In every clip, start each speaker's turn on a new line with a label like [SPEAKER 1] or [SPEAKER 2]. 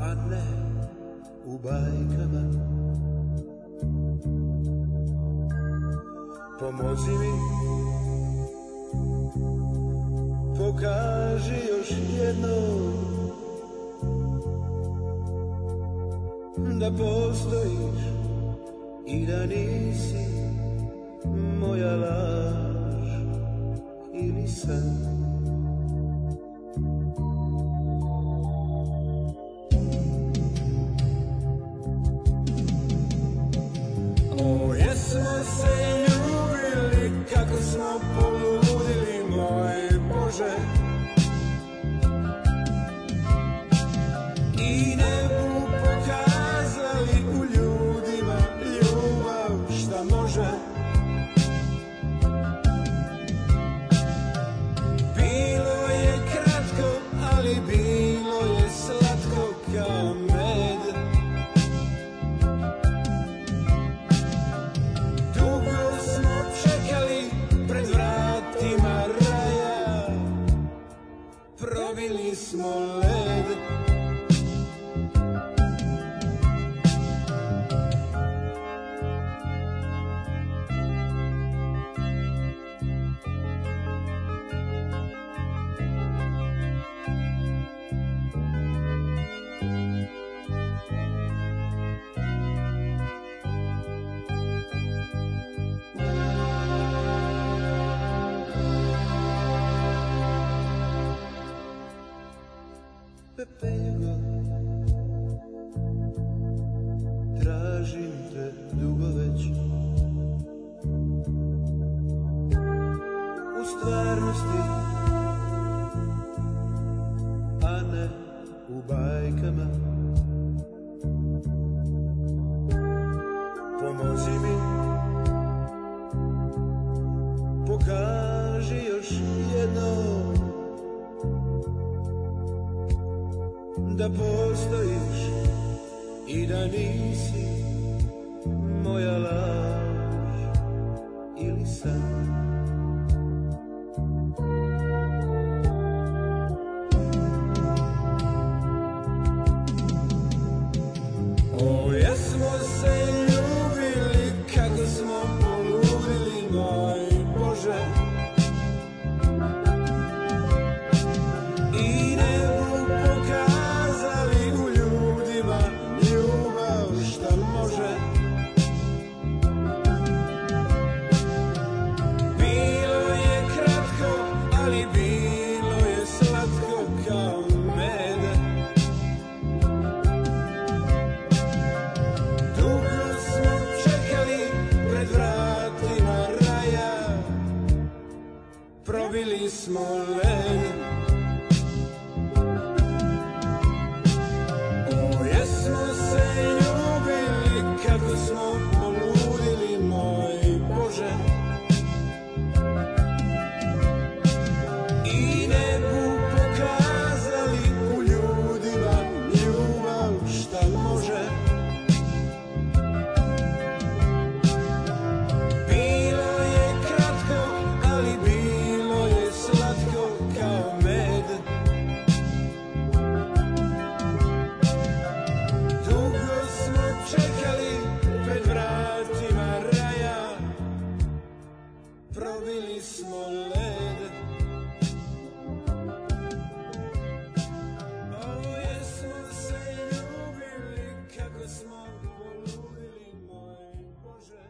[SPEAKER 1] حمله u bajkama Pomozi mi Pokaži još jednom Da postojiš I da nisi Moja laž Ili san
[SPEAKER 2] O jesmo se ljubili, kako smo poludili, moj Bože. I nebu pokazali u ljudima ljubav šta može. Bilo je kratko, ali bilo je slatko kao med. Dugo smo čekali pred vratima raja Probili smo led
[SPEAKER 1] Pepeljuga Tražim te dugo već U stvarnosti A ne u bajkama Pomozi mi Pokaži još jednom da postojiš i da nisi moja laž ili san.
[SPEAKER 2] O jesmo se ljubili, kako smo poludili, moj Bože I nebu pokazali u ljudima ljubav šta može Bilo je kratko, ali bilo je slatko kao med Dugo smo čekali pred vratima raja Probili smo led O jesmo se ljubili, kako smo poludili, moj Bože I nebu pokazali u ljudima ljubav šta može Bilo je kratko, ali bilo je slatko kao med Dugo smo čekali pred vratima raja Probili smo led O jesmo se ljubili, kako smo poludili, moj Bože.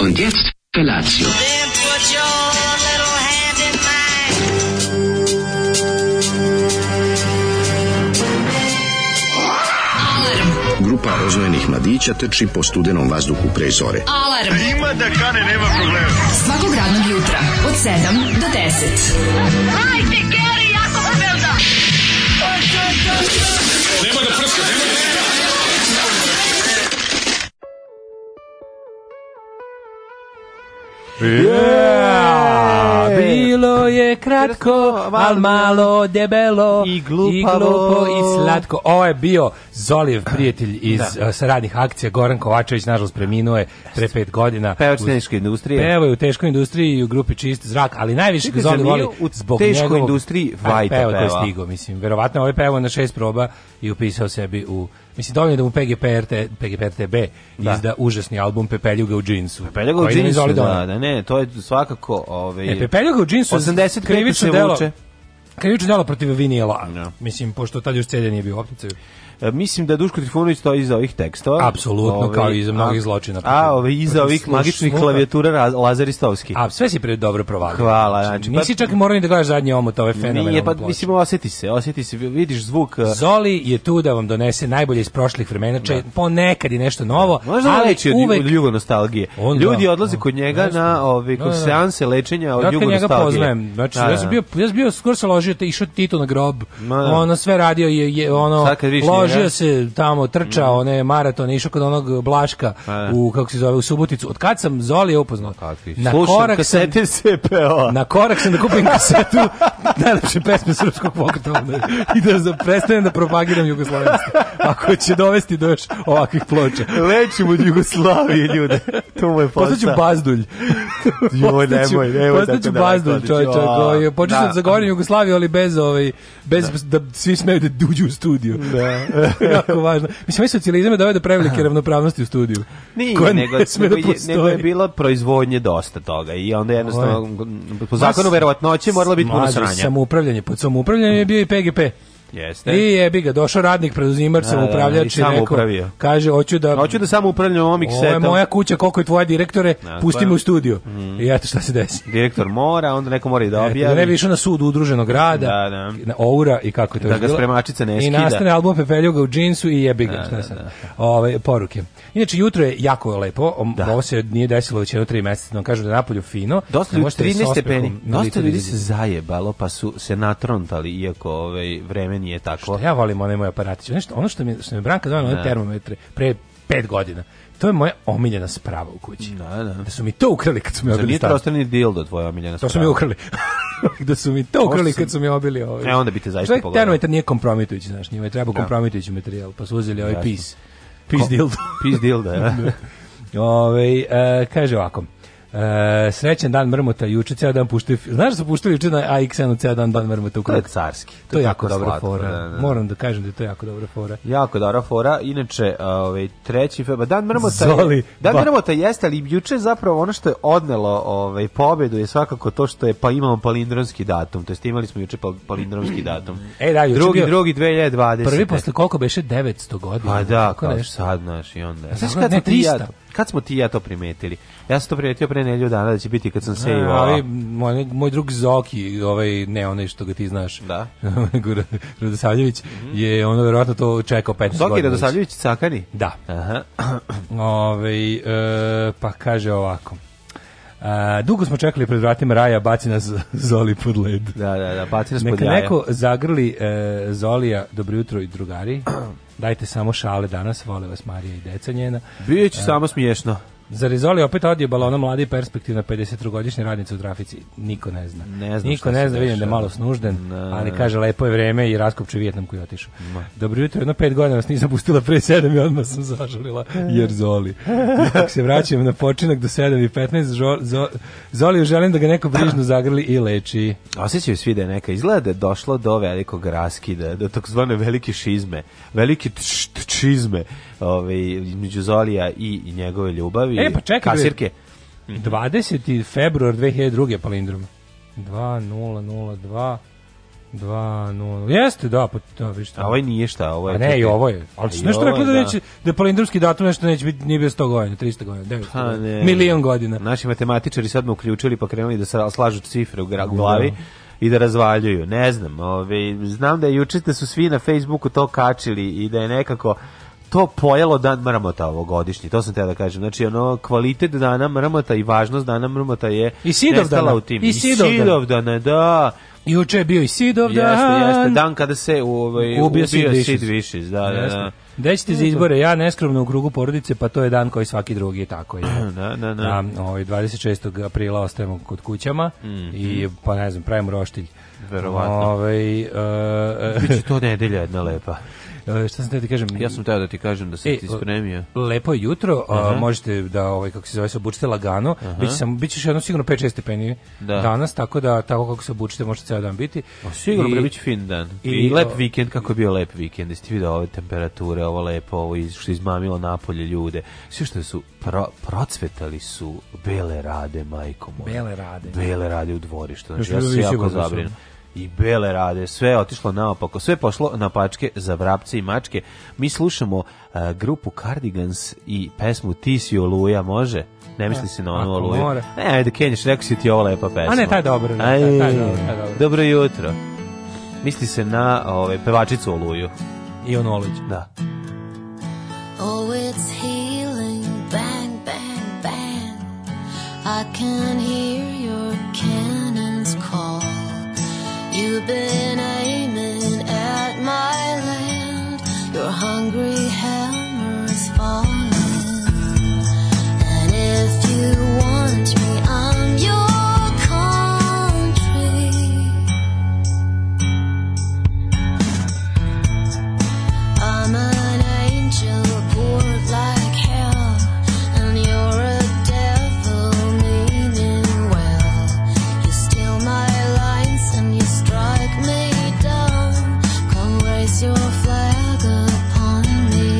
[SPEAKER 3] Und jetzt Felatio.
[SPEAKER 4] Then put your little hand in mine.
[SPEAKER 5] Grupa rozvojenih mladića teči po studenom vazduhu pre zore.
[SPEAKER 6] Alarm. A E, ima da kane, nema problema. Svakog radnog jutra, od 7 do 10. Hajde, Geri, jako se velda.
[SPEAKER 7] Bilo je kratko, al malo debelo
[SPEAKER 8] I glupavo.
[SPEAKER 7] i glupo i slatko. Ovo je bio Zoliv, prijatelj iz da. radnih akcija. Goran Kovačević, nažalost, preminuo je pre pet godina.
[SPEAKER 8] Pevač
[SPEAKER 7] Uz-
[SPEAKER 8] teške industrije.
[SPEAKER 7] Pevao je u teškoj industriji i u grupi Čist zrak, ali najviše
[SPEAKER 8] Čekaj,
[SPEAKER 7] ga Zoli
[SPEAKER 8] zar nije
[SPEAKER 7] voli
[SPEAKER 8] u
[SPEAKER 7] zbog
[SPEAKER 8] teškoj
[SPEAKER 7] njegovog-
[SPEAKER 8] industriji
[SPEAKER 7] A,
[SPEAKER 8] Vajta
[SPEAKER 7] pevao, to je
[SPEAKER 8] pevao?
[SPEAKER 7] stigao, mislim. Verovatno ovaj pevao na šest proba i upisao sebi u... Mislim, dovoljno je da mu PGPRT, PGPRTB izda užasni album Pepeljuga u džinsu.
[SPEAKER 8] Peljaga u
[SPEAKER 7] koji nam je
[SPEAKER 8] džinsu,
[SPEAKER 7] Zoli doneo.
[SPEAKER 8] da, da, ne, to je svakako... Ovaj,
[SPEAKER 7] E, Pepeljuga u džinsu
[SPEAKER 8] 85
[SPEAKER 7] krivično
[SPEAKER 8] se
[SPEAKER 7] delo.
[SPEAKER 8] vuče.
[SPEAKER 7] Krivično delo protiv vinila.
[SPEAKER 8] Ja.
[SPEAKER 7] Mislim, pošto tad još CD nije bio u opticaju.
[SPEAKER 8] E, Mislim da Duško Trifunović stoji iza ovih tekstova. Ovaj,
[SPEAKER 7] Apsolutno, kao i iza mnogih zločina.
[SPEAKER 8] A, ove, iza ovih
[SPEAKER 7] Sluš-
[SPEAKER 8] magičnih
[SPEAKER 7] sluha.
[SPEAKER 8] klavijatura Ra- Lazaristovski.
[SPEAKER 7] A sve si pre dobro provalio.
[SPEAKER 8] Hvala, znači, pa-
[SPEAKER 7] nisi čak i morao ni da gledaš zadnji omot ove fenomenalne
[SPEAKER 8] Nije, pa
[SPEAKER 7] ploče.
[SPEAKER 8] mislim, osjeti se, osjeti se, vidiš zvuk... e,
[SPEAKER 7] Zoli je tu da vam donese najbolje iz prošlih vremena, če, ponekad i nešto novo,
[SPEAKER 8] Možda
[SPEAKER 7] ali
[SPEAKER 8] leči od,
[SPEAKER 7] uvek
[SPEAKER 8] od jugonostalgije.
[SPEAKER 7] On da,
[SPEAKER 8] Ljudi odlaze
[SPEAKER 7] on,
[SPEAKER 8] kod njega
[SPEAKER 7] jasno.
[SPEAKER 8] na ove
[SPEAKER 7] Da,
[SPEAKER 8] kod
[SPEAKER 7] da, da.
[SPEAKER 8] seanse lečenja od
[SPEAKER 7] Dakle,
[SPEAKER 8] jugonostalgije.
[SPEAKER 7] njega poznajem. Znači,
[SPEAKER 8] Pa Da, da,
[SPEAKER 7] ja sam bio, ja sam bio skoro se ložio, te išao Tito na grob.
[SPEAKER 8] Ma, da.
[SPEAKER 7] Ono sve radio je, je ono
[SPEAKER 8] Sad kad vidiš
[SPEAKER 7] ložio
[SPEAKER 8] njega. Mm.
[SPEAKER 7] se tamo, trčao one maratone, išao kod onog Blaška
[SPEAKER 8] Pa da.
[SPEAKER 7] u kako se zove u Suboticu. Od kad sam Zoli upoznao?
[SPEAKER 8] Kakvi?
[SPEAKER 7] Na
[SPEAKER 8] Slušam
[SPEAKER 7] korak sam
[SPEAKER 8] kasete CPO.
[SPEAKER 7] Na korak sam da kupim kasetu najlepše pesme srpskog pokreta onda i da za- prestanem da propagiram jugoslovensko. Ako će dovesti do još ovakvih ploča.
[SPEAKER 8] Lečim od Jugoslavije ljude. To mu je posao.
[SPEAKER 7] Postaću Pa bazdulj.
[SPEAKER 8] Joj, nemoj, nemoj tako
[SPEAKER 7] Postaću
[SPEAKER 8] da
[SPEAKER 7] bazdulj,
[SPEAKER 8] radiš.
[SPEAKER 7] čovječe.
[SPEAKER 8] A,
[SPEAKER 7] koji- Počeo
[SPEAKER 8] da.
[SPEAKER 7] sam za govorim Jugoslaviju, ali bez, ovaj, bez da. svi smeju da uđu u studiju. Da. jako važno. Mislim, ovaj socijalizam je doveo do prevelike ravnopravnosti u studiju.
[SPEAKER 8] Nije,
[SPEAKER 7] koja
[SPEAKER 8] nego,
[SPEAKER 7] ne sme
[SPEAKER 8] nego,
[SPEAKER 7] da
[SPEAKER 8] je, nego je
[SPEAKER 7] postoji.
[SPEAKER 8] bila proizvodnje dosta toga i onda jednostavno m,
[SPEAKER 7] Ma,
[SPEAKER 8] po zakonu
[SPEAKER 7] s-
[SPEAKER 8] verovatnoće morala biti puno
[SPEAKER 7] Mlađe,
[SPEAKER 8] sranja.
[SPEAKER 7] Samoupravljanje, pod samoupravljanjem je bio i PGP.
[SPEAKER 8] Jeste.
[SPEAKER 7] I jebi ga, došao radnik, preduzimač,
[SPEAKER 8] E. da, i
[SPEAKER 7] samoupravljač i
[SPEAKER 8] sam
[SPEAKER 7] rekao,
[SPEAKER 8] upravio.
[SPEAKER 7] kaže, hoću da...
[SPEAKER 8] Hoću da samo upravljam ovom
[SPEAKER 7] Ovo je
[SPEAKER 8] miksetom.
[SPEAKER 7] moja kuća, koliko je tvoja direktore,
[SPEAKER 8] Da,
[SPEAKER 7] pusti
[SPEAKER 8] stvarno.
[SPEAKER 7] me u studiju.
[SPEAKER 8] Mhm.
[SPEAKER 7] I eto šta se desi.
[SPEAKER 8] Direktor mora, onda neko mora i da
[SPEAKER 7] E, Da ne bi
[SPEAKER 8] objavi.
[SPEAKER 7] išao na sud udruženog rada,
[SPEAKER 8] Da, da.
[SPEAKER 7] na Oura i kako je to
[SPEAKER 8] Da
[SPEAKER 7] još
[SPEAKER 8] ga
[SPEAKER 7] bilo.
[SPEAKER 8] spremačica ne
[SPEAKER 7] I
[SPEAKER 8] skida.
[SPEAKER 7] nastane album Pepeljuga u džinsu i jebi ga, šta sam. Ove, poruke. Inače, jutro je jako lepo, o- ovo se nije desilo već jedno tri meseca, no kažu da je napolju fino. Ne
[SPEAKER 8] Dosta ljudi,
[SPEAKER 7] možete sa
[SPEAKER 8] 13
[SPEAKER 7] ospehom
[SPEAKER 8] stepeni,
[SPEAKER 7] na
[SPEAKER 8] dosta
[SPEAKER 7] licu da
[SPEAKER 8] ljudi se
[SPEAKER 7] izađete.
[SPEAKER 8] zajebalo, pa su se natrontali, iako ovaj, vreme nije tako.
[SPEAKER 7] Ja volim onaj moj aparatić. Nešto, ono što mi, što mi Branka donela, one termometre, pre pet godina. To je moja omiljena sprava u kući.
[SPEAKER 8] Da, da.
[SPEAKER 7] Da su mi to ukrali kad su mi
[SPEAKER 8] Zar
[SPEAKER 7] obili
[SPEAKER 8] nije
[SPEAKER 7] stan.
[SPEAKER 8] trostrani dildo tvoja omiljena
[SPEAKER 7] To su mi
[SPEAKER 8] sprava?
[SPEAKER 7] ukrali. da su mi to ukrali
[SPEAKER 8] sam-
[SPEAKER 7] kad su mi obili ovaj.
[SPEAKER 8] E, onda bi te zaista
[SPEAKER 7] Čovjek
[SPEAKER 8] pogledao.
[SPEAKER 7] termometar nije kompromitujući, znaš, njima je treba kompromitujući materijal, pa su uzeli ovaj
[SPEAKER 8] Jasno.
[SPEAKER 7] pis. Pis dildo.
[SPEAKER 8] Pis dildo, da.
[SPEAKER 7] Ove, e, kaže ovako, e, srećan dan mrmota, juče ceo dan puštaju, fi- znaš da su puštali juče na AXN-u ceo dan dan mrmota u
[SPEAKER 8] To je
[SPEAKER 7] krug?
[SPEAKER 8] carski.
[SPEAKER 7] To je jako
[SPEAKER 8] tako
[SPEAKER 7] dobra
[SPEAKER 8] slatko,
[SPEAKER 7] fora.
[SPEAKER 8] da, da.
[SPEAKER 7] Moram da kažem da je to jako dobra fora.
[SPEAKER 8] Jako dobra fora. Inače, ovaj treći februar dan mrmota. je-
[SPEAKER 7] Zoli,
[SPEAKER 8] dan
[SPEAKER 7] ba-
[SPEAKER 8] mrmota jeste, ali juče zapravo ono što je odnelo ovaj pobedu je svakako to što je pa imamo palindromski datum. To jest imali smo juče pal- palindromski datum.
[SPEAKER 7] E, da, juče
[SPEAKER 8] drugi,
[SPEAKER 7] bio-
[SPEAKER 8] drugi 2020.
[SPEAKER 7] Prvi posle koliko beše 900 godina.
[SPEAKER 8] Pa da,
[SPEAKER 7] tako
[SPEAKER 8] kao
[SPEAKER 7] nešto.
[SPEAKER 8] sad, znaš, i onda. Znaš
[SPEAKER 7] dobro,
[SPEAKER 8] kad,
[SPEAKER 7] ne,
[SPEAKER 8] smo ti i ja,
[SPEAKER 7] 300.
[SPEAKER 8] kad smo ti i ja to primetili? Ja sam to primetio pre nelju dana da će biti kad sam se i
[SPEAKER 7] E, Ali moj, moj drug Zoki, ovaj ne onaj što ga ti znaš.
[SPEAKER 8] Da. Mhm.
[SPEAKER 7] nego Ra- Radosavljević je ono verovatno to čekao 15 godina.
[SPEAKER 8] Zoki
[SPEAKER 7] već.
[SPEAKER 8] Radosavljević Cakani?
[SPEAKER 7] Da.
[SPEAKER 8] Aha.
[SPEAKER 7] Ovaj e, pa kaže ovako. E, dugo smo čekali pred vratima raja, baci nas Zoli pod led.
[SPEAKER 8] Da, da, da, baci nas pod
[SPEAKER 7] Neka
[SPEAKER 8] jaja.
[SPEAKER 7] neko zagrli e, Zolija, dobro jutro i drugari. Dajte samo šale danas, vole vas Marija i deca njena.
[SPEAKER 8] Biće samo smiješno.
[SPEAKER 7] Zar je Zoli opet ono odio balona mlada i perspektivna 53-godišnja radnica u trafici? Niko ne zna.
[SPEAKER 8] Ne znam
[SPEAKER 7] Niko
[SPEAKER 8] šta
[SPEAKER 7] ne
[SPEAKER 8] se
[SPEAKER 7] zna, vidim
[SPEAKER 8] dešava.
[SPEAKER 7] da je malo snužden,
[SPEAKER 8] Ne.
[SPEAKER 7] ali kaže lepo je vreme i raskopče Vjetnam koji je otišao. Dobro jutro, jedno pet godina vas nisam pustila pre sedam i odmah sam zažalila jer Zoli. Kako se vraćam na počinak do sedam i 15, žo- zo- Zoliju želim da ga neko brižno zagrli i leči.
[SPEAKER 8] Osjećaju svi da je neka izgleda da je došlo do velikog raskida, do takozvane velike šizme, velike tš- tš- čizme ovaj, među Zolija i i njegove ljubavi.
[SPEAKER 7] E, pa čekaj, bre.
[SPEAKER 8] Kasirke. Mhm.
[SPEAKER 7] 20. februar 2002. palindrom. 2002 20 Jeste, da, pa da, vidiš to.
[SPEAKER 8] A ovaj nije šta, ovo je...
[SPEAKER 7] A ne, i ovo je. Ali si
[SPEAKER 8] I
[SPEAKER 7] nešto
[SPEAKER 8] ovo je,
[SPEAKER 7] rekao da,
[SPEAKER 8] da.
[SPEAKER 7] neće, da je palindromski datum nešto neće biti, nije bio 100 godina, 300 godina, 900
[SPEAKER 8] Pa
[SPEAKER 7] godina,
[SPEAKER 8] ne.
[SPEAKER 7] milion godina.
[SPEAKER 8] Naši matematičari sad me uključili pa krenuli da sa- slažu cifre u gra- glavi i da razvaljuju. Ne znam, ovaj, znam da je juče da su svi na Facebooku to kačili i da je nekako to pojelo dan mrmota ovogodišnji, to sam teo da kažem. Znači, ono, kvalitet dana mrmota i važnost dana mrmota je
[SPEAKER 7] I Sidovdana.
[SPEAKER 8] nestala u tim.
[SPEAKER 7] I Sidovdana.
[SPEAKER 8] Sidovdana, da.
[SPEAKER 7] Juče je bio i Sidov dan.
[SPEAKER 8] Jeste, jeste, dan kada se ovaj, ubio,
[SPEAKER 7] Sid
[SPEAKER 8] ubio
[SPEAKER 7] Vicious.
[SPEAKER 8] Sid Vicious, da, da, da.
[SPEAKER 7] Da ćete za izbore, ja neskromno u krugu porodice, pa to je dan koji svaki drugi, tako je.
[SPEAKER 8] Da, da, da.
[SPEAKER 7] Da, ovaj 26. aprila ostajemo kod kućama i pa ne znam, pravimo roštilj.
[SPEAKER 8] Mhm. Verovatno.
[SPEAKER 7] Ovaj, e, e,
[SPEAKER 8] Biće to nedelja jedna lepa.
[SPEAKER 7] e, šta sam te da kažem?
[SPEAKER 8] Ja sam teo da ti kažem da sam
[SPEAKER 7] E,
[SPEAKER 8] ti spremio.
[SPEAKER 7] Lepo je jutro, a, možete da ovaj kako se zove se obučite lagano. Biće samo biće još jedno sigurno 5-6 stepeni
[SPEAKER 8] Da.
[SPEAKER 7] danas, tako da tako kako se obučite možete ceo dan biti.
[SPEAKER 8] Sigurno
[SPEAKER 7] I-
[SPEAKER 8] bre biće fin dan. I,
[SPEAKER 7] i-
[SPEAKER 8] lep
[SPEAKER 7] o-
[SPEAKER 8] vikend, kako je bio lep vikend. Jesi ti video ove temperature, ovo lepo, ovo iz, što je izmamilo napolje ljude. Sve što su pro, procvetali su bele rade, majko moja.
[SPEAKER 7] Bele rade.
[SPEAKER 8] Bele rade u dvorištu. Znači,
[SPEAKER 7] Još
[SPEAKER 8] ja sam se
[SPEAKER 7] više
[SPEAKER 8] jako
[SPEAKER 7] brzo su.
[SPEAKER 8] zabrinut. I bele rade, sve je otišlo naopako, sve je pošlo na pačke za vrapce i mačke. Mi slušamo e, grupu Cardigans i pesmu Ti si oluja, može? Ne misli si na onu
[SPEAKER 7] Ako
[SPEAKER 8] oluju.
[SPEAKER 7] mora.
[SPEAKER 8] Ne, ajde, Kenjiš, rekao si ti ovo lepa pesma.
[SPEAKER 7] A ne, taj je dobro, ne, taj- taj je dobro, taj je dobro.
[SPEAKER 8] Dobro jutro. Misli se na ove, pevačicu Oluju.
[SPEAKER 7] I ono on Olić.
[SPEAKER 8] Da.
[SPEAKER 9] Oh, it's healing. Bang, bang, bang. I can hear your cannons call. You've been aiming at my land. Your hungry hammer's falling. And if you want me, I'm your country. I'm an angel poured like hell, and you're a devil meaning well. You steal my lines and you strike me down. Come raise your flag upon me.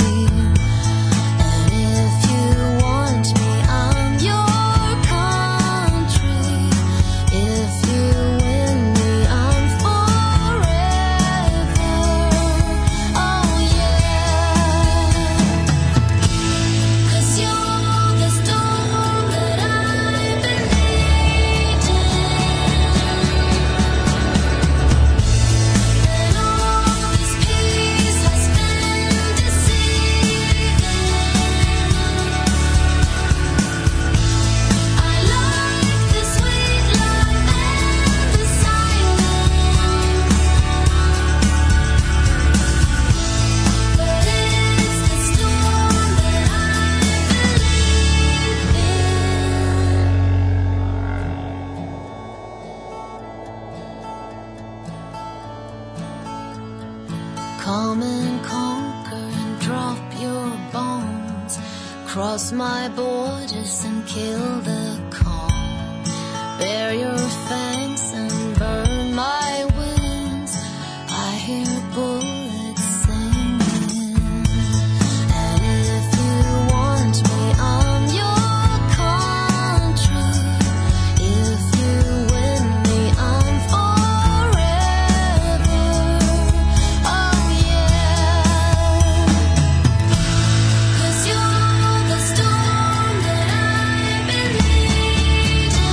[SPEAKER 9] And if you want me, I'm your country. If you win me, I'm forever. Oh yeah. Cause you're the storm that I've been needing And all this peace has been deceiving I like the sweet love and the silence But it's the storm that I believe in Come and conquer and drop your bones. Cross my borders and kill the calm. Bear your fangs and burn my wings. I hear bullets singing. And if you want me, I'm your country. If you win me, I'm forever. Oh yeah. Cause you're the storm that I've been needing.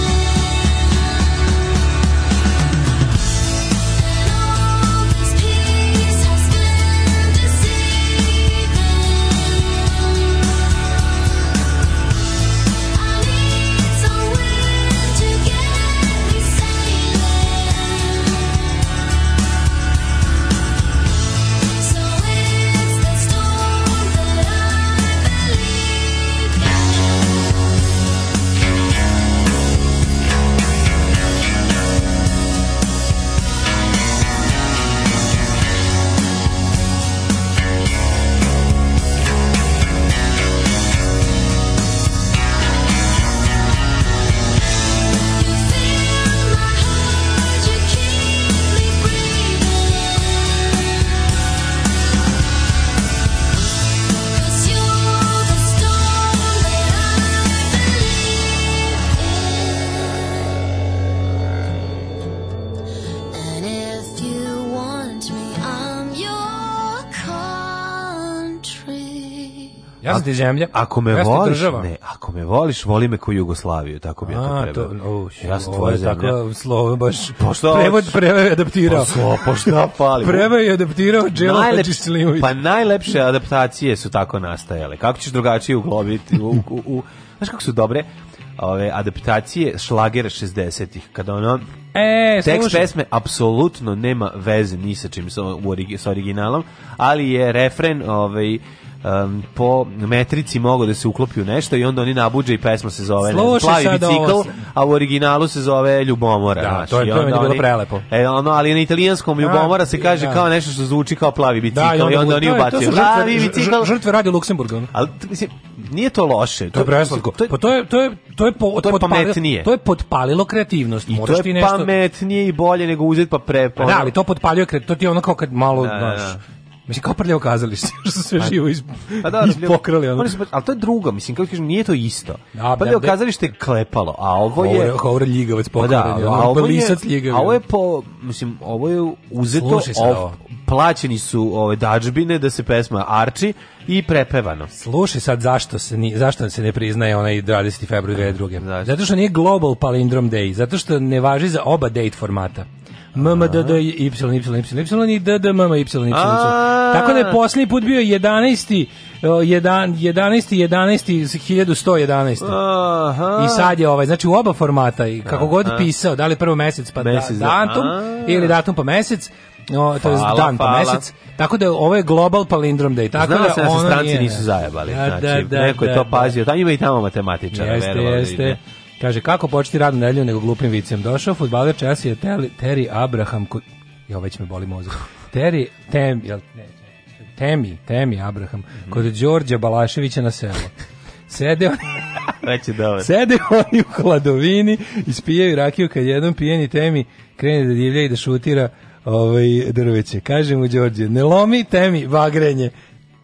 [SPEAKER 7] Ja sam ti zemlja.
[SPEAKER 8] Ako me
[SPEAKER 7] ja sam ti
[SPEAKER 8] voliš,
[SPEAKER 7] država.
[SPEAKER 8] ne, ako me voliš, voli me ko Jugoslaviju, tako bi ja to
[SPEAKER 7] A, to,
[SPEAKER 8] preveo.
[SPEAKER 7] o,
[SPEAKER 8] ja sam
[SPEAKER 7] ovo
[SPEAKER 8] tvoja
[SPEAKER 7] je
[SPEAKER 8] zemlja.
[SPEAKER 7] tako slovo baš.
[SPEAKER 8] Pa šta
[SPEAKER 7] Prevod
[SPEAKER 8] hoćeš?
[SPEAKER 7] preveo je adaptirao.
[SPEAKER 8] Pa slo- pa šta pali?
[SPEAKER 7] Preveo je adaptirao Đelo
[SPEAKER 8] Najlepše-
[SPEAKER 7] Hadžislimović.
[SPEAKER 8] pa najlepše adaptacije su tako nastajale. Kako ćeš drugačije uglobiti u, u, u, znaš kako su dobre ove adaptacije šlagera 60-ih kada ono
[SPEAKER 7] E,
[SPEAKER 8] tekst
[SPEAKER 7] slušaj.
[SPEAKER 8] pesme apsolutno nema veze ni sa čim sa, u origi- sa originalom, ali je refren ovaj em, po metrici mogao da se uklopi u nešto i onda oni nabuđe i pesma se zove ne znam,
[SPEAKER 7] Slušaj
[SPEAKER 8] Plavi
[SPEAKER 7] sad ovo.
[SPEAKER 8] bicikl, a u originalu se zove Ljubomora.
[SPEAKER 7] Da,
[SPEAKER 8] znaš,
[SPEAKER 7] to je-
[SPEAKER 8] i
[SPEAKER 7] to je
[SPEAKER 8] onda
[SPEAKER 7] meni bilo
[SPEAKER 8] oni-
[SPEAKER 7] prelepo.
[SPEAKER 8] E, ono, ali na italijanskom Ljubomora se kaže
[SPEAKER 7] da.
[SPEAKER 8] kao nešto što zvuči kao plavi bicikl
[SPEAKER 7] Da,
[SPEAKER 8] i onda,
[SPEAKER 7] bu-
[SPEAKER 8] oni
[SPEAKER 7] to je- to
[SPEAKER 8] ubacuju
[SPEAKER 7] su žrtve-
[SPEAKER 8] plavi
[SPEAKER 7] žr-
[SPEAKER 8] bicikl.
[SPEAKER 7] žr- Žrtve radi Luksemburga. ono.
[SPEAKER 8] Ali, t- mislim, nije to loše.
[SPEAKER 7] To je preslatko. Pa to je to je to je po,
[SPEAKER 8] To je
[SPEAKER 7] potpalilo-
[SPEAKER 8] pametnije.
[SPEAKER 7] To je potpalilo kreativnost.
[SPEAKER 8] I
[SPEAKER 7] Moraš
[SPEAKER 8] to
[SPEAKER 7] ti
[SPEAKER 8] je
[SPEAKER 7] nešto.
[SPEAKER 8] pametnije i bolje nego uzeti pa pre... pa
[SPEAKER 7] Pa da,
[SPEAKER 8] ono-
[SPEAKER 7] ali to potpaljuje kreativnost. To ti je ono kao kad malo,
[SPEAKER 8] da,
[SPEAKER 7] znaš.
[SPEAKER 8] da.
[SPEAKER 7] Mislim kao prljavo kazalište, što su sve živo iz,
[SPEAKER 8] Pa da,
[SPEAKER 7] ispokrali. Ono.
[SPEAKER 8] Oni su, pa- ali to je drugo, mislim, kako ti kažem, nije to isto.
[SPEAKER 7] Da,
[SPEAKER 8] pa
[SPEAKER 7] da,
[SPEAKER 8] da,
[SPEAKER 7] da.
[SPEAKER 8] kazalište je klepalo, a ovo
[SPEAKER 7] Ovo
[SPEAKER 8] je...
[SPEAKER 7] je, ono, ovo je ljigavac
[SPEAKER 8] Pa da,
[SPEAKER 7] pokrani,
[SPEAKER 8] a ovo je,
[SPEAKER 7] lisac ljigavi.
[SPEAKER 8] a ovo je po, mislim, ovo je uzeto,
[SPEAKER 7] Slušaj sad
[SPEAKER 8] ov-
[SPEAKER 7] ovo.
[SPEAKER 8] plaćeni su ove dađbine da se pesma arči i prepevano.
[SPEAKER 7] Slušaj sad zašto se ni, zašto se ne priznaje onaj 20. februar 2002.
[SPEAKER 8] Zašto?
[SPEAKER 7] Zato što nije Global Palindrom Day, zato što ne važi za oba date formata. MMDD y y y i DDMM y y.
[SPEAKER 8] A.
[SPEAKER 7] Tako da je posljednji put bio 11. o, jedan- 11. 11. 1111.
[SPEAKER 8] Aha.
[SPEAKER 7] I sad je ovaj, znači u oba formata i kako god pisao, da li prvo mesec pa da-
[SPEAKER 8] Mesec, da.
[SPEAKER 7] datum
[SPEAKER 8] A.
[SPEAKER 7] ili datum pa mesec, o, to je
[SPEAKER 8] Hvala,
[SPEAKER 7] dan pa
[SPEAKER 8] hvala.
[SPEAKER 7] mesec. Tako da ovo je global palindrom day. Tako
[SPEAKER 8] Znala
[SPEAKER 7] da
[SPEAKER 8] se da se
[SPEAKER 7] ono
[SPEAKER 8] stranci
[SPEAKER 7] nije-
[SPEAKER 8] nisu zajabali.
[SPEAKER 7] Da,
[SPEAKER 8] znači,
[SPEAKER 7] da, da,
[SPEAKER 8] neko je
[SPEAKER 7] da,
[SPEAKER 8] to
[SPEAKER 7] da.
[SPEAKER 8] pazio. Tamo ima i tamo matematičara.
[SPEAKER 7] Jeste,
[SPEAKER 8] verovali,
[SPEAKER 7] jeste.
[SPEAKER 8] ne.
[SPEAKER 7] Kaže, kako početi radnu nedelju nego glupim vicem? Došao futbaler Chelsea je Terry, Terry Abraham... Ko... Jo, već me boli mozak. Terry, Tem, jel, ne, ne, Temi, Temi Abraham, kod Đorđa Balaševića na selu. Sede oni,
[SPEAKER 8] Već je dobro.
[SPEAKER 7] sede oni u hladovini, ispijaju rakiju kad jednom pijeni Temi krene da divlja i da šutira ovaj drveće. Kaže mu Đorđe, ne lomi Temi bagrenje.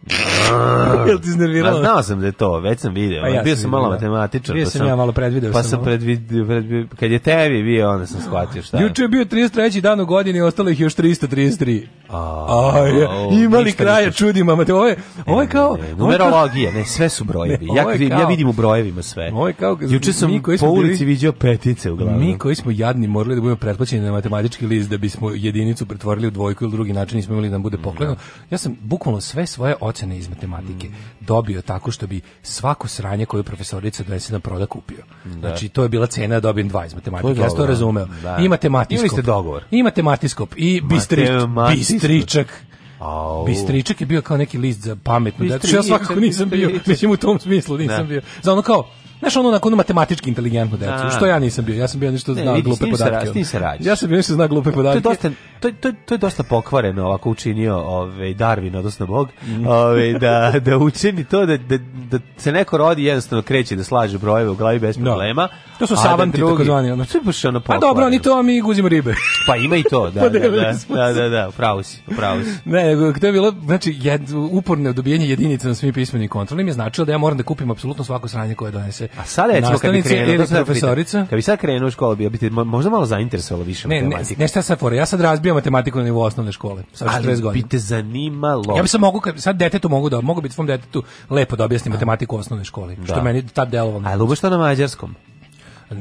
[SPEAKER 7] Jel ti
[SPEAKER 8] Ma
[SPEAKER 7] iznerviralo?
[SPEAKER 8] Pa znao sam da je to, već sam video.
[SPEAKER 7] Pa ja
[SPEAKER 8] bio
[SPEAKER 7] sam
[SPEAKER 8] sam malo
[SPEAKER 7] vidio, da.
[SPEAKER 8] matematičar.
[SPEAKER 7] Bio
[SPEAKER 8] pa
[SPEAKER 7] sam ja malo predvideo
[SPEAKER 8] Pa
[SPEAKER 7] sam,
[SPEAKER 8] sam
[SPEAKER 7] ono.
[SPEAKER 8] predvidio, predvidio, kad je tebi bio, onda sam shvatio šta. je.
[SPEAKER 7] Juče je bio 33. dan u godini, ostalo ih još 333.
[SPEAKER 8] A,
[SPEAKER 7] Aj,
[SPEAKER 8] au,
[SPEAKER 7] imali
[SPEAKER 8] ništa
[SPEAKER 7] kraja
[SPEAKER 8] nisam-
[SPEAKER 7] čudima, mate, ovo je, ovo je kao...
[SPEAKER 8] Ne,
[SPEAKER 7] ovo je kao-
[SPEAKER 8] numerologija, ne, sve su brojevi.
[SPEAKER 7] Ne,
[SPEAKER 8] ja,
[SPEAKER 7] ovo je
[SPEAKER 8] vidim- ja
[SPEAKER 7] kao-
[SPEAKER 8] vidim u brojevima sve.
[SPEAKER 7] Ovo je kao-
[SPEAKER 8] Juče sam
[SPEAKER 7] mi koji
[SPEAKER 8] po
[SPEAKER 7] smo bili-
[SPEAKER 8] ulici vidio petice uglavnom.
[SPEAKER 7] Mi koji smo jadni morali da budemo pretplaćeni na matematički list da bismo jedinicu pretvorili u dvojku ili drugi način nismo imali da nam bude pokleno. Ja sam bukvalno sve svoje ocene iz matematike
[SPEAKER 8] Mm.
[SPEAKER 7] dobio tako što bi svako sranje koju je profesorica donese na proda kupio. Znači to je bila cena da dobijem dva iz matematike.
[SPEAKER 8] To je
[SPEAKER 7] ja sam to
[SPEAKER 8] dobro.
[SPEAKER 7] razumeo.
[SPEAKER 8] Da.
[SPEAKER 7] I matematiskop.
[SPEAKER 8] Imali ste dogovor.
[SPEAKER 7] I matematiskop. I bistri,
[SPEAKER 8] Matematiskop.
[SPEAKER 7] bistričak.
[SPEAKER 8] Au.
[SPEAKER 7] Bistričak je bio kao neki list za pametnu decu, što ja
[SPEAKER 8] Bistričak,
[SPEAKER 7] svakako nisam bio,
[SPEAKER 8] bistričak.
[SPEAKER 7] mislim u tom smislu nisam
[SPEAKER 8] Da.
[SPEAKER 7] bio. Za ono kao, znaš ono onako ono matematički inteligentno
[SPEAKER 8] Da.
[SPEAKER 7] decu, što ja nisam bio, ja sam bio nešto
[SPEAKER 8] Ne,
[SPEAKER 7] znao
[SPEAKER 8] vidi, s
[SPEAKER 7] glupe
[SPEAKER 8] tim se ra-
[SPEAKER 7] podatke.
[SPEAKER 8] s tim
[SPEAKER 7] ono.
[SPEAKER 8] se rađaš.
[SPEAKER 7] Ja sam bio nešto znao glupe
[SPEAKER 8] To je
[SPEAKER 7] podatke.
[SPEAKER 8] dosta, to, je- to, je- to je dosta pokvareno ovako učinio ovaj Darwin, odnosno Bog, ovaj, da, da učini to da, da, da se neko rodi i jednostavno kreće da slaže brojeve u glavi bez
[SPEAKER 7] Da.
[SPEAKER 8] problema.
[SPEAKER 7] To su
[SPEAKER 8] a da
[SPEAKER 7] savanti
[SPEAKER 8] drugi-
[SPEAKER 7] takozvani, ono.
[SPEAKER 8] To je baš ono
[SPEAKER 7] Pa
[SPEAKER 8] pokvareno.
[SPEAKER 7] dobro, oni to, a mi guzimo ribe.
[SPEAKER 8] Pa ima i to, da, da, da,
[SPEAKER 7] Podelili
[SPEAKER 8] da,
[SPEAKER 7] smo
[SPEAKER 8] da,
[SPEAKER 7] se.
[SPEAKER 8] da, da, upravo si, upravo si.
[SPEAKER 7] Ne, nego to je bilo, znači, jed, uporne dobijenje jedinice na svim pismenim kontrolnim je značilo da ja moram da kupim apsolutno svako sranje koje donese
[SPEAKER 8] A sad recimo kad bi
[SPEAKER 7] nastavnica
[SPEAKER 8] krenuo,
[SPEAKER 7] ili
[SPEAKER 8] to sad pitam,
[SPEAKER 7] profesorica.
[SPEAKER 8] Kad bi sad krenuo u školu, bio bi te mo- možda malo zainteresovalo više
[SPEAKER 7] Ne, ne,
[SPEAKER 8] matematike.
[SPEAKER 7] ne šta sad fora, ja sad razbijam matematiku na nivou osnovne škole, sa 40
[SPEAKER 8] ali
[SPEAKER 7] godina.
[SPEAKER 8] bi te zanimalo.
[SPEAKER 7] Ja bi sam mogu, kad- sad detetu mogu da, mogu biti svom detetu lepo da objasnim matematiku u osnovnoj školi, što
[SPEAKER 8] Da.
[SPEAKER 7] meni tad delovalo.
[SPEAKER 8] A lubo što na mađarskom?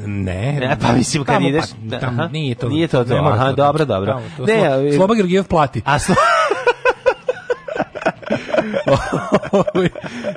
[SPEAKER 7] Ne,
[SPEAKER 8] Ne, pa mislim kad
[SPEAKER 7] tamo,
[SPEAKER 8] ideš-
[SPEAKER 7] pa,
[SPEAKER 8] aha.
[SPEAKER 7] tamo, nije to.
[SPEAKER 8] Nije to to,
[SPEAKER 7] ne mora
[SPEAKER 8] aha, dobro, dobro.
[SPEAKER 7] Tamo, to
[SPEAKER 8] Ne,
[SPEAKER 7] Slo-
[SPEAKER 8] ali-
[SPEAKER 7] Sloba Georgijev plati.
[SPEAKER 8] A slo...
[SPEAKER 7] Ovaj,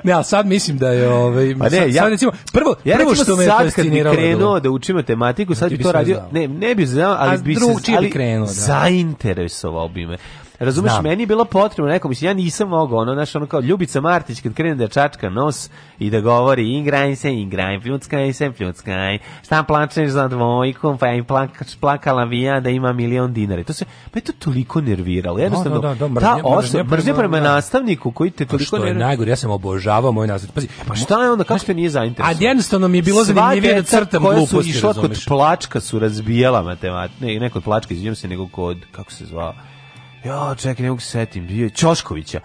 [SPEAKER 7] ne, ali sad mislim da je, ovaj,
[SPEAKER 8] Pa ne,
[SPEAKER 7] sad,
[SPEAKER 8] ja-
[SPEAKER 7] sad recimo, prvo,
[SPEAKER 8] Ja
[SPEAKER 7] prvo
[SPEAKER 8] recimo
[SPEAKER 7] što me je
[SPEAKER 8] sad kad bi
[SPEAKER 7] fasciniralo. je bilo-
[SPEAKER 8] krenuo da učim matematiku, sad
[SPEAKER 7] Ti
[SPEAKER 8] bi
[SPEAKER 7] bi
[SPEAKER 8] to
[SPEAKER 7] sve
[SPEAKER 8] radio,
[SPEAKER 7] znao.
[SPEAKER 8] ne, ne bi znao, ali
[SPEAKER 7] A
[SPEAKER 8] bi se,
[SPEAKER 7] drugčije bi
[SPEAKER 8] ali
[SPEAKER 7] krenuo, da.
[SPEAKER 8] zainteresovao bi me. Razumeš,
[SPEAKER 7] Znam.
[SPEAKER 8] meni je bilo potrebno neko, mislim, ja nisam mogao, ono, znaš, ono kao Ljubica Martić kad krene da čačka nos i da govori ingraj se, ingraj, pljuckaj se, pljuckaj, šta plačeš za dvojkom, pa ja im plakač, plakala bi ja da ima milion dinara. I To se, pa je to toliko nerviralo, jednostavno,
[SPEAKER 7] da, da, mržnja-
[SPEAKER 8] ta
[SPEAKER 7] mržnja
[SPEAKER 8] osnova,
[SPEAKER 7] prema-
[SPEAKER 8] mržnja prema
[SPEAKER 7] da.
[SPEAKER 8] nastavniku koji te
[SPEAKER 7] Pa
[SPEAKER 8] toliko
[SPEAKER 7] Što je
[SPEAKER 8] nervira.
[SPEAKER 7] najgore, ja sam obožavao moj nastavnik. Pazi,
[SPEAKER 8] Pa šta je onda, kako te nije
[SPEAKER 7] A
[SPEAKER 8] zainteresovao?
[SPEAKER 7] jednostavno mi je bilo zanimljivije da
[SPEAKER 8] deca
[SPEAKER 7] crtam
[SPEAKER 8] koja
[SPEAKER 7] gluposti,
[SPEAKER 8] su išla kod
[SPEAKER 7] razumeš?
[SPEAKER 8] plačka su razbijala matemat, ne, ne kod plačka, izvinjam se, nego kod, kako se zvao, ja, čekaj, ne mogu se setim, bio je Ćoškovića,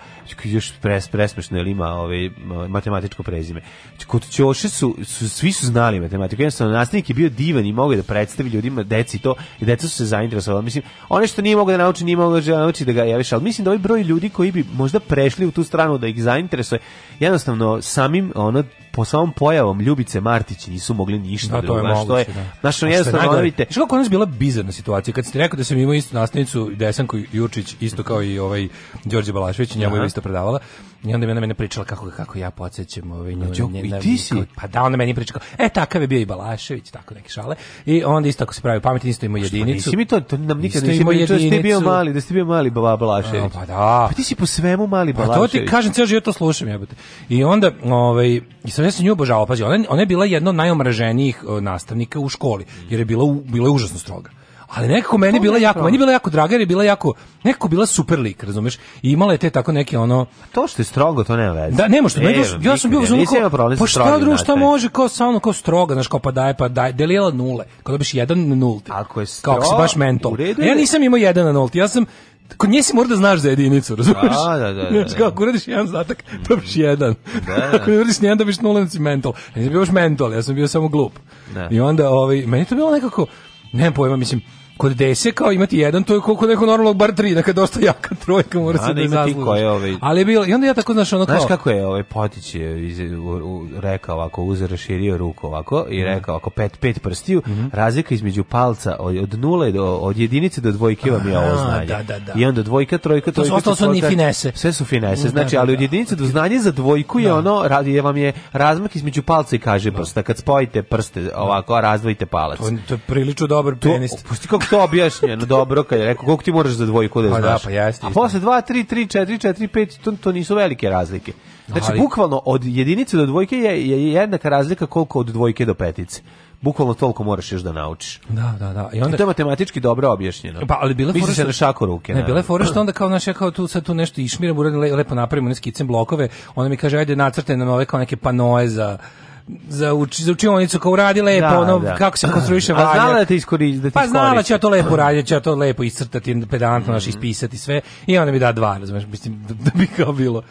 [SPEAKER 8] još pres, presmešno, jer ima ovaj, matematičko prezime. Kod Ćoše su, su, svi su znali matematiku, jednostavno nastavnik je bio divan i mogao je da predstavi ljudima, deci to, i deca su se zainteresovala. Mislim, ono što nije mogao da nauči, nije mogao da nauči da ga javiš, ali mislim da ovaj broj ljudi koji bi možda prešli u tu stranu da ih zainteresuje, jednostavno samim, ono, po samom pojavom Ljubice Martić nisu mogli ništa
[SPEAKER 7] Da, to je
[SPEAKER 8] drugo, znaš,
[SPEAKER 7] moguće, da.
[SPEAKER 8] znaš, ono,
[SPEAKER 7] A što je
[SPEAKER 8] jednostavno, ono,
[SPEAKER 7] najgore,
[SPEAKER 8] vidite,
[SPEAKER 7] Znaš kako je nas bila bizarna situacija? Kad ste rekao da sam imao istu nastavnicu, Desanku Jurčić, isto kao i ovaj Đorđe Balašević, njemu je
[SPEAKER 8] Aha.
[SPEAKER 7] isto predavala. I onda je ona mene pričala kako kako ja podsjećam ovaj nju.
[SPEAKER 8] Đoko,
[SPEAKER 7] nje-
[SPEAKER 8] i
[SPEAKER 7] na-
[SPEAKER 8] ti si?
[SPEAKER 7] kao- Pa da, ona meni priča kao, e takav je bio i Balašević, tako neke šale. I onda isto ako se pravi pametni isto imao jedinicu.
[SPEAKER 8] Pa Nisi mi to, to nam nikad
[SPEAKER 7] pa Isto
[SPEAKER 8] nisi
[SPEAKER 7] imao
[SPEAKER 8] pričao da si ti bio
[SPEAKER 7] jedinicu.
[SPEAKER 8] mali, da si ti bio mali Baba Balašević.
[SPEAKER 7] A, pa da.
[SPEAKER 8] Pa ti si po svemu mali
[SPEAKER 7] Pa
[SPEAKER 8] Balašević.
[SPEAKER 7] to ti kažem, ceo život to slušam, jebote. I onda, ovaj, i sad ja sam nju obožavao, pazi, ona, ona je bila jedna od najomraženijih o, nastavnika u školi, jer je bila, u- bila je užasno stroga. Ali nekako meni je bila jako, meni je bila jako draga, jer je bila jako, nekako bila super lik, razumeš? I imala je te tako neke ono,
[SPEAKER 8] To što je strogo, to nema veze.
[SPEAKER 7] da, nema što, meni
[SPEAKER 8] Nema,
[SPEAKER 7] je bilo- ja sam bio
[SPEAKER 8] nikad,
[SPEAKER 7] uzmano
[SPEAKER 8] nisam imao
[SPEAKER 7] kao,
[SPEAKER 8] problem sa
[SPEAKER 7] pa šta
[SPEAKER 8] strogim
[SPEAKER 7] drugo, šta
[SPEAKER 8] nastavnicima.
[SPEAKER 7] može, kao sa ono, kao stroga, znaš, kao pa daje, pa daje, delila nule, kao dobiš jedan na nulti.
[SPEAKER 8] Ako je
[SPEAKER 7] Kao ako si
[SPEAKER 8] stro-
[SPEAKER 7] baš mentol.
[SPEAKER 8] u redu
[SPEAKER 7] A Ja
[SPEAKER 8] je-
[SPEAKER 7] nisam imao jedan na nulti, ja sam, kod nje si mora da znaš za jedinicu, razumiješ?
[SPEAKER 8] Da, da, da, da,
[SPEAKER 7] Znaš,
[SPEAKER 8] da. Mm.
[SPEAKER 7] kao ako uradiš jedan zadatak, dobiš jedan.
[SPEAKER 8] Da, da.
[SPEAKER 7] ako ne uradiš nijedan, dobiš nula, onda si mentol. Ja nisam bio baš mentol, ja sam bio samo glup.
[SPEAKER 8] Da.
[SPEAKER 7] I onda, ovaj, meni je to bilo nekako, nemam pojma, mislim, kod dese kao imati jedan, to je koliko neko normalno bar tri, neka dosta jaka trojka mora
[SPEAKER 8] Da,
[SPEAKER 7] se
[SPEAKER 8] da
[SPEAKER 7] da
[SPEAKER 8] ima ti
[SPEAKER 7] zaslužiš.
[SPEAKER 8] koje, ovaj-
[SPEAKER 7] Ali je bilo, i onda ja tako, znaš, ono kao...
[SPEAKER 8] Znaš kako je ovaj Potić je iz, u, u, rekao ovako, uzeo raširio ruku ovako
[SPEAKER 7] Mhm.
[SPEAKER 8] i rekao ako pet, pet prstiju, razlika između palca od, od nule do, od jedinice do dvojke vam je ovo
[SPEAKER 7] Aha,
[SPEAKER 8] znanje.
[SPEAKER 7] da, da, da.
[SPEAKER 8] I onda dvojka, trojka,
[SPEAKER 7] To su-
[SPEAKER 8] trojka.
[SPEAKER 7] ostalo su
[SPEAKER 8] četvorka.
[SPEAKER 7] ni finese.
[SPEAKER 8] Sve su finese,
[SPEAKER 7] Da,
[SPEAKER 8] znači,
[SPEAKER 7] da,
[SPEAKER 8] ali od
[SPEAKER 7] da.
[SPEAKER 8] jedinice do znanje za dvojku je ono, radi je vam je razmak između palca i kaže prsta. Kad spojite prste ovako, a razdvojite palac.
[SPEAKER 7] To, to je prilično dobar
[SPEAKER 8] To,
[SPEAKER 7] pijanist.
[SPEAKER 8] pusti kako to objašnjeno, dobro, kad je rekao, koliko ti moraš za dvojku da
[SPEAKER 7] Pa da,
[SPEAKER 8] znaš.
[SPEAKER 7] pa jeste,
[SPEAKER 8] A
[SPEAKER 7] isto.
[SPEAKER 8] posle 2, 3, 3, 4, 4, 5, to, to nisu velike razlike. Znači,
[SPEAKER 7] Ali-
[SPEAKER 8] bukvalno od jedinice do dvojke je, je jednaka razlika koliko od dvojke do petice. Bukvalno toliko moraš još da naučiš.
[SPEAKER 7] Da, da, da. I
[SPEAKER 8] I
[SPEAKER 7] onda
[SPEAKER 8] to je matematički dobro objašnjeno.
[SPEAKER 7] Pa, ali bila je
[SPEAKER 8] Misli
[SPEAKER 7] fora
[SPEAKER 8] se
[SPEAKER 7] što-
[SPEAKER 8] na šaku ruke.
[SPEAKER 7] Ne,
[SPEAKER 8] naravno.
[SPEAKER 7] bila je fora što onda kao naš ja kao tu sad tu nešto išmiram, uradim le- lepo napravim one skicem blokove, ona mi kaže ajde nacrtaj nam ove kao neke panoe za za, uči, za učionicu kao uradi lepo,
[SPEAKER 8] Da,
[SPEAKER 7] ono,
[SPEAKER 8] da.
[SPEAKER 7] kako se konstruiše
[SPEAKER 8] A
[SPEAKER 7] valjak.
[SPEAKER 8] znala da te iskoristi- da te
[SPEAKER 7] Pa znala
[SPEAKER 8] iskoristi.
[SPEAKER 7] će ja to lepo uraditi, će ja to lepo iscrtati, pedantno, naš, ispisati sve, i onda mi da dva, razumeš, mislim, da, da bi kao bilo.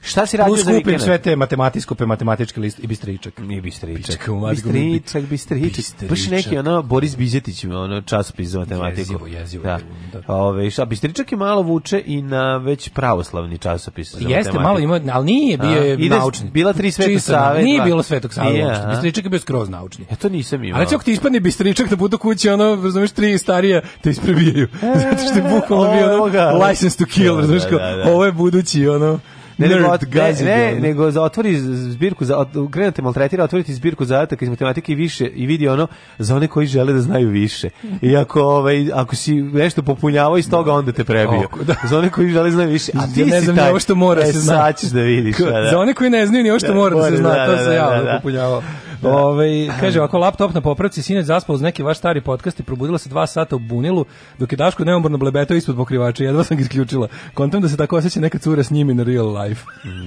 [SPEAKER 8] Šta si radio
[SPEAKER 7] Plus
[SPEAKER 8] za
[SPEAKER 7] kupim
[SPEAKER 8] vikend?
[SPEAKER 7] sve te matematiskope, matematički list i bistričak.
[SPEAKER 8] Nije bistričak.
[SPEAKER 7] Pička u matku.
[SPEAKER 8] Bistričak, bistričak.
[SPEAKER 7] Bistričak.
[SPEAKER 8] Baš neki ono Boris Bizetić ima ono časopis za matematiku.
[SPEAKER 7] Jezivo, jezivo
[SPEAKER 8] Da.
[SPEAKER 7] je bilo, da.
[SPEAKER 8] Ove, šta, bistričak je malo vuče i na već pravoslavni časopis za
[SPEAKER 7] Jeste,
[SPEAKER 8] matematiku.
[SPEAKER 7] malo ima, ali nije bio
[SPEAKER 8] A,
[SPEAKER 7] je
[SPEAKER 8] ide-
[SPEAKER 7] naučni.
[SPEAKER 8] bila tri Svetog
[SPEAKER 7] Čisto,
[SPEAKER 8] Save,
[SPEAKER 7] Nije
[SPEAKER 8] dva.
[SPEAKER 7] bilo Svetog Save
[SPEAKER 8] Nije,
[SPEAKER 7] uopšte.
[SPEAKER 8] aha.
[SPEAKER 7] Bistričak je bio skroz naučni.
[SPEAKER 8] Ja to nisam imao.
[SPEAKER 7] A recimo ako ti ispadne bistričak na putu kući, ono, razumeš, tri starija te isprebijaju. Zato što je bukvalno bio
[SPEAKER 8] evo E, ga.
[SPEAKER 7] ono, license to kill,
[SPEAKER 8] Da,
[SPEAKER 7] razumeš,
[SPEAKER 8] da,
[SPEAKER 7] kao,
[SPEAKER 8] da, da.
[SPEAKER 7] ovo je budući, ono,
[SPEAKER 8] Ne,
[SPEAKER 7] nerd,
[SPEAKER 8] nego, ot- ne,
[SPEAKER 7] gazi ga,
[SPEAKER 8] ne,
[SPEAKER 7] ono.
[SPEAKER 8] nego za otvori z- zbirku, za, od, krenete maltretira, otvoriti zbirku zadataka iz matematike i više i vidi ono za one koji žele da znaju više. I ako, ovaj, ako si nešto popunjavao iz toga, onda te prebio.
[SPEAKER 7] Oko, da.
[SPEAKER 8] Za one koji žele da znaju više. A ti
[SPEAKER 7] Ja ne
[SPEAKER 8] si
[SPEAKER 7] znam ni
[SPEAKER 8] taj.
[SPEAKER 7] ovo što mora
[SPEAKER 8] E,
[SPEAKER 7] se zna.
[SPEAKER 8] Sad ćeš da vidiš. a da.
[SPEAKER 7] Za one koji ne znaju ni ovo što
[SPEAKER 8] Da,
[SPEAKER 7] mora da se
[SPEAKER 8] mora,
[SPEAKER 7] zna,
[SPEAKER 8] da,
[SPEAKER 7] to
[SPEAKER 8] da,
[SPEAKER 7] se javno
[SPEAKER 8] da, da.
[SPEAKER 7] popunjavao. Ovaj, kaže, ako laptop na popravci, sinoć zaspao uz neki vaš stari podcast i probudila se dva sata u bunilu, dok je Daško neumorno blebetao ispod pokrivača, jedva sam ga isključila. Kontam da se tako osjeća neka cura s njim in real life.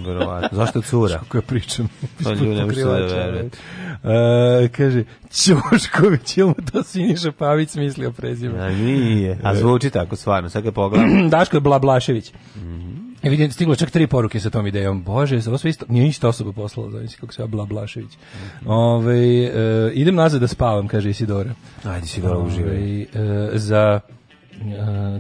[SPEAKER 8] Verovatno. Zašto cura?
[SPEAKER 7] koja pričam.
[SPEAKER 8] To ljudi ne možete da
[SPEAKER 7] Pokrivača,
[SPEAKER 8] verujete.
[SPEAKER 7] ovaj. E, kaže, Ćošković, ili mu to Siniša Pavić mislio prezime?
[SPEAKER 8] A nije. A zvuči tako stvarno, sad kad pogledam.
[SPEAKER 7] Daško je Blablašević. E vidim, stiglo čak tri poruke sa tom idejom. Bože, ovo sve isto, nije ništa osoba poslala, znači kako se ja Blablašević.
[SPEAKER 8] Mhm.
[SPEAKER 7] Ove, e, idem nazad da spavam, kaže Isidora.
[SPEAKER 8] Ajde si dobro uživaj.
[SPEAKER 7] Ovaj, e, za e,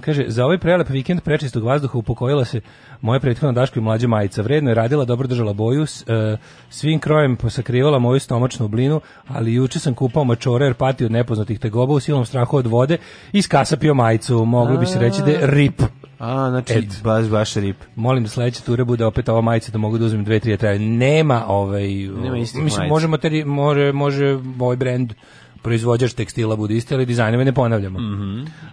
[SPEAKER 7] kaže, za ovaj prelep vikend prečistog vazduha upokojila se moja prethodna Daško i mlađa majica. Vredno je radila, dobro držala boju, s, e, svim krojem posakrivala moju stomačnu blinu, ali juče sam kupao mačore jer pati od nepoznatih tegoba u silnom strahu od vode i skasapio majicu. Moglo bi se reći da je rip.
[SPEAKER 8] A, znači, baš, baš rip.
[SPEAKER 7] Molim da sledeće ture bude opet ova majica da mogu da uzmem dve, tri da traju. Nema ovaj... Nema
[SPEAKER 8] istih
[SPEAKER 7] mislim,
[SPEAKER 8] majica.
[SPEAKER 7] može, materi, može, može ovaj brand proizvođač tekstila bude isti, ali dizajnove ne ponavljamo.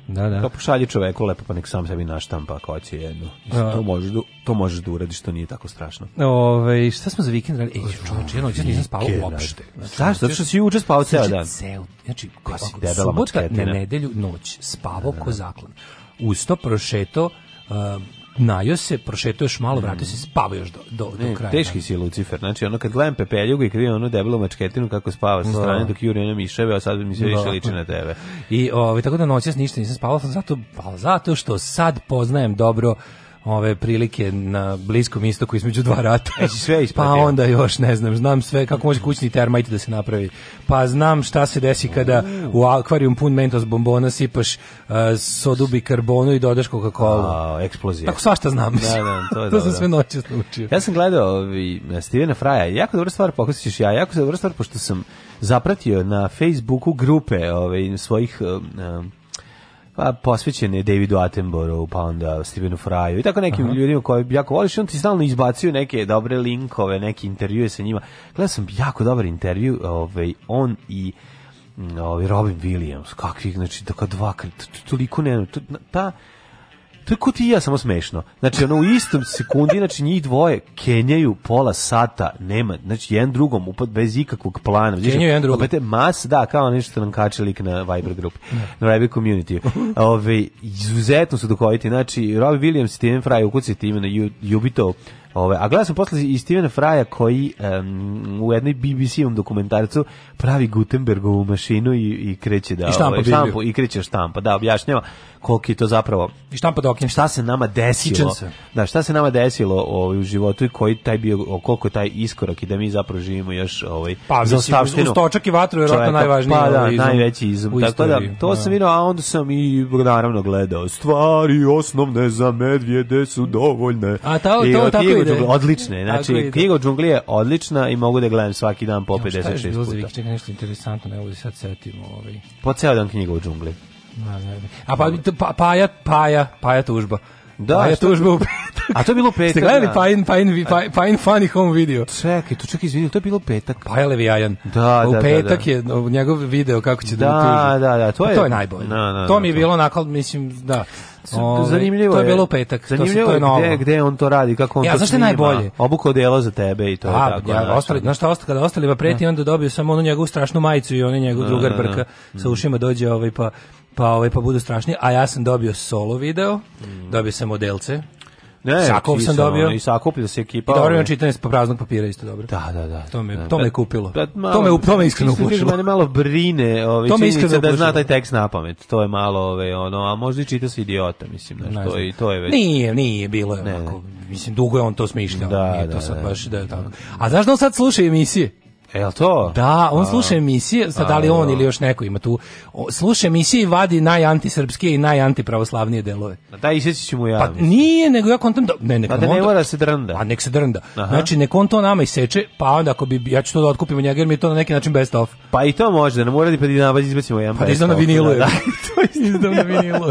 [SPEAKER 7] Da, da.
[SPEAKER 8] Pa pošalji čoveku lepo, pa nek sam sebi naštampa ako hoće jednu. Mislim, To možeš, da, to možeš da uradiš, to nije tako strašno.
[SPEAKER 7] Ove, Ovaj, šta smo za vikend radili? Ej, čovječe, ja noćas nisam spavao uopšte.
[SPEAKER 8] Zašto? Zato što si juče spavao ceo
[SPEAKER 7] Znači,
[SPEAKER 8] dan.
[SPEAKER 7] ceo, znači,
[SPEAKER 8] Ko si
[SPEAKER 7] ovako,
[SPEAKER 8] debela
[SPEAKER 7] subota na
[SPEAKER 8] mačketina.
[SPEAKER 7] nedelju noć spavao ko zaklan. Uz to prošeto um, najo se, prošetao još malo, vratio se, spava još do, do, do
[SPEAKER 8] Ne,
[SPEAKER 7] kraja.
[SPEAKER 8] teški si Lucifer, znači ono kad gledam Pepeljugu i kad vidim onu debelu mačketinu kako spava sa strane dok juri one miševe, a sad mi sve više
[SPEAKER 7] Da.
[SPEAKER 8] liči na tebe.
[SPEAKER 7] I ovaj tako da noćas ništa nisam spavao sam zato pa zato što sad poznajem dobro ove prilike na bliskom istoku između dva rata.
[SPEAKER 8] E, si sve
[SPEAKER 7] pa
[SPEAKER 8] ispratio?
[SPEAKER 7] onda još ne znam, znam sve kako može kućni termajt da se napravi. Pa znam šta se desi kada u akvarijum pun mentos bombona sipaš uh, sodu bikarbonu i dodaš Coca-Cola.
[SPEAKER 8] A, eksplozija.
[SPEAKER 7] Tako svašta znam.
[SPEAKER 8] Da, da, to je dobro. E,
[SPEAKER 7] sam sve noćas naučio.
[SPEAKER 8] Ja sam gledao ovi, e, Stevena Fraja, jako dobra stvar, pokusiš ja, jako dobra stvar, pošto sam zapratio na Facebooku grupe ovaj, svojih um, um, pa posvećene Davidu Attenboroughu, pa onda Stevenu Fraju i tako nekim ljudima koji jako voliš, i on ti stalno izbacuju neke dobre linkove, neke intervjue sa njima. Gledao sam jako dobar intervju, ovaj, on i mm, ovaj, Robin Williams, kakvi, znači, tako dva, kr- t- t- toliko ne, t- ta, to je ko ti i ja, samo smešno. Znači, ono, u istom sekundi, znači, njih dvoje kenjaju pola sata, nema, znači, jedan drugom upad bez ikakvog plana. Znači,
[SPEAKER 7] Kenjaju jedan drugom.
[SPEAKER 8] Opet je mas, da, kao nešto nam kače lik na Viber grupi, na Viber community. Ove, izuzetno su duhoviti, znači, Robbie Williams i Steven Fry, ukucite ime na Ju- Jubito, Ove, a gledao sam posle i Stevena Fraja koji em, u jednoj BBC-om dokumentarcu pravi Gutenbergovu mašinu i, i kreće da
[SPEAKER 7] I štampa
[SPEAKER 8] ovaj,
[SPEAKER 7] Bibliju.
[SPEAKER 8] i kreće štampa, da objašnjava koliko je to zapravo
[SPEAKER 7] I štampa dokin.
[SPEAKER 8] šta se nama desilo.
[SPEAKER 7] Kičen se.
[SPEAKER 8] Da, šta se nama desilo ovaj, u životu i koji taj bio o, koliko je taj iskorak i da mi zapravo živimo još ovaj
[SPEAKER 7] Pa, mislim, uz- uz točak i vatru je vjerojatno
[SPEAKER 8] čoveka.
[SPEAKER 7] najvažniji,
[SPEAKER 8] Pa, da,
[SPEAKER 7] ovaj, izum
[SPEAKER 8] najveći izum.
[SPEAKER 7] u
[SPEAKER 8] Tako da
[SPEAKER 7] istoriji, pa
[SPEAKER 8] to
[SPEAKER 7] da.
[SPEAKER 8] sam vidio, a onda sam i naravno gledao stvari osnovne za medvjede su dovoljne.
[SPEAKER 7] A, ta-
[SPEAKER 8] I
[SPEAKER 7] to
[SPEAKER 8] od
[SPEAKER 7] tako
[SPEAKER 8] knjige u
[SPEAKER 7] ide.
[SPEAKER 8] džungli- odlične. Znači,
[SPEAKER 7] Tako ide.
[SPEAKER 8] knjiga u džungli je odlična i mogu da je gledam svaki dan po
[SPEAKER 7] Šta je još
[SPEAKER 8] 56
[SPEAKER 7] bilo za vikend?
[SPEAKER 8] puta.
[SPEAKER 7] Čekaj, nešto interesantno, ne mogu da se sad setim. Ovaj.
[SPEAKER 8] Po ceo dan knjiga u džungli.
[SPEAKER 7] Ma, ne, ne. A pa, t- pa, paja, paja, paja tužba.
[SPEAKER 8] Da,
[SPEAKER 7] paja
[SPEAKER 8] šta-
[SPEAKER 7] tužba u petak.
[SPEAKER 8] A to je bilo u petak,
[SPEAKER 7] Ste gledali
[SPEAKER 8] da.
[SPEAKER 7] Pajin, Pajin, vi- Pajin, Pajin funny home video?
[SPEAKER 8] Čekaj, to čekaj, izvini, to je bilo petak.
[SPEAKER 7] Paja Levijajan.
[SPEAKER 8] Da,
[SPEAKER 7] u
[SPEAKER 8] da, da,
[SPEAKER 7] petak
[SPEAKER 8] da.
[SPEAKER 7] je no, njegov video kako će da,
[SPEAKER 8] Da,
[SPEAKER 7] mu tuži.
[SPEAKER 8] da, da, to
[SPEAKER 7] Pa
[SPEAKER 8] je-
[SPEAKER 7] to je najbolje.
[SPEAKER 8] Da, da,
[SPEAKER 7] to
[SPEAKER 8] da,
[SPEAKER 7] mi je
[SPEAKER 8] to.
[SPEAKER 7] bilo onako, mislim, da. Ovaj,
[SPEAKER 8] zanimljivo
[SPEAKER 7] To je bilo u petak. to se,
[SPEAKER 8] Zanimljivo
[SPEAKER 7] to je novo.
[SPEAKER 8] gde, gde on to radi, kako on
[SPEAKER 7] Ja,
[SPEAKER 8] to
[SPEAKER 7] znaš šta je
[SPEAKER 8] snima.
[SPEAKER 7] najbolje?
[SPEAKER 8] Obuko delo za tebe i to je
[SPEAKER 7] Da,
[SPEAKER 8] tako.
[SPEAKER 7] ja,
[SPEAKER 8] znaš,
[SPEAKER 7] ostali,
[SPEAKER 8] ono.
[SPEAKER 7] znaš šta, ostali, kada ostali va preti, onda dobiju samo onu njegovu strašnu majicu i onaj njegov drugar brka
[SPEAKER 8] Mm.
[SPEAKER 7] sa ušima dođe ovaj pa pa ovaj pa budu strašni, a ja sam dobio solo video,
[SPEAKER 8] Mm.
[SPEAKER 7] dobio sam modelce,
[SPEAKER 8] Ne,
[SPEAKER 7] Sakov
[SPEAKER 8] ti
[SPEAKER 7] sam
[SPEAKER 8] si, ono,
[SPEAKER 7] dobio.
[SPEAKER 8] I sakuplja se ekipa.
[SPEAKER 7] I dobro
[SPEAKER 8] ono.
[SPEAKER 7] imam čitanje s pa praznog papira isto dobro.
[SPEAKER 8] Da, da, da.
[SPEAKER 7] To me-
[SPEAKER 8] Da,
[SPEAKER 7] to me
[SPEAKER 8] pa-
[SPEAKER 7] kupilo.
[SPEAKER 8] pa
[SPEAKER 7] To me u- to me iskreno
[SPEAKER 8] Mislim,
[SPEAKER 7] uplašilo.
[SPEAKER 8] Mene malo brine ovaj,
[SPEAKER 7] To me
[SPEAKER 8] činjenica
[SPEAKER 7] iskreno
[SPEAKER 8] da zna
[SPEAKER 7] uplašilo.
[SPEAKER 8] taj tekst na pamet. To je malo, ovaj, ono, a možda i čita se idiota, mislim.
[SPEAKER 7] Ne
[SPEAKER 8] Znaš, to,
[SPEAKER 7] znam.
[SPEAKER 8] i, to je već...
[SPEAKER 7] Nije, nije bilo je onako. Mislim dugo je on to smišljao.
[SPEAKER 8] Da,
[SPEAKER 7] nije
[SPEAKER 8] da,
[SPEAKER 7] to sad
[SPEAKER 8] da.
[SPEAKER 7] baš da je tako. A znaš da on sad sluša emisije?
[SPEAKER 8] E, jel to?
[SPEAKER 7] Da, on sluša emisije, sad da li on ili još neko ima tu. o, Sluša emisije i vadi najantisrpske i najantipravoslavnije delove.
[SPEAKER 8] Da, da isjeći ću mu ja.
[SPEAKER 7] Pa
[SPEAKER 8] mislim.
[SPEAKER 7] nije, nego ja kontam da... Ne, neka
[SPEAKER 8] Pa da
[SPEAKER 7] mu on
[SPEAKER 8] ne
[SPEAKER 7] to-
[SPEAKER 8] mora da se drnda.
[SPEAKER 7] A nek se drnda. Znači, nek on to nama iseče, pa onda ako bi, ja ću to da otkupim od njega, jer mi je to na neki način best of.
[SPEAKER 8] Pa i to može, da nam uradi pa da nam izbacimo jedan
[SPEAKER 7] Pa da
[SPEAKER 8] best
[SPEAKER 7] izdam na
[SPEAKER 8] of,
[SPEAKER 7] vinilu. je.
[SPEAKER 8] Da,
[SPEAKER 7] izdam na vinilu.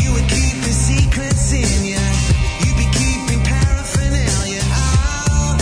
[SPEAKER 4] You would keep the secrets in ya. You'd be keeping paraphernalia. Oh,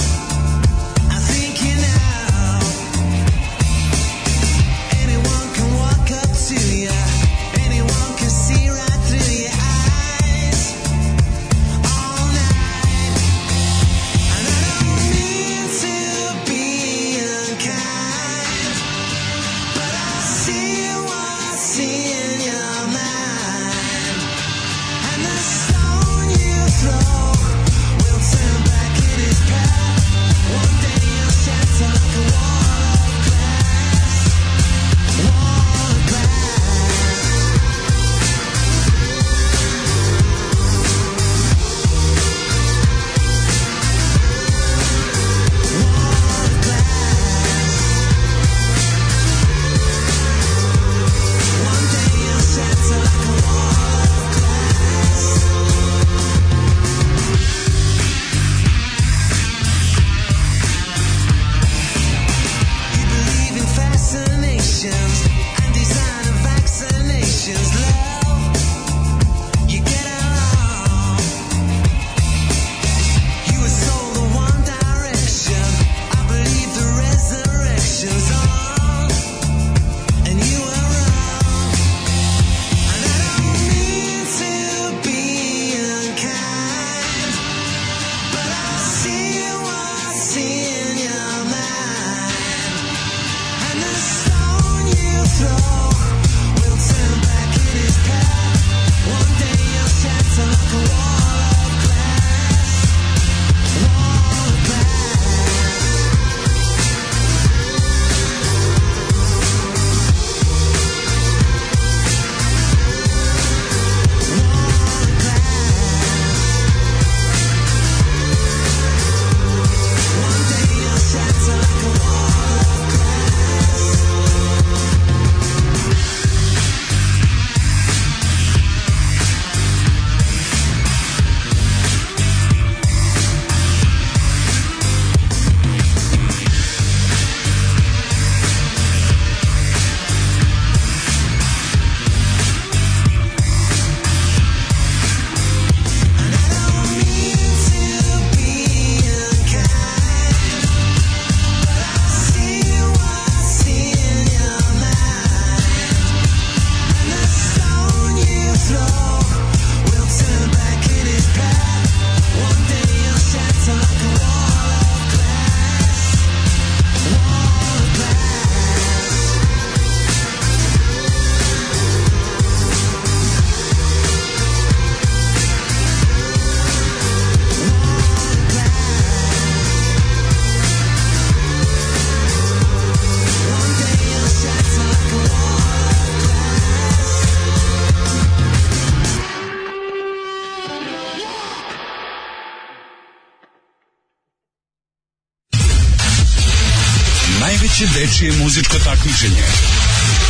[SPEAKER 10] Najveće dečije muzičko takmičenje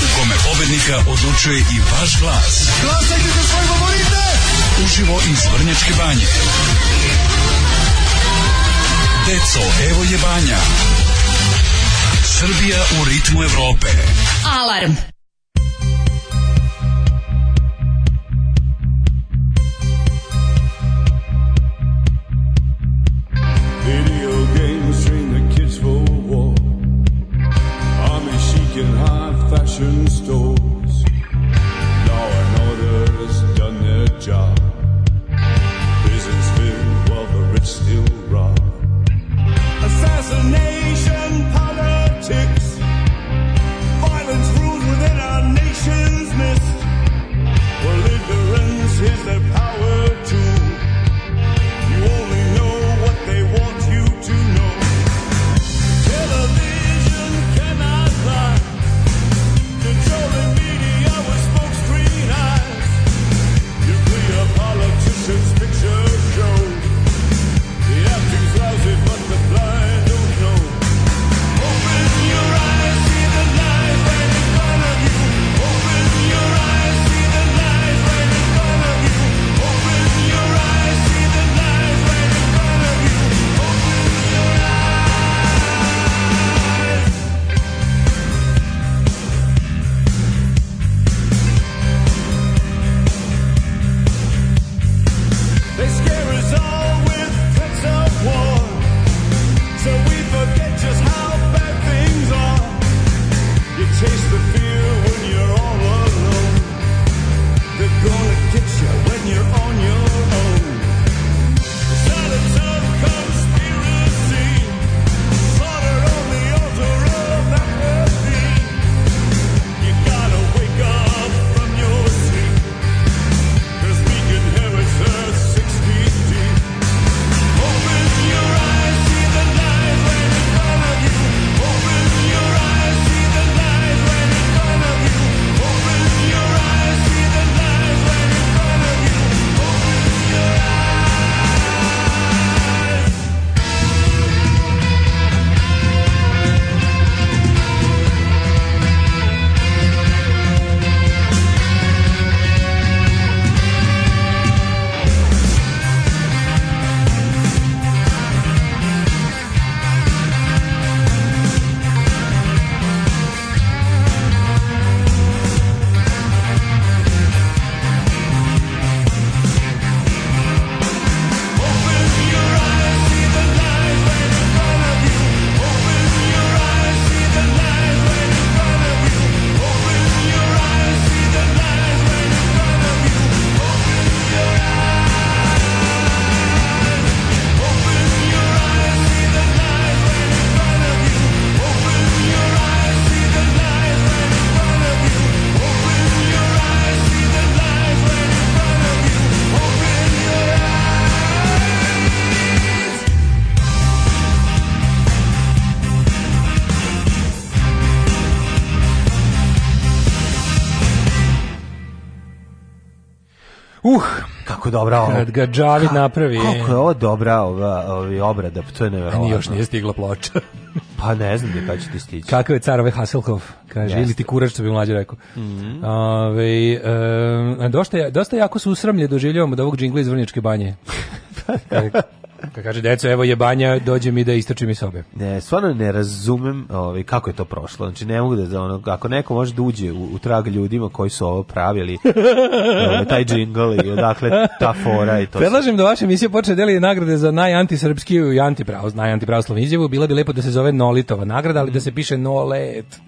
[SPEAKER 10] u kome pobednika odlučuje i vaš glas. Glasajte za svoje favorite! Uživo iz Vrnjačke banje. Deco, evo je banja. Srbija u ritmu Evrope.
[SPEAKER 6] Alarm.
[SPEAKER 11] Video games train the kids for war. Army chic in high fashion stores. Law and order's done their job. Prisons filled while the rich still rob. Assassination politics. Violence rules within our nation's midst. Well, ignorance is their power too. You only know what they want you to know. Television cannot lie. Controlling media with smoke screen eyes. Nuclear politicians picture shows. The acting's lousy, but the blind don't know. Open your eyes, see the lies right in front of you. Open your eyes, see the lies right in front of you. Open your eyes, see the lies right in front of you. Open your eyes. They scare us all with threats of war. So we forget just how bad things are. You taste the fear when you're all alone. They're gonna get you when you're on your own. Silence of conspiracy. Slaughter on the altar of apathy. You gotta wake up from your sleep. Cause we can hear it uh, six feet deep. Open your eyes, see the lies right in front of you. Open your eyes, see the lies right in front of you. Open your eyes, see the lies right in front of you. Open your eyes.
[SPEAKER 8] Uh, kako dobra ovo.
[SPEAKER 7] Kad ga Džavid napravi.
[SPEAKER 8] Kako je ovo dobra ova, ovi obrada, pa to je nevjerovatno.
[SPEAKER 7] Ni još E. nije stigla ploča.
[SPEAKER 8] Pa ne znam gde kada će ti stići.
[SPEAKER 7] Kakav je car ove Hasselhoff, kaže,
[SPEAKER 8] Jeste.
[SPEAKER 7] ili ti kurač, što bi mlađe rekao. Ovaj, em, dosta, ja- dosta jako su usramlje doživljavamo od ovog džingla iz Vrnjačke banje. Kad kaže, deco, evo je banja, dođe mi da istračim iz sobe.
[SPEAKER 8] Ne, stvarno ne razumem ovaj, kako je to prošlo. Znači, ne mogu da- da, ono, ako neko može da uđe u, u trag ljudima koji su ovo pravili, ovaj, taj džingl i odakle ta fora i to. sve.
[SPEAKER 7] Predlažem da vaša emisija počne deliti nagrade za najantisrpskiju i antipravo, najantipravoslovnu izjavu. Bila bi lepo da se zove Nolitova nagrada, ali da se piše Nolet.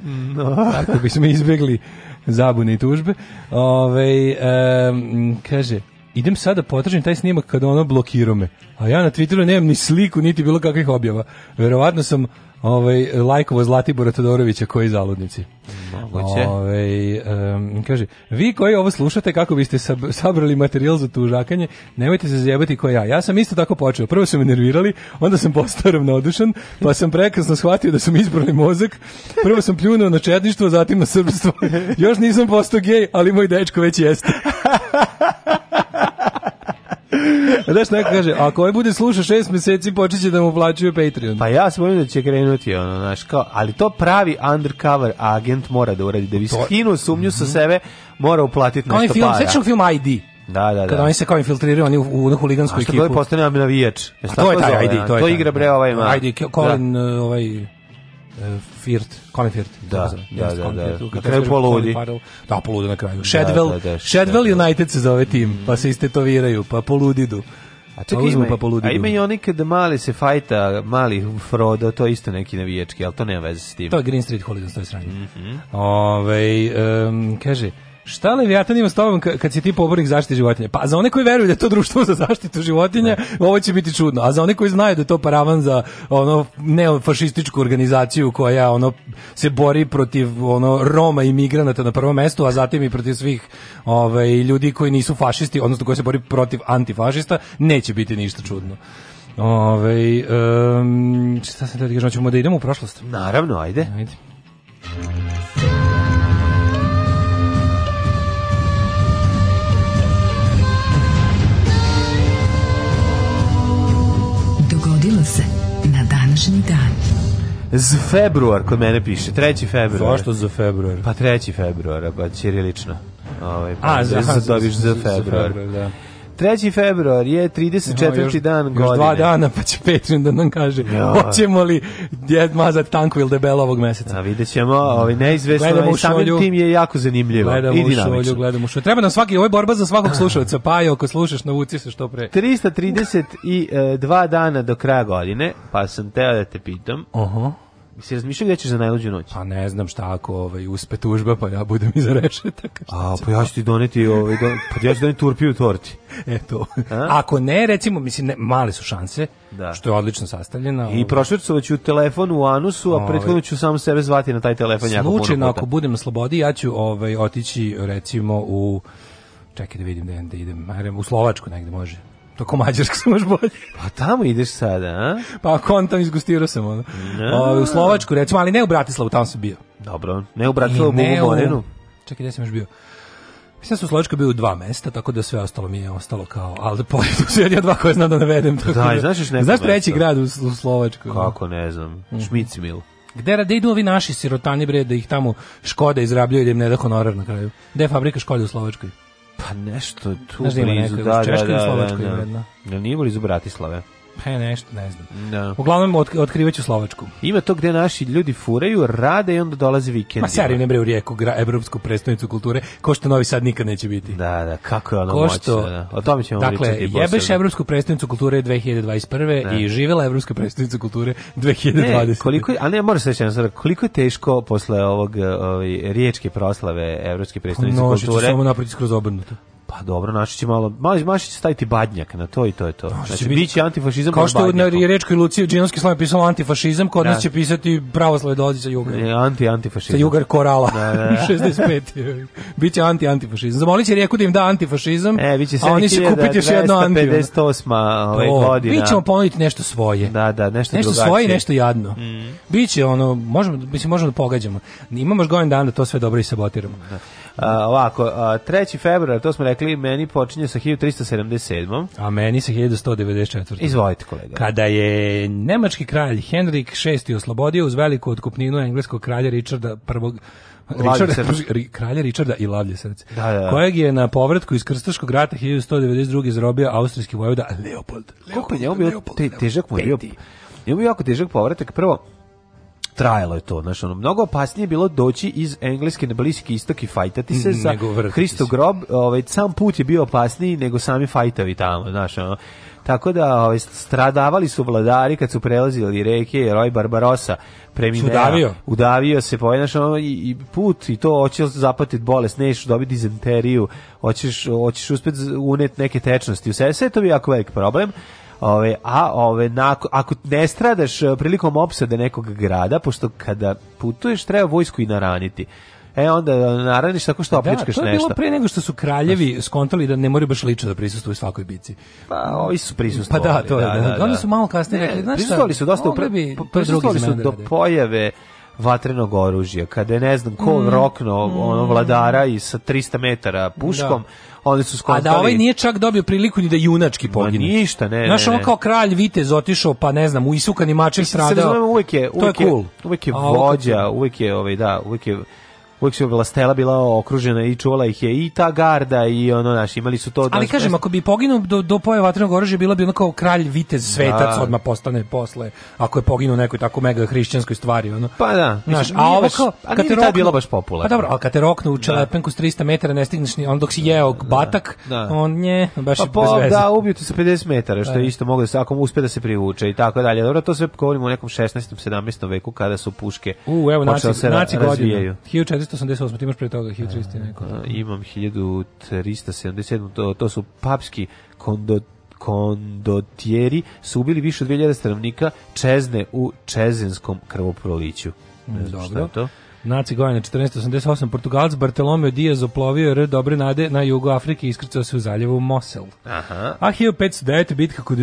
[SPEAKER 7] Tako bismo izbjegli zabune i tužbe. Ove, kaže, idem sada da potražim taj snimak kada ono blokirao me. A ja na Twitteru nemam ni sliku, niti bilo kakvih objava. Verovatno sam ovaj, lajkovo Zlatibora Todorovića koji zaludnici.
[SPEAKER 8] Moguće.
[SPEAKER 7] Ovaj, em, kaže, vi koji ovo slušate kako biste sab- sabrali materijal za tužakanje, nemojte se zjebati ko ja. Ja sam isto tako počeo. Prvo su me nervirali, onda sam postao ravnodušan, pa sam prekrasno shvatio da sam izbrali mozak. Prvo sam pljunuo na četništvo, zatim na srbstvo. Još nisam postao gej, ali moj dečko već jeste. A Znaš, neko kaže, ako ovaj bude slušao šest meseci, počeće da mu plaćaju Patreon.
[SPEAKER 8] Pa ja se bojim da će krenuti, ono, znaš, kao, ali to pravi undercover agent mora da uradi, da bi skinu sumnju sa sebe, mora uplatiti
[SPEAKER 7] Kao onaj
[SPEAKER 8] nešto
[SPEAKER 7] Mhm. film,
[SPEAKER 8] para.
[SPEAKER 7] sećam film ID.
[SPEAKER 8] Da, da,
[SPEAKER 7] Kada
[SPEAKER 8] da.
[SPEAKER 7] oni se kao infiltriraju, oni u, u huligansku
[SPEAKER 8] A što
[SPEAKER 7] ekipu.
[SPEAKER 8] god postane navijač. Jesi
[SPEAKER 7] A to je
[SPEAKER 8] tako
[SPEAKER 7] taj
[SPEAKER 8] zove,
[SPEAKER 7] ID,
[SPEAKER 8] a?
[SPEAKER 7] to je taj.
[SPEAKER 8] igra bre ovaj ma.
[SPEAKER 7] ID, Ke- Colin, uh, ovaj... Uh, Firt, Colin Firt.
[SPEAKER 8] Da,
[SPEAKER 7] Zove,
[SPEAKER 8] da,
[SPEAKER 7] jeste,
[SPEAKER 8] da,
[SPEAKER 7] Colin
[SPEAKER 8] da.
[SPEAKER 7] Firth,
[SPEAKER 8] Na
[SPEAKER 7] kako
[SPEAKER 8] kraju
[SPEAKER 7] se kaže, Colin
[SPEAKER 8] poludi.
[SPEAKER 7] Farrell. Da, poludi na kraju. Shadwell,
[SPEAKER 8] da, da, Mm.
[SPEAKER 7] Shadwell United se zove tim, pa se istetoviraju, pa poludidu.
[SPEAKER 8] A
[SPEAKER 7] Pa
[SPEAKER 8] čekaj,
[SPEAKER 7] uzmu
[SPEAKER 8] ima,
[SPEAKER 7] pa poludidu.
[SPEAKER 8] a ima i oni kada mali se fajta, mali Frodo, to je isto neki navijački, ali to nema veze s tim.
[SPEAKER 7] To je Green Street Hooligans, to je sranje. Ovaj, em, kaže, Šta Leviatan ima s tobom ka- kad si ti pobornik zaštite životinja? Pa za one koji veruju da je to društvo za zaštitu životinja, ovo će biti čudno. A za one koji znaju da je to paravan za ono neofašističku organizaciju koja ono se bori protiv ono Roma i migranata na prvom mestu, a zatim i protiv svih ovaj ljudi koji nisu fašisti, odnosno koji se bori protiv antifašista, neće biti ništa čudno. Ovaj em, šta sam teo da kažem, hoćemo da idemo u prošlost.
[SPEAKER 8] Naravno, ajde.
[SPEAKER 7] Ajde.
[SPEAKER 6] Dogodilo se na današnji dan.
[SPEAKER 8] Z februar kod mene piše, 3. februar.
[SPEAKER 7] Zašto za februar?
[SPEAKER 8] Pa 3. februara, pa ćirilično. Ovaj, pa
[SPEAKER 7] A, za, za,
[SPEAKER 8] dobiš za februar. 3. februar je 34. dan godine.
[SPEAKER 7] Još dva dana pa će Petrin da nam kaže
[SPEAKER 8] Ja.
[SPEAKER 7] hoćemo li djed mazat tanko ili debelo ovog meseca.
[SPEAKER 8] A vidjet ćemo, ovaj, neizvesno,
[SPEAKER 7] Gledamo
[SPEAKER 8] je,
[SPEAKER 7] u
[SPEAKER 8] samim
[SPEAKER 7] šolju.
[SPEAKER 8] tim je jako zanimljivo
[SPEAKER 7] Gledamo
[SPEAKER 8] i
[SPEAKER 7] u šolju,
[SPEAKER 8] dinamično.
[SPEAKER 7] gledamo u šolju. Treba nam svaki, ovo je borba za svakog slušalca, pa je ako slušaš, navuci se što pre.
[SPEAKER 8] 332 dana do kraja godine, pa sam teo da te pitam,
[SPEAKER 7] Oho.
[SPEAKER 8] si razmišljao gdje ćeš za najluđu noć?
[SPEAKER 7] Pa ne znam šta ako ovaj, uspe tužba, pa ja budem iza rešetaka.
[SPEAKER 8] A, pa ja ću ti doneti, ovaj, do, pa ja ću doneti turpiju u torti.
[SPEAKER 7] Eto. Ako ne, recimo, mislim, ne, male su šanse,
[SPEAKER 8] Da.
[SPEAKER 7] što je odlično sastavljena.
[SPEAKER 8] I prošvrcovat ću telefon u anusu, a
[SPEAKER 7] Ovaj.
[SPEAKER 8] prethodno ću sam sebe zvati na taj telefon jako puno
[SPEAKER 7] Slučajno ako
[SPEAKER 8] puta.
[SPEAKER 7] budem na slobodi, ja ću ovaj otići recimo u čekaj da vidim da, da idem, ajde, u Slovačku negde može. To ko mađarsko se može bolje.
[SPEAKER 8] Pa tamo ideš sada, a?
[SPEAKER 7] Pa kontam izgustirao sam ono. Ovaj, u Slovačku recimo, ali ne u Bratislavu, tamo sam bio.
[SPEAKER 8] Dobro, ne u
[SPEAKER 7] I
[SPEAKER 8] Bratislavu,
[SPEAKER 7] ne
[SPEAKER 8] Bubu Morenu.
[SPEAKER 7] Čekaj, gde sam još bio? Mislim da sam u Slovačkoj bio u dva mesta, tako da sve ostalo mi je ostalo kao, ali da pored tu su jednja dva koje znam da navedem. tako
[SPEAKER 8] Da, i znaš još neko
[SPEAKER 7] Znaš treći
[SPEAKER 8] mesto?
[SPEAKER 7] grad u, u Slovačkoj?
[SPEAKER 8] Kako, ne znam, Šmicmil.
[SPEAKER 7] Gde rade idu ovi naši sirotani bre da ih tamo Škoda izrabljuju i da im ne da honorar na kraju? Gde je fabrika Škode u Slovačkoj?
[SPEAKER 8] Pa nešto tu
[SPEAKER 7] Znaš da ima
[SPEAKER 8] blizu,
[SPEAKER 7] neka,
[SPEAKER 8] da,
[SPEAKER 7] u
[SPEAKER 8] da, da,
[SPEAKER 7] Češkoj ili
[SPEAKER 8] da,
[SPEAKER 7] Slovačkoj ima jedna?
[SPEAKER 8] da. Jel nije blizu Bratislave?
[SPEAKER 7] Pa nešto, ne znam.
[SPEAKER 8] Da.
[SPEAKER 7] Uglavnom otk otkrivaću Slovačku.
[SPEAKER 8] Ima to gde naši ljudi furaju, rade i onda dolaze vikend.
[SPEAKER 7] Ma sjari ne bre u rijeku, gra, evropsku predstavnicu kulture, ko što Novi Sad nikad neće biti.
[SPEAKER 8] Da, da, kako je ono
[SPEAKER 7] Ko
[SPEAKER 8] moćno,
[SPEAKER 7] što-
[SPEAKER 8] da. O tome ćemo
[SPEAKER 7] Dakle,
[SPEAKER 8] pričati posebno.
[SPEAKER 7] jebeš evropsku predstavnicu kulture 2021. i živela evropska predstavnica kulture 2020.
[SPEAKER 8] Ne, koliko, je- a ne, moram se reći, jedna stvar, koliko je teško posle ovog eh, ovaj, riječke proslave Evropske predstavnice
[SPEAKER 7] Noći ću
[SPEAKER 8] kulture?
[SPEAKER 7] samo napraviti skroz obrnuto.
[SPEAKER 8] Pa dobro, naši će malo, malo Maši će staviti badnjak na to i to je to. Znači,
[SPEAKER 7] će
[SPEAKER 8] bit
[SPEAKER 7] biti-
[SPEAKER 8] će antifašizam
[SPEAKER 7] Kao
[SPEAKER 8] pod
[SPEAKER 7] što na
[SPEAKER 8] badnjakom.
[SPEAKER 7] Riječkoj Luciji u Džinovski slavim pisalo antifašizam, kod
[SPEAKER 8] Da.
[SPEAKER 7] nas će pisati pravoslavlje dolazi sa juga.
[SPEAKER 8] E, Anti,
[SPEAKER 7] Sa
[SPEAKER 8] antifašizam.
[SPEAKER 7] jugar korala.
[SPEAKER 8] Da, da, da.
[SPEAKER 7] 65. Biće anti-antifašizam. Zamolit će rijeku da im da antifašizam,
[SPEAKER 8] E, bit će
[SPEAKER 7] a oni će kupiti još jedno anti. ono.
[SPEAKER 8] 7.258. Ovaj
[SPEAKER 7] To,
[SPEAKER 8] godina.
[SPEAKER 7] Mi ćemo ponuditi nešto svoje.
[SPEAKER 8] Da, da, nešto,
[SPEAKER 7] Nešto
[SPEAKER 8] drugačije. Mm.
[SPEAKER 7] svoje i nešto jadno. Biće ono, možemo, mislim, možemo da pogađamo. Imamo još godin dana da to sve dobro i sabotiramo.
[SPEAKER 8] A, ovako, a, 3. februar, to smo rekli, meni počinje sa 1377.
[SPEAKER 7] A meni se 1194.
[SPEAKER 8] Izvolite, kolega.
[SPEAKER 7] Kada je nemački kralj Henrik VI oslobodio uz veliku otkupninu engleskog kralja Richarda I Richarda,
[SPEAKER 8] srce.
[SPEAKER 7] Pri- kralja Richarda i lavlje srce,
[SPEAKER 8] Da, da, da.
[SPEAKER 7] kojeg je na povratku iz Krstaškog rata 1192. zarobio austrijski vojvoda Leopold.
[SPEAKER 8] Koliko
[SPEAKER 7] Leopold,
[SPEAKER 8] je njemu bio
[SPEAKER 7] Leopold,
[SPEAKER 8] te,
[SPEAKER 7] Leopold
[SPEAKER 8] težak mu je bio.
[SPEAKER 7] peti.
[SPEAKER 8] Njemu bio jako težak povratak. Prvo, trajalo je to, znaš, ono, mnogo opasnije je bilo doći iz Engleske na Bliski istok i fajtati se
[SPEAKER 7] Mm,
[SPEAKER 8] za
[SPEAKER 7] nego vrtiti
[SPEAKER 8] Hristo
[SPEAKER 7] se.
[SPEAKER 8] grob, ovaj, sam put je bio opasniji nego sami fajtavi tamo, znaš, ono. Tako da ovaj, stradavali su vladari kad su prelazili reke, jer ovaj Barbarosa premineo.
[SPEAKER 7] Sudavio.
[SPEAKER 8] Udavio se, pa znaš, ono, i, i put i to, hoćeš zapatit bolest, neš dobiti dizenteriju, hoćeš, hoćeš uspjeti unet neke tečnosti u sebe, sve je to bi jako velik problem. Ove, a ove, nako- ako ne stradaš e, prilikom opsade nekog grada, pošto kada putuješ treba vojsku i naraniti, e onda naraniš tako što
[SPEAKER 7] Da,
[SPEAKER 8] opljačkaš
[SPEAKER 7] to je bilo
[SPEAKER 8] nešto.
[SPEAKER 7] pre nego što su kraljevi skontali da ne moraju baš lično da prisustvuju svakoj bici.
[SPEAKER 8] Pa, ovi su
[SPEAKER 7] Pa
[SPEAKER 8] prisustvovali.
[SPEAKER 7] da, to je. Da, Oni su malo kasnije
[SPEAKER 8] Ne,
[SPEAKER 7] rekli, znaš šta,
[SPEAKER 8] prisustvovali su dosta,
[SPEAKER 7] mogli
[SPEAKER 8] pre-
[SPEAKER 7] bi
[SPEAKER 8] po-
[SPEAKER 7] to
[SPEAKER 8] prisustvovali
[SPEAKER 7] drugi
[SPEAKER 8] su
[SPEAKER 7] zmena da
[SPEAKER 8] do
[SPEAKER 7] rade.
[SPEAKER 8] pojave vatrenog
[SPEAKER 7] Mm,
[SPEAKER 8] oružja, kada je ne znam ko rokno ono vladara i sa 300 metara puškom, oni su
[SPEAKER 7] A
[SPEAKER 8] skontali.
[SPEAKER 7] da ovaj nije čak dobio priliku ni da junački pogine.
[SPEAKER 8] ništa, ne, ne,
[SPEAKER 7] Znaš, on
[SPEAKER 8] ne.
[SPEAKER 7] kao kralj vitez otišao, pa ne znam, u isukani mačem
[SPEAKER 8] Mislim, se razumemo,
[SPEAKER 7] stradao.
[SPEAKER 8] uvek je, uvek
[SPEAKER 7] to je cool.
[SPEAKER 8] uvek je
[SPEAKER 7] A ovo kad-
[SPEAKER 8] vođa, uvek je, ovaj, da, uvek je uvek su vlastela bila okružena i čuvala ih je i ta garda i ono, znaš, imali su to...
[SPEAKER 7] Ali
[SPEAKER 8] znaš,
[SPEAKER 7] kažem, ako bi poginuo do, do pojave vatrenog oružja, bila bi ono kao kralj, vitez, svetac,
[SPEAKER 8] Da.
[SPEAKER 7] odmah postane posle, ako je poginuo u nekoj tako mega hrišćanskoj stvari, ono.
[SPEAKER 8] Pa da.
[SPEAKER 7] Znaš,
[SPEAKER 8] Mislim,
[SPEAKER 7] a
[SPEAKER 8] nije
[SPEAKER 7] ovo
[SPEAKER 8] baš-
[SPEAKER 7] kao...
[SPEAKER 8] a nije ni tad
[SPEAKER 7] roknu-
[SPEAKER 8] bilo baš
[SPEAKER 7] Pa
[SPEAKER 8] popularno.
[SPEAKER 7] dobro, ali kad te roknu u čelepenku s 300 metara, ne stigneš ni... On dok si jeo batak,
[SPEAKER 8] Da.
[SPEAKER 7] on nje, baš
[SPEAKER 8] Pa
[SPEAKER 7] je bez
[SPEAKER 8] po,
[SPEAKER 7] veze.
[SPEAKER 8] da, ubiju te sa 50 metara, što
[SPEAKER 7] Da.
[SPEAKER 8] je isto moglo da se, ako mu uspe da se privuče i tako dalje. Dobro, to sve govorimo u nekom 16. 17. veku kada su puške
[SPEAKER 7] U, evo, naci,
[SPEAKER 8] počele da se ra-
[SPEAKER 7] naci
[SPEAKER 8] razvijaju.
[SPEAKER 7] godina. 1488, ti imaš prije toga, 1300 i neko.
[SPEAKER 8] A, Imam 1377, to, to su papski kondo, kondotjeri, su ubili više od 2000 stanovnika Čezne u Čezenskom krvoproliću. Ne znam šta
[SPEAKER 7] dobro.
[SPEAKER 8] je to.
[SPEAKER 7] Naci Gojana 1488, Portugalac Bartolomeo Diaz oplovio R dobre nade na jugu Afrike i iskrcao se u zaljevu Mosel.
[SPEAKER 8] Aha.
[SPEAKER 7] A 1509. bitka kod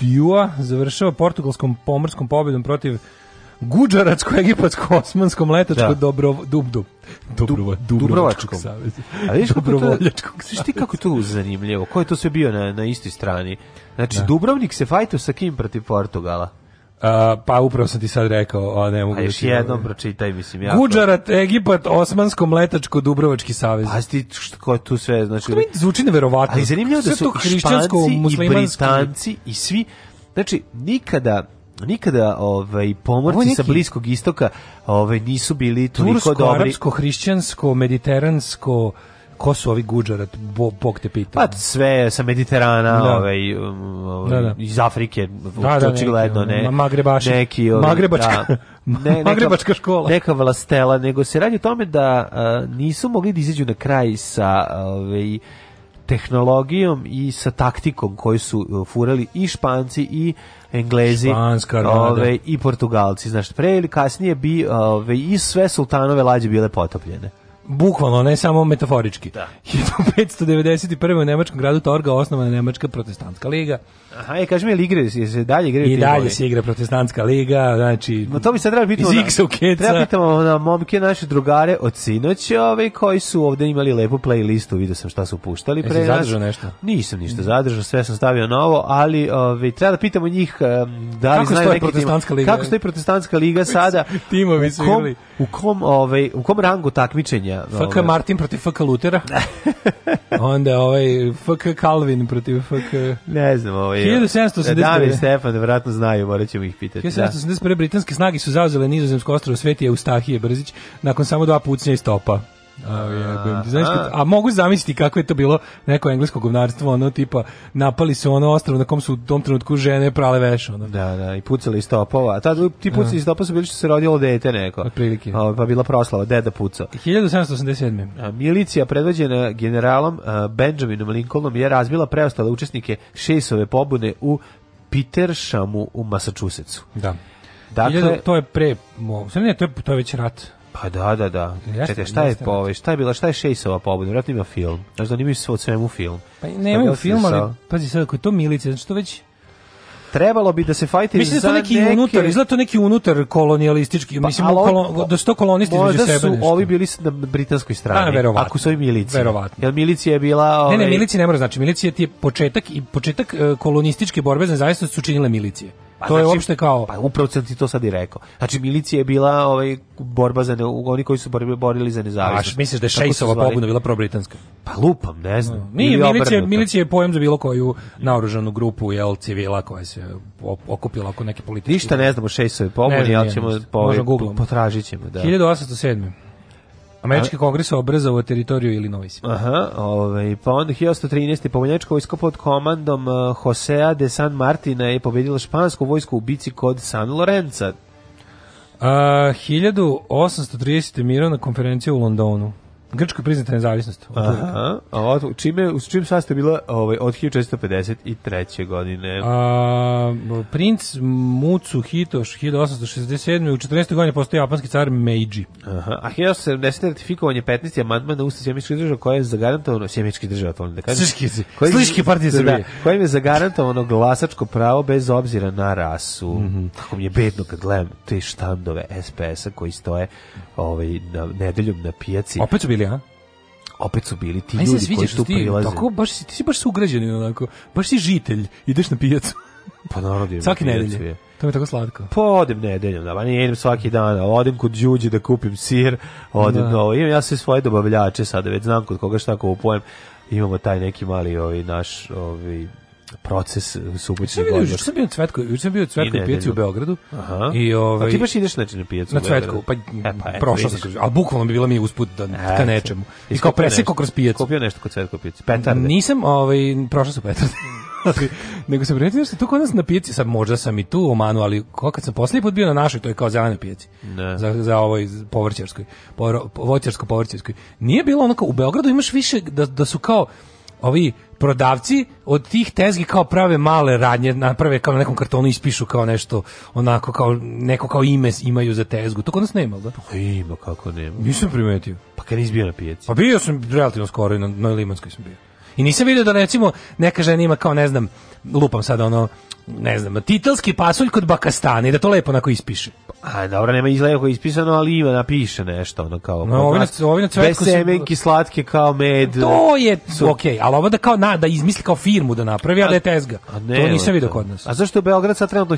[SPEAKER 7] Dijua završava portugalskom pomorskom pobedom protiv guđaratsko-egipatsko-osmanskom letačko da.
[SPEAKER 8] Da.
[SPEAKER 7] dobro, dub, dub, Dubrova,
[SPEAKER 8] Dubrovačkom.
[SPEAKER 7] Dubrovačkom savjezu.
[SPEAKER 8] A vidiš kako to,
[SPEAKER 7] Dobrovoljačkog
[SPEAKER 8] Znaš ti kako je to zanimljivo? Ko je to sve bio na, na istoj strani? Znači, Dubrovnik se fajtao sa kim protiv Portugala?
[SPEAKER 7] A, pa upravo sam ti sad rekao, a ne mogu
[SPEAKER 8] A
[SPEAKER 7] da
[SPEAKER 8] Pa još
[SPEAKER 7] ti-
[SPEAKER 8] jednom pročitaj, mislim, ja.
[SPEAKER 7] Guđarat, Egipat, Osmansko, Mletačko, Dubrovački savez.
[SPEAKER 8] Pazi ti što- ko je tu sve, znači...
[SPEAKER 7] To mi zvuči neverovatno.
[SPEAKER 8] Pa, Ali zanimljivo da
[SPEAKER 7] Sve
[SPEAKER 8] su
[SPEAKER 7] to
[SPEAKER 8] i
[SPEAKER 7] hrišćansko,
[SPEAKER 8] Španci i
[SPEAKER 7] muslimansko.
[SPEAKER 8] Britanci i svi, znači nikada nikada ovaj pomorci
[SPEAKER 7] Ovo je neki-
[SPEAKER 8] sa bliskog istoka ovaj nisu bili toliko
[SPEAKER 7] Tursko,
[SPEAKER 8] dobri.
[SPEAKER 7] arapsko, hrišćansko, mediteransko, ko su ovi guđarat, bo, bog te pita.
[SPEAKER 8] Pa sve sa Mediterana,
[SPEAKER 7] Da.
[SPEAKER 8] ovaj, um, ovaj,
[SPEAKER 7] Da, da.
[SPEAKER 8] iz Afrike,
[SPEAKER 7] da, neki, ono,
[SPEAKER 8] očigledno, ne.
[SPEAKER 7] ma- magrebaši.
[SPEAKER 8] Neki, ovaj,
[SPEAKER 7] Magrebačka-
[SPEAKER 8] neka-
[SPEAKER 7] magrebačka škola.
[SPEAKER 8] Neka vlastela, nego se radi o tome da a, nisu mogli da izađu na kraj sa ovaj, tehnologijom i sa taktikom koju su uh, furali i Španci i Englezi
[SPEAKER 7] Španska armada.
[SPEAKER 8] ovaj, i Portugalci. Znaš, pre ili kasnije bi ovaj, i sve sultanove lađe bile potopljene.
[SPEAKER 7] Bukvalno, ne samo metaforički. Da. 1591. u nemačkom gradu Torga osnovana je nemačka protestantska liga.
[SPEAKER 8] Aha,
[SPEAKER 7] e,
[SPEAKER 8] i kaži mi, jel igre, se- se dalje igraju
[SPEAKER 7] I
[SPEAKER 8] ti
[SPEAKER 7] dalje
[SPEAKER 8] goli?
[SPEAKER 7] se igra protestantska liga, znači...
[SPEAKER 8] Ma to bi sad trebalo pitamo.
[SPEAKER 7] Iz
[SPEAKER 8] na-
[SPEAKER 7] Iksa u Keca.
[SPEAKER 8] Treba pitamo na momke naše drugare od sinoć, ovaj koji su ovde imali lepu playlistu, vidio sam šta su puštali
[SPEAKER 7] Jesi
[SPEAKER 8] pre nas.
[SPEAKER 7] zadržao nešto?
[SPEAKER 8] Nisam ništa zadržao, sve sam stavio novo, ali ovaj treba da pitamo njih em, da li
[SPEAKER 7] Kako stoji
[SPEAKER 8] znaju neki tim-
[SPEAKER 7] protestantska liga?
[SPEAKER 8] Kako stoji protestantska liga sada?
[SPEAKER 7] Timovi su
[SPEAKER 8] u kom,
[SPEAKER 7] igrali.
[SPEAKER 8] u kom ovaj u kom rangu takmičenja? Ovaj,
[SPEAKER 7] FK Martin protiv FK Lutera. Onda ovaj FK Calvin protiv FK...
[SPEAKER 8] Ne znam, ovaj.
[SPEAKER 7] 1789.
[SPEAKER 8] Damir i Stefan, verovatno znaju, morat ćemo ih pitati. da.
[SPEAKER 7] 1781. britanske snage su zauzele nizozemsko ostrovo Sveti Eustahije Brzić nakon samo dva pucnja iz topa. A, jebem ti, znaš kad- a mogu zamisliti kako je to bilo neko englesko govnarstvo, ono tipa napali su ono ostrovo na kom su u tom trenutku žene prale veš, ono.
[SPEAKER 8] Da, da, i pucali iz topova. A tad ti pucali iz topa su bili što se rodilo dete neko.
[SPEAKER 7] Otprilike.
[SPEAKER 8] A, pa bila proslava, deda pucao.
[SPEAKER 7] 1787.
[SPEAKER 8] A, Milicija predvođena generalom a, Benjaminom Lincolnom je razbila preostale učesnike šesove pobune u Petershamu u Massachusettsu.
[SPEAKER 7] Da.
[SPEAKER 8] Dakle,
[SPEAKER 7] 1000 to je pre, mo, sve ne, to je, to je već rat.
[SPEAKER 8] pa da, da, da.
[SPEAKER 7] Jeste,
[SPEAKER 8] Čekaj, šta je,
[SPEAKER 7] jeste.
[SPEAKER 8] po- ovaj, šta je bila, šta je šesova pobuna? Vratno ima film. Znaš da oni imaju sve od svemu film.
[SPEAKER 7] Pa
[SPEAKER 8] Šta bi
[SPEAKER 7] nemaju
[SPEAKER 8] ja
[SPEAKER 7] film, ali
[SPEAKER 8] smisao?
[SPEAKER 7] pazi sad, ako je to milice, znači to već...
[SPEAKER 8] Trebalo bi da se fajte
[SPEAKER 7] Mislim da
[SPEAKER 8] za
[SPEAKER 7] je to neki
[SPEAKER 8] neke-
[SPEAKER 7] unutar, izgleda to neki unutar kolonijalistički,
[SPEAKER 8] Pa,
[SPEAKER 7] mislim,
[SPEAKER 8] ali ovi-
[SPEAKER 7] kolon, da su to kolonisti između
[SPEAKER 8] Možda
[SPEAKER 7] sebe.
[SPEAKER 8] su
[SPEAKER 7] nešto.
[SPEAKER 8] ovi bili s- na britanskoj strani.
[SPEAKER 7] Da, verovatno.
[SPEAKER 8] Ako su ovi milicije.
[SPEAKER 7] Verovatno.
[SPEAKER 8] Jer milicija je bila...
[SPEAKER 7] Ne, ne,
[SPEAKER 8] ovaj,
[SPEAKER 7] milicija ne mora znači. Milicija ti je početak i početak e, kolonističke borbe za nezavisnost su činile milicije. to je
[SPEAKER 8] znači,
[SPEAKER 7] uopšte kao...
[SPEAKER 8] Pa upravo sam ti to sad i rekao. Znači, milicija je bila ovaj, borba za ne, oni koji su borili, borili za nezavisnost.
[SPEAKER 7] Baš, misliš da je
[SPEAKER 8] Kako su
[SPEAKER 7] Šejsova
[SPEAKER 8] zvali?
[SPEAKER 7] pobuna bila probritanska?
[SPEAKER 8] Pa lupam, ne znam.
[SPEAKER 7] Nije,
[SPEAKER 8] Ili
[SPEAKER 7] milicija,
[SPEAKER 8] obrnuto.
[SPEAKER 7] milicija je pojem za bilo koju naoružanu grupu, jel, civila koja se op- okupila oko neke političke...
[SPEAKER 8] Ništa ne znamo o Šejsovoj
[SPEAKER 7] Ne
[SPEAKER 8] pobuni,
[SPEAKER 7] znam
[SPEAKER 8] ali
[SPEAKER 7] ja
[SPEAKER 8] ćemo
[SPEAKER 7] ništa.
[SPEAKER 8] po,
[SPEAKER 7] Možda
[SPEAKER 8] po,
[SPEAKER 7] googlamo.
[SPEAKER 8] potražit ćemo. Da.
[SPEAKER 7] 1807. Američki kongres obrazao teritoriju Illinois.
[SPEAKER 8] Aha, ovaj, pa onda 1813. pobunjačko vojsko pod komandom uh, Josea de San Martina je pobedila špansku vojsku u bici kod San Lorenza.
[SPEAKER 7] A, 1830. mirovna konferencija u Londonu. Grčko je priznata nezavisnost.
[SPEAKER 8] Aha, a od, čime, u čim sastav bila ovaj, od 1453. godine?
[SPEAKER 7] A, princ Mutsu Hitoš 1867. u 14. godini postoji japanski car Meiji.
[SPEAKER 8] Aha, a 1870 ratifikovan je 15. amandman na Ustav Sjemičkih država koje je zagarantovano Sjemičkih država, to volim da kažem.
[SPEAKER 7] Sliški-
[SPEAKER 8] Kojim-
[SPEAKER 7] Sliški partije
[SPEAKER 8] da,
[SPEAKER 7] Srbije.
[SPEAKER 8] kojim je zagarantovano glasačko pravo bez obzira na rasu.
[SPEAKER 7] Mhm.
[SPEAKER 8] Kako mi je bedno kad gledam te štandove SPS-a koji stoje ovaj, na, nedeljom na pijaci.
[SPEAKER 7] Opet su bili, a?
[SPEAKER 8] opet su bili ti
[SPEAKER 7] Pa Meni se
[SPEAKER 8] ljudi
[SPEAKER 7] sviđa
[SPEAKER 8] koji
[SPEAKER 7] što
[SPEAKER 8] tu
[SPEAKER 7] ti,
[SPEAKER 8] prilaze.
[SPEAKER 7] tako, baš, si- ti si baš sugrađanin onako, baš si žitelj, ideš na pijacu,
[SPEAKER 8] Pa narod je.
[SPEAKER 7] svake
[SPEAKER 8] na pijacu
[SPEAKER 7] nedelje.
[SPEAKER 8] je.
[SPEAKER 7] To mi je tako slatko.
[SPEAKER 8] Pa odem nedeljom, da, ba ne idem svaki dan, ali odem kod Đuđe da kupim sir, odem
[SPEAKER 7] Da.
[SPEAKER 8] da. ovo, imam ja sve svoje dobavljače sada, već znam kod koga šta kupujem, imamo taj neki mali ovaj, naš ovaj, proces
[SPEAKER 7] Sam
[SPEAKER 8] suboćni
[SPEAKER 7] vidio,
[SPEAKER 8] godin.
[SPEAKER 7] juče sam bio na Cvetku, juče sam bio na Cvetku
[SPEAKER 8] I
[SPEAKER 7] pijaci u
[SPEAKER 8] nedeljom.
[SPEAKER 7] Beogradu.
[SPEAKER 8] Aha.
[SPEAKER 7] I ovaj
[SPEAKER 8] A ti baš ideš znači na pijacu?
[SPEAKER 7] na
[SPEAKER 8] u Beograd?
[SPEAKER 7] Cvetku, pa,
[SPEAKER 8] E, pa eto,
[SPEAKER 7] prošao sam
[SPEAKER 8] vidiš.
[SPEAKER 7] kroz, ali bukvalno bi bila mi usput da ka
[SPEAKER 8] Eto.
[SPEAKER 7] nečemu. I
[SPEAKER 8] Jesi
[SPEAKER 7] kao
[SPEAKER 8] kupio
[SPEAKER 7] presekao
[SPEAKER 8] nešto?
[SPEAKER 7] kroz pijacu.
[SPEAKER 8] Kupio nešto kod Cvetko pijacu. Petarde.
[SPEAKER 7] Nisam, ovaj, prošao sam petarde. Ali, nego sam primetio nešto, tu kod nas na pijaci, sad možda sam i tu u Omanu, ali ko- kad sam poslednji put bio na našoj, to je kao zelenoj pijaci,
[SPEAKER 8] Ne.
[SPEAKER 7] za, za ovoj z- povrćarskoj, povro- voćarsko-povrćarskoj, nije bilo onako, u Beogradu imaš više da, da su kao ovi prodavci od tih tezgi kao prave male radnje, naprave kao na nekom kartonu ispišu kao nešto, onako kao neko kao ime imaju za tezgu. To kod nas nema, jel da?
[SPEAKER 8] Pa Ima, kako nema.
[SPEAKER 7] Nisam primetio.
[SPEAKER 8] Pa kad nisi bio na pijaci?
[SPEAKER 7] Pa bio sam relativno skoro i na, na Limanskoj sam bio. I nisam vidio da recimo neka žena ima kao ne znam, lupam sada ono, ne znam, titelski pasulj kod Bakastane i da to lepo onako ispiše.
[SPEAKER 8] A, dobro, nema izgleda koji je ispisano, ali ima, napiše nešto, ono kao...
[SPEAKER 7] No,
[SPEAKER 8] kod
[SPEAKER 7] ovi na-
[SPEAKER 8] nas.
[SPEAKER 7] ovi na Cvetku
[SPEAKER 8] Bez
[SPEAKER 7] su-
[SPEAKER 8] semenki, slatke kao med.
[SPEAKER 7] To je okej, ali ovo da kao na, da izmisli kao firmu da napravi, a da je tezga.
[SPEAKER 8] A ne,
[SPEAKER 7] to nisam
[SPEAKER 8] ono,
[SPEAKER 7] vidio kod nas.
[SPEAKER 8] A zašto je Beograd sad trenutno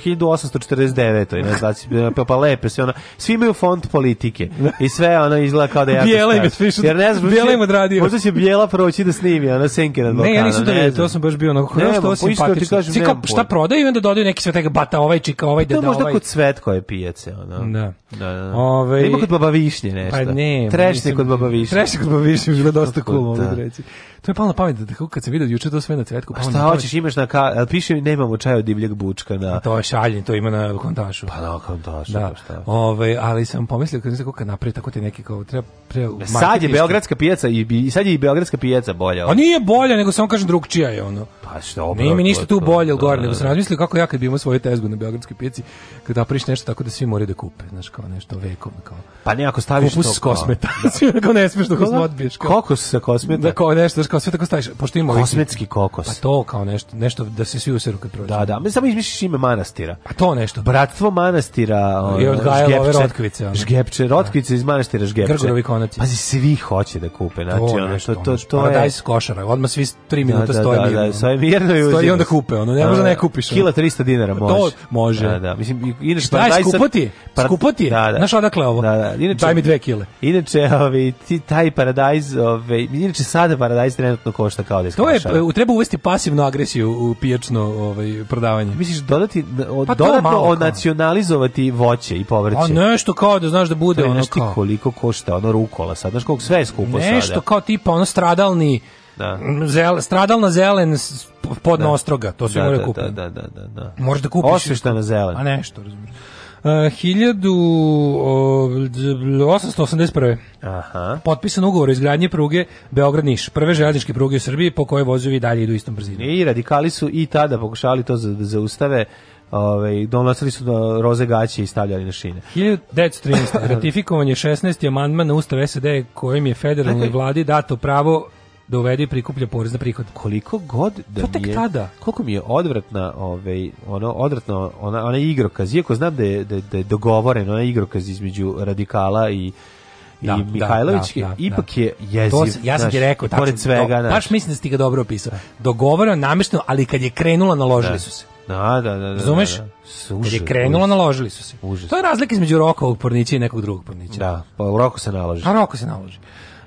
[SPEAKER 8] 1849. Ne znam, da si- pa, pa lepe, sve ono, svi imaju font politike i sve ono izgleda kao da je jako
[SPEAKER 7] Bijela im je
[SPEAKER 8] strašno.
[SPEAKER 7] pišu-
[SPEAKER 8] Jer ne znam,
[SPEAKER 7] Bijela
[SPEAKER 8] možda
[SPEAKER 7] im odradio.
[SPEAKER 8] Možda će Bijela proći da snimi, ono, senke nad Balkana.
[SPEAKER 7] Ne, ja nisam to vidio,
[SPEAKER 8] znam.
[SPEAKER 7] to sam baš bio onako,
[SPEAKER 8] Nemam,
[SPEAKER 7] ne, što
[SPEAKER 8] pa iskreno ti
[SPEAKER 7] simpatično.
[SPEAKER 8] kažem,
[SPEAKER 7] Svi kao,
[SPEAKER 8] nemam
[SPEAKER 7] šta
[SPEAKER 8] pojma. Pa
[SPEAKER 7] prodaju i onda dodaju neki sve tega bata ovaj, čika ovaj,
[SPEAKER 8] To je
[SPEAKER 7] deda
[SPEAKER 8] možda
[SPEAKER 7] ovaj.
[SPEAKER 8] kod Svetkove pijace, ono.
[SPEAKER 7] Da.
[SPEAKER 8] Da, da. da.
[SPEAKER 7] Ovaj-
[SPEAKER 8] Ima kod Baba Višnje nešto.
[SPEAKER 7] Pa ne.
[SPEAKER 8] Trešne
[SPEAKER 7] nisam-
[SPEAKER 8] kod Baba Višnje.
[SPEAKER 7] Trešne kod babavišnje, bilo je dosta
[SPEAKER 8] Tako
[SPEAKER 7] cool, mogu
[SPEAKER 8] da.
[SPEAKER 7] da reći. To je palo na pamet, da kako kad sam vidio juče to sve na cvetku. pa
[SPEAKER 8] A
[SPEAKER 7] palo mi
[SPEAKER 8] šta
[SPEAKER 7] na pamet.
[SPEAKER 8] hoćeš, imaš na ka... ali Piše mi, nemamo čaj od divljeg bučka na...
[SPEAKER 7] Pa To je šaljenje, to ima na kontašu.
[SPEAKER 8] Pa na okantašu,
[SPEAKER 7] Da,
[SPEAKER 8] pa šta.
[SPEAKER 7] ovaj, ali sam pomislio kad nisam kako kad napravi tako te neki kao treba... treba
[SPEAKER 8] Sad je
[SPEAKER 7] marketinški-
[SPEAKER 8] Beogradska pijaca i, i sad je i Beogradska pijaca bolja.
[SPEAKER 7] A nije bolja, nego samo kažem drugčija je ono.
[SPEAKER 8] Pa šta, obrad,
[SPEAKER 7] Nije mi ništa tu
[SPEAKER 8] to-
[SPEAKER 7] bolje ili gore,
[SPEAKER 8] da,
[SPEAKER 7] nego sam
[SPEAKER 8] da.
[SPEAKER 7] razmislio kako ja kad bi imao svoju tezgu na Beogradskoj pijaci, kad napraviš nešto tako da svi moraju da kupe, znaš, kao nešto vekom, kao
[SPEAKER 8] Pa ne, ako staviš
[SPEAKER 7] kupus
[SPEAKER 8] to
[SPEAKER 7] s
[SPEAKER 8] kao-
[SPEAKER 7] kosmeta. Svi kao ne smiješ da kosmet odbiješ. kao-
[SPEAKER 8] Kokos sa kosmeta?
[SPEAKER 7] Da, kao nešto, znaš, kao sve tako staviš, pošto ima ovih-
[SPEAKER 8] Kosmetski
[SPEAKER 7] Pa
[SPEAKER 8] kokos.
[SPEAKER 7] to kao nešto, nešto da se svi useru kad prođe.
[SPEAKER 8] Da, da, mi samo izmišljaš ime manastira.
[SPEAKER 7] Pa to nešto.
[SPEAKER 8] Bratstvo manastira ono,
[SPEAKER 7] I odgajalo ove rotkvice, ono.
[SPEAKER 8] Žgepče, rotkvice iz manastira Žgepče.
[SPEAKER 7] Grgorovi konaci.
[SPEAKER 8] Pazi, svi hoće da kupe, znači,
[SPEAKER 7] to,
[SPEAKER 8] ono,
[SPEAKER 7] nešto,
[SPEAKER 8] to, to, to je...
[SPEAKER 7] paradajz s košara. Odmah svi 3 minuta
[SPEAKER 8] da,
[SPEAKER 7] stoje
[SPEAKER 8] da,
[SPEAKER 7] mirno. ono.
[SPEAKER 8] da, stoje mirno i
[SPEAKER 7] Stoji
[SPEAKER 8] uzimaš.
[SPEAKER 7] onda kupe, ono, ne može da ne kupiš, ono.
[SPEAKER 8] Kila 300 dinara može.
[SPEAKER 7] To može.
[SPEAKER 8] Da, da, mislim, i- inače...
[SPEAKER 7] Šta je,
[SPEAKER 8] paradajz sad-
[SPEAKER 7] skupo ti je?
[SPEAKER 8] Par-
[SPEAKER 7] Skupo ti je?
[SPEAKER 8] Da, da.
[SPEAKER 7] Znaš odakle ovo?
[SPEAKER 8] Da, da.
[SPEAKER 7] Daj mi dve kile.
[SPEAKER 8] Inače, ovaj, ti, taj paradajz, ovaj, inače sada paradajz trenutno košta kao da je
[SPEAKER 7] To je,
[SPEAKER 8] skašara.
[SPEAKER 7] e, treba uvesti pasivnu agresiju u pijačno ovaj, prodavanje.
[SPEAKER 8] Misliš dodati o,
[SPEAKER 7] Pa to
[SPEAKER 8] dodatno
[SPEAKER 7] malo kao.
[SPEAKER 8] onacionalizovati voće i povrće.
[SPEAKER 7] A nešto kao da znaš da bude
[SPEAKER 8] to je
[SPEAKER 7] ono
[SPEAKER 8] nešto
[SPEAKER 7] kao...
[SPEAKER 8] koliko košta, ono rukola sad, znaš koliko sve je skupo
[SPEAKER 7] Nešto
[SPEAKER 8] sada.
[SPEAKER 7] kao tipa ono stradalni...
[SPEAKER 8] Da.
[SPEAKER 7] Zel, stradalna zelen s- podno ostroga, to se
[SPEAKER 8] da,
[SPEAKER 7] mora
[SPEAKER 8] da,
[SPEAKER 7] kupiti.
[SPEAKER 8] da, da, da, da, da.
[SPEAKER 7] Možeš da kupiš.
[SPEAKER 8] Osveštana
[SPEAKER 7] A
[SPEAKER 8] zelena.
[SPEAKER 7] nešto, razumiješ. Uh, 1881.
[SPEAKER 8] Aha.
[SPEAKER 7] Potpisan ugovor o izgradnji pruge Beograd-Niš, prve željezničke pruge u Srbiji po kojoj vozovi dalje idu istom brzinom.
[SPEAKER 8] I radikali su i tada pokušali to za- da zaustave, ovaj, donosili su do roze gaće i stavljali na šine.
[SPEAKER 7] 1913. ratifikovan je 16. amandman na Ustav SED kojim je federalnoj vladi dato pravo da uvede i prikuplja porez na prihod.
[SPEAKER 8] koliko god da
[SPEAKER 7] To tek
[SPEAKER 8] mi je,
[SPEAKER 7] tada.
[SPEAKER 8] koliko mi je odvratna ovaj ono odvratno ona ona igrokaz iako znam da je da, je- da je dogovoren onaj igrokaz između radikala i i
[SPEAKER 7] Da, da,
[SPEAKER 8] Mihajlović
[SPEAKER 7] da, da,
[SPEAKER 8] ipak
[SPEAKER 7] da.
[SPEAKER 8] je jeziv
[SPEAKER 7] To si- ja sam
[SPEAKER 8] znaš,
[SPEAKER 7] ti rekao, tačno,
[SPEAKER 8] pored svega
[SPEAKER 7] do,
[SPEAKER 8] znaš.
[SPEAKER 7] baš mislim da si ti ga dobro opisao. Dogovoreno, namešteno, ali kad je krenula, naložili su se.
[SPEAKER 8] da da da da
[SPEAKER 7] Razumeš?
[SPEAKER 8] da, da.
[SPEAKER 7] Kad
[SPEAKER 8] Užas,
[SPEAKER 7] je krenula,
[SPEAKER 8] užas.
[SPEAKER 7] naložili su se.
[SPEAKER 8] Užas.
[SPEAKER 7] To je razlika između rokovog pornića i nekog drugog pornića.
[SPEAKER 8] da pa u roku se nalaže
[SPEAKER 7] A roko se naloži.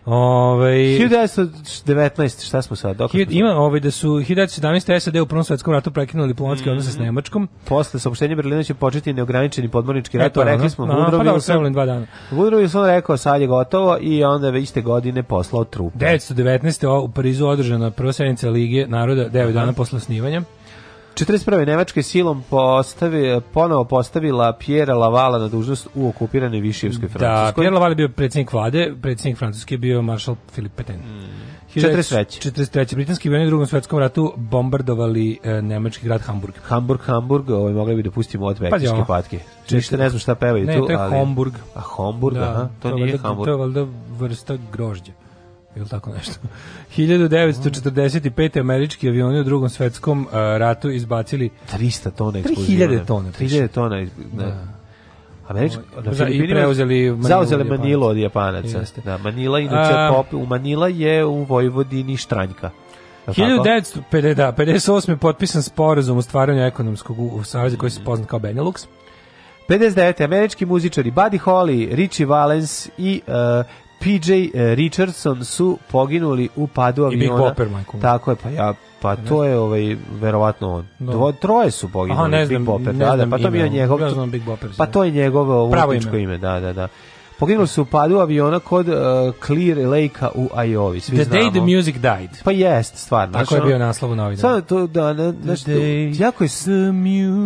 [SPEAKER 7] Ovaj, Ove,
[SPEAKER 8] 1919 šta smo sad dok
[SPEAKER 7] Hiljad- ima ovaj da su 1917. SAD u Prvom svetskom ratu prekinuli diplomatske
[SPEAKER 8] Mhm.
[SPEAKER 7] odnose s Nemačkom.
[SPEAKER 8] posle saopštenja Berlina će početi neograničeni podmornički rat
[SPEAKER 7] Eto,
[SPEAKER 8] pa rekli
[SPEAKER 7] ono.
[SPEAKER 8] smo
[SPEAKER 7] A, pa
[SPEAKER 8] Woodrow
[SPEAKER 7] dobro,
[SPEAKER 8] Wilson
[SPEAKER 7] trebalo im dva dana.
[SPEAKER 8] Woodrow Wilson rekao sad je gotovo i onda je iste godine poslao trupe
[SPEAKER 7] 919. o- u Parizu održana prva sednica Lige naroda 9 dana posle osnivanja.
[SPEAKER 8] 41. Nemačka je silom postavi, ponovo postavila Pjera Lavala na dužnost u okupiranoj Višijevskoj
[SPEAKER 7] Da,
[SPEAKER 8] Francuskoj.
[SPEAKER 7] Pierre Laval je bio predsjednik vlade, predsjednik Francuske je bio maršal Filip Petain.
[SPEAKER 8] Mhm. 43..
[SPEAKER 7] 43. Britanski vojni u drugom svetskom ratu bombardovali e, nemački grad Hamburg.
[SPEAKER 8] Hamburg, Hamburg, ovaj, mogli bi da pustimo od
[SPEAKER 7] Pazi
[SPEAKER 8] meksičke
[SPEAKER 7] ovo.
[SPEAKER 8] patke. Ništa ne znam šta pevaju
[SPEAKER 7] Ne,
[SPEAKER 8] tu,
[SPEAKER 7] to je
[SPEAKER 8] ali...
[SPEAKER 7] Homburg.
[SPEAKER 8] A Homburg, aha, to,
[SPEAKER 7] je
[SPEAKER 8] nije
[SPEAKER 7] valjda-
[SPEAKER 8] Hamburg.
[SPEAKER 7] To je valjda vrsta grožđa. Ili tako nešto. 1945. američki avioni u drugom svetskom e, ratu izbacili
[SPEAKER 8] 300 tona
[SPEAKER 7] 3000
[SPEAKER 8] eksploziva.
[SPEAKER 7] tona piše.
[SPEAKER 8] 3000 tona, iz- ne. Američki, na
[SPEAKER 7] za- i
[SPEAKER 8] Filipinima
[SPEAKER 7] preuzeli Manilu
[SPEAKER 8] zauzeli
[SPEAKER 7] od Japanaca.
[SPEAKER 8] Manilu od Japanaca.
[SPEAKER 7] Jeste.
[SPEAKER 8] Da, Manila inače
[SPEAKER 7] A-
[SPEAKER 8] pop, u Manila je u Vojvodini Štranjka. Je li tako?
[SPEAKER 7] 1958. Da, 58. je potpisan sporazum o stvaranju ekonomskog u- u saveza koji
[SPEAKER 8] Mhm.
[SPEAKER 7] se poznat kao Benelux.
[SPEAKER 8] 59. američki muzičari Buddy Holly, Richie Valens i uh, PJ eh, Richardson su poginuli u padu
[SPEAKER 7] I Big
[SPEAKER 8] aviona.
[SPEAKER 7] Bopper, majko moja.
[SPEAKER 8] Tako je, pa ja pa to je ovaj verovatno on.
[SPEAKER 7] Da.
[SPEAKER 8] Dvo, troje su poginuli.
[SPEAKER 7] Aha, ne znam,
[SPEAKER 8] Big Bopper,
[SPEAKER 7] ne
[SPEAKER 8] da, da,
[SPEAKER 7] znam
[SPEAKER 8] pa to je bio
[SPEAKER 7] ime, ono.
[SPEAKER 8] njegov.
[SPEAKER 7] ja znam Big Bopper,
[SPEAKER 8] pa
[SPEAKER 7] da.
[SPEAKER 8] to je njegovo
[SPEAKER 7] Pravo
[SPEAKER 8] umjetničko
[SPEAKER 7] ime.
[SPEAKER 8] ime, da, da, da. Poginuli su u padu aviona kod uh, Clear Lake-a u Iowa, svi
[SPEAKER 7] The
[SPEAKER 8] znamo.
[SPEAKER 7] day the music died.
[SPEAKER 8] Pa jest, stvarno.
[SPEAKER 7] Tako
[SPEAKER 8] Znaš,
[SPEAKER 7] je bio
[SPEAKER 8] ono-
[SPEAKER 7] naslov u novinama.
[SPEAKER 8] Sad to da na, znaš,
[SPEAKER 7] The day
[SPEAKER 8] jako je s-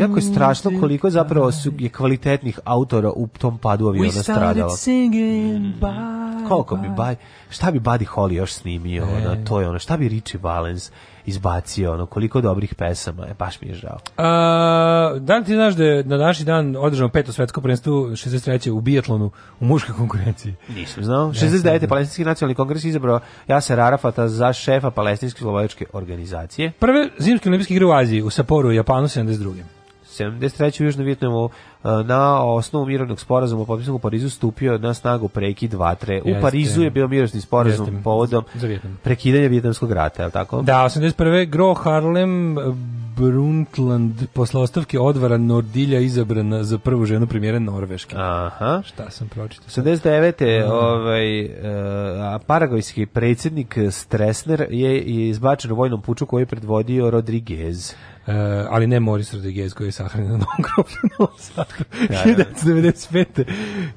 [SPEAKER 8] Jako je strašno koliko zapravo su je kvalitetnih autora u tom padu aviona stradalo. Mm.
[SPEAKER 7] singing bye,
[SPEAKER 8] Koliko bi Baj, šta bi Buddy Holly još snimio,
[SPEAKER 7] E.
[SPEAKER 8] ono, to je ono, šta bi Richie Valens izbacio, ono, koliko dobrih pesama, je, baš mi je žao.
[SPEAKER 7] A, da li ti znaš da je na naši dan održano peto svetsko prvenstvo 63. u bijatlonu u muškoj konkurenciji?
[SPEAKER 8] Nisam znao. 69. Palestinski nacionalni kongres izabrao Jaser Arafata za šefa Palestinske slobodačke organizacije.
[SPEAKER 7] Prve zimske olimpijske igre u Aziji, u Saporu, Japanu 72.
[SPEAKER 8] 73. u Južnom Vjetnamu e, na osnovu mirovnog sporazuma potpisanog u Parizu stupio na snagu prekid vatre. U
[SPEAKER 7] Jeste.
[SPEAKER 8] Parizu je bio mirovni sporazum
[SPEAKER 7] Jeste.
[SPEAKER 8] povodom
[SPEAKER 7] Za Vjetnam.
[SPEAKER 8] prekidanja vjetnamskog rata, je li tako?
[SPEAKER 7] Da, 81. Gro Harlem eh, Brundtland posle ostavke odvara Nordilja izabrana za prvu ženu premijera Norveške.
[SPEAKER 8] Aha.
[SPEAKER 7] Šta sam pročitao?
[SPEAKER 8] 89. ovaj e, a paragvajski predsjednik Stresner je izbačen u vojnom puču koji je predvodio Rodriguez.
[SPEAKER 7] E, ali ne Moris Rodriguez koji je sahranjen na novom groblju u Novom Sadu. 1995.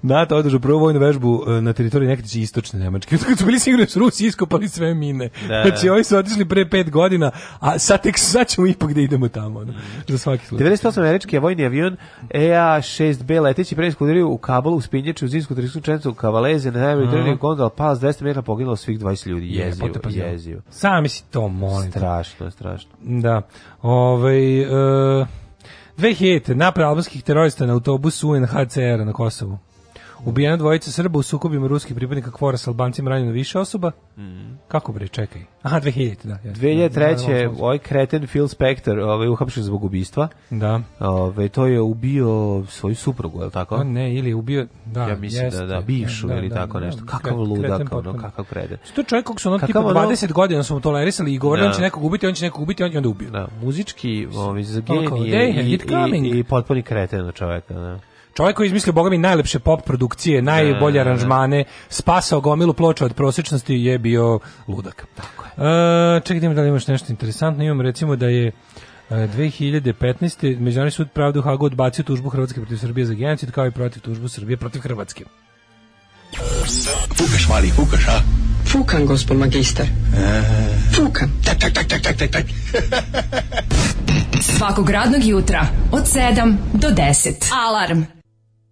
[SPEAKER 7] NATO održao prvu vojnu vežbu e, na teritoriji nekada istočne Nemačke. Kad su bili sigurni da su Rusi iskopali sve mine. Znači, ovi su otišli pre pet godina, a sad tek sad ćemo ipak da idemo tamo. ono, Za svaki slučaj.
[SPEAKER 8] 98. američki vojni avion EA-6B leteći pre iskudirio u Kabulu, u Spinjeću, u Zinsku, Trisku, Čencu, u Kavaleze, na najbolji trening gondol, pala s 200 metra, poginulo svih 20 ljudi. Jezivo,
[SPEAKER 7] Jebote, pa zna.
[SPEAKER 8] jezivo.
[SPEAKER 7] Sami si to, molim. te.
[SPEAKER 8] Strašno, strašno.
[SPEAKER 7] Da. Ovaj e, 2000. napad albanskih terorista na autobusu UNHCR na Kosovu. Ubijena dvojica Srba u sukobima ruskih pripadnika kvora s Albancima ranjeno više osoba. Kako bre, čekaj. Aha, 2000, da. jeste.
[SPEAKER 8] 2003. ovaj kreten Phil Spector ovaj, uhapšen zbog ubistva.
[SPEAKER 7] Da.
[SPEAKER 8] Ovaj, to je ubio svoju suprugu, je li tako?
[SPEAKER 7] O, ne, ili je ubio, da,
[SPEAKER 8] ja mislim
[SPEAKER 7] jeste.
[SPEAKER 8] da, da, bivšu ili tako nešto. Kakav
[SPEAKER 7] kre- kreten
[SPEAKER 8] ludak, ono,
[SPEAKER 7] potpuno.
[SPEAKER 8] kakav kreden.
[SPEAKER 7] To je čovjek kog su ono
[SPEAKER 8] Kakav
[SPEAKER 7] tipa
[SPEAKER 8] ono-
[SPEAKER 7] 20 godina su mu tolerisali i govorili
[SPEAKER 8] Da.
[SPEAKER 7] on će nekog ubiti, on će nekog ubiti, on je onda ubio.
[SPEAKER 8] Da, muzički ovaj, za
[SPEAKER 7] Tako,
[SPEAKER 8] genije
[SPEAKER 7] they have
[SPEAKER 8] i,
[SPEAKER 7] it coming.
[SPEAKER 8] i, i potpuni kreten od čoveka. Da.
[SPEAKER 7] Čovjek koji je izmislio boga mi najlepše pop produkcije, najbolje aranžmane, spasao gomilu ploča od prosječnosti je bio ludak. Tako je. E, čekaj, da imam da li imaš nešto interesantno. Imam recimo da je e, 2015. Međunarodni sud pravde u Hagu odbacio tužbu Hrvatske protiv Srbije za genocid kao i protiv tužbu Srbije protiv Hrvatske.
[SPEAKER 3] Fukaš, mali, fukaš, a? E.
[SPEAKER 12] Fukan, gospod magister. Fukan.
[SPEAKER 3] Tak, tak, tak, tak, tak, tak, tak.
[SPEAKER 6] Svakog radnog jutra od 7 do 10. Alarm.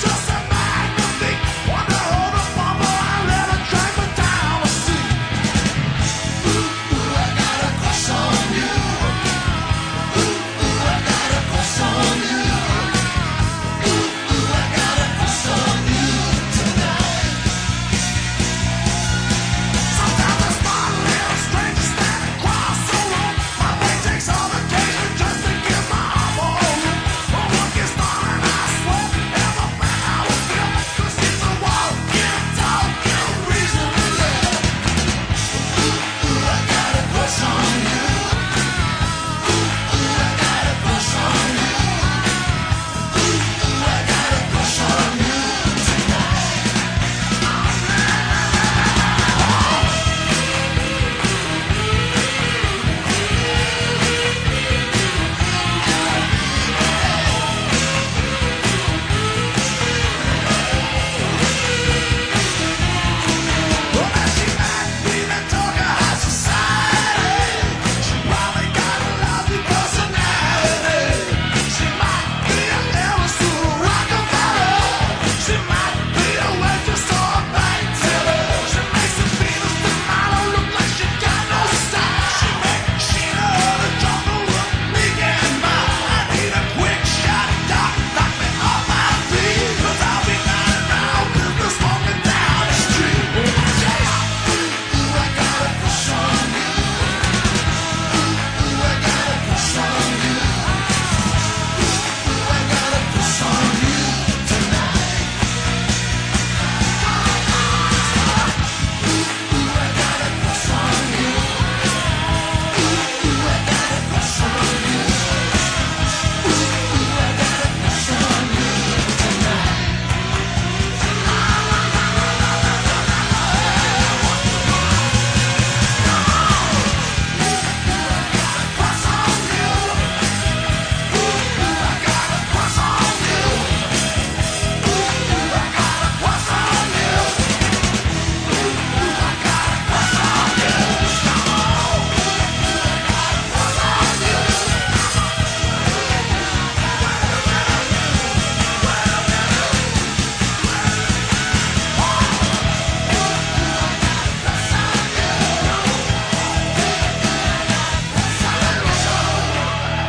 [SPEAKER 2] Just a magnet, wonder how the bumble I let her drag me down the street.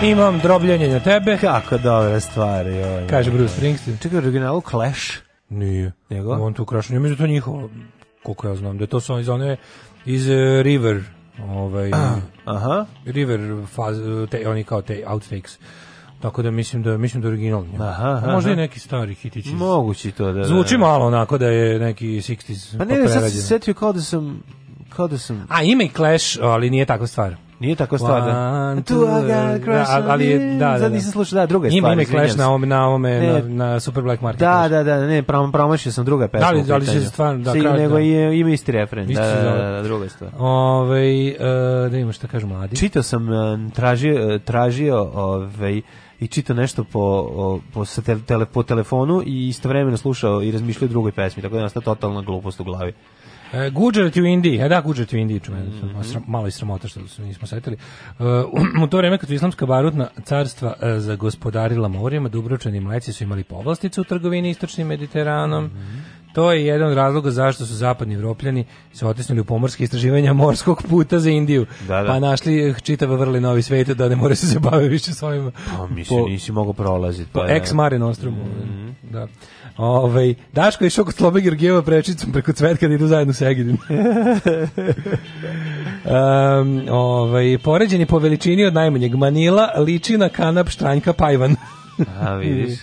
[SPEAKER 7] Imam drobljenje na tebe.
[SPEAKER 8] Kako dobra stvar, joj.
[SPEAKER 7] Kaže Bruce Springsteen.
[SPEAKER 8] Čekaj, originalu Clash?
[SPEAKER 7] Nije.
[SPEAKER 8] Nego?
[SPEAKER 7] On tu krašnje, mislim da je to njihovo, koliko ja znam, da je to samo iz one, iz eh, River, ovaj,
[SPEAKER 8] Aha.
[SPEAKER 7] River faz, te, oni kao te outtakes. Tako da mislim da mislim da je original. njegov.
[SPEAKER 8] Aha,
[SPEAKER 7] A
[SPEAKER 8] aha.
[SPEAKER 7] Možda i neki stari hitić. iz-
[SPEAKER 8] Mogući to da...
[SPEAKER 7] Zvuči malo onako da je neki 60s.
[SPEAKER 8] Pa ne, ne, sad sam se
[SPEAKER 7] prerađen.
[SPEAKER 8] setio kao da sam kao da sam...
[SPEAKER 7] A ima i Clash, ali nije takva stvar.
[SPEAKER 8] Nije tako stvar da...
[SPEAKER 7] One, two, da,
[SPEAKER 8] on
[SPEAKER 7] ali je,
[SPEAKER 8] you.
[SPEAKER 7] da, da,
[SPEAKER 8] Sad
[SPEAKER 7] da.
[SPEAKER 8] nisam slušao, da, druga je
[SPEAKER 7] Ima
[SPEAKER 8] stvar.
[SPEAKER 7] ime
[SPEAKER 8] izvinjam
[SPEAKER 7] Clash
[SPEAKER 8] se.
[SPEAKER 7] na ovome, na, ovome
[SPEAKER 8] Ne.
[SPEAKER 7] na, na Super Black Market.
[SPEAKER 8] Da, da, da, ne, prom, promašio sam druga pesma.
[SPEAKER 7] Da li-
[SPEAKER 8] u
[SPEAKER 7] da li se
[SPEAKER 8] pitanju.
[SPEAKER 7] stvarno, da,
[SPEAKER 8] Svi-
[SPEAKER 7] kraj,
[SPEAKER 8] nego
[SPEAKER 7] da.
[SPEAKER 8] je, ima isti refren, da,
[SPEAKER 7] Isto se
[SPEAKER 8] da,
[SPEAKER 7] zove.
[SPEAKER 8] da, da, druga je stvar.
[SPEAKER 7] Ovaj, e, da ima šta kažu mladi.
[SPEAKER 8] Čitao sam, e, tražio, e, tražio ovaj, i čitao nešto po, o, po, sa te- tele, po telefonu i istovremeno slušao i razmišljao o drugoj pesmi, tako da je nastala totalna glupost u glavi.
[SPEAKER 7] E, Gujarat je u Indiji, e da, Gujarat je u Indiji, čujem,
[SPEAKER 8] Mhm.
[SPEAKER 7] sram- malo i sramota što se nismo setili. E, u to vreme kad su islamska barutna carstva e, zagospodarila morima, Dubrovčani i Mleci su imali povlastice u trgovini istočnim Mediteranom.
[SPEAKER 8] Mhm.
[SPEAKER 7] To je jedan od razloga zašto su zapadni evropljani se otisnuli u pomorske istraživanja morskog puta za Indiju.
[SPEAKER 8] Da, da.
[SPEAKER 7] Pa našli eh, čitave vrli novi svet da ne more se se bave više s ovim
[SPEAKER 8] Pa, mislim,
[SPEAKER 7] po-
[SPEAKER 8] nisi mogao prolaziti.
[SPEAKER 7] po Pa ex Mare Nostromu. Da. Ovaj Daško je išao kod Slobe Georgijeva prečicom preko cvetka da idu zajedno sa Egidin. um, ovaj, poređen je po veličini od najmanjeg. Manila liči na kanap štranjka Pajvan.
[SPEAKER 8] A, vidiš.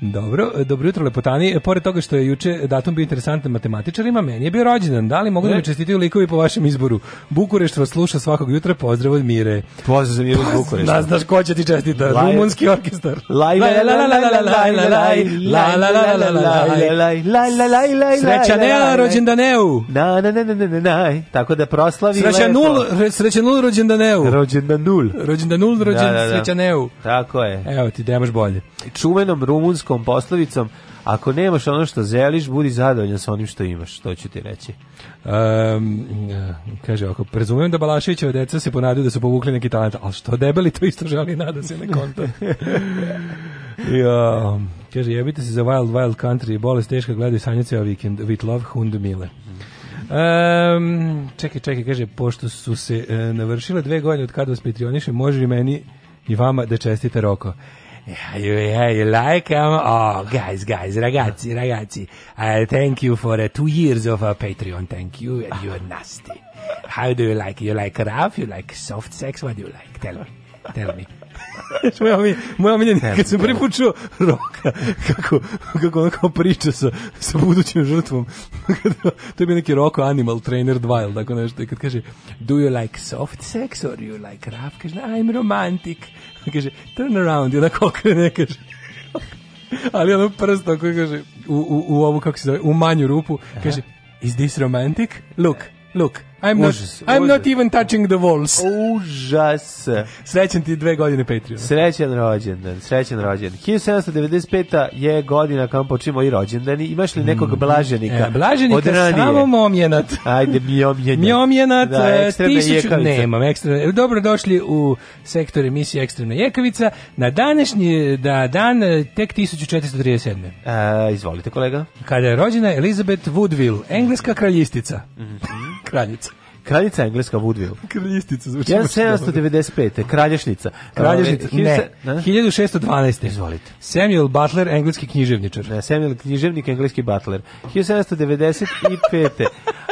[SPEAKER 7] Dobro, dobro jutro lepotani. E, Pored toga što je juče datum bio interesantan matematičarima, meni je bio rođendan. Da li mogu da mi čestitaju likovi po vašem izboru? Bukurešt vas sluša svakog jutra. Pozdrav od Mire.
[SPEAKER 8] Pozdrav za Miru iz Bukurešta.
[SPEAKER 7] Da, znaš ko će ti čestita?
[SPEAKER 8] Laj-
[SPEAKER 7] Rumunski orkestar.
[SPEAKER 8] Laj, laj, laj, laj, laj, laj, laj, laj, laj, laj, laj, laj, laj, laj, laj, laj, laj,
[SPEAKER 7] Srećanea
[SPEAKER 8] laj.
[SPEAKER 7] rođendaneu.
[SPEAKER 8] Na, na, na, na, na, na, na. Tako da proslavi
[SPEAKER 7] Srećanul,
[SPEAKER 8] lepo.
[SPEAKER 7] re- srećanul rođendaneu.
[SPEAKER 8] Rođendan nul.
[SPEAKER 7] Rođendanul rođen
[SPEAKER 8] Da, da, da.
[SPEAKER 7] srećaneu.
[SPEAKER 8] Tako je.
[SPEAKER 7] Evo ti, nemaš bolje.
[SPEAKER 8] Čuvenom rumunskom poslovicom Ako nemaš ono što želiš, budi zadovoljan sa onim što imaš, to ću ti reći.
[SPEAKER 7] Um, kaže ovako, prezumijem da Balaševićeva deca se ponadaju da su povukli neki talent, ali što debeli to isto želi i nada se na konta. ja, kaže, jebite se za Wild Wild Country, bolest teška, gledaju sanjace o vikend, with love, hund mile. Um, čekaj, čekaj, kaže, pošto su se e, navršile dve godine od kada vas patroniše, može i meni i vama da čestite roko. E, Yeah, you, yeah, you like 'em? Oh, guys, guys, ragazzi, ragazzi. I thank you for uh, two years of uh, Patreon. Thank you, and you are nasty. How do you like? it? You like rough? You like soft sex? What do you like? Tell me. Tell me. moja omilj- moja omiljena, kad sam prvi put čuo Roka, kako, kako ono kao priča sa, sa budućim žrtvom, Kad- to je bio neki Roko Animal Trainer 2, ili tako nešto, i kad kaže, do you like soft sex or you like rough? Kaže, I'm romantic. Kaže, turn around, i onako okrene, kaže, ali ono prst ako kaže u, u, u ovu kako se zove u manju rupu kaže is this romantic look look I'm not
[SPEAKER 8] Užas,
[SPEAKER 7] I'm
[SPEAKER 8] užas.
[SPEAKER 7] not even touching the walls
[SPEAKER 8] Užas!
[SPEAKER 7] srećan ti dve godine Patreon
[SPEAKER 8] Srećan rođendan, srećan rođendan. 1795. je godina kam počimo i rođendani. Imaš li nekog blaženika?
[SPEAKER 7] e, blaženika
[SPEAKER 8] od ranije?
[SPEAKER 7] samo momjenat
[SPEAKER 8] Ajde, mjomjenjak.
[SPEAKER 7] Mjomjenat,
[SPEAKER 8] Da,
[SPEAKER 7] e,
[SPEAKER 8] ekstremna
[SPEAKER 7] tisuću,
[SPEAKER 8] jekavica.
[SPEAKER 7] nemam, ekstremna, dobro došli u sektor emisije Ekstremna jekavica, na današnji da, dan e, tek 1437.
[SPEAKER 8] E, izvolite, kolega.
[SPEAKER 7] Kada je rođena Elizabeth Woodville, engleska kraljistica.
[SPEAKER 8] Mhm.
[SPEAKER 7] Kraljica.
[SPEAKER 8] Kraljica engleska Woodville.
[SPEAKER 7] Kraljistica zvuči. baš dobro.
[SPEAKER 8] 1795. Kralješnica.
[SPEAKER 7] Kralješnica,
[SPEAKER 8] Ove,
[SPEAKER 7] ne,
[SPEAKER 8] Ne?
[SPEAKER 7] 1612.
[SPEAKER 8] Izvolite.
[SPEAKER 7] Samuel Butler, engleski književničar.
[SPEAKER 8] Ne, E, Samuel književnik, engleski butler. 1795.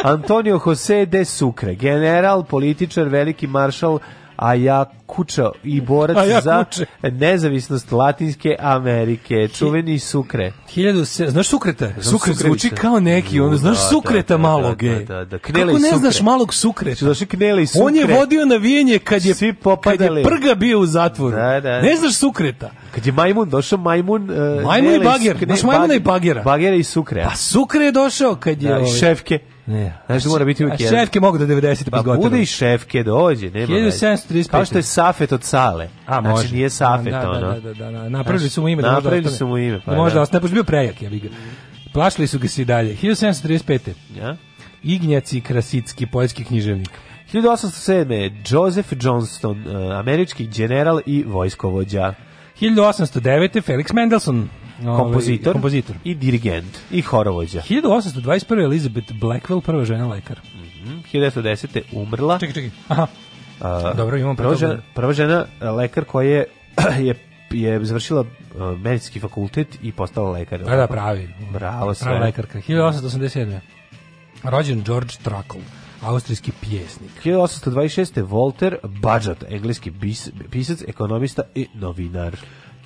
[SPEAKER 8] Antonio Jose de Sucre, general, političar, veliki maršal Ajakuča i borac
[SPEAKER 7] Ayacucho.
[SPEAKER 8] za nezavisnost Latinske Amerike. Čuveni Sucre.
[SPEAKER 7] 1700, znaš Sukreta? Sukret
[SPEAKER 8] Sukrevića.
[SPEAKER 7] zvuči kao neki, ono, znaš
[SPEAKER 8] Da, da,
[SPEAKER 7] Sukreta
[SPEAKER 8] da, da,
[SPEAKER 7] malog,
[SPEAKER 8] da,
[SPEAKER 7] ej.
[SPEAKER 8] da, da. Knele
[SPEAKER 7] Kako
[SPEAKER 8] i
[SPEAKER 7] ne
[SPEAKER 8] Sukret.
[SPEAKER 7] znaš malog Sukreta?
[SPEAKER 8] Su došli Knele i Sucre.
[SPEAKER 7] On je vodio navijenje kad je,
[SPEAKER 8] Svi
[SPEAKER 7] kad je
[SPEAKER 8] popadali.
[SPEAKER 7] prga bio u zatvoru.
[SPEAKER 8] Da, da.
[SPEAKER 7] Ne znaš Sukreta.
[SPEAKER 8] Kad je majmun došao, majmun... e,
[SPEAKER 7] Majmun i
[SPEAKER 8] Knele
[SPEAKER 7] bager.
[SPEAKER 8] Sukre-
[SPEAKER 7] Znaš majmuna i
[SPEAKER 8] bag-
[SPEAKER 7] bagera.
[SPEAKER 8] Bagera i Sukre.
[SPEAKER 7] Pa Sukre je došao kad je...
[SPEAKER 8] Da, i
[SPEAKER 7] ovaj-
[SPEAKER 8] šefke.
[SPEAKER 7] Ne.
[SPEAKER 8] Znaš da mora biti uvijek
[SPEAKER 7] A
[SPEAKER 8] jedan.
[SPEAKER 7] Šefke mogu do 90.
[SPEAKER 8] Pa bude i šefke, dođe, nema veze.
[SPEAKER 7] 1735.
[SPEAKER 8] Kao što je Safet od Sale.
[SPEAKER 7] A, može.
[SPEAKER 8] Znači nije Safet,
[SPEAKER 7] da, da,
[SPEAKER 8] ono.
[SPEAKER 7] Da, da, da, da, napravili su mu ime. da
[SPEAKER 8] Napravili
[SPEAKER 7] možda ostane.
[SPEAKER 8] su mu ime, pa
[SPEAKER 7] da. Možda
[SPEAKER 8] da.
[SPEAKER 7] ostane, pošto je bio prejak, ja bih ga. Plašili su ga se i dalje. 1735.
[SPEAKER 8] Ja?
[SPEAKER 7] Ignjaci Krasicki, poljski književnik.
[SPEAKER 8] 1807. je Joseph Johnston, eh, američki general i vojskovođa,
[SPEAKER 7] Ovaj, 1809. Felix Mendelssohn, ovaj,
[SPEAKER 8] kompozitor,
[SPEAKER 7] kompozitor.
[SPEAKER 8] i dirigent i horovođa.
[SPEAKER 7] 1821. Elizabeth Blackwell, prva žena lekar.
[SPEAKER 8] 1910. umrla.
[SPEAKER 7] Čekaj, čekaj. Aha.
[SPEAKER 8] A,
[SPEAKER 7] Dobro, imamo
[SPEAKER 8] prva
[SPEAKER 7] pre toga-
[SPEAKER 8] žena, prva žena a, lekar koja je, je je završila a, medicinski fakultet i postala lekar.
[SPEAKER 7] Da, da, pravi.
[SPEAKER 8] Bravo sve.
[SPEAKER 7] Prava lekarka. 1887. Rođen George Trakl, austrijski pjesnik.
[SPEAKER 8] 1826. Walter Badžat, engleski bis- pisac, ekonomista i novinar.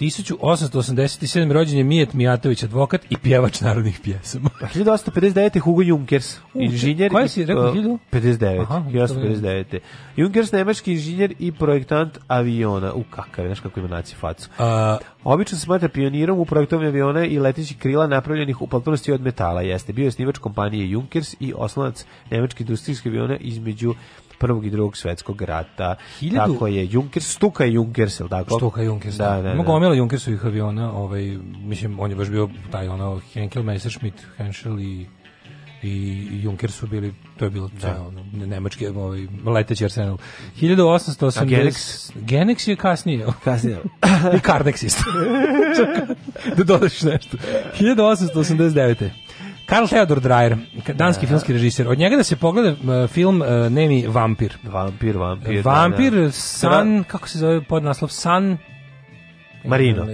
[SPEAKER 7] 1887. rođen je Mijet Mijatović, advokat i pjevač narodnih pjesama.
[SPEAKER 8] A 1859. Hugo Junkers, inženjer...
[SPEAKER 7] koja
[SPEAKER 8] i-
[SPEAKER 7] si rekao,
[SPEAKER 8] uh,
[SPEAKER 7] 1000?
[SPEAKER 8] 59.
[SPEAKER 7] Aha,
[SPEAKER 8] 1859. Junkers, nemački inženjer i projektant aviona. U kakav, je, znaš kako ima naci facu.
[SPEAKER 7] A,
[SPEAKER 8] Obično se smatra pionirom u projektovanju aviona i letećih krila napravljenih u potpunosti od metala. Jeste, bio je snivač kompanije Junkers i oslonac nemačke industrijske aviona između prvog i drugog svetskog rata.
[SPEAKER 7] Hiljadu-
[SPEAKER 8] Tako je, Junkers, stuka je Junkers, je li tako?
[SPEAKER 7] Štuka Junkers.
[SPEAKER 8] Da, da, da.
[SPEAKER 7] Ima gomila Junkersovih aviona, ovaj, mislim, on je baš bio taj ono, Henkel, Messerschmitt, Henschel i i Junker su bili, to je bilo da. ono, ne- nemački ovaj, leteći arsenal. 1880...
[SPEAKER 8] A Genex?
[SPEAKER 7] Genex je kasnije.
[SPEAKER 8] Kasnije.
[SPEAKER 7] I Kardex isto. Čekaj, da dodaš nešto. 1889. Karl Theodor Dreyer, danski filmski režiser. Od njega da se pogleda eh, film eh, Nemi Vampir.
[SPEAKER 8] Vampir, vampir. da,
[SPEAKER 7] Vampir, e,
[SPEAKER 8] da.
[SPEAKER 7] San, kako se zove podnaslov? San...
[SPEAKER 8] Marino.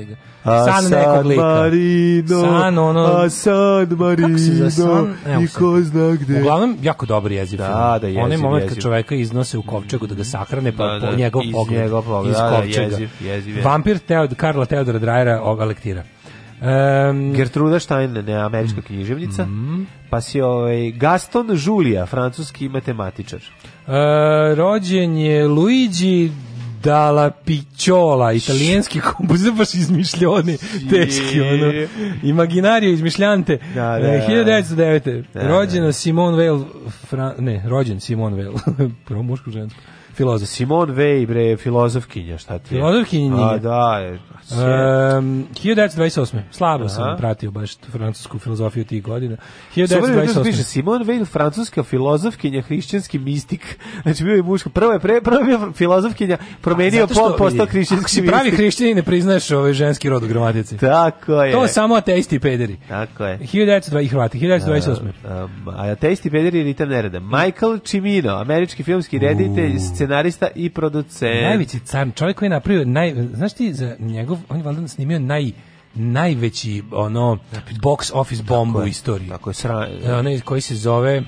[SPEAKER 8] A
[SPEAKER 7] San nekog lika.
[SPEAKER 8] Marino,
[SPEAKER 7] San ono-
[SPEAKER 8] a San Marino,
[SPEAKER 7] Kako se zove? San- evo
[SPEAKER 8] i
[SPEAKER 7] sad.
[SPEAKER 8] ko zna gde.
[SPEAKER 7] Uglavnom, jako dobar jeziv
[SPEAKER 8] Da,
[SPEAKER 7] film.
[SPEAKER 8] da, jeziv,
[SPEAKER 7] Onaj moment kad
[SPEAKER 8] jeziv.
[SPEAKER 7] čoveka iznose u kovčegu da ga sahrane, pa
[SPEAKER 8] Da, da,
[SPEAKER 7] po njegov
[SPEAKER 8] iz
[SPEAKER 7] pogled.
[SPEAKER 8] njegov pogled,
[SPEAKER 7] iz
[SPEAKER 8] da, da,
[SPEAKER 7] kovčega.
[SPEAKER 8] jeziv, jeziv, jeziv.
[SPEAKER 7] Vampir Teod, Karla Teodora Drajera oga lektira. Um,
[SPEAKER 8] Gertruda Stein, ne, američka književnica, pa si ovaj Gaston Julia, francuski matematičar.
[SPEAKER 7] E, rođen je Luigi Dalla Picciola, italijanski kompozitor, baš izmišljeni, teški, ono, imaginario izmišljante.
[SPEAKER 8] Da, da,
[SPEAKER 7] E,
[SPEAKER 8] da.
[SPEAKER 7] 1909.
[SPEAKER 8] Da,
[SPEAKER 7] Rođena Simone Weil, Fran... ne, rođen Simone Weil, prvo muško žensko, filozof.
[SPEAKER 8] Simone Weil, bre, filozofkinja, šta ti je?
[SPEAKER 7] Filozofkinja.
[SPEAKER 8] A, da, je.
[SPEAKER 7] Um, 1928. Slabo sam
[SPEAKER 8] Aha.
[SPEAKER 7] pratio baš tu francusku filozofiju tih godina.
[SPEAKER 8] Samo da se piše
[SPEAKER 7] 1928.
[SPEAKER 8] Simone Weil, francuska filozofkinja, hrišćanski mistik. Znači bio je muško. Prvo je pre, prvo je bio filozofkinja, promenio
[SPEAKER 7] Zato što,
[SPEAKER 8] pol, postao
[SPEAKER 7] vidi, ako
[SPEAKER 8] hrišćanski
[SPEAKER 7] si
[SPEAKER 8] mistik.
[SPEAKER 7] pravi hrišćani ne priznaš ovaj ženski rod u gramatici.
[SPEAKER 8] Tako je.
[SPEAKER 7] To samo ateisti i pederi.
[SPEAKER 8] Tako je.
[SPEAKER 7] 1920 i Hrvati, 1928.
[SPEAKER 8] Um, a ateisti pederi ritam nereda. Michael Cimino, američki filmski reditelj, scenarista i producent.
[SPEAKER 7] Najveći car, čovjek koji je napravio naj, znaš ti za njegov, on je valjda snimio naj najveći ono box office bombu u istoriji.
[SPEAKER 8] Tako je sra-
[SPEAKER 7] E, Onaj koji se zove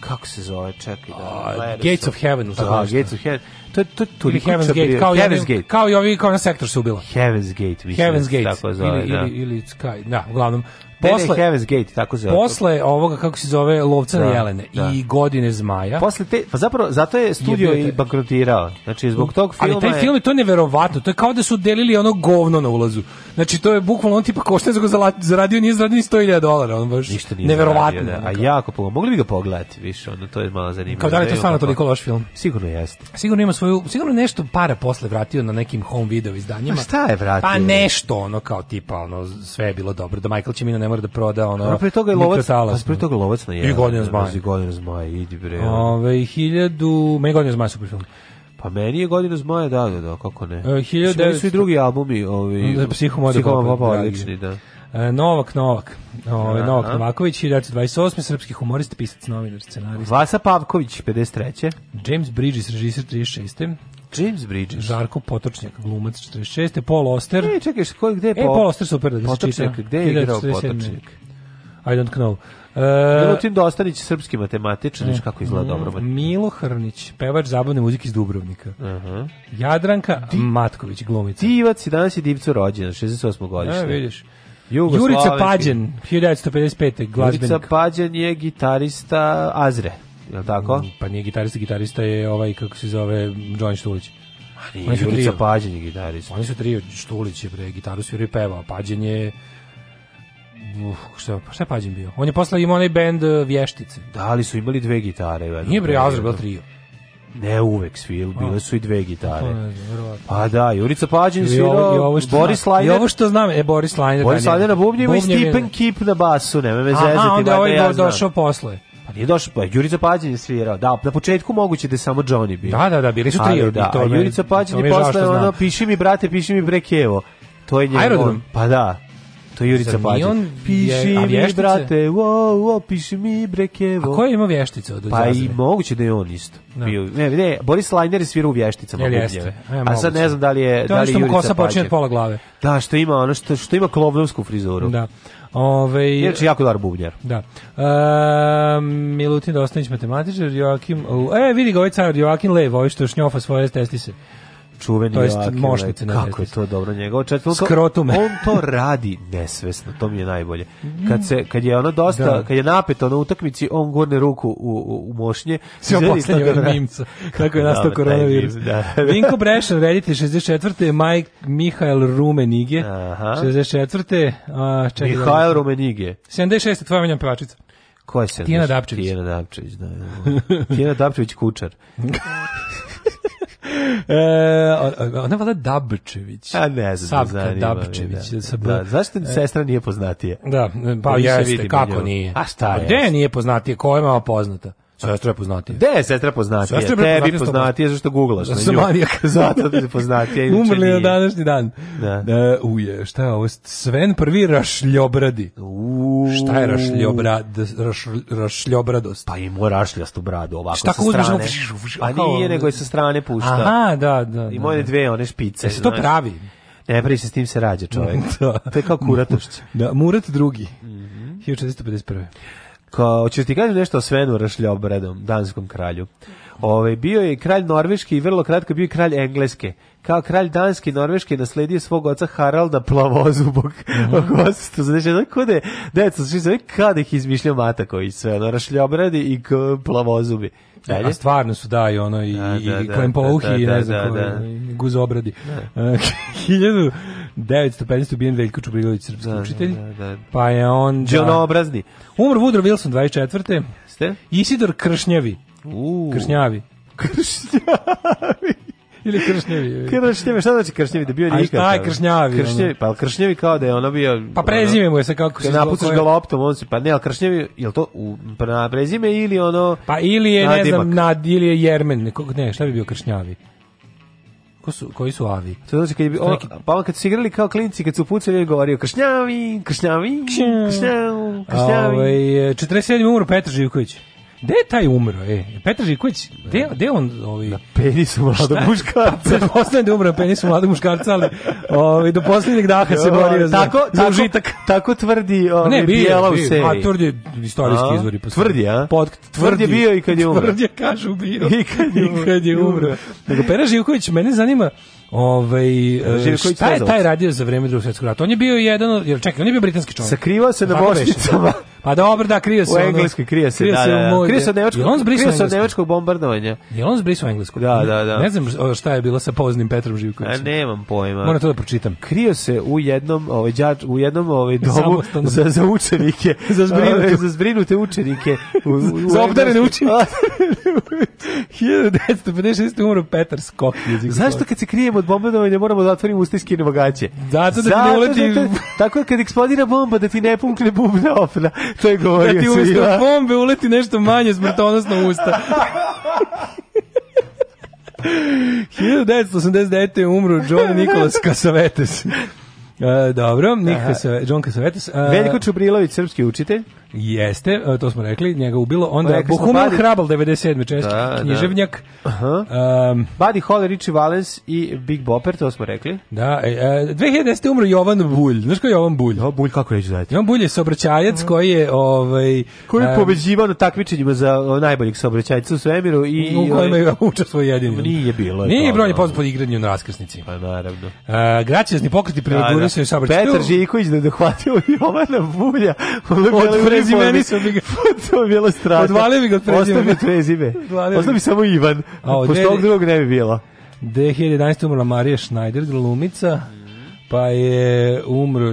[SPEAKER 8] kako se zove, čekaj Pa da.
[SPEAKER 7] A,
[SPEAKER 8] Players
[SPEAKER 7] Gates of Heaven, ili tako
[SPEAKER 8] Da,
[SPEAKER 7] nešto.
[SPEAKER 8] Gates of Heaven. To je to to
[SPEAKER 7] ili Heaven's Gate, kao,
[SPEAKER 8] kao
[SPEAKER 7] i
[SPEAKER 8] Heaven's
[SPEAKER 7] ovi-
[SPEAKER 8] Gate.
[SPEAKER 7] kao i ovi kao na sektor su ubila.
[SPEAKER 8] Heaven's Gate, mislim. da
[SPEAKER 7] Heaven's
[SPEAKER 8] se
[SPEAKER 7] Gate
[SPEAKER 8] Tako zove,
[SPEAKER 7] ili,
[SPEAKER 8] da.
[SPEAKER 7] ili, ili Sky, da, uglavnom.
[SPEAKER 8] Ne, ne,
[SPEAKER 7] Posle,
[SPEAKER 8] Heaven's Gate, tako se zove.
[SPEAKER 7] posle ovoga, kako se zove, Lovca na
[SPEAKER 8] Da,
[SPEAKER 7] jelene
[SPEAKER 8] da.
[SPEAKER 7] i Godine zmaja,
[SPEAKER 8] Posle te, pa zapravo zato je studio
[SPEAKER 7] bio taj-
[SPEAKER 8] i bankrotirao. Znači zbog tog filma.
[SPEAKER 7] Ali taj
[SPEAKER 8] je-
[SPEAKER 7] film je to je neverovatno, to je kao da su delili ono govno na ulazu. Znači to je bukvalno on tipa košta za zaradio nije zaradio ni 100.000 dolara, on baš
[SPEAKER 8] ništa nije
[SPEAKER 7] neverovatno.
[SPEAKER 8] zaradio, da.
[SPEAKER 7] Ono
[SPEAKER 8] A
[SPEAKER 7] kao-
[SPEAKER 8] jako puno. Mogli bi ga pogledati više, ono to je malo zanimljivo.
[SPEAKER 7] kao da li je to
[SPEAKER 8] vidimo
[SPEAKER 7] stvarno
[SPEAKER 8] kako-
[SPEAKER 7] toliko loš film?
[SPEAKER 8] Sigurno jeste.
[SPEAKER 7] Sigurno ima svoju, sigurno nešto para posle vratio na nekim home video izdanjima.
[SPEAKER 8] Ma šta je vratio?
[SPEAKER 7] Pa nešto ono kao tipa ono sve je bilo dobro da Michael Cimino ne mora da proda ono.
[SPEAKER 8] A pre toga je lovac, pa
[SPEAKER 7] mikrotalas.
[SPEAKER 8] pre toga je lovac na
[SPEAKER 7] I
[SPEAKER 8] jedan.
[SPEAKER 7] Godina zmaja.
[SPEAKER 8] I godina zmaja, idi bre. ono.
[SPEAKER 7] Ove, 1000, meni godina zmaja super film.
[SPEAKER 8] Pa meni je godina zmaja, da, da, da, kako ne.
[SPEAKER 7] E, 1900
[SPEAKER 8] Mislim, meni su i drugi albumi, ovi,
[SPEAKER 7] Da, Psihomoda
[SPEAKER 8] Psihomoda
[SPEAKER 7] Popa,
[SPEAKER 8] odlični, da.
[SPEAKER 7] E, Novak Novak, Ove,
[SPEAKER 8] Aha.
[SPEAKER 7] Novak Novaković, 1928. Srpski humorist, pisac, novinar, scenarist.
[SPEAKER 8] Vasa Pavković, 53.
[SPEAKER 7] James Bridges, režisir 36.
[SPEAKER 8] James Bridges.
[SPEAKER 7] Žarko Potočnjak, glumac 46. Paul Oster.
[SPEAKER 8] E, čekaj, ko, gde je
[SPEAKER 7] E, Paul Oster super da se
[SPEAKER 8] Potočnik,
[SPEAKER 7] čita.
[SPEAKER 8] gde je igrao
[SPEAKER 7] 1947.
[SPEAKER 8] Potočnik?
[SPEAKER 7] I don't know. E,
[SPEAKER 8] Milutin Dostanić, srpski matematičar, viš kako izgleda dobro.
[SPEAKER 7] mm, Milo Hrnić, pevač zabavne muzike iz Dubrovnika. Jadranka Matković, glumica.
[SPEAKER 8] Divac i danas je divcu rođen, 68. godišnje.
[SPEAKER 7] E, vidiš.
[SPEAKER 8] Jugoslavenski.
[SPEAKER 7] Jurica Pađen, 1955.
[SPEAKER 8] Jurica
[SPEAKER 7] glazbenik.
[SPEAKER 8] Pađen je gitarista Azre, je li tako?
[SPEAKER 7] Pa nije gitarista, gitarista je ovaj, kako se zove, Johnny Štulić. Oni su
[SPEAKER 8] Jurica
[SPEAKER 7] trio.
[SPEAKER 8] Pađen je gitarista.
[SPEAKER 7] Oni su trio, Štulić je pre gitaru svirao i pevao, a Pađen je... Uf, šta, pa šta je Pađen bio? On je posle imao onaj bend e, Vještice.
[SPEAKER 8] Da li su imali dve gitare? u jednom
[SPEAKER 7] Nije bre
[SPEAKER 8] periodu?
[SPEAKER 7] Azra bila trio.
[SPEAKER 8] Ne uvek svil,
[SPEAKER 7] Pa.
[SPEAKER 8] bile su i dve gitare.
[SPEAKER 7] verovatno.
[SPEAKER 8] Pa da, Jurica Pađen
[SPEAKER 7] I ovo, i
[SPEAKER 8] svirao,
[SPEAKER 7] ovo što
[SPEAKER 8] Boris
[SPEAKER 7] znam, I
[SPEAKER 8] Lajner,
[SPEAKER 7] ovo što znam, e, Boris Lajner.
[SPEAKER 8] Boris
[SPEAKER 7] da,
[SPEAKER 8] Lajner na bubnjima i
[SPEAKER 7] Bubnjevi-
[SPEAKER 8] Stephen Kip na basu, nemoj me zezati.
[SPEAKER 7] Aha, onda je
[SPEAKER 8] valjda
[SPEAKER 7] ovaj
[SPEAKER 8] ja
[SPEAKER 7] do-
[SPEAKER 8] znam.
[SPEAKER 7] došao posle.
[SPEAKER 8] Pa nije došao, pa Jurica Pađen je svirao. Da, na početku moguće da je samo Johnny bio.
[SPEAKER 7] Da, da, da, bili su
[SPEAKER 8] Ali
[SPEAKER 7] trio.
[SPEAKER 8] da,
[SPEAKER 7] to
[SPEAKER 8] a
[SPEAKER 7] me-
[SPEAKER 8] Jurica
[SPEAKER 7] to
[SPEAKER 8] Pađen
[SPEAKER 7] mi
[SPEAKER 8] je
[SPEAKER 7] žao
[SPEAKER 8] posle
[SPEAKER 7] što znam.
[SPEAKER 8] ono, piši mi brate, piši mi brekevo. To je njegov.
[SPEAKER 7] Aerodrom?
[SPEAKER 8] Pa da. To je Jurica
[SPEAKER 7] Zar nije
[SPEAKER 8] Pađe.
[SPEAKER 7] on
[SPEAKER 8] Piši
[SPEAKER 7] vje- a
[SPEAKER 8] mi,
[SPEAKER 7] vještice?
[SPEAKER 8] brate, wo, wo, piši mi, brekevo.
[SPEAKER 7] A ko je imao vještice od
[SPEAKER 8] Pa i
[SPEAKER 7] Zazave?
[SPEAKER 8] moguće da je on isto.
[SPEAKER 7] Da.
[SPEAKER 8] Bio, ne, ne, Boris Lajner je svirao u vješticama.
[SPEAKER 7] Jel
[SPEAKER 8] bubnjeve.
[SPEAKER 7] jeste? E,
[SPEAKER 8] A sad
[SPEAKER 7] moguće.
[SPEAKER 8] ne znam da li je,
[SPEAKER 7] To
[SPEAKER 8] da
[SPEAKER 7] je ono
[SPEAKER 8] li je
[SPEAKER 7] što mu
[SPEAKER 8] Jurica
[SPEAKER 7] kosa počinje
[SPEAKER 8] Pađe.
[SPEAKER 7] od pola glave.
[SPEAKER 8] Da, što ima ono što, što ima klovnovsku frizuru.
[SPEAKER 7] Da. Ove,
[SPEAKER 8] Inače, jako dobar bubnjar.
[SPEAKER 7] Da. E, Milutin Dostanić, matematičar, Joakim... E, vidi ga ovaj car, Joakim Lev, ovaj što šnjofa svoje testi se.
[SPEAKER 8] Čuveni
[SPEAKER 7] To jest
[SPEAKER 8] Joakim
[SPEAKER 7] mošnice,
[SPEAKER 8] Lep.
[SPEAKER 7] ne
[SPEAKER 8] Kako je
[SPEAKER 7] vjestice.
[SPEAKER 8] to dobro njegovo četvrlo.
[SPEAKER 7] Skrotum.
[SPEAKER 8] On to radi nesvesno, to mi je najbolje. Kad, se, kad je ono dosta,
[SPEAKER 7] Da.
[SPEAKER 8] kad je napeto na utakmici, on gurne ruku u, u, u mošnje.
[SPEAKER 7] Sve
[SPEAKER 8] Izvedi
[SPEAKER 7] poslednje
[SPEAKER 8] to
[SPEAKER 7] od
[SPEAKER 8] da-
[SPEAKER 7] Mimca. Kako je
[SPEAKER 8] Kako
[SPEAKER 7] nastao
[SPEAKER 8] dobar taj
[SPEAKER 7] koronavirus.
[SPEAKER 8] mim, da.
[SPEAKER 7] Vinko Brešan, reditelj 64. Maj, Mihajl Rumenige,
[SPEAKER 8] Aha.
[SPEAKER 7] 64. A, čekaj, da-
[SPEAKER 8] Mihajl Rumenige.
[SPEAKER 7] 76. tvoja menjam pevačica.
[SPEAKER 8] Ko je se?
[SPEAKER 7] Tijana Dapčević.
[SPEAKER 8] Tijana Dapčević, da. Tijana Dapčević Kučar.
[SPEAKER 7] E, o- o- ona je valjda Dabčević.
[SPEAKER 8] A ne znam,
[SPEAKER 7] Savka
[SPEAKER 8] zanima me,
[SPEAKER 7] Dabčević.
[SPEAKER 8] Da.
[SPEAKER 7] sa B. E.
[SPEAKER 8] da. Zašto sestra nije poznatije?
[SPEAKER 7] Da, pa
[SPEAKER 8] Više
[SPEAKER 7] jeste,
[SPEAKER 8] vidim
[SPEAKER 7] kako
[SPEAKER 8] nju.
[SPEAKER 7] nije.
[SPEAKER 8] A šta
[SPEAKER 7] je? Gde
[SPEAKER 8] jeste?
[SPEAKER 7] nije poznatije, ko je malo poznata? Sestra je poznatija.
[SPEAKER 8] Gde je sestra poznatija?
[SPEAKER 7] Sestra je bila
[SPEAKER 8] Tebi
[SPEAKER 7] poznatija sto
[SPEAKER 8] poznatije zašto googlaš na
[SPEAKER 7] Zato sam
[SPEAKER 8] nju.
[SPEAKER 7] manijak.
[SPEAKER 8] Zato ti je poznatija. inače
[SPEAKER 7] Umrli na
[SPEAKER 8] nije.
[SPEAKER 7] današnji dan.
[SPEAKER 8] Da.
[SPEAKER 7] E, uje, šta je ovo? Sven prvi rašljobradi.
[SPEAKER 8] Uuu.
[SPEAKER 7] Šta je rašljobrad, raš, rašljobradost?
[SPEAKER 8] Pa imao rašljastu bradu ovako
[SPEAKER 7] Šta
[SPEAKER 8] sa
[SPEAKER 7] ako uzmeš
[SPEAKER 8] strane.
[SPEAKER 7] ono, viš, viš,
[SPEAKER 8] Pa
[SPEAKER 7] kao- ono-
[SPEAKER 8] nije, nego je sa strane pušta.
[SPEAKER 7] Aha, da, da.
[SPEAKER 8] Imao je
[SPEAKER 7] da.
[SPEAKER 8] dve one špice.
[SPEAKER 7] E, se to
[SPEAKER 8] znaš.
[SPEAKER 7] pravi?
[SPEAKER 8] Ne, pravi se s tim se rađa čovjek.
[SPEAKER 7] Da.
[SPEAKER 8] To je kao kuratošće.
[SPEAKER 7] Da, Murat drugi.
[SPEAKER 8] Mhm.
[SPEAKER 7] Mm 1451.
[SPEAKER 8] Kao, hoćeš ti kažem nešto o Svenu Rašljobredom, danskom kralju. Ove, bio je i kralj Norveški i vrlo kratko je bio i kralj Engleske. Kao kralj Danski i Norveški je nasledio svog oca Haralda Plavozubog.
[SPEAKER 7] Mhm.
[SPEAKER 8] Oko 800, znači, ono kude, deca, znači, znači, kada ih izmišljao Mataković, sve, ono, Rašljobredi i k, Plavozubi. Dalje?
[SPEAKER 7] A stvarno su da i ono i,
[SPEAKER 8] Da, da,
[SPEAKER 7] i
[SPEAKER 8] da,
[SPEAKER 7] klempouhi
[SPEAKER 8] da,
[SPEAKER 7] i
[SPEAKER 8] da,
[SPEAKER 7] ne znam
[SPEAKER 8] da,
[SPEAKER 7] ko,
[SPEAKER 8] da.
[SPEAKER 7] i guzobradi. E, 1915. ubijen Veljko Čubrilović, srpski
[SPEAKER 8] Da, da,
[SPEAKER 7] učitelj.
[SPEAKER 8] da, da.
[SPEAKER 7] Pa je on...
[SPEAKER 8] ono
[SPEAKER 7] Da,
[SPEAKER 8] Đonobrazni.
[SPEAKER 7] umr Woodrow Wilson, 24.
[SPEAKER 8] Ste?
[SPEAKER 7] Isidor Kršnjevi.
[SPEAKER 8] Uuu.
[SPEAKER 7] Kršnjavi. Ili Kršnjevi.
[SPEAKER 8] Kršnjevi, šta znači Kršnjevi? Da bio
[SPEAKER 7] A
[SPEAKER 8] nikad.
[SPEAKER 7] šta je
[SPEAKER 8] ono?
[SPEAKER 7] Kršnjavi, ono?
[SPEAKER 8] Kršnjevi, pa Kršnjevi kao da je ono bio...
[SPEAKER 7] Pa prezime mu je se kako se
[SPEAKER 8] Kad
[SPEAKER 7] zove,
[SPEAKER 8] napucaš
[SPEAKER 7] koje-
[SPEAKER 8] ga loptom, on se, pa ne, ali Kršnjevi, je li to u, na prezime ili ono...
[SPEAKER 7] Pa ili je, ne
[SPEAKER 8] Nadimak?
[SPEAKER 7] znam, nad, ili je Jermen, neko, ne, šta bi bio Kršnjavi? Ko su, koji su avi?
[SPEAKER 8] To znači kad je, bi- on,
[SPEAKER 7] Neki-
[SPEAKER 8] pa on kad su se igrali kao klinci, kad su pucali, on je govorio Kršnjavi, Kršnjavi, Kršnjavi,
[SPEAKER 7] Ovaj,
[SPEAKER 8] Kršnjavi.
[SPEAKER 7] 47. umro Petar Živković. Gde je taj umro? E, Petar Živković, gde, gde on... Ovaj,
[SPEAKER 8] Penis u mladog muškarca.
[SPEAKER 7] Pretpostavljam da je umro pa na penisu mladog muškarca, ali ovaj, do posljednjeg daha se borio za,
[SPEAKER 8] tako,
[SPEAKER 7] za
[SPEAKER 8] tako,
[SPEAKER 7] užitak.
[SPEAKER 8] tako tvrdi ovaj, ne,
[SPEAKER 7] bio je,
[SPEAKER 8] Bijela u
[SPEAKER 7] bio je.
[SPEAKER 8] seriji.
[SPEAKER 7] A tvrd je istorijski
[SPEAKER 8] A?
[SPEAKER 7] izvori. pa
[SPEAKER 8] Tvrd je, a?
[SPEAKER 7] Pod,
[SPEAKER 8] Tvrd je bio i kad je umro.
[SPEAKER 7] Tvrd je, kažu, bio.
[SPEAKER 8] I kad je
[SPEAKER 7] I kad je umro.
[SPEAKER 8] umro.
[SPEAKER 7] Nego Pera Živković, mene zanima ovaj, e,
[SPEAKER 8] Živković
[SPEAKER 7] šta je
[SPEAKER 8] Cezovac.
[SPEAKER 7] taj radio za vreme drugog svjetskog rata? On je bio jedan, od- jel čekaj, on je bio britanski čovjek.
[SPEAKER 8] Sakrivao se na
[SPEAKER 7] Tako beše.
[SPEAKER 8] bošnicama.
[SPEAKER 7] Pa dobro, da, krio se.
[SPEAKER 8] U
[SPEAKER 7] ono-
[SPEAKER 8] Engleskoj krije se, da,
[SPEAKER 7] u
[SPEAKER 8] da, da.
[SPEAKER 7] moj-
[SPEAKER 8] Krije se od nemačkog,
[SPEAKER 7] Jel on zbrisao
[SPEAKER 8] krije se od
[SPEAKER 7] englesku?
[SPEAKER 8] nemačkog bombardovanja.
[SPEAKER 7] Jel on zbrisao englesku?
[SPEAKER 8] Da, da, da.
[SPEAKER 7] Ne znam šta je bilo sa poznim Petrom
[SPEAKER 8] A
[SPEAKER 7] Živkovićem.
[SPEAKER 8] nemam pojma.
[SPEAKER 7] Moram to da pročitam.
[SPEAKER 8] krio se u jednom ovaj đač u jednom ovaj domu
[SPEAKER 7] Samostanu.
[SPEAKER 8] za za učenike
[SPEAKER 7] Za zbrinute.
[SPEAKER 8] Ove, za zbrinute učenike u, u,
[SPEAKER 7] Za obdarene
[SPEAKER 8] Engleskoj.
[SPEAKER 7] učenike. 1956. umro Petar Skok. jezik
[SPEAKER 8] Zašto kad se krijemo od bombardovanja moramo da otvorimo usta i skinemo gaće?
[SPEAKER 7] Zato da ti ne uleti-
[SPEAKER 8] da te- tako je kad eksplodira bomba da ti ne pukne bubna opna. To je
[SPEAKER 7] Da
[SPEAKER 8] govorio
[SPEAKER 7] ti
[SPEAKER 8] Sviva.
[SPEAKER 7] umesto bombe uleti nešto manje smrtonosno u usta. 1989. je umro John Nicholas Casavetes. E, dobro, Nik Casave- John Casavetes. e,
[SPEAKER 8] Veljko Čubrilović, srpski učitelj.
[SPEAKER 7] Jeste, e, to smo rekli, njega ubilo. Onda
[SPEAKER 8] Rekli smo
[SPEAKER 7] Bohumil
[SPEAKER 8] Badi-
[SPEAKER 7] Hrabal, 97. češki
[SPEAKER 8] Da, da.
[SPEAKER 7] književnjak.
[SPEAKER 8] Aha.
[SPEAKER 7] Um,
[SPEAKER 8] Buddy Holly, Richie Valens i Big Bopper, to smo rekli.
[SPEAKER 7] da, e, e, 2010. umro Jovan Bulj. Znaš ko je Jovan Bulj?
[SPEAKER 8] Jo, bulj, kako reći zajedno?
[SPEAKER 7] Jovan Bulj je saobraćajac koji je ovaj
[SPEAKER 8] Koji je
[SPEAKER 7] em,
[SPEAKER 8] pobeđivao na takmičenjima za o, najboljeg saobraćajca u svemiru i... ovaj,
[SPEAKER 7] u kojima je učestvo jedini.
[SPEAKER 8] Nije bilo je
[SPEAKER 7] Nije
[SPEAKER 8] toga,
[SPEAKER 7] broj je
[SPEAKER 8] ono.
[SPEAKER 7] poznat pod igranjem na raskrsnici.
[SPEAKER 8] Pa naravno.
[SPEAKER 7] Uh, Gracijazni pokreti prilagodili se saobraćaju.
[SPEAKER 8] Petar Živković da je dohvatio Jovana Ono Bulja.
[SPEAKER 7] Od prezimeni su mi ga-
[SPEAKER 8] to je bilo strašno.
[SPEAKER 7] Odvalio bi ga od prezimena.
[SPEAKER 8] Ostao bi prezime.
[SPEAKER 7] Odvalio
[SPEAKER 8] Ostao
[SPEAKER 7] bi.
[SPEAKER 8] bi samo Ivan.
[SPEAKER 7] A, od
[SPEAKER 8] Pošto
[SPEAKER 7] dve-
[SPEAKER 8] ovog drugog ne bi bilo.
[SPEAKER 7] 2011. umrla Marija Schneider, glumica, pa je umro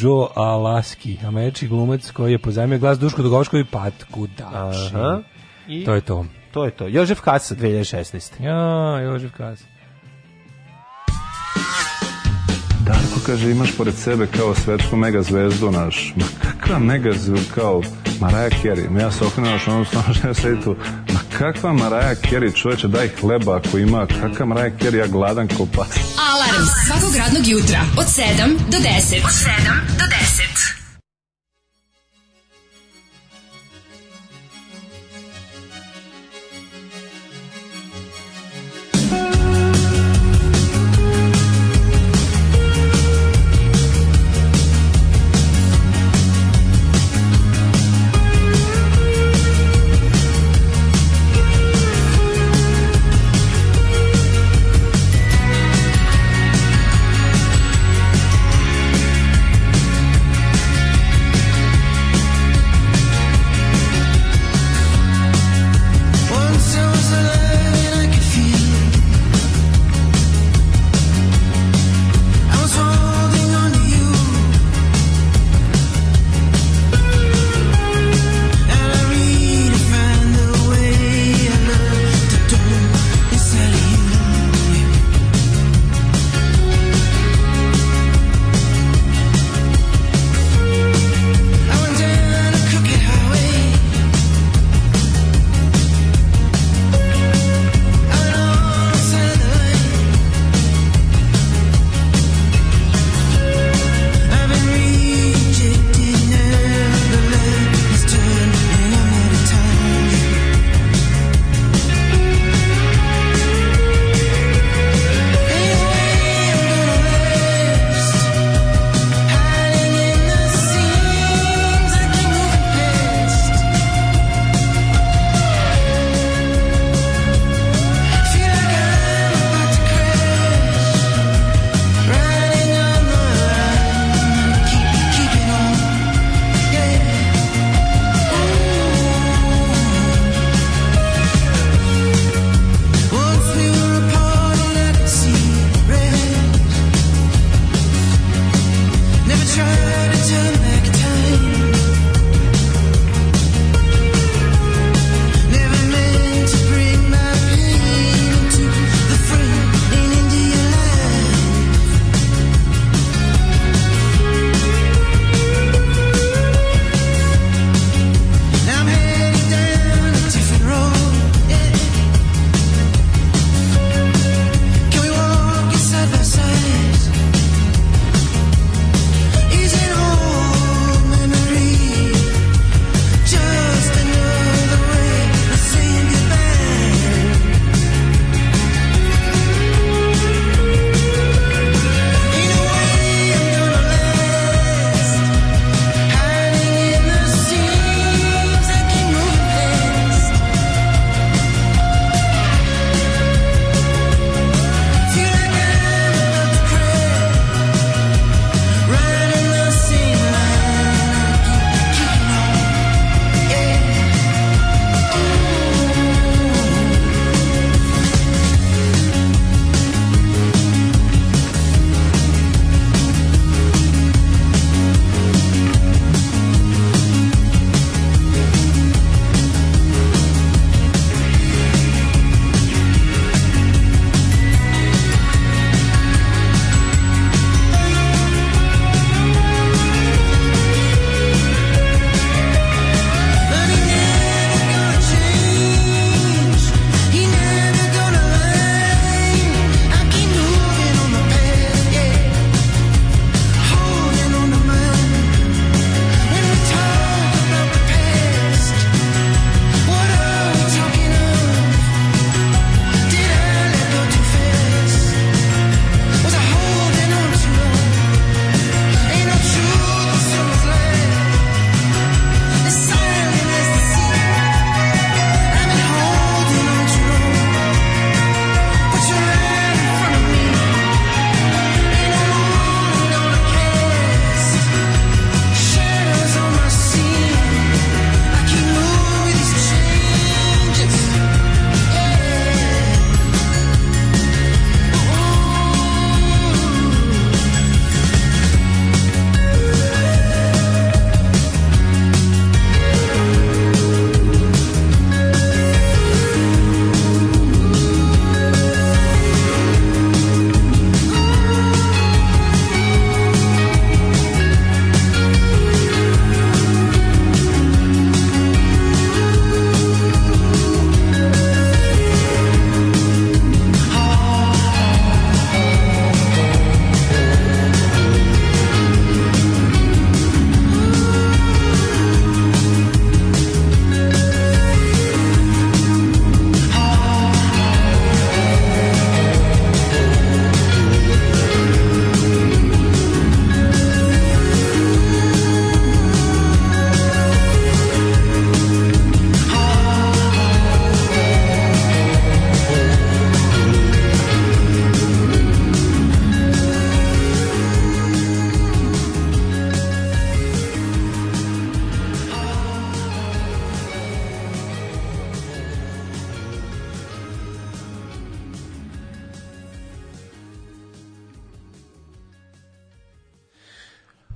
[SPEAKER 7] Joe Alaski, američki glumac koji je pozajmio glas Duško Dugovško i Patku Dači.
[SPEAKER 8] Aha. I
[SPEAKER 7] To je to.
[SPEAKER 8] to je to. Jožef Kasa 2016.
[SPEAKER 7] Ja, Jožef Kaz.
[SPEAKER 13] Darko kaže imaš pored sebe kao svetsku megazvezdu naš. Ma kakva megazvezdu kao Mariah Carey. Ma ja se okrenuo što ono stano što ja sedi tu. Ma kakva Mariah Carey čoveče daj hleba ako ima. Kakva Mariah Carey ja gladan ko pas.
[SPEAKER 6] Alarm svakog radnog jutra od 7 do 10. Od 7 do 10.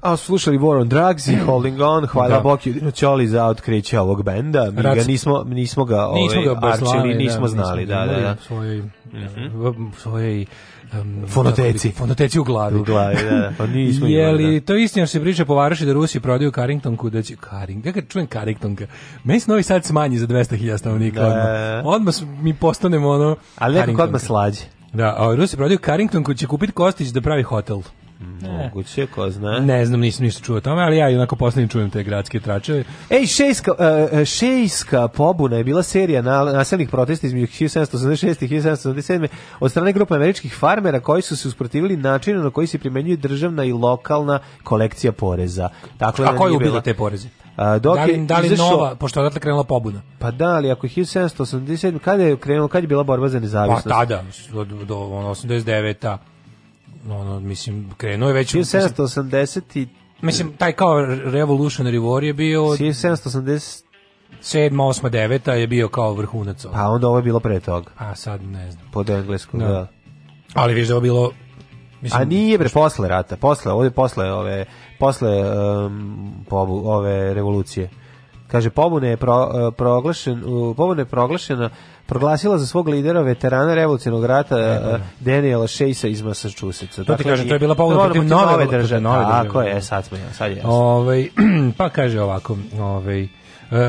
[SPEAKER 8] A slušali War on Drugs i Holding On, hvala
[SPEAKER 7] Da.
[SPEAKER 8] da. Bog jedino Ćoli za otkriće ovog benda. Mi
[SPEAKER 7] Rac-
[SPEAKER 8] ga nismo, nismo ga, ovaj,
[SPEAKER 7] nismo ga baš
[SPEAKER 8] arčili,
[SPEAKER 7] znali,
[SPEAKER 8] nismo
[SPEAKER 7] da,
[SPEAKER 8] znali,
[SPEAKER 7] nismo ga
[SPEAKER 8] da, da,
[SPEAKER 7] imali
[SPEAKER 8] da. Mhm.
[SPEAKER 7] u svojoj, u svojoj um,
[SPEAKER 8] Fonoteci.
[SPEAKER 7] fonoteci u glavi.
[SPEAKER 8] U glavi, da, da. Pa nismo
[SPEAKER 7] Je
[SPEAKER 8] imali,
[SPEAKER 7] li to je istina što se priča po Varoši da Rusi prodaju Carringtonku da će Carrington, ja kad čujem Carringtonka, meni se Novi Sad smanji za 200.000 stanovnika
[SPEAKER 8] Da.
[SPEAKER 7] odmah. Odmah s- mi postanemo ono
[SPEAKER 8] Ali nekako
[SPEAKER 7] Carringtonka.
[SPEAKER 8] odmah slađe.
[SPEAKER 7] Da, a Rusi prodaju Carringtonku će kupiti Kostić da pravi hotel.
[SPEAKER 8] Moguće, ko zna.
[SPEAKER 7] Ne znam, nisam ništa čuo o tome, ali ja i onako poslednji čujem te gradske tračeve.
[SPEAKER 8] Ej, šejska, e, e, šejska pobuna je bila serija na, nasilnih protesta između 1786. i 1787. od strane grupe američkih farmera koji su se usprotivili načinu na koji se primenjuje državna i lokalna kolekcija poreza. Dakle,
[SPEAKER 7] A
[SPEAKER 8] ona
[SPEAKER 7] ko je
[SPEAKER 8] nije
[SPEAKER 7] ubila
[SPEAKER 8] bila-
[SPEAKER 7] te poreze?
[SPEAKER 8] A, dok
[SPEAKER 7] da li,
[SPEAKER 8] je
[SPEAKER 7] da li
[SPEAKER 8] izašao-
[SPEAKER 7] nova, pošto je odatle krenula pobuna?
[SPEAKER 8] Pa da, ali ako je 1787, kada je krenulo, kada je bila borba za
[SPEAKER 7] Pa
[SPEAKER 8] nezavisnost?
[SPEAKER 7] tada, do, do ono, 89-a, ono, mislim, krenuo je već... u-
[SPEAKER 8] 1780 i
[SPEAKER 7] Mislim, taj kao Revolutionary War je bio od
[SPEAKER 8] 1780,
[SPEAKER 7] 7, 8, 9 je bio kao vrhunac. ono.
[SPEAKER 8] pa onda ovo je bilo pre toga,
[SPEAKER 7] A sad ne znam.
[SPEAKER 8] pod engleskom,
[SPEAKER 7] Da.
[SPEAKER 8] da.
[SPEAKER 7] Ali viš da je ovo bilo...
[SPEAKER 8] A nije bre posle rata, posle, ovde posle ove posle um, pobu, ove revolucije. Kaže pobune je pro, uh, proglašen, uh, pobune je proglašena proglasila za svog lidera veterana revolucionarnog rata uh, Daniela Sheisa iz Massachusettsa. Dakle,
[SPEAKER 7] ti kažem, E, pa to je bila pobuna
[SPEAKER 8] Dobro,
[SPEAKER 7] protiv
[SPEAKER 8] protiv
[SPEAKER 7] nove-
[SPEAKER 8] nove
[SPEAKER 7] protiv
[SPEAKER 8] države.
[SPEAKER 7] nove države.
[SPEAKER 8] Tako je, sad smo, ja, sad je. jasno.
[SPEAKER 7] Ovaj, pa kaže ovako, ovaj, e,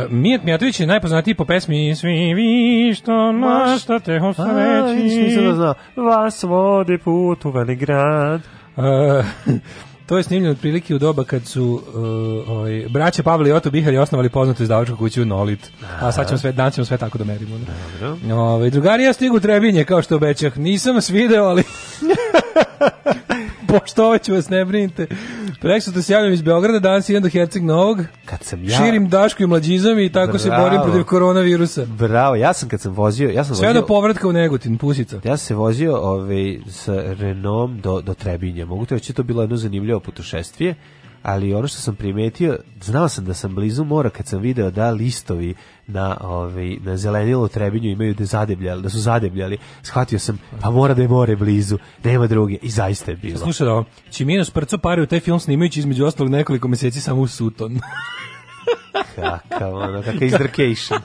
[SPEAKER 7] Mijet Mijatović je najpoznatiji po pesmi Svi vi što mašta te ho
[SPEAKER 8] A, vidiš, nisam da
[SPEAKER 7] sreći.
[SPEAKER 8] znao. Vas vodi put u Veligrad.
[SPEAKER 7] E, to je snimljeno otprilike u doba kad su e, ovaj, braća Pavle i Oto Bihari osnovali poznatu izdavačku kuću Nolit. A sad ćemo sve, danas ćemo sve tako da merimo. Ne? Ovaj, drugari, ja stigu u Trebinje, kao što obećah. Nisam vas video, ali... Poštovat ću vas, ne brinite. Prek što se javljam iz Beograda, danas idem do Herceg Novog.
[SPEAKER 8] Kad sam ja...
[SPEAKER 7] Ja. Širim dašku i mlađizom i tako se
[SPEAKER 8] Bravo.
[SPEAKER 7] borim protiv koronavirusa.
[SPEAKER 8] Bravo, ja sam kad sam vozio, ja sam
[SPEAKER 7] Sve
[SPEAKER 8] vozio...
[SPEAKER 7] do povratka u Negotin, pusica.
[SPEAKER 8] Pa Ja sam se vozio ovaj, sa Renom do, do Trebinja. Mogu to reći, to je bilo jedno zanimljivo putošestvije, ali ono što sam primetio, znao sam da sam blizu mora kad sam video da listovi na, ovaj, na zelenilu u Trebinju imaju da, zadebljali, da su zadebljali. Shvatio sam, pa mora da je more blizu, nema druge. I zaista je bilo.
[SPEAKER 7] Slušaj ovo, Čimino Šprco pare u taj film snimajući između ostalog nekoliko meseci samo u Suton.
[SPEAKER 8] Kakav, ono, kakav izdrkejšan.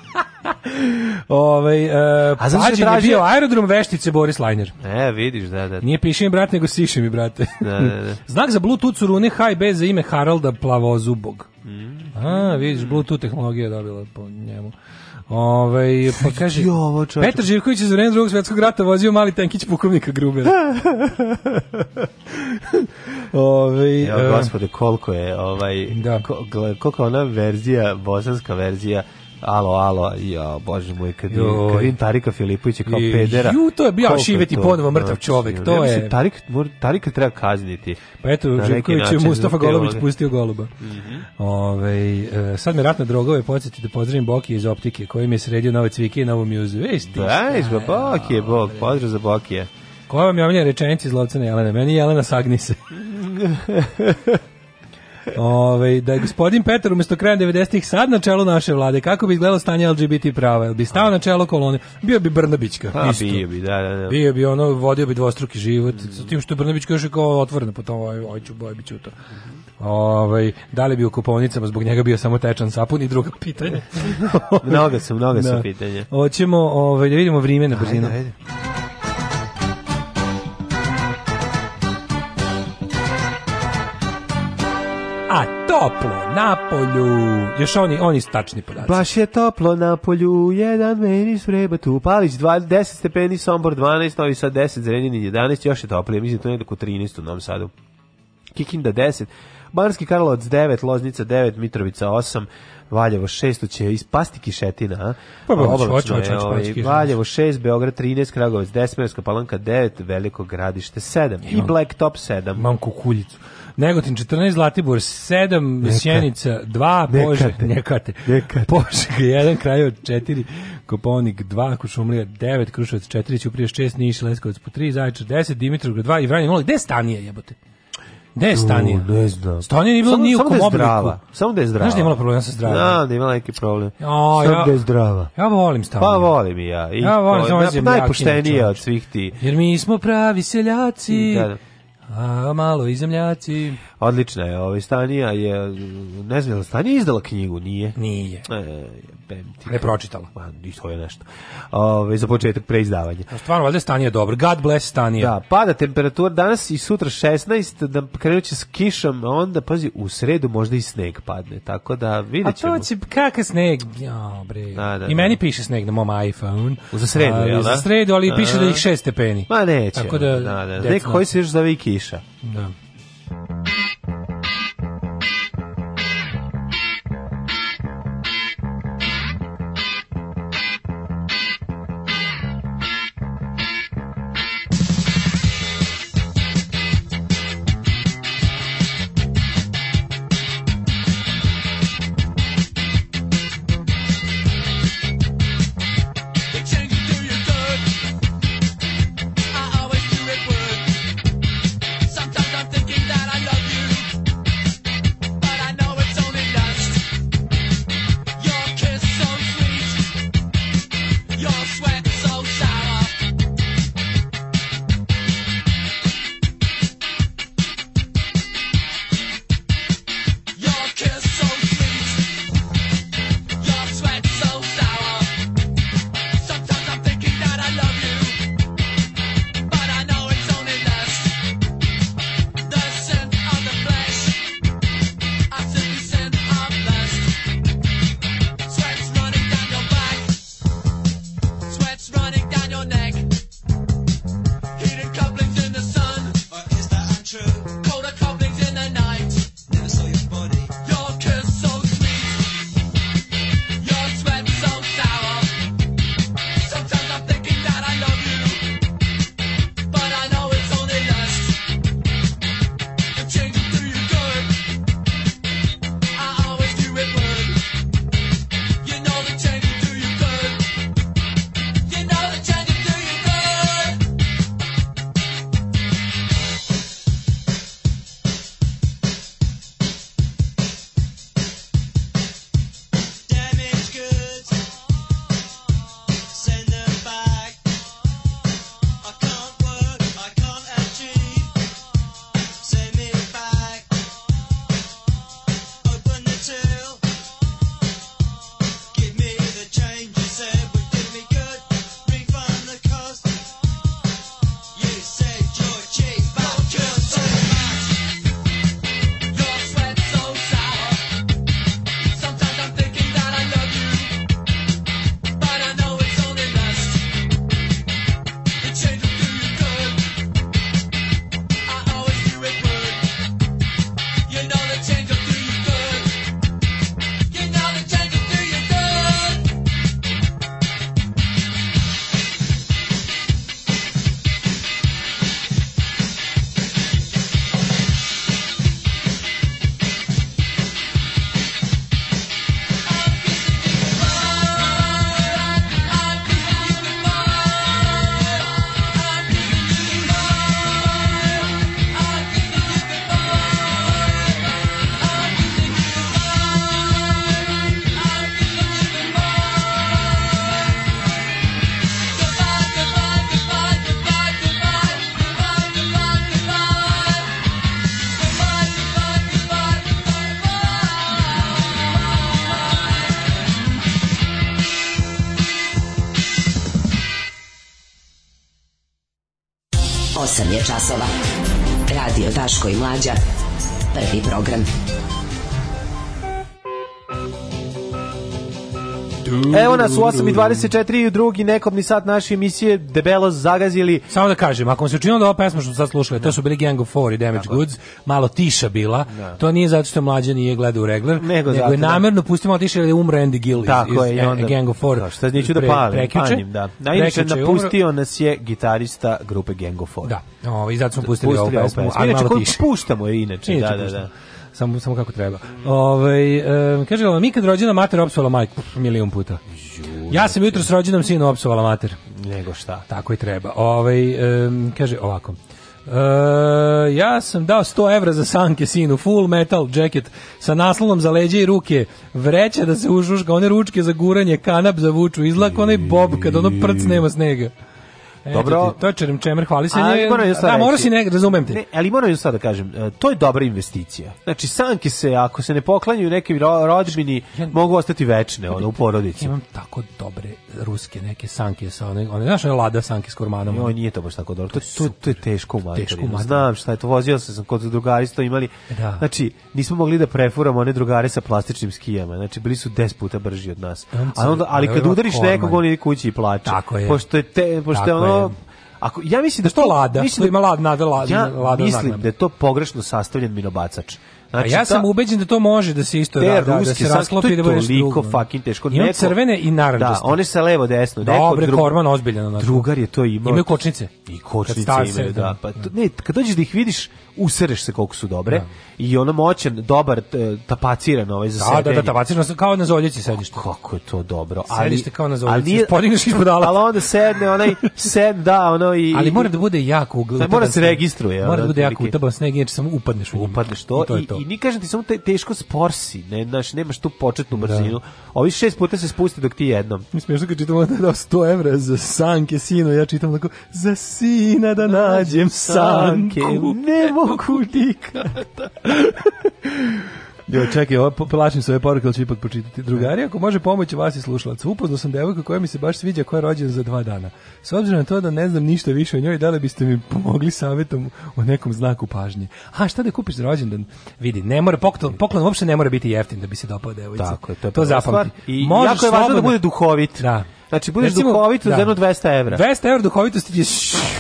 [SPEAKER 7] Ovaj e,
[SPEAKER 8] A zato što je
[SPEAKER 7] pađen je
[SPEAKER 8] tražio-
[SPEAKER 7] bio aerodrom veštice Boris Lajner.
[SPEAKER 8] E, vidiš, da, da.
[SPEAKER 7] Nije piši mi brat, nego siši mi brate.
[SPEAKER 8] Da, da, da.
[SPEAKER 7] Znak za Bluetooth su rune HB za ime Haralda Plavozubog. A, vidiš, Bluetooth tehnologija je dobila po njemu. Ove, pa kaže,
[SPEAKER 8] Jo, ovo čoveče.
[SPEAKER 7] Petar Živković je za vreme drugog svjetskog rata vozio mali tenkić pukovnika Grubera. Ove,
[SPEAKER 8] Evo, gospode, koliko je ovaj,
[SPEAKER 7] E, Da.
[SPEAKER 8] ko- gle- koliko je ona verzija, bosanska verzija, alo, alo, ja, bože moj, kad,
[SPEAKER 7] Joj.
[SPEAKER 8] kad vidim Tarika Filipovića kao
[SPEAKER 7] I-
[SPEAKER 8] pedera.
[SPEAKER 7] ju, to je bio
[SPEAKER 8] koliko
[SPEAKER 7] šiveti
[SPEAKER 8] to?
[SPEAKER 7] ponovo mrtav
[SPEAKER 8] Znači,
[SPEAKER 7] čovek,
[SPEAKER 8] ja
[SPEAKER 7] to
[SPEAKER 8] mislim,
[SPEAKER 7] je-
[SPEAKER 8] Tarik, mora- Tarika treba kazniti.
[SPEAKER 7] Petru
[SPEAKER 8] Na neki
[SPEAKER 7] Pa Živković je
[SPEAKER 8] način,
[SPEAKER 7] Mustafa
[SPEAKER 8] za te Mhm.
[SPEAKER 7] Golubić
[SPEAKER 8] one.
[SPEAKER 7] pustio goluba. Ovaj, e, sad me ratna drogove podsjeti da pozdravim Boki iz optike koji mi je sredio nove cvike i novu mjuzu. Ej, sti,
[SPEAKER 8] Da, izba, Bokije, Bog, pozdrav za Bokije.
[SPEAKER 7] koja vam je omiljena rečenica iz Lovcene Jelene? Meni je Jelena sagni se. Ove, da je gospodin Petar umjesto kraja 90-ih sad na čelu naše vlade, kako bi izgledalo stanje LGBT prava? Jel bi stao na čelo kolone? Bio bi Brnabićka.
[SPEAKER 8] Pa,
[SPEAKER 7] isto.
[SPEAKER 8] bio bi, da, da, da.
[SPEAKER 7] Bio bi ono, vodio bi dvostruki život, sa tim što je Brnabićka još je kao otvorena, potom ovaj, ovaj ću, boj bi ću to. Ovaj, da li bi u kupovnicama zbog njega bio samo tečan sapun i drugo pitanje.
[SPEAKER 8] Mnoga su, mnoga
[SPEAKER 7] Da.
[SPEAKER 8] su pitanja.
[SPEAKER 7] Hoćemo ovaj, da vidimo vrijeme na brzinu.
[SPEAKER 8] Ajde, ajde.
[SPEAKER 7] A toplo na polju. Još oni, oni stačni podaci.
[SPEAKER 8] Baš je toplo na polju, jedan meni sreba tu, Palić 20, 10 stepeni, Sombor 12, Novi Sad 10, Zrenjanin 11, još je toplije, mislim to je nekako 13 u Novom Sadu. Kikinda 10, Banski Karlovac 9, Loznica 9, Mitrovica 8, Valjevo 6, će ispasti kišetina, a?
[SPEAKER 7] Pa, pa, hoće,
[SPEAKER 8] Oblačno
[SPEAKER 7] hoće,
[SPEAKER 8] je,
[SPEAKER 7] hoće, hoće,
[SPEAKER 8] ovaj,
[SPEAKER 7] hoće kišetina.
[SPEAKER 8] Valjevo 6, Beograd 13, Kragovac 10, Merska Palanka 9, Veliko Gradište 7 i Black Top 7.
[SPEAKER 7] Imam kukuljicu. Negotin 14, Zlatibor 7, Sjenica 2,
[SPEAKER 8] Nekate.
[SPEAKER 7] Požeg, nekate,
[SPEAKER 8] Nekate.
[SPEAKER 7] Požeg 1, Krajevac 4, Kopovnik 2, Kušumlija 9, Kruševac 4, Ćuprija 6, Niš, Leskovac po 3, Zaječar 10, Dimitrovgrad 2 i Vranje 0. Gde je Stanija jebote? Gde je Stanija?
[SPEAKER 8] U, ne znam.
[SPEAKER 7] Stanija nije bilo
[SPEAKER 8] Samo-
[SPEAKER 7] ni u
[SPEAKER 8] samo
[SPEAKER 7] kom
[SPEAKER 8] da je
[SPEAKER 7] obliku.
[SPEAKER 8] zdrava, Samo da je zdrava.
[SPEAKER 7] Znaš da je imala problema sa zdravljem?
[SPEAKER 8] Da, da je imala neki problem.
[SPEAKER 7] O,
[SPEAKER 8] Samo
[SPEAKER 7] ja-
[SPEAKER 8] da je zdrava.
[SPEAKER 7] Ja volim Staniju.
[SPEAKER 8] Pa volim i ja. I
[SPEAKER 7] Ja volim
[SPEAKER 8] to je
[SPEAKER 7] samo
[SPEAKER 8] naj-
[SPEAKER 7] zemljakinu,
[SPEAKER 8] najpoštenija
[SPEAKER 7] čoveče.
[SPEAKER 8] od svih ti.
[SPEAKER 7] Jer mi smo pravi seljaci.
[SPEAKER 8] Da, da.
[SPEAKER 7] A, malo izemljaci.
[SPEAKER 8] Odlična je, ovaj Stanija je, ne znam, je li Stanija izdala knjigu? Nije.
[SPEAKER 7] Nije.
[SPEAKER 8] E, jebem ti.
[SPEAKER 7] Ne pročitala.
[SPEAKER 8] Ma, i to je nešto. Ove, za početak preizdavanja.
[SPEAKER 7] A Stvarno, valjda je Stanija dobro. God bless Stanija.
[SPEAKER 8] Da, pada temperatura danas i sutra 16, da krenut će s kišom, a onda, pazi, u sredu možda i sneg padne, tako da
[SPEAKER 7] A
[SPEAKER 8] vidjet ćemo.
[SPEAKER 7] Pa to će, kakav sneg, ja, bre.
[SPEAKER 8] Da, da,
[SPEAKER 7] I meni
[SPEAKER 8] da.
[SPEAKER 7] piše sneg na mom iPhone.
[SPEAKER 8] Za sredu,
[SPEAKER 7] Ali
[SPEAKER 8] jel da?
[SPEAKER 7] Za sredu, ali
[SPEAKER 8] A.
[SPEAKER 7] piše da ih šest stepeni.
[SPEAKER 8] Ma neće.
[SPEAKER 7] Tako da,
[SPEAKER 8] da, da.
[SPEAKER 7] deca
[SPEAKER 8] Neko
[SPEAKER 7] na-
[SPEAKER 8] koji se još zove i kiša.
[SPEAKER 7] Da.
[SPEAKER 11] Sometimes I'm thinking that I love you but I know it's only lust. The sin of the flesh. I see the sin of lust. Sweat's running down your back. Sweat's running down your neck. Heated couplings in the sun. Or is that untrue? Colder couplings in the night. Never saw your body. Your kiss so sweet. Your sweat so sour. Sometimes I'm thinking that I love you. But I know it's only lust. You change it through your good. I always do it word. You know the change it through your good. You know the change it through your good. Damaged goods. Send them back. I can't work, I can't achieve. Send me back. Open the till. Give me the change you said would do me good. Refund the cost. You said you're cheap, but you're so much. Your sweat's so sour. Sometimes I'm thinking that I love you, but I know it's only lust. It changes through your good. I always do it word. You know the change of through your good. You know the change of through your good. Oh.
[SPEAKER 14] Osam je časova. Radio Daško i Mlađa. Prvi program.
[SPEAKER 8] Evo nas u 8.24 i u drugi nekobni sat naše emisije debelo zagazili.
[SPEAKER 7] Samo da kažem, ako vam se učinilo da ova pesma što smo sad slušali, to su bili Gang of Four i Damage Goods, malo tiša bila,
[SPEAKER 8] Da.
[SPEAKER 7] to nije zato što mlađa nije gledao u regler, nego,
[SPEAKER 8] zato
[SPEAKER 7] je
[SPEAKER 8] da-
[SPEAKER 7] namerno pustimo otišao jer je umro Andy Gill iz,
[SPEAKER 8] Tako je,
[SPEAKER 7] iz
[SPEAKER 8] i
[SPEAKER 7] e,
[SPEAKER 8] onda-
[SPEAKER 7] Gang of Four.
[SPEAKER 8] Da, šta neću da
[SPEAKER 7] pre-
[SPEAKER 8] palim,
[SPEAKER 7] prekjuče.
[SPEAKER 8] palim, da. Na inače
[SPEAKER 7] Prekjuče je umro.
[SPEAKER 8] napustio nas je gitarista grupe Gang of Four.
[SPEAKER 7] Da, ovo, i zato smo pustili,
[SPEAKER 8] Pustili
[SPEAKER 7] ovu
[SPEAKER 8] ovu
[SPEAKER 7] pesmu,
[SPEAKER 8] pesmu.
[SPEAKER 7] ali
[SPEAKER 8] Inače,
[SPEAKER 7] malo
[SPEAKER 8] koju
[SPEAKER 7] tiše.
[SPEAKER 8] puštamo je inače,
[SPEAKER 7] Inače
[SPEAKER 8] da, da,
[SPEAKER 7] puštamo.
[SPEAKER 8] da.
[SPEAKER 7] Samo, samo kako treba. Ovaj e, kaže, mi kad rođena mater opsovala majku, pff, milijun puta. Ja sam jutro s rođenom sinu opsovala mater.
[SPEAKER 8] Nego šta?
[SPEAKER 7] Tako i treba. Ovaj, em, kaže ovako. E, ja sam dao 100 evra za sanke sinu, full metal jacket sa naslonom za leđe i ruke, vreća da se užuška, one ručke za guranje, kanap za vuču, izlak onaj bob kad ono prc nema snega. Eto
[SPEAKER 8] Dobro.
[SPEAKER 7] ti, to je čeremčemer, hvali se nje.
[SPEAKER 8] Ali moram jednu stvar
[SPEAKER 7] Da, morao
[SPEAKER 8] reći.
[SPEAKER 7] si ne, razumem te.
[SPEAKER 8] Ne, ali moram jednu stvar da kažem, e, to je dobra investicija. Znači, sanke se, ako se ne poklanjaju nekim ro- rodbini, mogu ostati večne ono, u porodici.
[SPEAKER 7] Imam tako dobre ruske neke sanke sa one, one znaš, one lada sanke s kormanom.
[SPEAKER 8] Joj, nije to baš tako dobro. To, to, to je teško
[SPEAKER 7] Teško
[SPEAKER 8] u
[SPEAKER 7] u
[SPEAKER 8] materinu.
[SPEAKER 7] materinu.
[SPEAKER 8] Znam šta je to. Vozio sam se kod drugari što imali.
[SPEAKER 7] Da.
[SPEAKER 8] Znači, nismo mogli da prefuramo one drugare sa plastičnim skijama. Znači, bili su 10 puta brži od nas.
[SPEAKER 7] Imam
[SPEAKER 8] A onda,
[SPEAKER 7] car-
[SPEAKER 8] ali kad
[SPEAKER 7] evo,
[SPEAKER 8] udariš
[SPEAKER 7] korman.
[SPEAKER 8] nekog, on ide kući i plače.
[SPEAKER 7] Tako je.
[SPEAKER 8] Pošto je, te, pošto je
[SPEAKER 7] Tako
[SPEAKER 8] ono...
[SPEAKER 7] je.
[SPEAKER 8] Ako, ja mislim da
[SPEAKER 7] Što lada?
[SPEAKER 8] mislim
[SPEAKER 7] Što ima lad, nada, lad-
[SPEAKER 8] ja
[SPEAKER 7] lada
[SPEAKER 8] mislim
[SPEAKER 7] nagrada.
[SPEAKER 8] da je to pogrešno sastavljen minobacač. Znači,
[SPEAKER 7] A ja sam ubeđen da to može da se isto
[SPEAKER 8] te
[SPEAKER 7] da, da, da
[SPEAKER 8] ruske
[SPEAKER 7] se
[SPEAKER 8] sanke,
[SPEAKER 7] rasklopi
[SPEAKER 8] to
[SPEAKER 7] i
[SPEAKER 8] je
[SPEAKER 7] da budeš
[SPEAKER 8] toliko
[SPEAKER 7] drugo. ono.
[SPEAKER 8] fucking teško.
[SPEAKER 7] Imam
[SPEAKER 8] Neko-
[SPEAKER 7] crvene i
[SPEAKER 8] Da,
[SPEAKER 7] narandžaste.
[SPEAKER 8] one sa levo desno. neko
[SPEAKER 7] Dobre,
[SPEAKER 8] drugo-
[SPEAKER 7] korman ozbiljan. onako.
[SPEAKER 8] Drugar je to imao.
[SPEAKER 7] Imaju kočnice.
[SPEAKER 8] I kočnice
[SPEAKER 7] Kad stase,
[SPEAKER 8] imaju, da.
[SPEAKER 7] da.
[SPEAKER 8] Pa, to- ne, kad dođeš da ih vidiš, usereš se koliko su dobre. I ono moćan, dobar, t- tapaciran ovaj za
[SPEAKER 7] Da, da,
[SPEAKER 8] sedenje.
[SPEAKER 7] da, tabacirno sam kao na zoljeći sedište.
[SPEAKER 8] Kako je to dobro.
[SPEAKER 7] Sedište kao na
[SPEAKER 8] ali
[SPEAKER 7] zoljeći.
[SPEAKER 8] nije-
[SPEAKER 7] Podigneš ispod ala.
[SPEAKER 8] Ali onda sedne, onaj sed, da, ono i...
[SPEAKER 7] Ali mora da bude jako ugl.
[SPEAKER 8] Da, mora se registruje,
[SPEAKER 7] Mora
[SPEAKER 8] ono,
[SPEAKER 7] da bude jako
[SPEAKER 8] otprilike.
[SPEAKER 7] utaban sneg, inače samo upadneš u njim.
[SPEAKER 8] upadneš to
[SPEAKER 7] I to je
[SPEAKER 8] i,
[SPEAKER 7] to.
[SPEAKER 8] i ni kažem ti samo te, teško sporsi, ne, znaš, nemaš tu početnu brzinu. Ovi šest puta se spusti dok ti jednom.
[SPEAKER 7] Mi smiješno kad čitam da je dao 100 evra za sanke sino, ja čitam tako, za sina da nađem sanke, ne mogu nikada. Jo, čekaj, ovo, po- plašim se ove poruke, ali ću ipak počitati. Drugari, ako može pomoći vas i slušalac, upoznao sam devojku koja mi se baš sviđa, koja je rođena za dva dana. S obzirom na to da ne znam ništa više o njoj, da li biste mi pomogli savjetom o nekom znaku pažnje? A, šta da kupiš za rođendan? Vidi, ne mora, poklon, poklon uopšte ne mora biti jeftin da bi se dopao devojci.
[SPEAKER 8] Tako je, to je
[SPEAKER 7] to
[SPEAKER 8] prva
[SPEAKER 7] zapamti.
[SPEAKER 8] stvar. I
[SPEAKER 7] Možeš
[SPEAKER 8] jako je važno da
[SPEAKER 7] slobodno-
[SPEAKER 8] bude duhovit.
[SPEAKER 7] Da.
[SPEAKER 8] Znači, budeš
[SPEAKER 7] Recimo,
[SPEAKER 8] duhovit za
[SPEAKER 7] da.
[SPEAKER 8] jedno 200 evra.
[SPEAKER 7] 200 evra duhovitosti je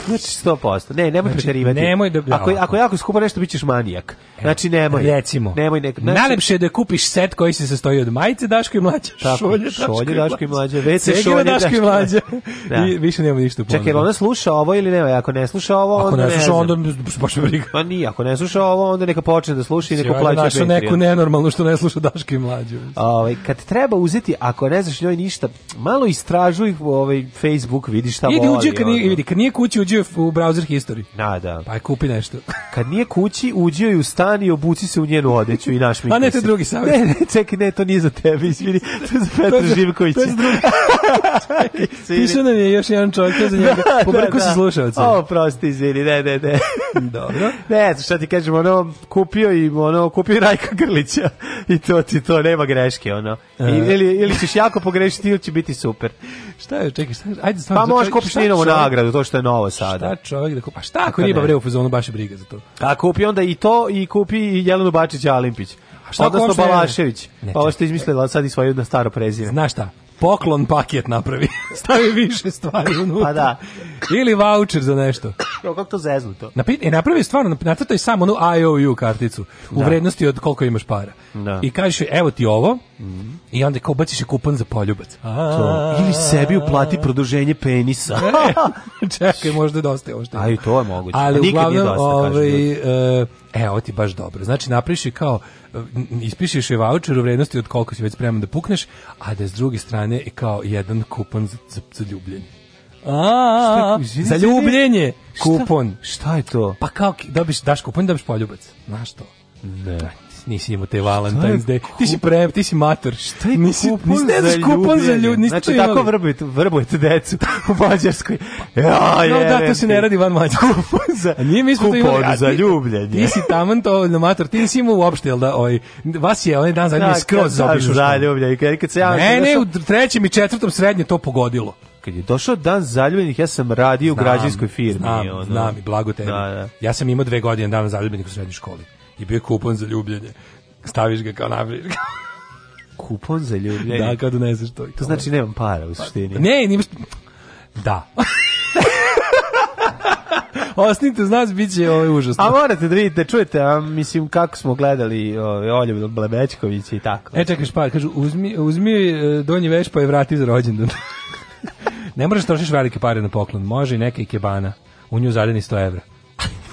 [SPEAKER 8] Znači 100%. Ne, nemoj
[SPEAKER 7] Znači,
[SPEAKER 8] preterivati.
[SPEAKER 7] nemoj da- da,
[SPEAKER 8] ako,
[SPEAKER 7] ovako.
[SPEAKER 8] ako jako skupo nešto bićeš manijak. Znači nemoj.
[SPEAKER 7] recimo.
[SPEAKER 8] Nemoj nek. Znači,
[SPEAKER 7] Najlepše je da kupiš set koji se sastoji od majice Daško i mlađe,
[SPEAKER 8] Tako,
[SPEAKER 7] šolje,
[SPEAKER 8] šolje Daško i mlađe, WC
[SPEAKER 7] cegele
[SPEAKER 8] šolje
[SPEAKER 7] Daško i mlađe.
[SPEAKER 8] Da.
[SPEAKER 7] I više nemamo ništa u ponudi.
[SPEAKER 8] Čekaj, jel ona sluša ovo ili ne? Ako ne sluša ovo,
[SPEAKER 7] Ako
[SPEAKER 8] onda
[SPEAKER 7] ne sluša,
[SPEAKER 8] znam.
[SPEAKER 7] onda baš me briga.
[SPEAKER 8] Pa nije, ako ne sluša ovo, onda neka počne da sluša i neka
[SPEAKER 7] Sjajno,
[SPEAKER 8] plaća
[SPEAKER 7] Znači, našao
[SPEAKER 8] Patreon.
[SPEAKER 7] neku nenormalnu što ne sluša Daško i mlađe.
[SPEAKER 8] Ovaj, kad treba uzeti, ako ne znaš njoj ništa, malo istražuj ovaj Facebook, vidi šta
[SPEAKER 7] Idi
[SPEAKER 8] voli.
[SPEAKER 7] uđe kad nije,
[SPEAKER 8] ono.
[SPEAKER 7] vidi, kad nije kući uđe u browser history.
[SPEAKER 8] Da, da.
[SPEAKER 7] Pa je kupi nešto.
[SPEAKER 8] Kad nije kući, uđi joj u stan i obuci se u njenu odeću i naš mi.
[SPEAKER 7] A ne, to je drugi savjet.
[SPEAKER 8] Pa Ne, ne, čekaj, ne, to nije za tebe, izvini. To je za
[SPEAKER 7] To
[SPEAKER 8] Petra
[SPEAKER 7] je za-
[SPEAKER 8] Živkovića.
[SPEAKER 7] to je za drugi.
[SPEAKER 8] Izvini.
[SPEAKER 7] Piše nam je još jedan čovjek, to je za njega. Pobrku se slušalce.
[SPEAKER 8] O, prosti, izvini, ne, ne, ne.
[SPEAKER 7] Dobro.
[SPEAKER 8] Ne, znam šta ti kažem, ono, kupio i, ono, kupio i Rajka Grlića. I to ti, to, nema greške, ono. I,
[SPEAKER 7] E.
[SPEAKER 8] ili, ili ćeš jako pogrešiti ili će biti super.
[SPEAKER 7] Šta je, čekaj, šta je? Ajde, stvarno.
[SPEAKER 8] Pa možeš
[SPEAKER 7] čovjek-
[SPEAKER 8] kupiš
[SPEAKER 7] šta
[SPEAKER 8] Ninovu
[SPEAKER 7] čovjek-
[SPEAKER 8] nagradu, to što je novo sada.
[SPEAKER 7] Šta čovjek da kupi? Pa šta ako
[SPEAKER 8] Pa
[SPEAKER 7] riba
[SPEAKER 8] ne.
[SPEAKER 7] bre u fazonu baš je briga za to.
[SPEAKER 8] A kupi onda i to i kupi i Jelenu Bačić Alimpić. A
[SPEAKER 7] šta
[SPEAKER 8] šta
[SPEAKER 7] ako
[SPEAKER 8] Odnosno
[SPEAKER 7] uopšte ne-
[SPEAKER 8] Balašević.
[SPEAKER 7] Ne,
[SPEAKER 8] Pa ovo što je izmislila sad i svoju na staro prezime.
[SPEAKER 7] Znaš šta? Poklon paket napravi. Stavi više stvari unutra.
[SPEAKER 8] Pa da.
[SPEAKER 7] Ili voucher za nešto.
[SPEAKER 8] Kako kako to zeznuto?
[SPEAKER 7] Napi, e, napravi stvarno, nacrtaj samo onu IOU karticu u
[SPEAKER 8] Da.
[SPEAKER 7] vrednosti od koliko imaš para.
[SPEAKER 8] Da. Mhm.
[SPEAKER 7] I kažeš joj, evo ti ovo, i onda kao baciš je kupan za poljubac.
[SPEAKER 8] To. Ili sebi uplati produženje penisa.
[SPEAKER 7] Čekaj, možda je dosta ovo što ima.
[SPEAKER 8] A i to je moguće.
[SPEAKER 7] Ali
[SPEAKER 8] Nikad nije
[SPEAKER 7] uglavnom,
[SPEAKER 8] dosta, kažu ljudi.
[SPEAKER 7] ovaj, e, e, ovo ti baš dobro. Znači, napraviš joj kao, e, n- ispišeš je voucher u vrednosti od koliko si već spreman da pukneš, a da s druge strane je kao jedan kupon za, za, za ljubljenje. A,
[SPEAKER 8] Šta, izvini,
[SPEAKER 7] za
[SPEAKER 8] izvini.
[SPEAKER 7] ljubljenje
[SPEAKER 8] Šta?
[SPEAKER 7] kupon.
[SPEAKER 8] Šta je to?
[SPEAKER 7] Pa kao, ki- dobiš, daš kupon, dobiš poljubac. Znaš to?
[SPEAKER 8] Ne.
[SPEAKER 7] Nisi imao te Valentine's Day. Ti si pre, ti si mator. Šta
[SPEAKER 8] Taj
[SPEAKER 7] nisi, nisi, ne znaš kupon za ljubljenje. Nisi to
[SPEAKER 8] Znači,
[SPEAKER 7] imali.
[SPEAKER 8] tako vrbujete, vrbujete decu u Mađarskoj. Ja,
[SPEAKER 7] no, da, to
[SPEAKER 8] jebem
[SPEAKER 7] se
[SPEAKER 8] ti.
[SPEAKER 7] ne radi van Mađarske.
[SPEAKER 8] Kupon za,
[SPEAKER 7] A nije mi smo to imali.
[SPEAKER 8] kupon
[SPEAKER 7] a
[SPEAKER 8] za
[SPEAKER 7] ti-
[SPEAKER 8] ljubljenje.
[SPEAKER 7] Ti si taman to mator, ti nisi imao uopšte, jel da, oj, vas je onaj dan zadnji
[SPEAKER 8] Da,
[SPEAKER 7] skroz
[SPEAKER 8] da,
[SPEAKER 7] zaobišao.
[SPEAKER 8] Za
[SPEAKER 7] školu.
[SPEAKER 8] ljubljenje. Kad- Kad se ja...
[SPEAKER 7] Ne, ne,
[SPEAKER 8] došao-
[SPEAKER 7] u trećem i četvrtom srednje to pogodilo.
[SPEAKER 8] Kad je došao dan zaljubljenih, ja sam radio u
[SPEAKER 7] Znam,
[SPEAKER 8] građanskoj firmi.
[SPEAKER 7] Znam,
[SPEAKER 8] ono.
[SPEAKER 7] znam i blago tebi.
[SPEAKER 8] Da, da.
[SPEAKER 7] Ja sam imao dve godine dana zaljubljenih u srednjoj školi i bio je kupon za ljubljenje. Staviš ga kao napraviš ga.
[SPEAKER 8] Kupon za ljubljenje.
[SPEAKER 7] Da, kad doneseš to. i
[SPEAKER 8] To znači nemam para u suštini.
[SPEAKER 7] Ne, nimaš... Da. Osnite, znaš, bit će ovaj užasno.
[SPEAKER 8] A morate da vidite, čujete, a, mislim kako smo gledali ovaj, Olju Blebećkovića i tako.
[SPEAKER 7] E, čekaj, špar, kažu, uzmi, uzmi e, donji veš pa je vrati za rođendan. ne moraš trošiš velike pare na poklon, može i neka ikebana. U nju zadeni 100 evra.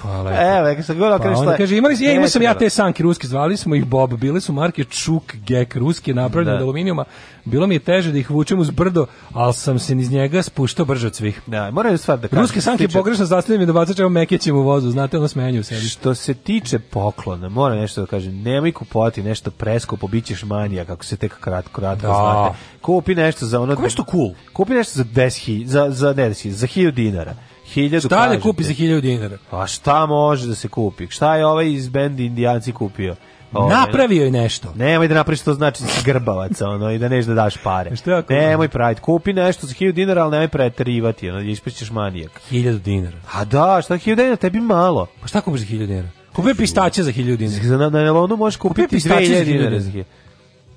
[SPEAKER 7] Hvala.
[SPEAKER 8] Evo, neka se govorila,
[SPEAKER 7] pa
[SPEAKER 8] E, kaže
[SPEAKER 7] onda
[SPEAKER 8] šta.
[SPEAKER 7] kaže, imali, ja, imao sam ja
[SPEAKER 8] Rekao.
[SPEAKER 7] te sanke ruske, zvali smo ih Bob, bile su marke Čuk Gek ruske, napravljene od
[SPEAKER 8] Da.
[SPEAKER 7] aluminijuma. Bilo mi je teže da ih vučem uz brdo, ali sam se iz njega spuštao brže od svih.
[SPEAKER 8] Da, moram jednu stvar da kažem.
[SPEAKER 7] Ruske sanke
[SPEAKER 8] Stiče-
[SPEAKER 7] pogrešno zastavljaju mi da bacačemo mekećem u vozu, znate, ono smenju u sebi.
[SPEAKER 8] Što se tiče poklona, moram nešto da kažem, nemoj kupovati nešto preskupo, bit ćeš manija, kako se tek kratko, kratko
[SPEAKER 7] Da.
[SPEAKER 8] znate. Kupi nešto za ono... Kupi nešto cool. Kupi nešto za 10, hi- za, za, ne, 10, za 1000 dinara. 1000
[SPEAKER 7] Šta da
[SPEAKER 8] kažem
[SPEAKER 7] kupi
[SPEAKER 8] ti.
[SPEAKER 7] za 1000 dinara?
[SPEAKER 8] A šta može da se kupi? Šta je ovaj iz benda Indijanci kupio? Ovaj,
[SPEAKER 7] Napravio je nešto.
[SPEAKER 8] Nemoj da napraviš to znači da si grbavac, ono, i da neš da daš pare.
[SPEAKER 7] Šta ako-
[SPEAKER 8] Nemoj praviti. Kupi nešto za 1000 dinara, ali nemoj preterivati, ono, ispričaš manijak.
[SPEAKER 7] 1000 dinara.
[SPEAKER 8] A da, šta 1000 dinara, tebi malo.
[SPEAKER 7] Pa šta kupiš za 1000 dinara? Kupi pistaće za 1000 dinara.
[SPEAKER 8] Za, na, na nelonu možeš kupiti
[SPEAKER 7] pistaće za
[SPEAKER 8] 2000
[SPEAKER 7] hiljadu
[SPEAKER 8] dinara.
[SPEAKER 7] dinara.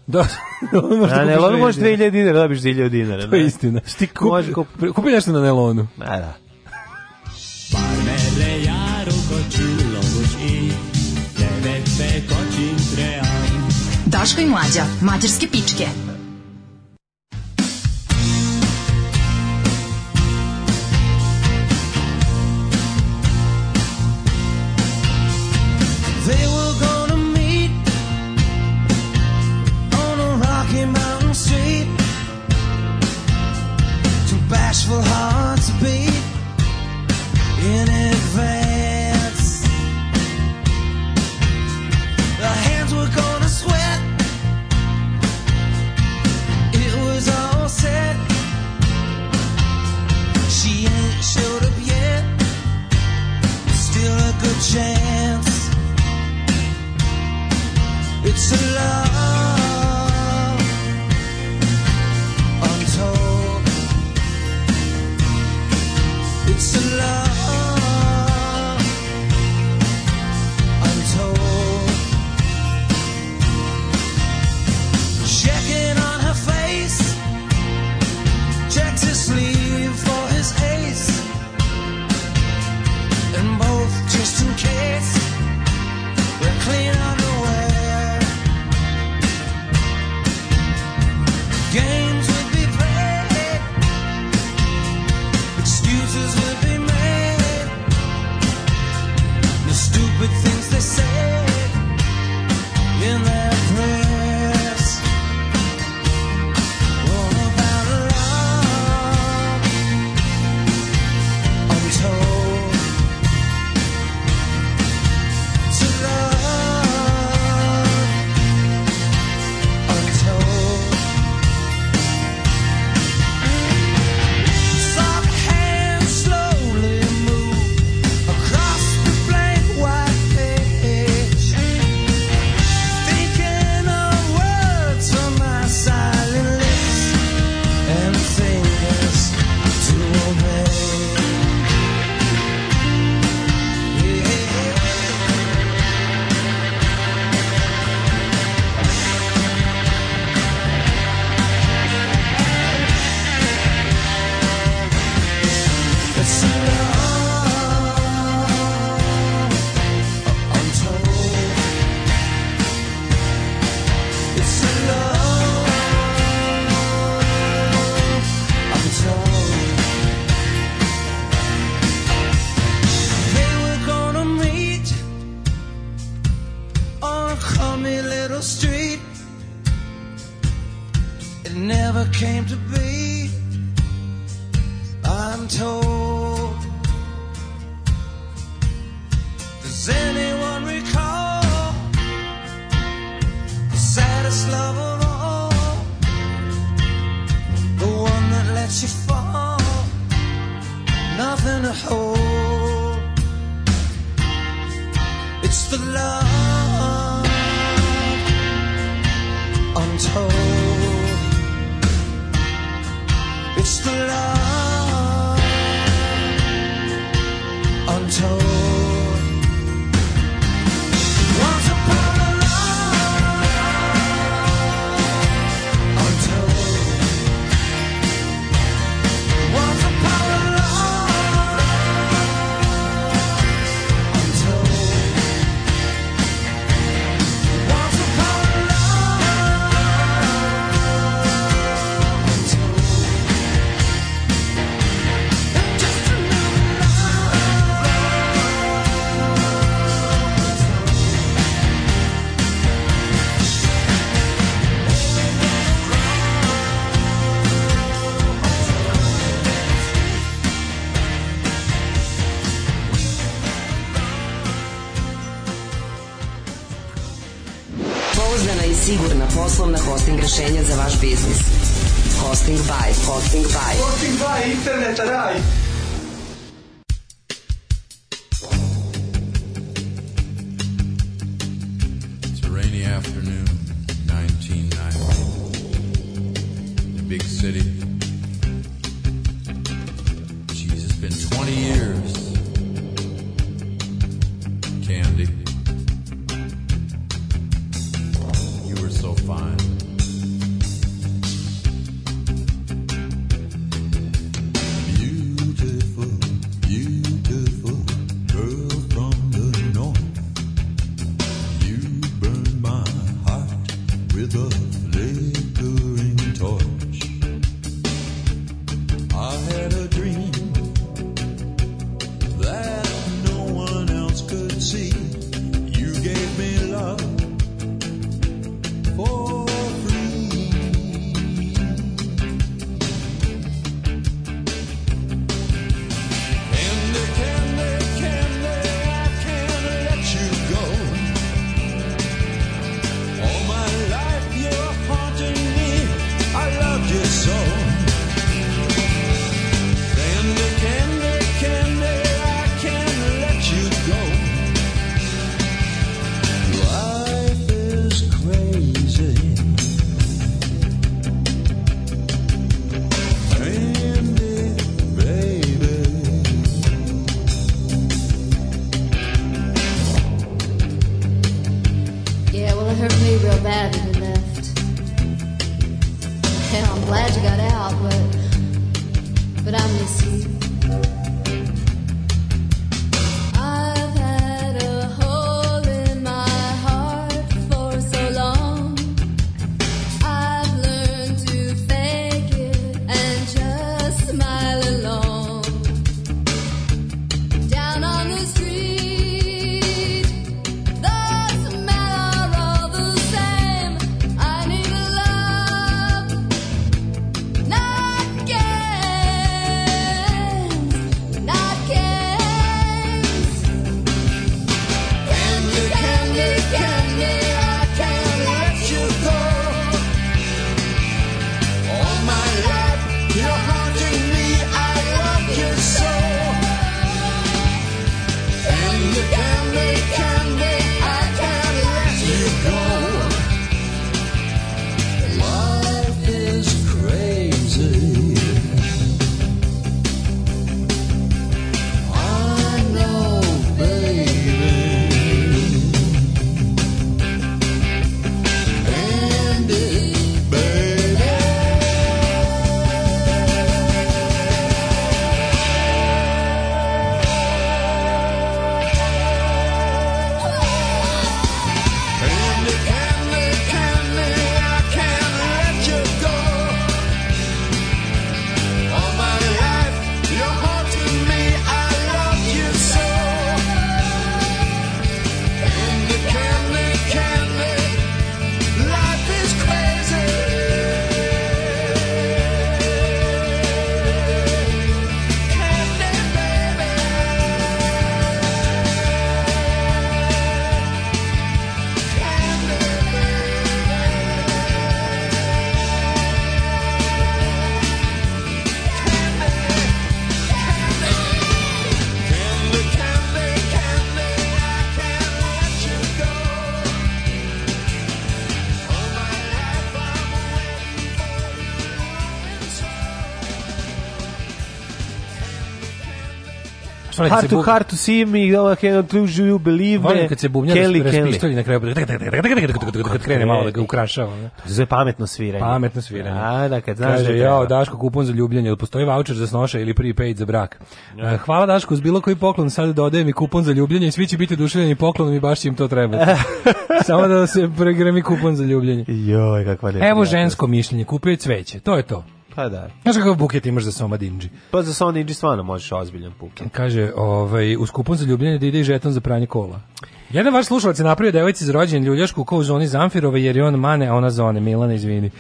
[SPEAKER 7] Da, ono možda
[SPEAKER 8] Na
[SPEAKER 7] kupiš
[SPEAKER 8] nelonu
[SPEAKER 7] 2000
[SPEAKER 8] možeš
[SPEAKER 7] dinara.
[SPEAKER 8] 2000 dinara, dobiš 1000 dinara.
[SPEAKER 7] To je
[SPEAKER 8] ne?
[SPEAKER 7] istina.
[SPEAKER 8] Šti kupi- može kup-
[SPEAKER 7] Kupi- Kupi nešto na nelonu.
[SPEAKER 8] Ma da.
[SPEAKER 15] Merre járok a csillagos ég, nevette kacsintre ám.
[SPEAKER 6] Daško i mlađa, mađarske pičke.
[SPEAKER 11] They were gonna meet on a Rocky Mountain street. Two bashful hearts beat in advance. The hands were gonna sweat. It was all set. She ain't showed up yet. Still a good chance. It's a love untold. It's a love untold. Checking on her face, checks his sleeve for his ace, and both just in case. We're clean underwear. Games would be played. Excuses would be made. The stupid things they said in their prayers. All about love. Untold. To love untold. Soft hands slowly move across the blank white page, thinking of words from my silent lips and fingers to obey. Yeah. It's Street, it never came to be. I'm told. Does anyone recall the saddest love of all? The one that lets you fall, nothing to hold. It's the love untold. It's the love untold. Once upon a love untold. Once upon a love untold. Once upon a love untold. Just another love.
[SPEAKER 6] i sigurna poslovna hosting rešenja za vaš biznis. Hosting by, hosting by. Hosting by, internet, raj.
[SPEAKER 10] It's a rainy afternoon, 1990. The big city. Jeez, it's been 20 years. Candy. You were so fine. Beautiful, beautiful girl from the north. You burned my heart with a flickering torch. I had a dream that no one else could see. You gave me love for free. Candy, candy, candy, I can't let you go. All my life you're haunting me. I loved you so. Candy, candy, candy, I can't let you go. Life is crazy. Candy, baby.
[SPEAKER 9] Yeah, well, it hurt me real bad when you left. Hell, I'm glad you got out, but but I miss you. I've had a hole in my heart for so long. I've learned to fake it and just smile along. Down on the street. Those men are all the same. I need love, not games, not games. Candy, candy, candy, I can't let you go.
[SPEAKER 10] All my life, you're haunting me. I love you so. Candy, candy, candy, I can't let you go. Life is crazy. I know, baby. Candy, baby. Candy, candy, candy, I can't let you go. All my life, you're haunting me. I love you so. Candy, candy, candy, life is crazy. Candy, baby.
[SPEAKER 7] Šta nekad
[SPEAKER 8] Hard
[SPEAKER 7] se
[SPEAKER 8] to
[SPEAKER 7] bub-
[SPEAKER 8] hard to see me, I can't lose you, believe me.
[SPEAKER 7] Volim kad se bubnja
[SPEAKER 8] Kelly,
[SPEAKER 7] ras-
[SPEAKER 8] Kelly.
[SPEAKER 7] raspištolji na kraju bude tak, tak, tak, tak, tak, tak, tak, tak, kad krene malo da ga ukrašava. ne.
[SPEAKER 8] To se zove pametno sviranje.
[SPEAKER 7] Pametno sviranje.
[SPEAKER 8] A, da, kad znaš da
[SPEAKER 7] Kaže,
[SPEAKER 8] treba.
[SPEAKER 7] jao, Daško, kupon za ljubljenje, ili postoji voucher za snoša ili prepaid za brak? E, Hvala Daško, uz bilo koji poklon sad dodajem i kupon za ljubljenje i svi će biti oduševljeni poklonom i baš će im to trebati. Samo da se pregremi kupon za ljubljenje.
[SPEAKER 8] Joj, kakva ne.
[SPEAKER 7] Evo žensko mišljenje, kupio je cveće, to je to.
[SPEAKER 8] Pa da.
[SPEAKER 7] Znaš kakav buket imaš za Soma Dinđi?
[SPEAKER 8] Pa za Sony Ninja stvarno možeš ozbiljan puke.
[SPEAKER 7] Kaže, ovaj, uz kupon za ljubljenje da ide i žeton za pranje kola. Jedan vaš slušalac je napravio devojci za rođen ljuljašku kao u zoni Zamfirove, jer je on mane, a ona zone. Milana, izvini.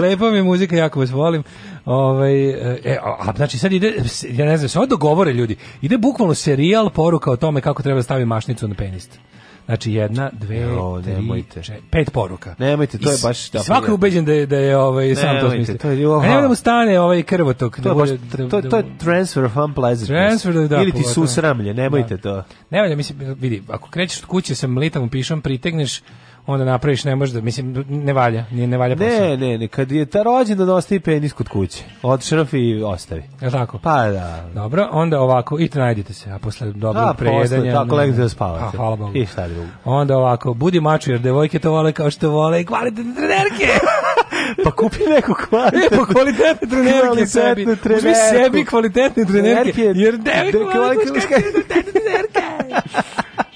[SPEAKER 7] Lepa mi je muzika, jako vas volim. Ovaj, e, a, a, znači sad ide, ja ne znam, se ovo dogovore ljudi. Ide bukvalno serijal poruka o tome kako treba da stavi mašnicu na penist. Znači jedna, dve,
[SPEAKER 8] Jo,
[SPEAKER 7] tri,
[SPEAKER 8] nemojte.
[SPEAKER 7] čet- pet poruka.
[SPEAKER 8] Nemojte, to
[SPEAKER 7] I
[SPEAKER 8] je
[SPEAKER 7] s-
[SPEAKER 8] baš
[SPEAKER 7] i
[SPEAKER 8] da.
[SPEAKER 7] Svako je ubeđen da je, da je ovaj, sam to
[SPEAKER 8] Nemojte,
[SPEAKER 7] smislio.
[SPEAKER 8] to je- oha.
[SPEAKER 7] A nemoj da mu stane ovaj krvotok.
[SPEAKER 8] To
[SPEAKER 7] da
[SPEAKER 8] je, baš,
[SPEAKER 7] bude- da-
[SPEAKER 8] to, to je transfer of unpleasantness.
[SPEAKER 7] Transfer, da, da,
[SPEAKER 8] Ili ti
[SPEAKER 7] pogotovo.
[SPEAKER 8] susramlje, nemojte to.
[SPEAKER 7] Ne valja, mislim, vidi, ako krećeš od kuće sa mlitavom pišom, pritegneš, onda napraviš, ne možeš da, mislim, ne valja, nije, ne valja posao.
[SPEAKER 8] Ne, ne, ne, kad je ta rođendan ostavi penis kod kuće. Odšraf i ostavi.
[SPEAKER 7] Je tako?
[SPEAKER 8] Pa da.
[SPEAKER 7] Dobro, onda ovako, i najdite se, a posle
[SPEAKER 8] A,
[SPEAKER 7] dobrog
[SPEAKER 8] posle,
[SPEAKER 7] prejedanja...
[SPEAKER 8] tako,
[SPEAKER 7] Pa ne,
[SPEAKER 8] legnite
[SPEAKER 7] ne.
[SPEAKER 8] da spavate.
[SPEAKER 7] A, hvala Bogu.
[SPEAKER 8] I šta drugo.
[SPEAKER 7] Onda ovako, budi mačo jer devojke to vole kao što vole i kvalitetne trenerke.
[SPEAKER 8] pa kupi neku kvalitetnu.
[SPEAKER 7] E, pa kvalitetne trenerke
[SPEAKER 8] Kvalitetnu
[SPEAKER 7] sebi. Uzmi
[SPEAKER 8] trenerku.
[SPEAKER 7] sebi kvalitetne trenerke
[SPEAKER 8] Trenerke,
[SPEAKER 7] jer devojke
[SPEAKER 8] devojke
[SPEAKER 7] vole
[SPEAKER 8] vole
[SPEAKER 7] kvalitetne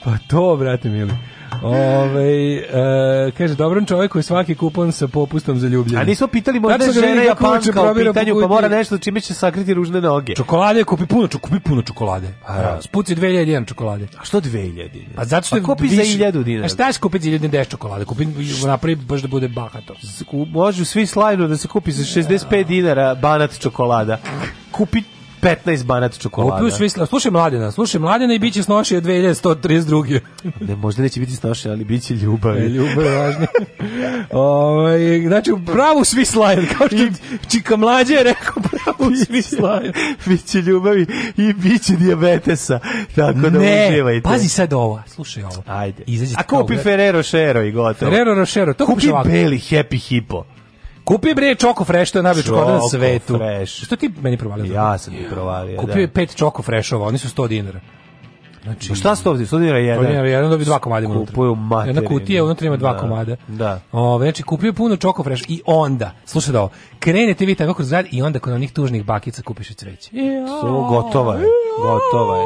[SPEAKER 7] Pa to, brate mili. Ove, e, kaže, dobrom čovjeku je svaki kupon sa popustom za ljubljenje.
[SPEAKER 8] A nismo pitali možda
[SPEAKER 7] Tačno sam
[SPEAKER 8] Tačno
[SPEAKER 7] ga
[SPEAKER 8] žena
[SPEAKER 7] vidio kako uče,
[SPEAKER 8] Japanka u
[SPEAKER 7] probira
[SPEAKER 8] pitanju,
[SPEAKER 7] po
[SPEAKER 8] pa
[SPEAKER 7] kući.
[SPEAKER 8] mora nešto čime će sakriti ružne noge.
[SPEAKER 7] Čokolade, kupi puno, čok- kupi puno čokolade. Ja, Spuci 2001 čokolade.
[SPEAKER 8] A što 2000 dinara?
[SPEAKER 7] Pa zato što je
[SPEAKER 8] pa kupi za
[SPEAKER 7] više-
[SPEAKER 8] 1000 dinara.
[SPEAKER 7] A šta je kupiti za 1000 dinara čokolade? Kupi napravi baš da bude bahato.
[SPEAKER 8] Ku- Može svi slajno da se kupi za 65 dinara banat čokolada. Kupi 15 banat čokolada.
[SPEAKER 7] Kupio svi sla- Slušaj mladena, slušaj mladena i bit će snošio 2132.
[SPEAKER 8] Ne, možda neće biti snašen, ali bit će ljubavi.
[SPEAKER 7] E, ljubav je važnija. Ovaj, znači, u pravu svi slajd, kao što je Čika Mlađe je rekao, pravu svi slajd.
[SPEAKER 8] Biće ljubavi i biće dijabetesa. Tako da
[SPEAKER 7] Ne,
[SPEAKER 8] uživajte.
[SPEAKER 7] pazi sad ovo, slušaj ovo.
[SPEAKER 8] Ajde.
[SPEAKER 7] Izađe
[SPEAKER 8] A kupi Ferrero Shero i gotovo.
[SPEAKER 7] Ferrero Rocher, to kupiš
[SPEAKER 8] kupi
[SPEAKER 7] ovako.
[SPEAKER 8] beli Happy Hippo.
[SPEAKER 7] Kupi bre Choco Fresh, to je najbolji čokolada na
[SPEAKER 8] Choco
[SPEAKER 7] svetu.
[SPEAKER 8] Fresh.
[SPEAKER 7] Što ti meni provalio? to?
[SPEAKER 8] Ja sam ti provalio.
[SPEAKER 7] Kupio je pa
[SPEAKER 8] da.
[SPEAKER 7] pet Choco Freshova, oni su 100 dinara. Znači,
[SPEAKER 8] Pa Šta sto ovdje? 100 dinara jedan.
[SPEAKER 7] Jedan, jedan, jedan dobio dva komada unutra.
[SPEAKER 8] Kupuju materinu.
[SPEAKER 7] Jedna kutija, unutra ima dva
[SPEAKER 8] Da.
[SPEAKER 7] komada.
[SPEAKER 8] Da.
[SPEAKER 7] Ove, znači, kupio je puno Choco Fresh i onda, slušaj da ovo, krenete vi tako kroz grad i onda kod onih tužnih bakica kupiš i cveće.
[SPEAKER 8] Su, gotova je. Gotova je.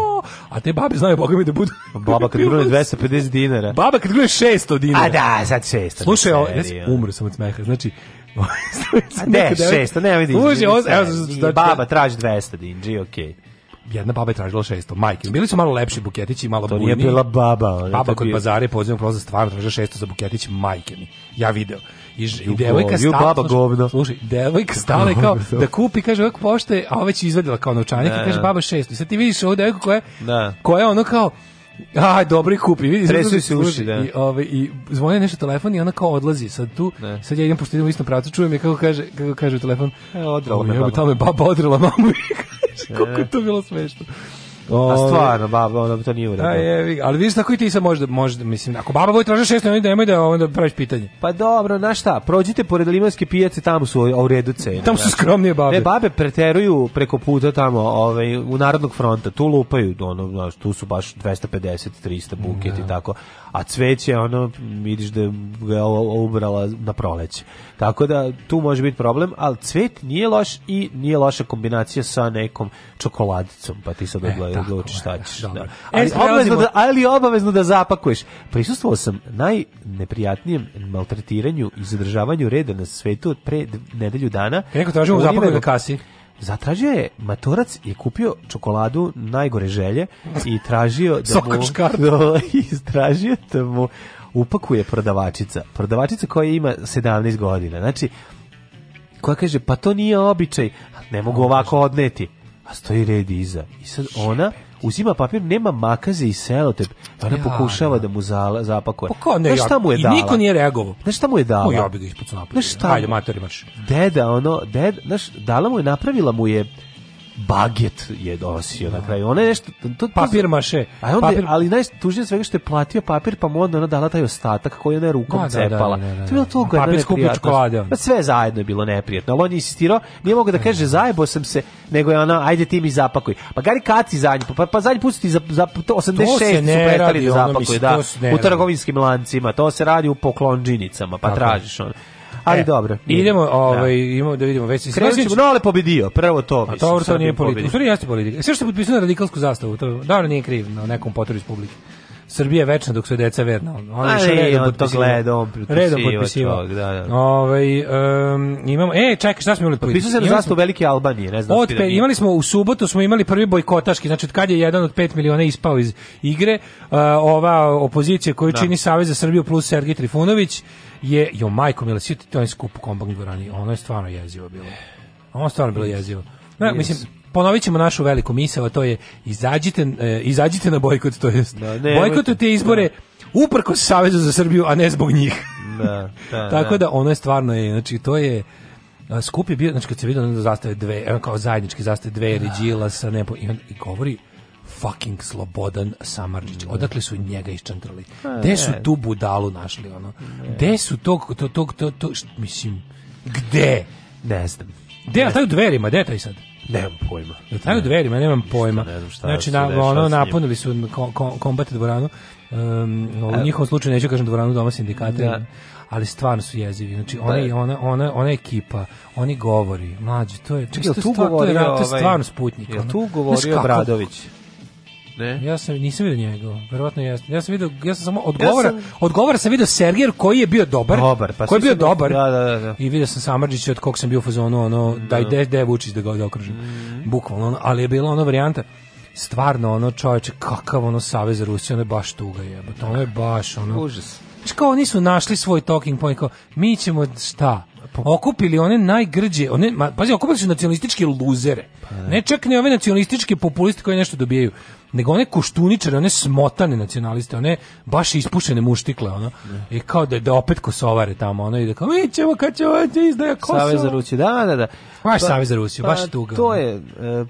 [SPEAKER 7] A te babe znaju, boga mi da budu...
[SPEAKER 8] Pa Baba kad grune 250 dinara.
[SPEAKER 7] Baba kad grune 600 dinara.
[SPEAKER 8] A da, sad 600.
[SPEAKER 7] Slušaj, ovo,
[SPEAKER 8] ne
[SPEAKER 7] znači,
[SPEAKER 8] seri, ono.
[SPEAKER 7] umro sam od smeha, znači...
[SPEAKER 8] A ne, 600, ne, vidi.
[SPEAKER 7] Uže, ovo, evo, znači,
[SPEAKER 8] evo, baba traži 200 dinđi, okej.
[SPEAKER 7] jedna baba je tražila 600, majke. Bili su malo lepši buketići, malo
[SPEAKER 8] To
[SPEAKER 7] bujni.
[SPEAKER 8] nije bila baba. ona je
[SPEAKER 7] Baba pa
[SPEAKER 8] Ono, to
[SPEAKER 7] kod
[SPEAKER 8] bio-
[SPEAKER 7] bazare pozivam prozor stvarno traže 600 za buketić majke mi. Ja video. I, ž- i
[SPEAKER 8] Ju
[SPEAKER 7] devojka
[SPEAKER 8] go- ju
[SPEAKER 7] stala.
[SPEAKER 8] baba
[SPEAKER 7] slušaj-
[SPEAKER 8] govno.
[SPEAKER 7] Slušaj, devojka stala i kao da kupi, kaže ovak pošte, a ova već je izvadila kao novčanik
[SPEAKER 8] Da,
[SPEAKER 7] i kaže
[SPEAKER 8] da.
[SPEAKER 7] baba 600. I sad ti vidiš ovu devojku koja,
[SPEAKER 8] Da.
[SPEAKER 7] koja je ono kao Aj, dobro i kupi. Vidi,
[SPEAKER 8] Tresu
[SPEAKER 7] slušaj,
[SPEAKER 8] se uši,
[SPEAKER 7] slušaj,
[SPEAKER 8] da.
[SPEAKER 7] I, ove, i zvone nešto telefon i ona kao odlazi. Sad tu,
[SPEAKER 8] Da.
[SPEAKER 7] sad ja idem pošto idem u istom pravcu, čujem je kako kaže, kako kaže u telefon.
[SPEAKER 8] E, odrala
[SPEAKER 7] "O,
[SPEAKER 8] me
[SPEAKER 7] jebe,
[SPEAKER 8] baba." E.
[SPEAKER 7] Tamo je baba odrela mamu i kaže, koliko je to bilo smešno.
[SPEAKER 8] A stvarno, baba, ona to nije uredila.
[SPEAKER 7] A jevi, ga. ali vidiš tako i ti sad možda, možda mislim, ako baba bude tražila 600, onda nemoj da onda praviš pitanje.
[SPEAKER 8] Pa dobro, na šta, prođite pored limanske pijace, tamo su o- u redu cene.
[SPEAKER 7] Tamo su
[SPEAKER 8] znaš.
[SPEAKER 7] skromnije babe.
[SPEAKER 8] Ne, babe preteruju preko puta tamo, ovaj, u Narodnog fronta, tu lupaju, ono, znaš, tu su baš 250, 300 buket i tako, a cveće, ono, vidiš da ga je o- ubrala na proleće. Tako da, tu može biti problem, ali cvet nije loš i nije loša kombinacija sa nekom čokoladicom, pa ti sad
[SPEAKER 7] E,
[SPEAKER 8] odla-
[SPEAKER 7] tako
[SPEAKER 8] odlučiš šta
[SPEAKER 7] je,
[SPEAKER 8] ćeš.
[SPEAKER 7] dobro. E,
[SPEAKER 8] da. Ali,
[SPEAKER 7] prelazimo-
[SPEAKER 8] obavezno da, ali obavezno da zapakuješ. Prisustvovao sam najneprijatnijem maltretiranju i zadržavanju reda na svetu od pre d- nedelju dana.
[SPEAKER 7] Kad neko traži mu
[SPEAKER 8] U
[SPEAKER 7] zapakuju
[SPEAKER 8] Riveru-
[SPEAKER 7] na kasi.
[SPEAKER 8] Zatražio je, matorac je kupio čokoladu najgore želje i tražio da mu...
[SPEAKER 7] Sokoš kartu.
[SPEAKER 8] Da, i tražio da mu upakuje prodavačica. Prodavačica koja ima 17 godina. Znači, koja kaže, pa to nije običaj, ne mogu ovako odneti. A stoji red iza. I sad ona uzima papir, nema makaze i selotep. Ona
[SPEAKER 7] Ja,
[SPEAKER 8] pokušava
[SPEAKER 7] ja.
[SPEAKER 8] da mu zala, zapakuje.
[SPEAKER 7] Pa ko ne,
[SPEAKER 8] Znaš šta mu je
[SPEAKER 7] i
[SPEAKER 8] dala?
[SPEAKER 7] niko nije reagovao.
[SPEAKER 8] Znaš šta mu je dala?
[SPEAKER 7] Moj obi ga ispod snapa.
[SPEAKER 8] Znaš šta?
[SPEAKER 7] Ajde, mater imaš.
[SPEAKER 8] Deda, ono, ded, znaš, dala mu je, napravila mu je baget je dosio na kraju. Ona je nešto... To, to-
[SPEAKER 7] Papir maše.
[SPEAKER 8] Pa A onda, je-
[SPEAKER 7] Papir-
[SPEAKER 8] ali najtužnije svega što je platio papir, pa mu onda ona dala taj ostatak koji je ona rukom
[SPEAKER 7] Da, da, da,
[SPEAKER 8] cepala.
[SPEAKER 7] da, da, da.
[SPEAKER 8] To je bilo toliko
[SPEAKER 7] Papir
[SPEAKER 8] jedna
[SPEAKER 7] skupio
[SPEAKER 8] neprijatnost.
[SPEAKER 7] čokolade, ono.
[SPEAKER 8] Pa sve zajedno je bilo neprijatno, ali on je insistirao, nije mogao da kaže zajebo sam se, nego je ona, ajde ti mi zapakuj. Pa gari kaci zadnji, pa, pa zadnji put su ti za, za, to 86 su
[SPEAKER 7] ne
[SPEAKER 8] pretali
[SPEAKER 7] radi,
[SPEAKER 8] da
[SPEAKER 7] ono,
[SPEAKER 8] zapakuju,
[SPEAKER 7] mislim,
[SPEAKER 8] da,
[SPEAKER 7] to se ne
[SPEAKER 8] u
[SPEAKER 7] radi.
[SPEAKER 8] trgovinskim lancima, to se radi u poklonđinicama, pa
[SPEAKER 7] Tako je.
[SPEAKER 8] tražiš ono. Ali
[SPEAKER 7] E,
[SPEAKER 8] dobro.
[SPEAKER 7] Idemo,
[SPEAKER 8] Da.
[SPEAKER 7] ovaj, imamo da vidimo već.
[SPEAKER 8] Krenut ćemo, Nole pobedio, prvo to.
[SPEAKER 7] A
[SPEAKER 8] mislim,
[SPEAKER 7] to, to
[SPEAKER 8] Srbin
[SPEAKER 7] nije politika.
[SPEAKER 8] pobedio.
[SPEAKER 7] U stvari jeste politika. E, Sve što potpisuje na radikalsku zastavu, to dobro nije kriv na nekom potoru iz publike. Srbija je večna dok su deca verna. Ona
[SPEAKER 8] A
[SPEAKER 7] je išla
[SPEAKER 8] ne,
[SPEAKER 7] redom
[SPEAKER 8] on to
[SPEAKER 7] potpisivala.
[SPEAKER 8] gleda, on potpisivao
[SPEAKER 7] Redom potpisivao.
[SPEAKER 8] čovek, da, da.
[SPEAKER 7] Ovaj, em, imamo, e, čekaj, šta smo imali? od
[SPEAKER 8] Potpisao se na
[SPEAKER 7] politika? Imali
[SPEAKER 8] zastavu Velike Albanije, ne znam.
[SPEAKER 7] Od
[SPEAKER 8] ti da
[SPEAKER 7] pet-
[SPEAKER 8] nije.
[SPEAKER 7] imali smo u subotu smo imali prvi bojkotaški, znači od kad je jedan od 5 miliona ispao iz igre, a, ova opozicija koju
[SPEAKER 8] Da.
[SPEAKER 7] čini Savez za Srbiju plus Sergej Trifunović je jo majko mila svi to je skup u kombang dvorani, ono je stvarno jezivo bilo. Ono je stvarno bilo jezivo. Ne, mislim Ponovit ćemo našu veliku misao, a to je izađite, e, izađite na bojkot, to jest.
[SPEAKER 8] Da,
[SPEAKER 7] Da,
[SPEAKER 8] nemojte.
[SPEAKER 7] Bojkotujte izbore, uprko Savezu za Srbiju, a ne zbog njih.
[SPEAKER 8] Da, da,
[SPEAKER 7] Tako da ono je stvarno je, znači to je a, skup je bio, znači kad se vidio da zastave dve, ono kao zajednički zastave dve, da. Ređila sa nepo, i, on- i govori fucking Slobodan Samarđić. Odakle su njega iščantrali?
[SPEAKER 8] Pa,
[SPEAKER 7] Gde su
[SPEAKER 8] ne.
[SPEAKER 7] tu budalu našli ono? Gde su tog, to, tog, to, to, št- mislim, gde?
[SPEAKER 8] Ne znam.
[SPEAKER 7] Gde, a taj u dverima, gde je taj sad?
[SPEAKER 8] Nemam pojma.
[SPEAKER 7] Jel taj u dverima, nemam pojma.
[SPEAKER 8] ne znam šta
[SPEAKER 7] znači,
[SPEAKER 8] se
[SPEAKER 7] na,
[SPEAKER 8] dešava s
[SPEAKER 7] ono,
[SPEAKER 8] njim.
[SPEAKER 7] napunili su kom- kom- kombat dvoranu. Um, u
[SPEAKER 8] Evo.
[SPEAKER 7] njihovom slučaju neću kažem dvoranu doma sindikata,
[SPEAKER 8] E. Da.
[SPEAKER 7] ali stvarno su jezivi. Znači,
[SPEAKER 8] Da.
[SPEAKER 7] ona, ona, ona, ona ekipa, oni govori, mlađi, to je,
[SPEAKER 8] Čekaj, jel
[SPEAKER 7] to je
[SPEAKER 8] tu
[SPEAKER 7] stvar- to je,
[SPEAKER 8] govorio
[SPEAKER 7] ra- to je
[SPEAKER 8] ovaj-
[SPEAKER 7] stvarno sputnik.
[SPEAKER 8] jel
[SPEAKER 7] ono.
[SPEAKER 8] tu
[SPEAKER 7] Znaš
[SPEAKER 8] govorio
[SPEAKER 7] kako-
[SPEAKER 8] Obradović? Ne?
[SPEAKER 7] Ja sam nisam video njega, verovatno jeste. Ja sam video, ja sam samo
[SPEAKER 8] Ja
[SPEAKER 7] odgovora,
[SPEAKER 8] sam-
[SPEAKER 7] odgovora sam video Sergejer koji je bio dobar,
[SPEAKER 8] Dobar, pa
[SPEAKER 7] koji je
[SPEAKER 8] svi
[SPEAKER 7] bio
[SPEAKER 8] su do-
[SPEAKER 7] dobar.
[SPEAKER 8] da, da, da.
[SPEAKER 7] I video sam Samardžića od kog sam bio u fazonu ono daj de de Vučić da ga okružim.
[SPEAKER 8] Mhm.
[SPEAKER 7] Bukvalno ono, ali je bila ona varijanta stvarno ono čoveče kakav ono savez Rusije, ono je baš tuga jebote. Ono je baš ono.
[SPEAKER 8] Užas.
[SPEAKER 7] Znači kao oni su našli svoj talking point, kao mi ćemo šta? Okupili one najgrđe, one, ma, pazi, okupili su nacionalističke luzere.
[SPEAKER 8] Pa
[SPEAKER 7] Ne čak ne ove nacionalističke populiste koji nešto dobijaju, nego one koštuničare, one smotane nacionaliste, one baš ispušene muštikle, ono. I kao da, da opet kosovare tamo, ono, i da kao, mi ćemo, kad će ovo će izdaja Kosovo.
[SPEAKER 8] Savez za Rusiju, da, da, da.
[SPEAKER 7] Baš Savez za Rusiju, baš tuga,
[SPEAKER 8] To
[SPEAKER 7] ono.
[SPEAKER 8] je e,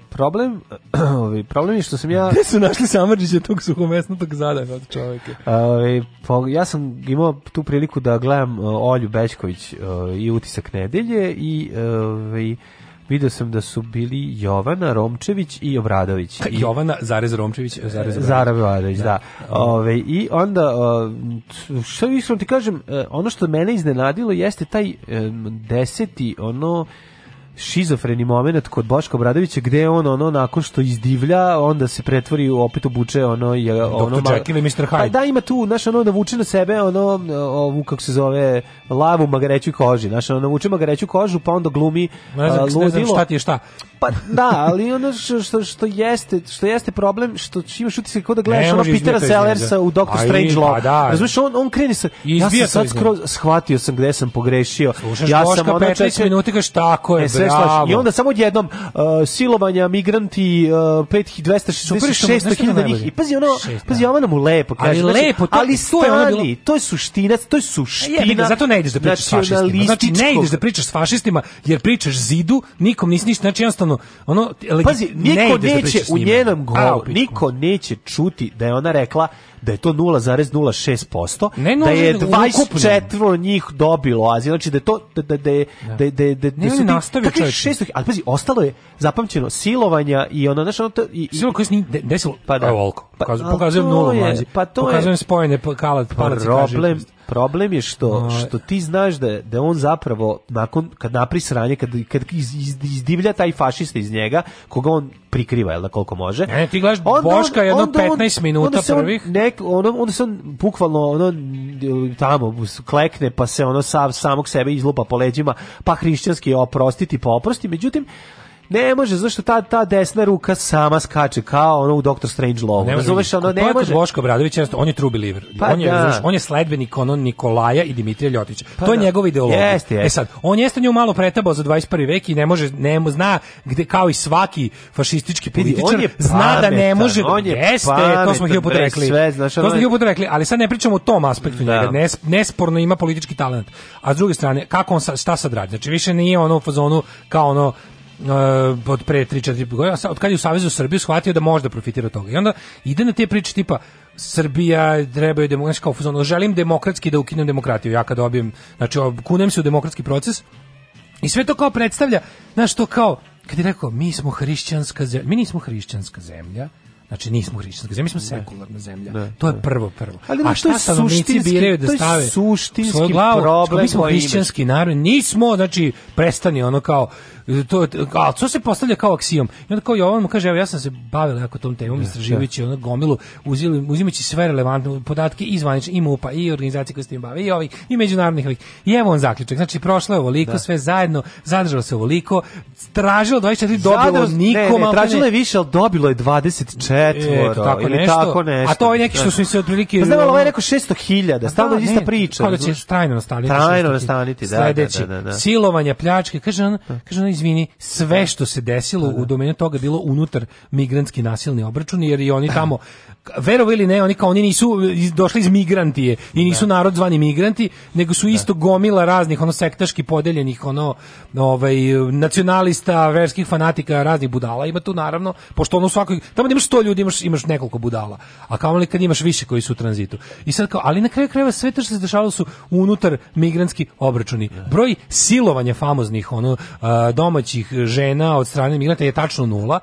[SPEAKER 8] problem, ovaj, problem je što sam ja...
[SPEAKER 7] Gde su našli Samarđića tog suhomesnatog zada od čoveka?
[SPEAKER 8] Ovaj, po- ja sam imao tu priliku da gledam e, Olju Bečković e, i utisak nedelje i ovaj, video sam da su bili Jovana Romčević i
[SPEAKER 7] Pa
[SPEAKER 8] Obradović. I-
[SPEAKER 7] Jovana, zarez Romčević, zarez Obradović.
[SPEAKER 8] Zara Obradović, da. Ove, I onda, o, t- šta više vam ti kažem, e, ono što mene iznenadilo jeste taj em, deseti, ono, šizofreni moment kod Boška Obradovića gde je on ono nakon što izdivlja onda se pretvori u opet obuče ono je ono
[SPEAKER 7] Dr. Jekyll i Mr. Hyde.
[SPEAKER 8] Pa da ima tu znaš ono da vuče na sebe ono ovu kako se zove lavu magareću koži znaš ono vuče magareću kožu pa onda glumi
[SPEAKER 7] Ne znam,
[SPEAKER 8] a,
[SPEAKER 7] ne znam
[SPEAKER 8] ludilo.
[SPEAKER 7] šta ti je šta.
[SPEAKER 8] Pa da, ali ono što, što, što jeste, što jeste problem, što imaš utisak kao da
[SPEAKER 7] Ne
[SPEAKER 8] gledaš ono
[SPEAKER 7] može
[SPEAKER 8] Petera
[SPEAKER 7] izbiti iz njega.
[SPEAKER 8] Sellersa u Doctor
[SPEAKER 7] Pa i-
[SPEAKER 8] Strange Love.
[SPEAKER 7] pa da.
[SPEAKER 8] Razumeš, on, on kreni sa...
[SPEAKER 7] I
[SPEAKER 8] Ja
[SPEAKER 7] izbija
[SPEAKER 8] sam
[SPEAKER 7] to
[SPEAKER 8] sad
[SPEAKER 7] iz
[SPEAKER 8] skroz, shvatio sam gde sam pogrešio.
[SPEAKER 7] Slušaš
[SPEAKER 8] ja
[SPEAKER 7] Boška
[SPEAKER 8] ono
[SPEAKER 7] 15
[SPEAKER 8] čekaj-
[SPEAKER 7] minuta i kažeš, tako je,
[SPEAKER 8] E, sve
[SPEAKER 7] bravo.
[SPEAKER 8] slažem. I onda samo odjednom uh, silovanja, migranti, uh, 5200 njih. I pazi, ono,
[SPEAKER 7] Šest,
[SPEAKER 8] pazi, Jovana mu lepo kaže.
[SPEAKER 7] Ali
[SPEAKER 8] znači,
[SPEAKER 7] lepo, to-
[SPEAKER 8] ali
[SPEAKER 7] to je ono
[SPEAKER 8] stani,
[SPEAKER 7] bilo-
[SPEAKER 8] to je suština, to je suština.
[SPEAKER 7] Jebi ga, zato ne ideš da pričaš s fašistima. Znači ne ideš da pričaš s fašistima jer pričaš zidu, nikom nisi ništa, znači jednostavno ono leg-
[SPEAKER 8] Pazi, niko
[SPEAKER 7] ideš da
[SPEAKER 8] neće
[SPEAKER 7] pričaš s
[SPEAKER 8] u
[SPEAKER 7] njima.
[SPEAKER 8] njenom
[SPEAKER 7] A,
[SPEAKER 8] govoru,
[SPEAKER 7] u pičku.
[SPEAKER 8] niko neće čuti da je ona rekla da je to 0,06%,
[SPEAKER 7] Ne,
[SPEAKER 8] da je
[SPEAKER 7] nego ukupno.
[SPEAKER 8] 24 njih dobilo azil, znači da je to da da da je- da da da
[SPEAKER 7] Ne,
[SPEAKER 8] da
[SPEAKER 7] on je nastavio,
[SPEAKER 8] takvih
[SPEAKER 7] čoveče.
[SPEAKER 8] 600, ali pazi, ostalo je zapamćeno silovanja i ona znaš ono to i, i
[SPEAKER 7] Sve koji se nije de- desilo, pa da. evo ovoliko. Pokaz-
[SPEAKER 8] ali
[SPEAKER 7] pokazujem
[SPEAKER 8] to
[SPEAKER 7] nulu
[SPEAKER 8] je-
[SPEAKER 7] mlađi.
[SPEAKER 8] pa to je-
[SPEAKER 7] pokazujem spojene pa- kalat, palac i kaži.
[SPEAKER 8] problem problem je što što ti znaš da da on zapravo nakon kad napri sranje kad kad iz, iz, izdivlja taj fašista iz njega koga on prikriva jel da koliko može
[SPEAKER 7] Ne, ti gledaš Boška jedno 15 minuta
[SPEAKER 8] onda se on
[SPEAKER 7] prvih.
[SPEAKER 8] nek ono onda se on bukvalno ono tamo klekne pa se ono sam samog sebe izlupa po leđima pa hrišćanski je oprostiti pa oprosti međutim Ne može, zašto ta, ta desna ruka sama skače kao ono u Doctor Strange Love.
[SPEAKER 7] Ne može,
[SPEAKER 8] Razumeš, ono,
[SPEAKER 7] to
[SPEAKER 8] ne
[SPEAKER 7] je kod
[SPEAKER 8] može.
[SPEAKER 7] Boško Obradović, jednostavno, on je true believer.
[SPEAKER 8] Pa
[SPEAKER 7] on, je,
[SPEAKER 8] da. Pa
[SPEAKER 7] razumeš, on je sledbenik ono Nikolaja i Dimitrija Ljotića. to je
[SPEAKER 8] da.
[SPEAKER 7] njegova ideologija.
[SPEAKER 8] Jeste, jeste.
[SPEAKER 7] E sad, on jeste nju malo pretabao za 21. vek i ne može, ne mo- zna gde, kao i svaki fašistički
[SPEAKER 8] Vidi, on
[SPEAKER 7] političar,
[SPEAKER 8] je
[SPEAKER 7] zna da ne
[SPEAKER 8] pametan,
[SPEAKER 7] može.
[SPEAKER 8] on je
[SPEAKER 7] jeste, to smo
[SPEAKER 8] pametan,
[SPEAKER 7] hiljoput
[SPEAKER 8] bre,
[SPEAKER 7] rekli.
[SPEAKER 8] sve, znaš,
[SPEAKER 7] to
[SPEAKER 8] ono
[SPEAKER 7] smo
[SPEAKER 8] je-
[SPEAKER 7] hiljoput rekli, ali sad ne pričamo o tom aspektu
[SPEAKER 8] Da.
[SPEAKER 7] njega. Nes, nesporno ima politički talent. A s druge strane, kako on, sa- šta sad radi? Znači, više nije ono u fazonu kao ono uh, od pre 3-4 godina, sa- od kad je u Savezu Srbiju shvatio da može da profitira od toga. I onda ide na te priče tipa Srbija trebaju demokratski kao fuzon, želim demokratski da ukinem demokratiju, ja kad dobijem, znači kunem se u demokratski proces i sve to kao predstavlja, znaš to kao, kad je rekao, mi smo hrišćanska zemlja, mi nismo hrišćanska zemlja, Znači nismo hrišćanska zemlja, mi smo sekularna zemlja. to je prvo prvo.
[SPEAKER 8] Ali,
[SPEAKER 7] A
[SPEAKER 8] znaš, to
[SPEAKER 7] šta
[SPEAKER 8] je
[SPEAKER 7] stanovnici
[SPEAKER 8] suštinski-
[SPEAKER 7] biraju da
[SPEAKER 8] to je
[SPEAKER 7] stave u
[SPEAKER 8] suštinski
[SPEAKER 7] svoju glavu?
[SPEAKER 8] problem pa
[SPEAKER 7] Mi smo
[SPEAKER 8] koji imaš.
[SPEAKER 7] hrišćanski narod, nismo, znači, prestani ono kao, to, a to se postavlja kao aksijom. I onda kao Jovan mu kaže, evo ja sam se bavila jako tom temom, istraživajući ono gomilu, uzili- uzimajući sve relevantne podatke i zvanične, i MUPA, i organizacije koje se tim bave, i ovih, i međunarodnih ovih. I evo on zaključak, znači prošlo je ovoliko, sve zajedno, zadržalo se ovoliko, tražilo 24, dobilo
[SPEAKER 8] Zadrž-
[SPEAKER 7] niko,
[SPEAKER 8] ne, ne,
[SPEAKER 7] maltene-
[SPEAKER 8] tražilo je više, ali dobilo je 24 četvoro,
[SPEAKER 7] Eto, tako
[SPEAKER 8] ili
[SPEAKER 7] E, nešto.
[SPEAKER 8] tako nešto.
[SPEAKER 7] A to je neki što su im se otprilike...
[SPEAKER 8] Pa znam, ali ovaj je rekao 600.000,
[SPEAKER 7] Pa
[SPEAKER 8] stalno
[SPEAKER 7] da,
[SPEAKER 8] ista
[SPEAKER 7] ne,
[SPEAKER 8] priča.
[SPEAKER 7] Kao da će
[SPEAKER 8] razumeš?
[SPEAKER 7] trajno nastaniti.
[SPEAKER 8] Trajno
[SPEAKER 7] što ste ti-
[SPEAKER 8] nastaniti, da, da,
[SPEAKER 7] Sledeće,
[SPEAKER 8] da, da, da.
[SPEAKER 7] silovanja, pljačke, kaže on, kaže on, izvini, sve što se desilo u domenu toga je bilo unutar migrantski nasilni obračuni, jer i oni tamo, verovo ili ne, oni kao oni nisu iz- došli iz migrantije i nisu narod zvani migranti, nego su isto gomila raznih, ono, sektaški podeljenih, ono, ovaj, nacionalista, verskih fanatika, raznih budala, ima tu naravno, pošto ono u svakoj, tamo da imaš 100 ljudi, imaš, imaš nekoliko budala, a kao li kad imaš više koji su u tranzitu. I sad kao, ali na kraju krajeva sve to što se dešavalo su unutar migrantski obračuni. Broj silovanja famoznih ono a, domaćih žena od strane migranata je tačno nula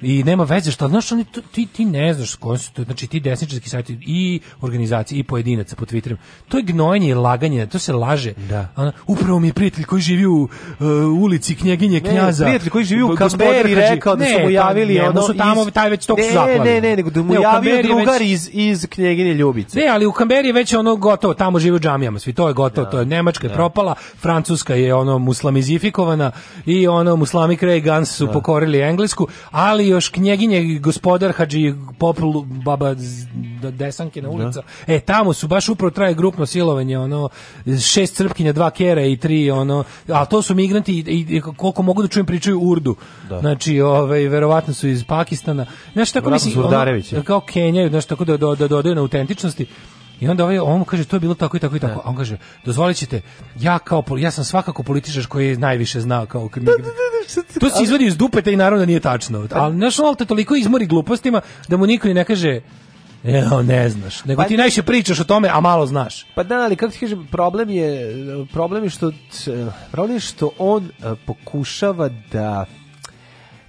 [SPEAKER 7] i nema veze što znaš oni tu- ti ti ne znaš s kojom su to znači ti desničarski sajti i organizacije i pojedinaca po Twitteru to je gnojenje i laganje to se laže Ono, upravo mi je prijatelj koji živi u e, ulici knjeginje
[SPEAKER 8] Ne,
[SPEAKER 7] knjaza
[SPEAKER 8] prijatelj koji živi u
[SPEAKER 7] gospodin
[SPEAKER 8] Kamberi
[SPEAKER 7] Hadži-
[SPEAKER 8] rekao da su
[SPEAKER 7] Ne,
[SPEAKER 8] mu
[SPEAKER 7] taj-
[SPEAKER 8] javili
[SPEAKER 7] ne, mu
[SPEAKER 8] ono
[SPEAKER 7] su tamo
[SPEAKER 8] iz-
[SPEAKER 7] taj već tok
[SPEAKER 8] Ne,
[SPEAKER 7] su zaplavili
[SPEAKER 8] ne, ne, nego da mu
[SPEAKER 7] u
[SPEAKER 8] javio
[SPEAKER 7] Kamberi je
[SPEAKER 8] drugar
[SPEAKER 7] već-
[SPEAKER 8] iz- iz knjegine Ljubice.
[SPEAKER 7] Ne, ali u Kamberi je već ono gotovo, tamo žive u džamijama, svi to je gotovo, to je Nemačka je propala, Francuska je ono muslamizifikovana i ono muslami Ray Guns su pokorili Englesku, ali još knjeginje gospodar Hadži Popul Baba Z- D- Desanke na ulica. E, tamo su baš upravo traje grupno silovanje, ono šest crpkinja, dva kera i tri ono, a to su migranti i, i- i koliko mogu da čujem pričaju Urdu.
[SPEAKER 8] Da.
[SPEAKER 7] Znači, ovaj verovatno su iz Pakistana. Znaš tako
[SPEAKER 8] Verovatno
[SPEAKER 7] mislim,
[SPEAKER 8] su
[SPEAKER 7] ono,
[SPEAKER 8] Urdarevići.
[SPEAKER 7] kao Kenjaju, znaš, tako da, da, da dodaju na autentičnosti. I onda ovaj, on mu kaže, to je bilo tako i tako i tako. A on kaže, dozvolit ćete, ja, kao, pol- ja sam svakako političar koji je najviše znao kao kad- To se izvodi iz dupeta i naravno da nije tačno.
[SPEAKER 8] Pa-
[SPEAKER 7] Ali znaš, on te toliko izmori glupostima da mu niko ni ne kaže, "Jao, ne znaš. Nego
[SPEAKER 8] Pa-
[SPEAKER 7] ti najviše pričaš o tome, a malo znaš.
[SPEAKER 8] Pa da, ali kako ti kažem, problem je problem je što t- problem je što on e, pokušava da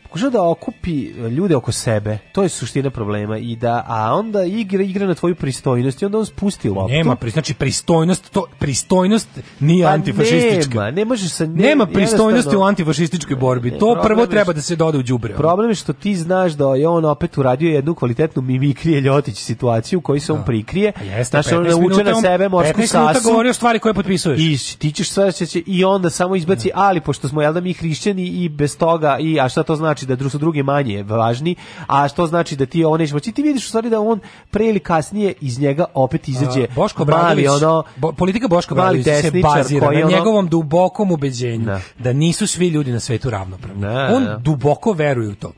[SPEAKER 8] pokušava da okupi e, ljude oko sebe. To je suština problema i da a onda igra igra na tvoju pristojnost i onda on spusti loptu.
[SPEAKER 7] Nema, pri- znači pristojnost, to, pristojnost nije
[SPEAKER 8] Pa
[SPEAKER 7] antifašistička.
[SPEAKER 8] Nema, ne možeš sa
[SPEAKER 7] Nema pristojnosti u
[SPEAKER 8] jednostavno-
[SPEAKER 7] antifašističkoj borbi.
[SPEAKER 8] Ne,
[SPEAKER 7] To
[SPEAKER 8] problem
[SPEAKER 7] prvo
[SPEAKER 8] je
[SPEAKER 7] treba
[SPEAKER 8] što-
[SPEAKER 7] da se doda u đubre. ono.
[SPEAKER 8] Problem je što ti znaš da je on opet uradio jednu kvalitetnu mimikrije Ljotić situaciju u kojoj se on prikrije.
[SPEAKER 7] Pa Jeste,
[SPEAKER 8] Znaš, on
[SPEAKER 7] 15
[SPEAKER 8] nauče
[SPEAKER 7] minuta
[SPEAKER 8] na
[SPEAKER 7] on-
[SPEAKER 8] sebe morsku
[SPEAKER 7] 15 minuta
[SPEAKER 8] sasu.
[SPEAKER 7] govorio stvari koje potpisuješ.
[SPEAKER 8] I s- ti ćeš sve će, i onda samo izbaci, ali pošto smo jel da mi hrišćani i bez toga, i, a šta to znači da dru- su drugi manje važni, a što znači da ti ovo neće moći. Ti vidiš u stvari da on pre ili kasnije iz njega opet izađe
[SPEAKER 7] A, Boško
[SPEAKER 8] mali
[SPEAKER 7] Obradović,
[SPEAKER 8] ono...
[SPEAKER 7] bo- politika Boško
[SPEAKER 8] mali
[SPEAKER 7] Obradovića se
[SPEAKER 8] desničar
[SPEAKER 7] bazira
[SPEAKER 8] koji
[SPEAKER 7] na
[SPEAKER 8] ono-
[SPEAKER 7] njegovom dubokom ubeđenju da nisu svi ljudi na svetu ravnopravni.
[SPEAKER 8] Ne,
[SPEAKER 7] on
[SPEAKER 8] ne.
[SPEAKER 7] duboko veruje u to.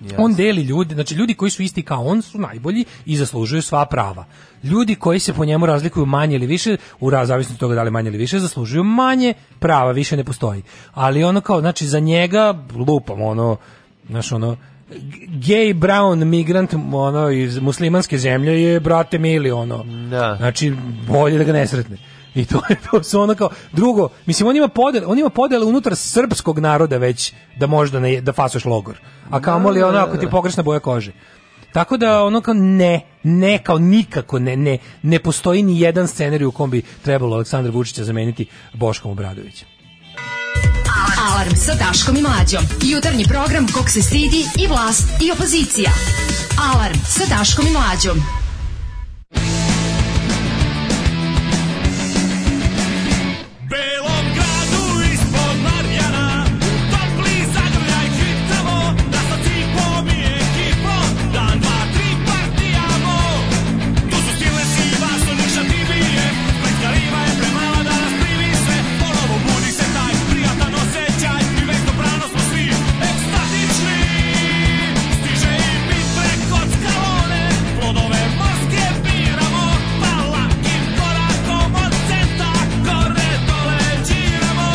[SPEAKER 8] Jasno.
[SPEAKER 7] On deli ljudi, znači ljudi koji su isti kao on su najbolji i zaslužuju sva prava. Ljudi koji se po njemu razlikuju manje ili više, u raz- zavisno od toga da li manje ili više, zaslužuju manje prava, više ne postoji. Ali ono kao, znači za njega lupam ono, znaš ono, g- gay brown migrant ono iz muslimanske zemlje je brate mili ono.
[SPEAKER 8] Da.
[SPEAKER 7] Znači, bolje da ga ne sretne. I to je to su ono kao drugo, mislim on ima podele, on ima podele unutar srpskog naroda već da možda ne, da fasoš logor. A kamoli ono ako ti je pogrešna boja kože. Tako da ono kao ne, ne kao nikako ne, ne, ne postoji ni jedan scenarij u kom bi trebalo Aleksandra Vučića zameniti Boškom Obradovićem.
[SPEAKER 6] Alarm sa Daškom i Mlađom. Jutarnji program kog se stidi i vlast i opozicija. Alarm sa Daškom i Mlađom.
[SPEAKER 2] Belom gradu ispod Marjana U topli zagrljaj čitamo Da sa cipom i ekipom Dan, dva, tri partijamo Tu su stile siva, su niša divije Pletka riva je premala da nas privi sve Ponovo budi se taj prijatan osjećaj Mi već dobrano smo svi ekstatični Stiže i bitve kod skalone Plodove morske biramo Palakim korakom od centra Gore dole džiramo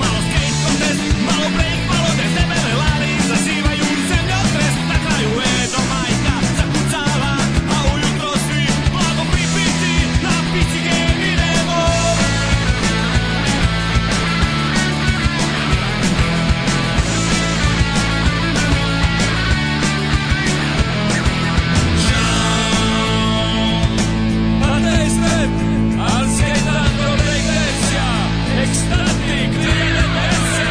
[SPEAKER 2] Malo skate contest, malo break, malo des Debele lani zazivaju zemljotres Na kraju
[SPEAKER 10] eh.
[SPEAKER 2] Edo majka zakucava A ujutro svi blago pripiti Na pici game idemo a ne izved, ali sjedan dobra iglesia, ekstatik, divine mese.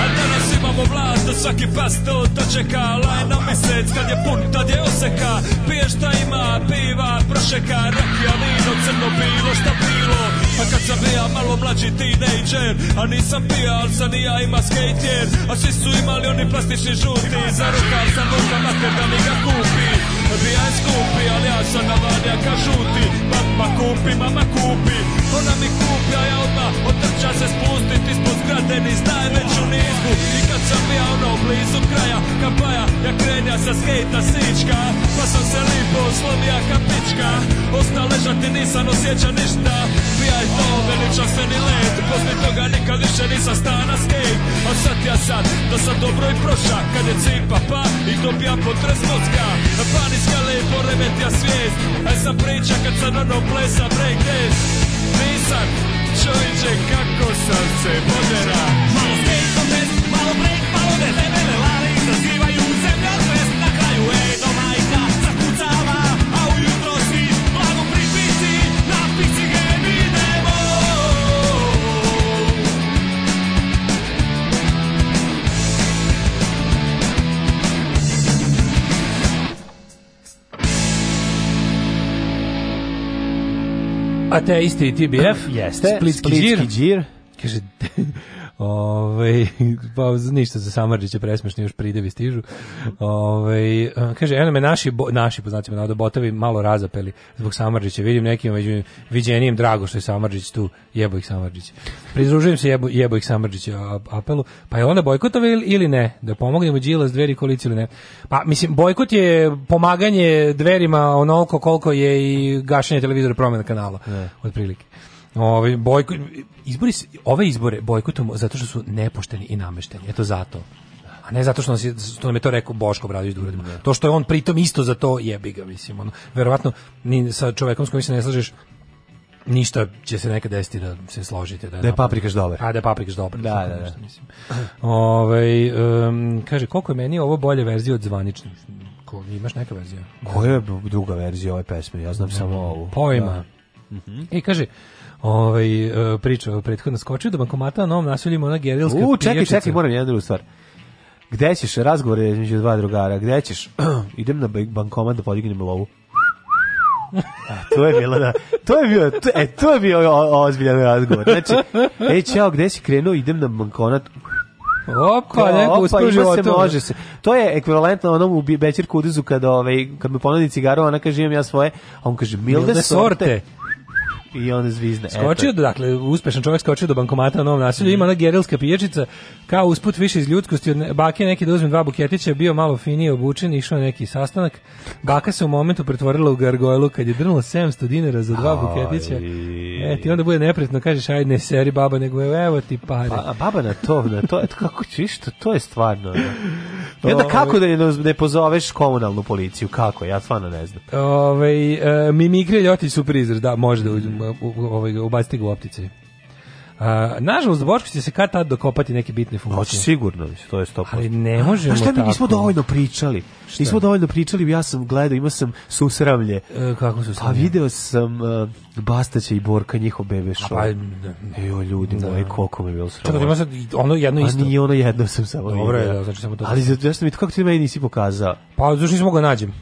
[SPEAKER 2] A danas imamo vlast, da svaki pas to dočeka, laj na mesec, kad je pun, tad je oseka, pije šta ima, piva, prošeka, rakija, vino, crno bilo, šta bilo,
[SPEAKER 10] Pa kad sam bija malo mlađi teenager A nisam pija, ali sam i ja ima skate jer A svi su imali oni plastični žuti Za rukav sam luka mater da mi ga kupi Bija je skupi, ali ja sam na vanjaka žuti Mama kupi, mama kupi Ona mi kupi, a ja odmah otrča se spustit Ispod zgrade niz najveću nizgu I kad sam bija ono blizu kraja Kampaja, ja krenja sa skejta sička Pa sam se lipo slomija kapička Osta ležati nisam osjeća ništa Bija je to veličanstveni let Poslije toga nikad više nisam stana skate A sad ja sad, da sam dobro i proša Kad je cipa pa i dobijam potres mozga Pa niz skale i poremetja svijest Aj sam priča kad sam ono plesa breakdance Nisam, čovječe kako sam se podera Malo skate kontest, malo break, malo debele lali Zazivaju zemlja trest, na kraju ej do majka Zakucava, a ujutro svi blago pripici Na pici game idemo
[SPEAKER 7] A te isti i TBF?
[SPEAKER 8] Jeste,
[SPEAKER 7] Splitski,
[SPEAKER 8] Splitski džir.
[SPEAKER 7] Kaže, Ove, pa ništa za Samarđića presmešni još pridevi stižu. Ove, kaže, eno me naši, bo, naši poznacima navoda botovi malo razapeli zbog Samarđića. Vidim nekim među viđenijem drago što je Samarđić tu, jebo ih Samarđić. Pridružujem se jebo, jebo ih Samarđića a- apelu. Pa je onda bojkotove ili, ili ne? Da pomognemo Đilas dveri koalici ili ne? Pa mislim, bojkot je pomaganje dverima onoliko koliko je i gašenje televizora promjena kanala. Otprilike. Ovi Ovaj, bojko, izbori, se- ove izbore bojkotujemo zato što su nepošteni i namešteni. Eto zato. A ne zato što, nas je, što nam je to rekao Boško Bradović da uradimo. To što je on pritom isto za to jebi ga, mislim. Ono, verovatno ni sa čovekom s kojim se ne slažeš ništa će se nekad desiti da se složite. Da
[SPEAKER 8] Da je
[SPEAKER 7] napravimo-
[SPEAKER 8] paprikaš dobar.
[SPEAKER 7] A da je paprikaš dobar.
[SPEAKER 8] Da,
[SPEAKER 7] tako
[SPEAKER 8] da, da.
[SPEAKER 7] nešto, mislim. Ovaj, em, kaže, koliko je meni ovo bolje verzija od zvanične? Ko, imaš neka verzija?
[SPEAKER 8] Koja je druga verzija ove pesme? Ja znam samo ovu.
[SPEAKER 7] Pojma. I Mhm. E, kaže, ovaj, e, priča o prethodno skočio do bankomata na novom naselju ima ona gerilska
[SPEAKER 8] U, čekaj,
[SPEAKER 7] pijačica.
[SPEAKER 8] čekaj, moram jednu drugu stvar. Gde ćeš, razgovor je između dva drugara, gde ćeš? Idem na bank- bankomat da podignem lovu. E, to je bilo da, to je bio, to, e, to je bio o- ozbiljan razgovor. Znači, ej, čao, gde si krenuo? Idem na bankomat.
[SPEAKER 7] Opa, neko uspeo u
[SPEAKER 8] ima se,
[SPEAKER 7] životu.
[SPEAKER 8] može se. To je ekvivalentno onom u Bi- Bećir Kuduzu kada, ovaj, kad mu ponudi cigaru, ona kaže imam ja svoje, a on kaže milde,
[SPEAKER 7] Milde sorte.
[SPEAKER 8] sorte. I onda zvizne. Eto.
[SPEAKER 7] Skočio, do, dakle, uspešan čovjek skočio do bankomata na novom naselju, ima ona gerilska pijačica, kao usput više iz ljudskosti, od ne- bake neki da uzme dva buketića, bio malo finije obučen, išao na neki sastanak, baka se u momentu pretvorila u gargojlu kad je drnula 700 dinara za dva buketića, e, ti onda bude nepretno, kažeš, ajde ne seri baba, nego evo, evo ti pare.
[SPEAKER 8] Pa, a baba na to, na to, eto kako ću, što, to je stvarno. ono. I onda kako da ne, ne pozoveš komunalnu policiju, kako, ja stvarno ne znam.
[SPEAKER 7] Ovaj e, Mimikri Ljotić su prizor, da, može da uđem, u- u- ovaj, ubacite ga u optici. A, nažalost, Boško će se kad tad dokopati neke bitne
[SPEAKER 8] Pa, Hoće
[SPEAKER 7] funkcije.
[SPEAKER 8] sigurno, mislim, to je 100%.
[SPEAKER 7] Ali ne možemo
[SPEAKER 8] A šta mi nismo
[SPEAKER 7] tako.
[SPEAKER 8] dovoljno pričali? Nismo dovoljno pričali, ja sam gledao, imao sam susramlje.
[SPEAKER 7] E, kako su
[SPEAKER 8] Pa video sam uh, Bastaća i Borka, njihov bebe show.
[SPEAKER 7] pa,
[SPEAKER 8] Jo, ljudi moji, koliko me je bilo sramotno.
[SPEAKER 7] Čekaj, ima sad ono jedno isto.
[SPEAKER 8] A nije ono jedno sam samo
[SPEAKER 7] Dobro je,
[SPEAKER 8] vidio.
[SPEAKER 7] da, znači samo to.
[SPEAKER 8] Ali zato- zašto mi to, kako ti meni nisi pokazao?
[SPEAKER 7] Pa zašto nismo ga nađem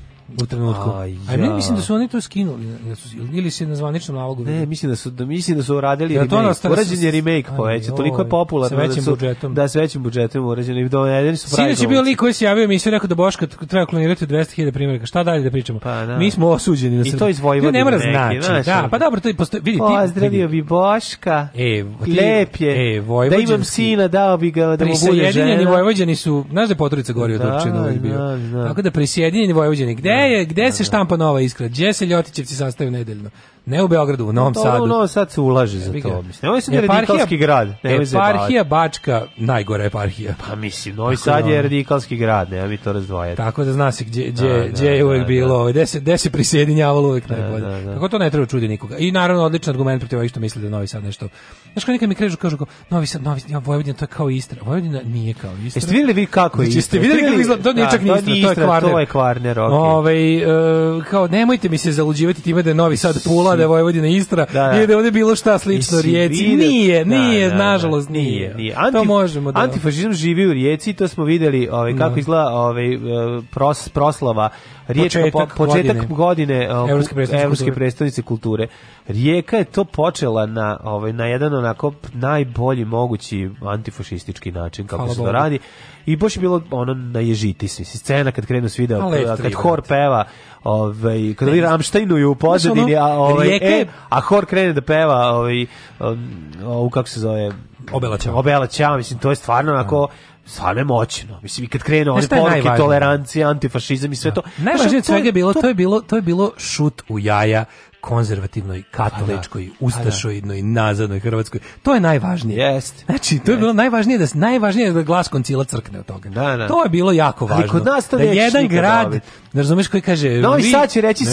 [SPEAKER 7] u trenutku?
[SPEAKER 8] Aj,
[SPEAKER 7] A meni
[SPEAKER 8] ja.
[SPEAKER 7] mislim da su oni to skinuli, da su, ili se na zvaničnom nalogu.
[SPEAKER 8] Ne, mislim da su da mislim da su uradili
[SPEAKER 7] Jel Mhm. to ono
[SPEAKER 8] remake.
[SPEAKER 7] stara-
[SPEAKER 8] Urađen je remake
[SPEAKER 7] Aj,
[SPEAKER 8] poveća, toliko
[SPEAKER 7] joj,
[SPEAKER 8] je popularno
[SPEAKER 7] sa većim
[SPEAKER 8] da su
[SPEAKER 7] budžetom.
[SPEAKER 8] da sa većim budžetom urađeno i dovedeni su pravi.
[SPEAKER 7] Sinoć je bio lik koji se javio i mi sve rekao da Boška t- treba klonirati 200.000 primjeraka. Šta dalje da pričamo? Pa,
[SPEAKER 8] da.
[SPEAKER 7] Mi smo osuđeni na
[SPEAKER 8] I
[SPEAKER 7] Srbiju.
[SPEAKER 8] to iz Vojvodine
[SPEAKER 7] Ne mora
[SPEAKER 8] neki,
[SPEAKER 7] znači.
[SPEAKER 8] znaš,
[SPEAKER 7] da,
[SPEAKER 8] ono.
[SPEAKER 7] pa dobro, to je postoji. Vidi, ti, vidi.
[SPEAKER 8] Pozdravio bi Boška.
[SPEAKER 7] E, ti-
[SPEAKER 8] Lep je.
[SPEAKER 7] E,
[SPEAKER 8] da
[SPEAKER 7] vojvođanski-
[SPEAKER 8] imam sina, dao bi ga da mu bude
[SPEAKER 7] Prisjedinjeni
[SPEAKER 8] žena.
[SPEAKER 7] Vojvođani su, znaš da je Potorica gori od
[SPEAKER 8] Da,
[SPEAKER 7] Turčina uvijek bio.
[SPEAKER 8] znam, znam.
[SPEAKER 7] Tako da prisjedinjeni Vojvođani, gde je, gde se štampa nova iskra? Gde se Ljotićevci sastaju nedeljno? Ne u Beogradu, u Novom
[SPEAKER 8] To
[SPEAKER 7] Sadu.
[SPEAKER 8] ono u Novom Sadu se ulaže za
[SPEAKER 7] Jebi ga. E,
[SPEAKER 8] to, mislim. Nemoj se da je
[SPEAKER 7] Eparhija-
[SPEAKER 8] radikalski grad, nemoj se
[SPEAKER 7] Eparhija Bačka, najgora eparhija.
[SPEAKER 8] Pa mislim, Novi Sad je radikalski grad, nema mi to razdvajati.
[SPEAKER 7] ono. Tako da zna se gdje, gdje,
[SPEAKER 8] Da, da,
[SPEAKER 7] gdje je
[SPEAKER 8] da,
[SPEAKER 7] uvek
[SPEAKER 8] da.
[SPEAKER 7] bilo, gdje se, gdje se prisjedinjavalo uvek najbolje.
[SPEAKER 8] da, da.
[SPEAKER 7] Tako to ne treba čudi nikoga. I naravno odličan argument protiv ovih što misle da je Novi Sad nešto. Znaš kao nekad mi krežu, kažu kao, Novi Sad, Novi Sad, ja, Vojvodina, to je kao Istra. Vojvodina nije kao Istra.
[SPEAKER 8] Jeste vidjeli vi kako je
[SPEAKER 7] Znači, jeste
[SPEAKER 8] Istra?
[SPEAKER 7] vidjeli
[SPEAKER 8] Jeste
[SPEAKER 7] kako
[SPEAKER 8] vidjeli-
[SPEAKER 7] izgleda? To nije
[SPEAKER 8] Da,
[SPEAKER 7] čak ni
[SPEAKER 8] to
[SPEAKER 7] Istra,
[SPEAKER 8] nije
[SPEAKER 7] to je
[SPEAKER 8] Istra,
[SPEAKER 7] Kvarner.
[SPEAKER 8] to je Kvarner, ok.
[SPEAKER 7] Ovaj, e, kao, nemojte mi se zaluđivati time da je Novi Sad Pula, da je Vojvodina Istra,
[SPEAKER 8] da.
[SPEAKER 7] nije da je ovde bilo šta slično
[SPEAKER 8] Jesi
[SPEAKER 7] Rijeci.
[SPEAKER 8] vidio-
[SPEAKER 7] Nije,
[SPEAKER 8] Da,
[SPEAKER 7] nije,
[SPEAKER 8] da, da,
[SPEAKER 7] nažalost nije.
[SPEAKER 8] nije.
[SPEAKER 7] to
[SPEAKER 8] Anti-
[SPEAKER 7] možemo da...
[SPEAKER 8] Antifašizam živi u Rijeci, to smo videli ovaj, kako
[SPEAKER 7] Da.
[SPEAKER 8] izgleda ovaj, e, pros, proslava Riječka,
[SPEAKER 7] Početak
[SPEAKER 8] po- početak
[SPEAKER 7] godine.
[SPEAKER 8] godine, o,
[SPEAKER 7] Evropske
[SPEAKER 8] ku-
[SPEAKER 7] prestonice
[SPEAKER 8] Evropske
[SPEAKER 7] kulture.
[SPEAKER 8] prestonice kulture. Rijeka je to počela na, ovaj, na jedan onako najbolji mogući antifašistički način kako
[SPEAKER 7] Hvala
[SPEAKER 8] se to
[SPEAKER 7] Bogu.
[SPEAKER 8] radi. I baš je bilo ono na ježiti se. Scena kad krenu svi da,
[SPEAKER 7] A lep
[SPEAKER 8] kad
[SPEAKER 7] tribat.
[SPEAKER 8] hor peva, ovaj, kad li Ramštajnuju u pozadini,
[SPEAKER 7] Znaš,
[SPEAKER 8] a,
[SPEAKER 7] ono,
[SPEAKER 8] ovaj,
[SPEAKER 7] Rijeka
[SPEAKER 8] e,
[SPEAKER 7] je-
[SPEAKER 8] a hor krene da peva ovaj, um, ovu, kako se zove,
[SPEAKER 7] Obelaćava.
[SPEAKER 8] Obelaćava, mislim, to je stvarno onako, stvarno je moćno. Mislim, i kad krenu
[SPEAKER 7] Znaš
[SPEAKER 8] one
[SPEAKER 7] šta je
[SPEAKER 8] poruke
[SPEAKER 7] najvažnije?
[SPEAKER 8] tolerancije, antifašizam i sve to.
[SPEAKER 7] Najvažnije od
[SPEAKER 8] Znaš, to je-
[SPEAKER 7] svega je bilo, to je bilo, to je bilo šut u jaja konzervativnoj, katoličkoj,
[SPEAKER 8] Pa da.
[SPEAKER 7] ustašoidnoj, nazadnoj Hrvatskoj. To je najvažnije.
[SPEAKER 8] Jest.
[SPEAKER 7] Znači, to je bilo najvažnije da s- najvažnije je da glas koncila crkne od toga.
[SPEAKER 8] da.
[SPEAKER 7] To je bilo jako
[SPEAKER 8] Ali
[SPEAKER 7] važno.
[SPEAKER 8] kod nas to
[SPEAKER 7] da
[SPEAKER 8] nećeš
[SPEAKER 7] jedan
[SPEAKER 8] nikad
[SPEAKER 7] grad,
[SPEAKER 8] dobiti.
[SPEAKER 7] ne razumeš koji kaže,
[SPEAKER 8] Novi
[SPEAKER 7] vi-
[SPEAKER 8] Sad će reći
[SPEAKER 7] Ne.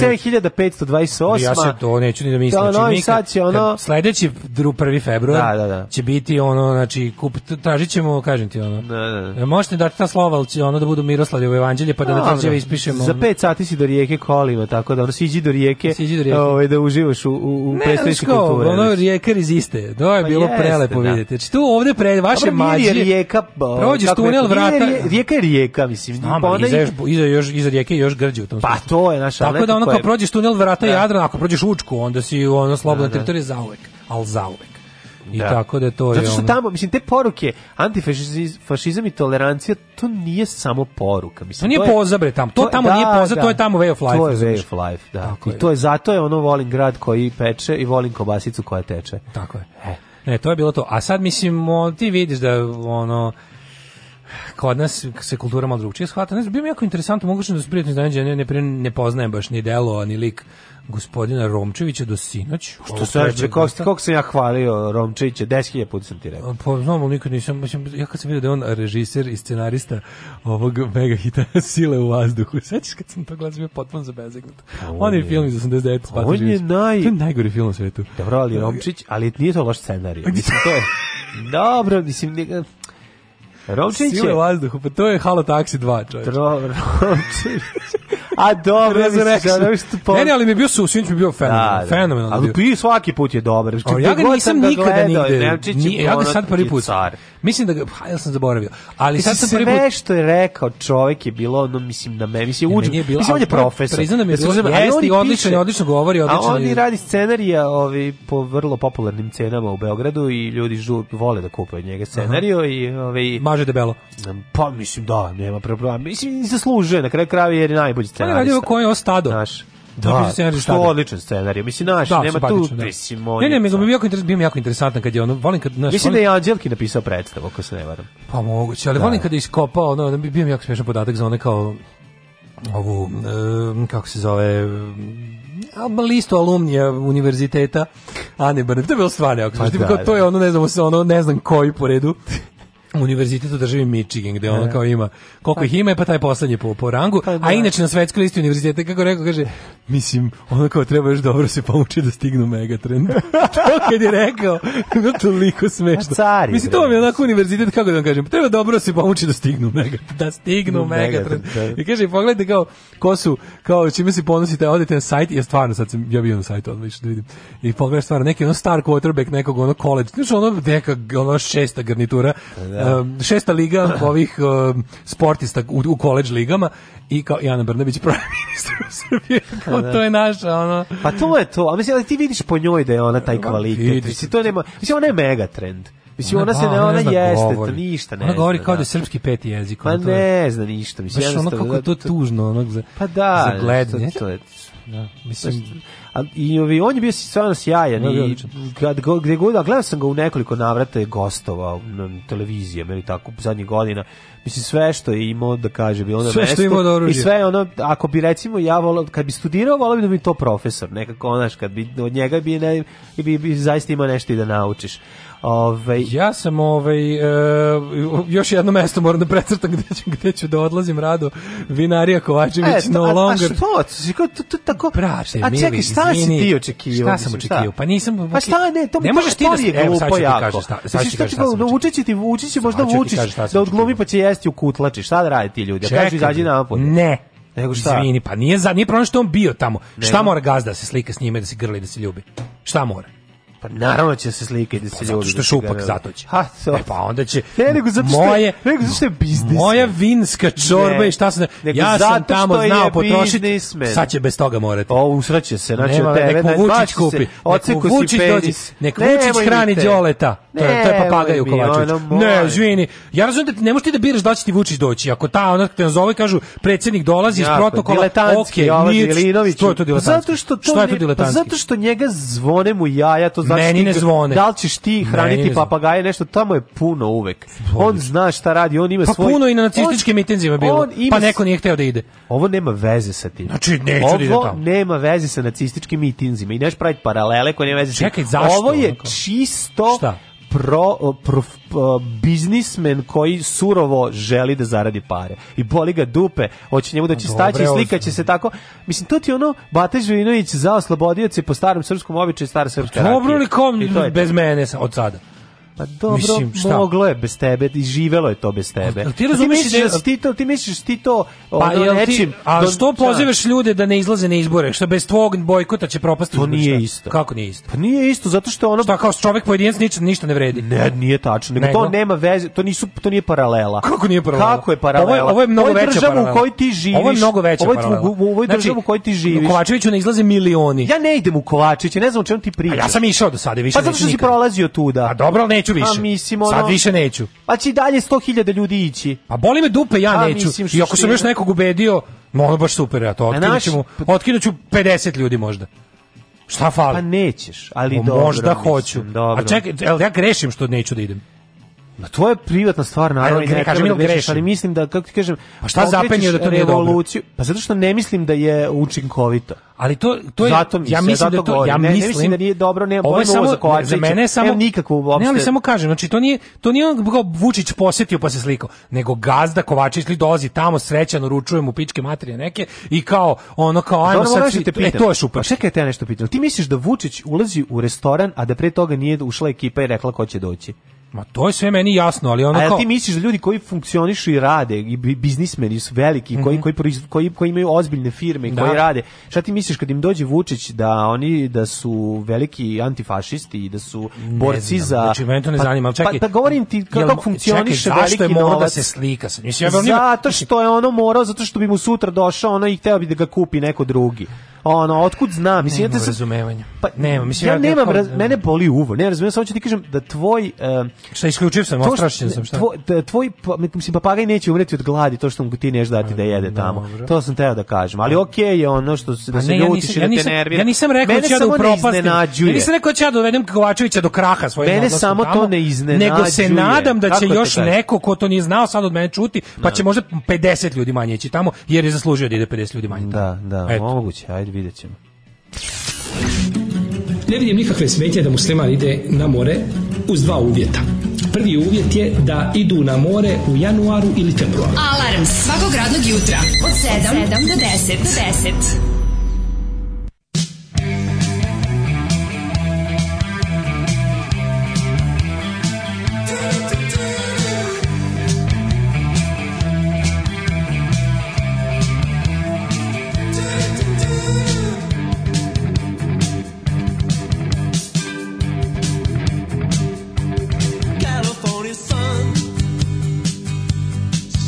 [SPEAKER 8] 7528.
[SPEAKER 7] Ja se to neću ni da mislim.
[SPEAKER 8] Da,
[SPEAKER 7] znači,
[SPEAKER 8] Novi
[SPEAKER 7] mi kad-
[SPEAKER 8] Sad će ono-
[SPEAKER 7] kad Sledeći dru, 1. februar će biti ono, znači, kup, tražit ćemo, kažem ti ono.
[SPEAKER 8] Da, da, da.
[SPEAKER 7] E, Možete dati ta slova, ali će ono da budu Miroslavljevo evanđelje, pa da na
[SPEAKER 8] Dobro.
[SPEAKER 7] trećeve ispišemo.
[SPEAKER 8] Za
[SPEAKER 7] ono-
[SPEAKER 8] 5 sati si do rijeke kolima, tako da ono siđi do rijeke,
[SPEAKER 7] Siđi do rijeke.
[SPEAKER 8] Ovaj, da uživaš u, u, u
[SPEAKER 7] Ne, znaš
[SPEAKER 8] predstavnici
[SPEAKER 7] kao,
[SPEAKER 8] kulture.
[SPEAKER 7] ono rijeka reziste. To je
[SPEAKER 8] Pa
[SPEAKER 7] bilo
[SPEAKER 8] jeste,
[SPEAKER 7] prelepo
[SPEAKER 8] da.
[SPEAKER 7] vidjeti. Znači tu ovde pre vaše
[SPEAKER 8] Dobro, nije
[SPEAKER 7] mađe.
[SPEAKER 8] rijeka, bo-
[SPEAKER 7] prođeš
[SPEAKER 8] kako
[SPEAKER 7] tunel
[SPEAKER 8] rekao,
[SPEAKER 7] vrata.
[SPEAKER 8] nije rije- rijeka je rijeka, mislim.
[SPEAKER 7] Znam,
[SPEAKER 8] pa
[SPEAKER 7] ali
[SPEAKER 8] ona i-
[SPEAKER 7] iza, još, iza, još, iza rijeke je još grđe u tom
[SPEAKER 8] Pa
[SPEAKER 7] smislu.
[SPEAKER 8] to je naša
[SPEAKER 7] Tako da ono
[SPEAKER 8] kao
[SPEAKER 7] kao prođeš tunel vrata
[SPEAKER 8] Da.
[SPEAKER 7] Jadran, ako prođeš Učku, onda si u ono slobodna
[SPEAKER 8] Da, da.
[SPEAKER 7] teritorija zauvek. Ali zauvek. I
[SPEAKER 8] Da.
[SPEAKER 7] tako da to je
[SPEAKER 8] Zato što
[SPEAKER 7] ono-
[SPEAKER 8] tamo, mislim, te poruke, antifašizam i tolerancija, to nije samo poruka. Mislim,
[SPEAKER 7] To nije
[SPEAKER 8] je-
[SPEAKER 7] poza, bre, tamo. To
[SPEAKER 8] je-
[SPEAKER 7] tamo nije poza, to je tamo way of life,
[SPEAKER 8] To je
[SPEAKER 7] razumeš?
[SPEAKER 8] way of life, da. I to je, zato je ono volim grad koji peče i volim kobasicu koja teče. E,
[SPEAKER 7] Tako je. Ne, E, to je bilo to. A sad mislim, o, ti vidiš da ono kod nas se kultura malo drugčije shvata. Ne znam, bio mi jako interesantno, moguće da su prijatno iznenađeni, ne, ne, pre- ne poznajem baš ni delo, a ni lik gospodina Romčevića do sinoć.
[SPEAKER 8] Što sam reče, kako, kako sam ja hvalio Romčića, 10.000 puta sam ti rekao.
[SPEAKER 7] Pa znam, ali nikad nisam, mislim, ja kad sam vidio da je on režiser i scenarista ovog mega hita Sile u vazduhu, sećaš kad sam to gledao, bio potpuno zabezegnut. On je film iz 89. Spati
[SPEAKER 8] On je
[SPEAKER 7] Živić.
[SPEAKER 8] naj...
[SPEAKER 7] To je najgori film na svetu.
[SPEAKER 8] Dobro, ali Romčić, ali nije to loš scenarij.
[SPEAKER 7] Pa
[SPEAKER 8] Mislim, to je... Dobro, mislim... ne- Romčić
[SPEAKER 7] Sile u
[SPEAKER 8] je...
[SPEAKER 7] vazduhu, pa to je Halo Taxi 2, čovječe.
[SPEAKER 8] Dobro, Romčić... A dobro, mislim,
[SPEAKER 7] Resurrection.
[SPEAKER 8] da, što po-
[SPEAKER 7] Ne, ne, ali mi je bio su, sinoć mi je bio fenomenal,
[SPEAKER 8] Da, da.
[SPEAKER 7] fenomenalno bio.
[SPEAKER 8] Ali pi svaki put je dobar.
[SPEAKER 7] Ali ja ga
[SPEAKER 8] Kad god
[SPEAKER 7] nisam
[SPEAKER 8] sam ga
[SPEAKER 7] nikada
[SPEAKER 8] gledao,
[SPEAKER 7] nigde.
[SPEAKER 8] Nemčić je
[SPEAKER 7] nije- ja ga
[SPEAKER 8] ono,
[SPEAKER 7] sad prvi
[SPEAKER 8] je
[SPEAKER 7] put.
[SPEAKER 8] car.
[SPEAKER 7] Mislim da ga, pa ja sam zaboravio. Ali
[SPEAKER 8] Mislim,
[SPEAKER 7] sad sam prvi put
[SPEAKER 8] sve što je rekao čovjek je bilo ono mislim na meni mislim
[SPEAKER 7] Ne,
[SPEAKER 8] uđe
[SPEAKER 7] meni je bilo-
[SPEAKER 8] mislim on je
[SPEAKER 7] ali
[SPEAKER 8] profesor
[SPEAKER 7] priznam da mi je bilo-
[SPEAKER 8] se razumemo,
[SPEAKER 7] jeste,
[SPEAKER 8] ali
[SPEAKER 7] i
[SPEAKER 8] on
[SPEAKER 7] odlično je, odlično govori, odlično
[SPEAKER 8] a on
[SPEAKER 7] je.
[SPEAKER 8] i radi scenarija ovi po vrlo popularnim cenama u Beogradu i ljudi žu, vole da kupe od njega scenariju i ovi
[SPEAKER 7] maže debelo.
[SPEAKER 8] pa mislim da nema problema mislim i zaslužuje na kraju krajeva jer je najbolji
[SPEAKER 7] On je
[SPEAKER 8] scenarij
[SPEAKER 7] radio koji je ostado.
[SPEAKER 8] naš
[SPEAKER 7] Napisao
[SPEAKER 8] da,
[SPEAKER 7] scenarij
[SPEAKER 8] što
[SPEAKER 7] Stada.
[SPEAKER 8] odličan scenarij mislim naš
[SPEAKER 7] Da,
[SPEAKER 8] nema tu
[SPEAKER 7] simpatično, da.
[SPEAKER 8] mislim on
[SPEAKER 7] Ne, ne,
[SPEAKER 8] je-
[SPEAKER 7] nego bi bio jako interes- bio mi jako interesantan kad je ono, volim kad, znaš,
[SPEAKER 8] mislim da
[SPEAKER 7] volim-
[SPEAKER 8] je Anđelki napisao predstavu ako se ne varam
[SPEAKER 7] Pa moguće, ali
[SPEAKER 8] Da.
[SPEAKER 7] volim kada je iskopao, ono, ono, bio mi jako smiješan podatak za one kao ovu, em, kako se zove, em, a, listu alumnija univerziteta Ane Brnabić. To je bilo stvarno jako smiješno.
[SPEAKER 8] Pa da,
[SPEAKER 7] Kao, to je
[SPEAKER 8] da.
[SPEAKER 7] ono, ne znam, ono, ne znam koji po redu univerzitet u državi Michigan, gde ono
[SPEAKER 8] Da. Pa
[SPEAKER 7] kao ima, koliko ih ima, je pa taj poslednji po, po rangu, a inače na svetskoj listi univerziteta, kako rekao, kaže, mislim, ono kao treba još dobro se pomoći da stignu megatrend. to kad je rekao, bilo toliko smešno.
[SPEAKER 8] Car je,
[SPEAKER 7] mislim, to vam je
[SPEAKER 8] bre.
[SPEAKER 7] onako univerzitet, kako da vam kažem, treba dobro se pomoći da stignu mega, da stignu
[SPEAKER 8] Mm,
[SPEAKER 7] megatrend.
[SPEAKER 8] Megatrend, da.
[SPEAKER 7] I kaže, pogledajte kao, ko su, kao čime se ponosite, odete na sajt, ja stvarno sad sam, ja bio na sajtu, odmah išao da vidim, i pogledaj stvarno, neki ono star quarterback, nekog ono college, znači ono neka, ono šesta garnitura, em, šesta liga ovih em, sportista u, u college ligama, i kao Jana Brnabić pravi ministar u Srbiji, kao
[SPEAKER 8] Da.
[SPEAKER 7] to je naša, ono,
[SPEAKER 8] Pa to je to, a mislim, ali ti vidiš po njoj da je ona taj kvalitet,
[SPEAKER 7] vidi
[SPEAKER 8] mislim, to nema, mislim, ona je megatrend, mislim, ona, se
[SPEAKER 7] ba,
[SPEAKER 8] ne,
[SPEAKER 7] ona
[SPEAKER 8] ona
[SPEAKER 7] ne zna
[SPEAKER 8] jeste, to
[SPEAKER 7] govori.
[SPEAKER 8] ništa ne
[SPEAKER 7] Ona govori
[SPEAKER 8] zna,
[SPEAKER 7] kao da
[SPEAKER 8] da.
[SPEAKER 7] je srpski peti jezik.
[SPEAKER 8] Pa
[SPEAKER 7] ono, to je-
[SPEAKER 8] ne zna ništa, mislim,
[SPEAKER 7] Baš ono
[SPEAKER 8] jednostavno,
[SPEAKER 7] kako je to
[SPEAKER 8] da, to-
[SPEAKER 7] tužno, ono, za,
[SPEAKER 8] Pa da,
[SPEAKER 7] za gledanje.
[SPEAKER 8] što- to je- da.
[SPEAKER 7] Mislim-
[SPEAKER 8] a, i ovi, on je bio stvarno sjajan
[SPEAKER 7] On je bio
[SPEAKER 8] i
[SPEAKER 7] odličan.
[SPEAKER 8] kad go, gde god, a gledao sam ga u nekoliko navrata je gostovao na televizijama ili tako zadnjih godina. Mislim sve što je imao da kaže bilo na
[SPEAKER 7] Sve što
[SPEAKER 8] mestu
[SPEAKER 7] je imao da oružje.
[SPEAKER 8] i sve ono ako bi recimo ja volao kad bi studirao volao bi da bi to profesor nekako onaš kad bi od njega bi ne bi, bi zaista imao nešto i da naučiš. Ovaj
[SPEAKER 7] Ja sam ovaj e, još jedno mesto moram da precrtam gde ću, gde ću da odlazim rado. Vinarija Kovačević
[SPEAKER 8] E, to-
[SPEAKER 7] no
[SPEAKER 8] a- a
[SPEAKER 7] longer.
[SPEAKER 8] što? Si kao- to- to tako-
[SPEAKER 7] Brate,
[SPEAKER 8] a
[SPEAKER 7] mili,
[SPEAKER 8] čekaj, šta si
[SPEAKER 7] izvini.
[SPEAKER 8] ti očekivao,
[SPEAKER 7] Šta sam
[SPEAKER 8] mislim,
[SPEAKER 7] očekivao?
[SPEAKER 8] šta?
[SPEAKER 7] Pa nisam...
[SPEAKER 8] Pa šta ne, to
[SPEAKER 7] ne možeš ti da...
[SPEAKER 8] je
[SPEAKER 7] Evo, sad ću
[SPEAKER 8] glupo
[SPEAKER 7] ti
[SPEAKER 8] jako.
[SPEAKER 7] kažem šta,
[SPEAKER 8] Mislim,
[SPEAKER 7] sad ću ti
[SPEAKER 8] šta
[SPEAKER 7] kažem
[SPEAKER 8] ti
[SPEAKER 7] šta sam
[SPEAKER 8] glupo, uči će ti, uči će možda
[SPEAKER 7] ću ti
[SPEAKER 8] vučiš
[SPEAKER 7] kažem šta sam
[SPEAKER 8] da odglumi pa će jesti u kutlači. Šta da rade ti ljudi? Ja kažu
[SPEAKER 7] Čekaj.
[SPEAKER 8] izađi napolje.
[SPEAKER 7] Ne.
[SPEAKER 8] Nego šta?
[SPEAKER 7] Izvini, pa nije, za, nije problem što je on bio tamo.
[SPEAKER 8] Nego?
[SPEAKER 7] Šta mora gazda da se slika s njime, da se grli, da se ljubi? Šta mora?
[SPEAKER 8] Pa naravno će se slikati da se
[SPEAKER 7] pa,
[SPEAKER 8] ljubi.
[SPEAKER 7] Zato što
[SPEAKER 8] da
[SPEAKER 7] je
[SPEAKER 8] se
[SPEAKER 7] šupak,
[SPEAKER 8] grli.
[SPEAKER 7] zato će.
[SPEAKER 8] Ha,
[SPEAKER 7] e, pa onda će...
[SPEAKER 8] Ne, nego zato što je-
[SPEAKER 7] moje,
[SPEAKER 8] nego zato što je biznis.
[SPEAKER 7] Moja vinska čorba
[SPEAKER 8] Ne,
[SPEAKER 7] i šta sam...
[SPEAKER 8] nego
[SPEAKER 7] Ja
[SPEAKER 8] zato
[SPEAKER 7] sam tamo
[SPEAKER 8] što je
[SPEAKER 7] znao potrošiti,
[SPEAKER 8] biznismen.
[SPEAKER 7] sad će bez toga morati.
[SPEAKER 8] O, usreće se, znači
[SPEAKER 7] Nema,
[SPEAKER 8] od tebe,
[SPEAKER 7] nek mu
[SPEAKER 8] znači, baš
[SPEAKER 7] Vučić
[SPEAKER 8] si
[SPEAKER 7] kupi.
[SPEAKER 8] se-
[SPEAKER 7] Nek
[SPEAKER 8] Oceku
[SPEAKER 7] mu
[SPEAKER 8] si
[SPEAKER 7] Vučić dođe.
[SPEAKER 8] penis.
[SPEAKER 7] Nek
[SPEAKER 8] Nemoj
[SPEAKER 7] Vučić
[SPEAKER 8] mi
[SPEAKER 7] hrani
[SPEAKER 8] te.
[SPEAKER 7] Đoleta. To je, to je papagaj u
[SPEAKER 8] Nemoj mi,
[SPEAKER 7] Kovačeviću.
[SPEAKER 8] ono,
[SPEAKER 7] Ne,
[SPEAKER 8] molim.
[SPEAKER 7] izvini. Ja razumem da ne možeš ti da biraš da li će ti Vučić doći. Ako ta, ona te nazove i kažu, predsjednik dolazi iz
[SPEAKER 8] Jako,
[SPEAKER 7] protokola,
[SPEAKER 8] diletantski,
[SPEAKER 7] okej,
[SPEAKER 8] Jovan
[SPEAKER 7] nije,
[SPEAKER 8] Milinović.
[SPEAKER 7] što je to diletantski?
[SPEAKER 8] Pa Zato što to
[SPEAKER 7] Što je to
[SPEAKER 8] ne-
[SPEAKER 7] diletantski?
[SPEAKER 8] Pa zato što njega zvone mu jaja, to znači
[SPEAKER 7] Meni
[SPEAKER 8] ti-
[SPEAKER 7] ne zvone.
[SPEAKER 8] Da li ćeš ti
[SPEAKER 7] Meni
[SPEAKER 8] hraniti
[SPEAKER 7] ne zvone.
[SPEAKER 8] papagaje nešto tamo je puno uvek. On zna šta radi, on ima
[SPEAKER 7] Pa
[SPEAKER 8] svoj
[SPEAKER 7] puno i na
[SPEAKER 8] On-
[SPEAKER 7] nacističkim mitinzima bilo.
[SPEAKER 8] on ima
[SPEAKER 7] Pa neko nije hteo da ide.
[SPEAKER 8] Ovo nema veze sa tim.
[SPEAKER 7] Znači, neću da idem
[SPEAKER 8] Ovo
[SPEAKER 7] tamo.
[SPEAKER 8] nema veze sa nacističkim mitinzima i neš praviti paralele koje nema veze sa tim.
[SPEAKER 7] Čekaj, zašto
[SPEAKER 8] Ovo je
[SPEAKER 7] onako?
[SPEAKER 8] čisto
[SPEAKER 7] Šta?
[SPEAKER 8] pro, pro, pro- biznismen koji surovo želi da zaradi pare. I boli ga dupe, hoće njemu da će
[SPEAKER 7] Dobre,
[SPEAKER 8] staći i
[SPEAKER 7] ovo-
[SPEAKER 8] slika će se tako. Mislim, to ti je ono, Bata Živinović zao slobodioce po starom srpskom običaju stara srpska
[SPEAKER 7] Pa Dobro
[SPEAKER 8] rakija.
[SPEAKER 7] li kom
[SPEAKER 8] I to je to.
[SPEAKER 7] bez mene sa- od sada?
[SPEAKER 8] Pa dobro,
[SPEAKER 7] Mislim, šta? Pa,
[SPEAKER 8] moglo je bez tebe i živelo je to bez tebe.
[SPEAKER 7] Jel ti razumeš
[SPEAKER 8] misliš
[SPEAKER 7] ideju-
[SPEAKER 8] da si ti to, ti misliš da si ti to
[SPEAKER 7] Pa
[SPEAKER 8] ono,
[SPEAKER 7] jel
[SPEAKER 8] nečim,
[SPEAKER 7] ti, a
[SPEAKER 8] don-
[SPEAKER 7] što
[SPEAKER 8] šta?
[SPEAKER 7] pozivaš ljude da ne izlaze na izbore? Što bez tvog bojkota će propasti
[SPEAKER 8] To
[SPEAKER 7] izbori,
[SPEAKER 8] nije
[SPEAKER 7] šta?
[SPEAKER 8] isto.
[SPEAKER 7] Kako nije isto?
[SPEAKER 8] Pa nije isto zato što ono
[SPEAKER 7] Šta kao čovjek pojedinac ništa, ništa ne vredi?
[SPEAKER 8] Ne, nije tačno, nego,
[SPEAKER 7] Nego?
[SPEAKER 8] to nema veze, to nisu to nije paralela.
[SPEAKER 7] Kako nije paralela?
[SPEAKER 8] Kako je paralela?
[SPEAKER 7] Ovo je, ovo je mnogo
[SPEAKER 8] Ovo je
[SPEAKER 7] veća
[SPEAKER 8] država
[SPEAKER 7] paralela.
[SPEAKER 8] u kojoj ti živiš.
[SPEAKER 7] Ovo je mnogo veća
[SPEAKER 8] ovo je,
[SPEAKER 7] paralela.
[SPEAKER 8] u- u ovoj
[SPEAKER 7] Znači,
[SPEAKER 8] državu u kojoj ti živiš.
[SPEAKER 7] Kovačeviću ne izlaze milioni.
[SPEAKER 8] Ja ne idem u Kovačiće, ne znam o čemu ti
[SPEAKER 7] A
[SPEAKER 8] pričaš.
[SPEAKER 7] ja sam išao do sada, više
[SPEAKER 8] Pa zato
[SPEAKER 7] neću
[SPEAKER 8] što si
[SPEAKER 7] nikad.
[SPEAKER 8] prolazio tuda.
[SPEAKER 7] A dobro, ali neću više.
[SPEAKER 8] A mislim, ono-
[SPEAKER 7] Sad više neću.
[SPEAKER 8] Pa će i dalje 100.000 ljudi ići.
[SPEAKER 7] Pa boli me dupe, ja
[SPEAKER 8] A,
[SPEAKER 7] neću.
[SPEAKER 8] mislim,
[SPEAKER 7] I ako sam
[SPEAKER 8] što-
[SPEAKER 7] još nekog ubedio, no ono baš super, ja to otkinut
[SPEAKER 8] naš-
[SPEAKER 7] ću, mu- otkinut ću 50 ljudi možda. Šta fali?
[SPEAKER 8] Pa nećeš, ali
[SPEAKER 7] O,
[SPEAKER 8] dobro.
[SPEAKER 7] možda
[SPEAKER 8] mislim,
[SPEAKER 7] hoću.
[SPEAKER 8] Dobro.
[SPEAKER 7] A čekaj, jel ja grešim što neću da idem?
[SPEAKER 8] Ma to je privatna stvar, naravno,
[SPEAKER 7] Ajde,
[SPEAKER 8] i ne
[SPEAKER 7] kažem,
[SPEAKER 8] treba da
[SPEAKER 7] jel
[SPEAKER 8] grešiš,
[SPEAKER 7] grešim?
[SPEAKER 8] ali mislim da, kako ti kažem...
[SPEAKER 7] Pa šta zapenje da to nije dobro?
[SPEAKER 8] revoluciju, dobro? Pa zato što ne mislim da je učinkovito.
[SPEAKER 7] Ali to to je
[SPEAKER 8] Zato mislim,
[SPEAKER 7] ja mislim
[SPEAKER 8] zato
[SPEAKER 7] da to
[SPEAKER 8] govorim.
[SPEAKER 7] ja
[SPEAKER 8] Ne, ne
[SPEAKER 7] mislim,
[SPEAKER 8] mislim da nije dobro, nemam
[SPEAKER 7] ovo je
[SPEAKER 8] pojma
[SPEAKER 7] samo-
[SPEAKER 8] za Kovačevića,
[SPEAKER 7] za mene je samo
[SPEAKER 8] nemam nikakvu uopšte-
[SPEAKER 7] Ne, ali samo kažem, znači to nije to nije on kao Vučić posetio pa se slikao, nego gazda Kovačević li dolazi tamo srećan uručuje mu pičke materije neke i kao ono kao ajmo
[SPEAKER 8] Dobro,
[SPEAKER 7] sad
[SPEAKER 8] moraš da
[SPEAKER 7] svi-
[SPEAKER 8] te
[SPEAKER 7] e,
[SPEAKER 8] pitam.
[SPEAKER 7] to je
[SPEAKER 8] Pa
[SPEAKER 7] šupak.
[SPEAKER 8] čekaj, te ja nešto pitam. Ti misliš da Vučić ulazi u restoran, a da pre toga nije ušla ekipa i rekla ko će doći?
[SPEAKER 7] Ma to je sve meni jasno, ali ono
[SPEAKER 8] A jel
[SPEAKER 7] kao
[SPEAKER 8] ti misliš da ljudi koji funkcionišu i rade, i bi- biznismeni su veliki, koji, koji, proiz- koji, koji imaju ozbiljne firme, i
[SPEAKER 7] Mhm. Da.
[SPEAKER 8] koji rade, šta ti misliš kad im dođe Vučić da oni da su veliki antifašisti i da su borci
[SPEAKER 7] znam,
[SPEAKER 8] za...
[SPEAKER 7] znači, mene to ne
[SPEAKER 8] Pa-
[SPEAKER 7] zanima, ali čekaj.
[SPEAKER 8] Pa, pa govorim ti
[SPEAKER 7] Jel-
[SPEAKER 8] kako funkcioniše
[SPEAKER 7] čekaj, zašto
[SPEAKER 8] veliki
[SPEAKER 7] je morao da
[SPEAKER 8] novac.
[SPEAKER 7] se slika sa njim? Mislim, ja bi on ima-
[SPEAKER 8] zato što je ono morao, zato što bi mu sutra došao ono i hteo bi da ga kupi neko drugi. Ono, otkud znam? Mislim, ja te
[SPEAKER 7] Nemam
[SPEAKER 8] sam-
[SPEAKER 7] razumevanja.
[SPEAKER 8] Pa,
[SPEAKER 7] Nemam, mislim,
[SPEAKER 8] ja
[SPEAKER 7] ja-
[SPEAKER 8] nemam,
[SPEAKER 7] ja-
[SPEAKER 8] raz- mene boli uvo, ne razumijem, samo ću ti kažem da tvoj... em,
[SPEAKER 7] Šta isključio sam,
[SPEAKER 8] to što-
[SPEAKER 7] ostrašćen sam, šta?
[SPEAKER 8] Tvoj, t- tvoj pa- mislim, papagaj neće umreti od gladi, to što mu ti neš dati da jede tamo. To sam teo da kažem. Ali okej je ono što se, da
[SPEAKER 7] Pa
[SPEAKER 8] se
[SPEAKER 7] ne, ja
[SPEAKER 8] ljutiš
[SPEAKER 7] nisam, ja
[SPEAKER 8] i da te
[SPEAKER 7] nisam,
[SPEAKER 8] nervira.
[SPEAKER 7] ja nisam rekao
[SPEAKER 8] Mene
[SPEAKER 7] da ću ja da
[SPEAKER 8] samo ne
[SPEAKER 7] upropastim.
[SPEAKER 8] iznenađuje.
[SPEAKER 7] Ja nisam rekao da ću ja da dovedem Kovačevića do kraha svojim
[SPEAKER 8] Mene
[SPEAKER 7] odlaskom
[SPEAKER 8] samo to
[SPEAKER 7] tamo,
[SPEAKER 8] ne iznenađuje.
[SPEAKER 7] Nego se nadam da
[SPEAKER 8] Kako
[SPEAKER 7] će
[SPEAKER 8] ti
[SPEAKER 7] još
[SPEAKER 8] kažem?
[SPEAKER 7] neko ko to nije znao sad od mene čuti, pa će možda 50 ljudi manje ići tamo, jer je zaslužio da ide 50 ljudi manje.
[SPEAKER 8] Da, da,
[SPEAKER 7] Eto.
[SPEAKER 8] moguće, ajde vidjet ćemo.
[SPEAKER 16] Ne vidim nikakve smetnje da musliman ide na more uz dva uvjeta. Prvi uvjet je da idu na more u januaru ili februaru.
[SPEAKER 6] Alarm svakog radnog jutra od 7, do 10. Do 10.
[SPEAKER 11] California sun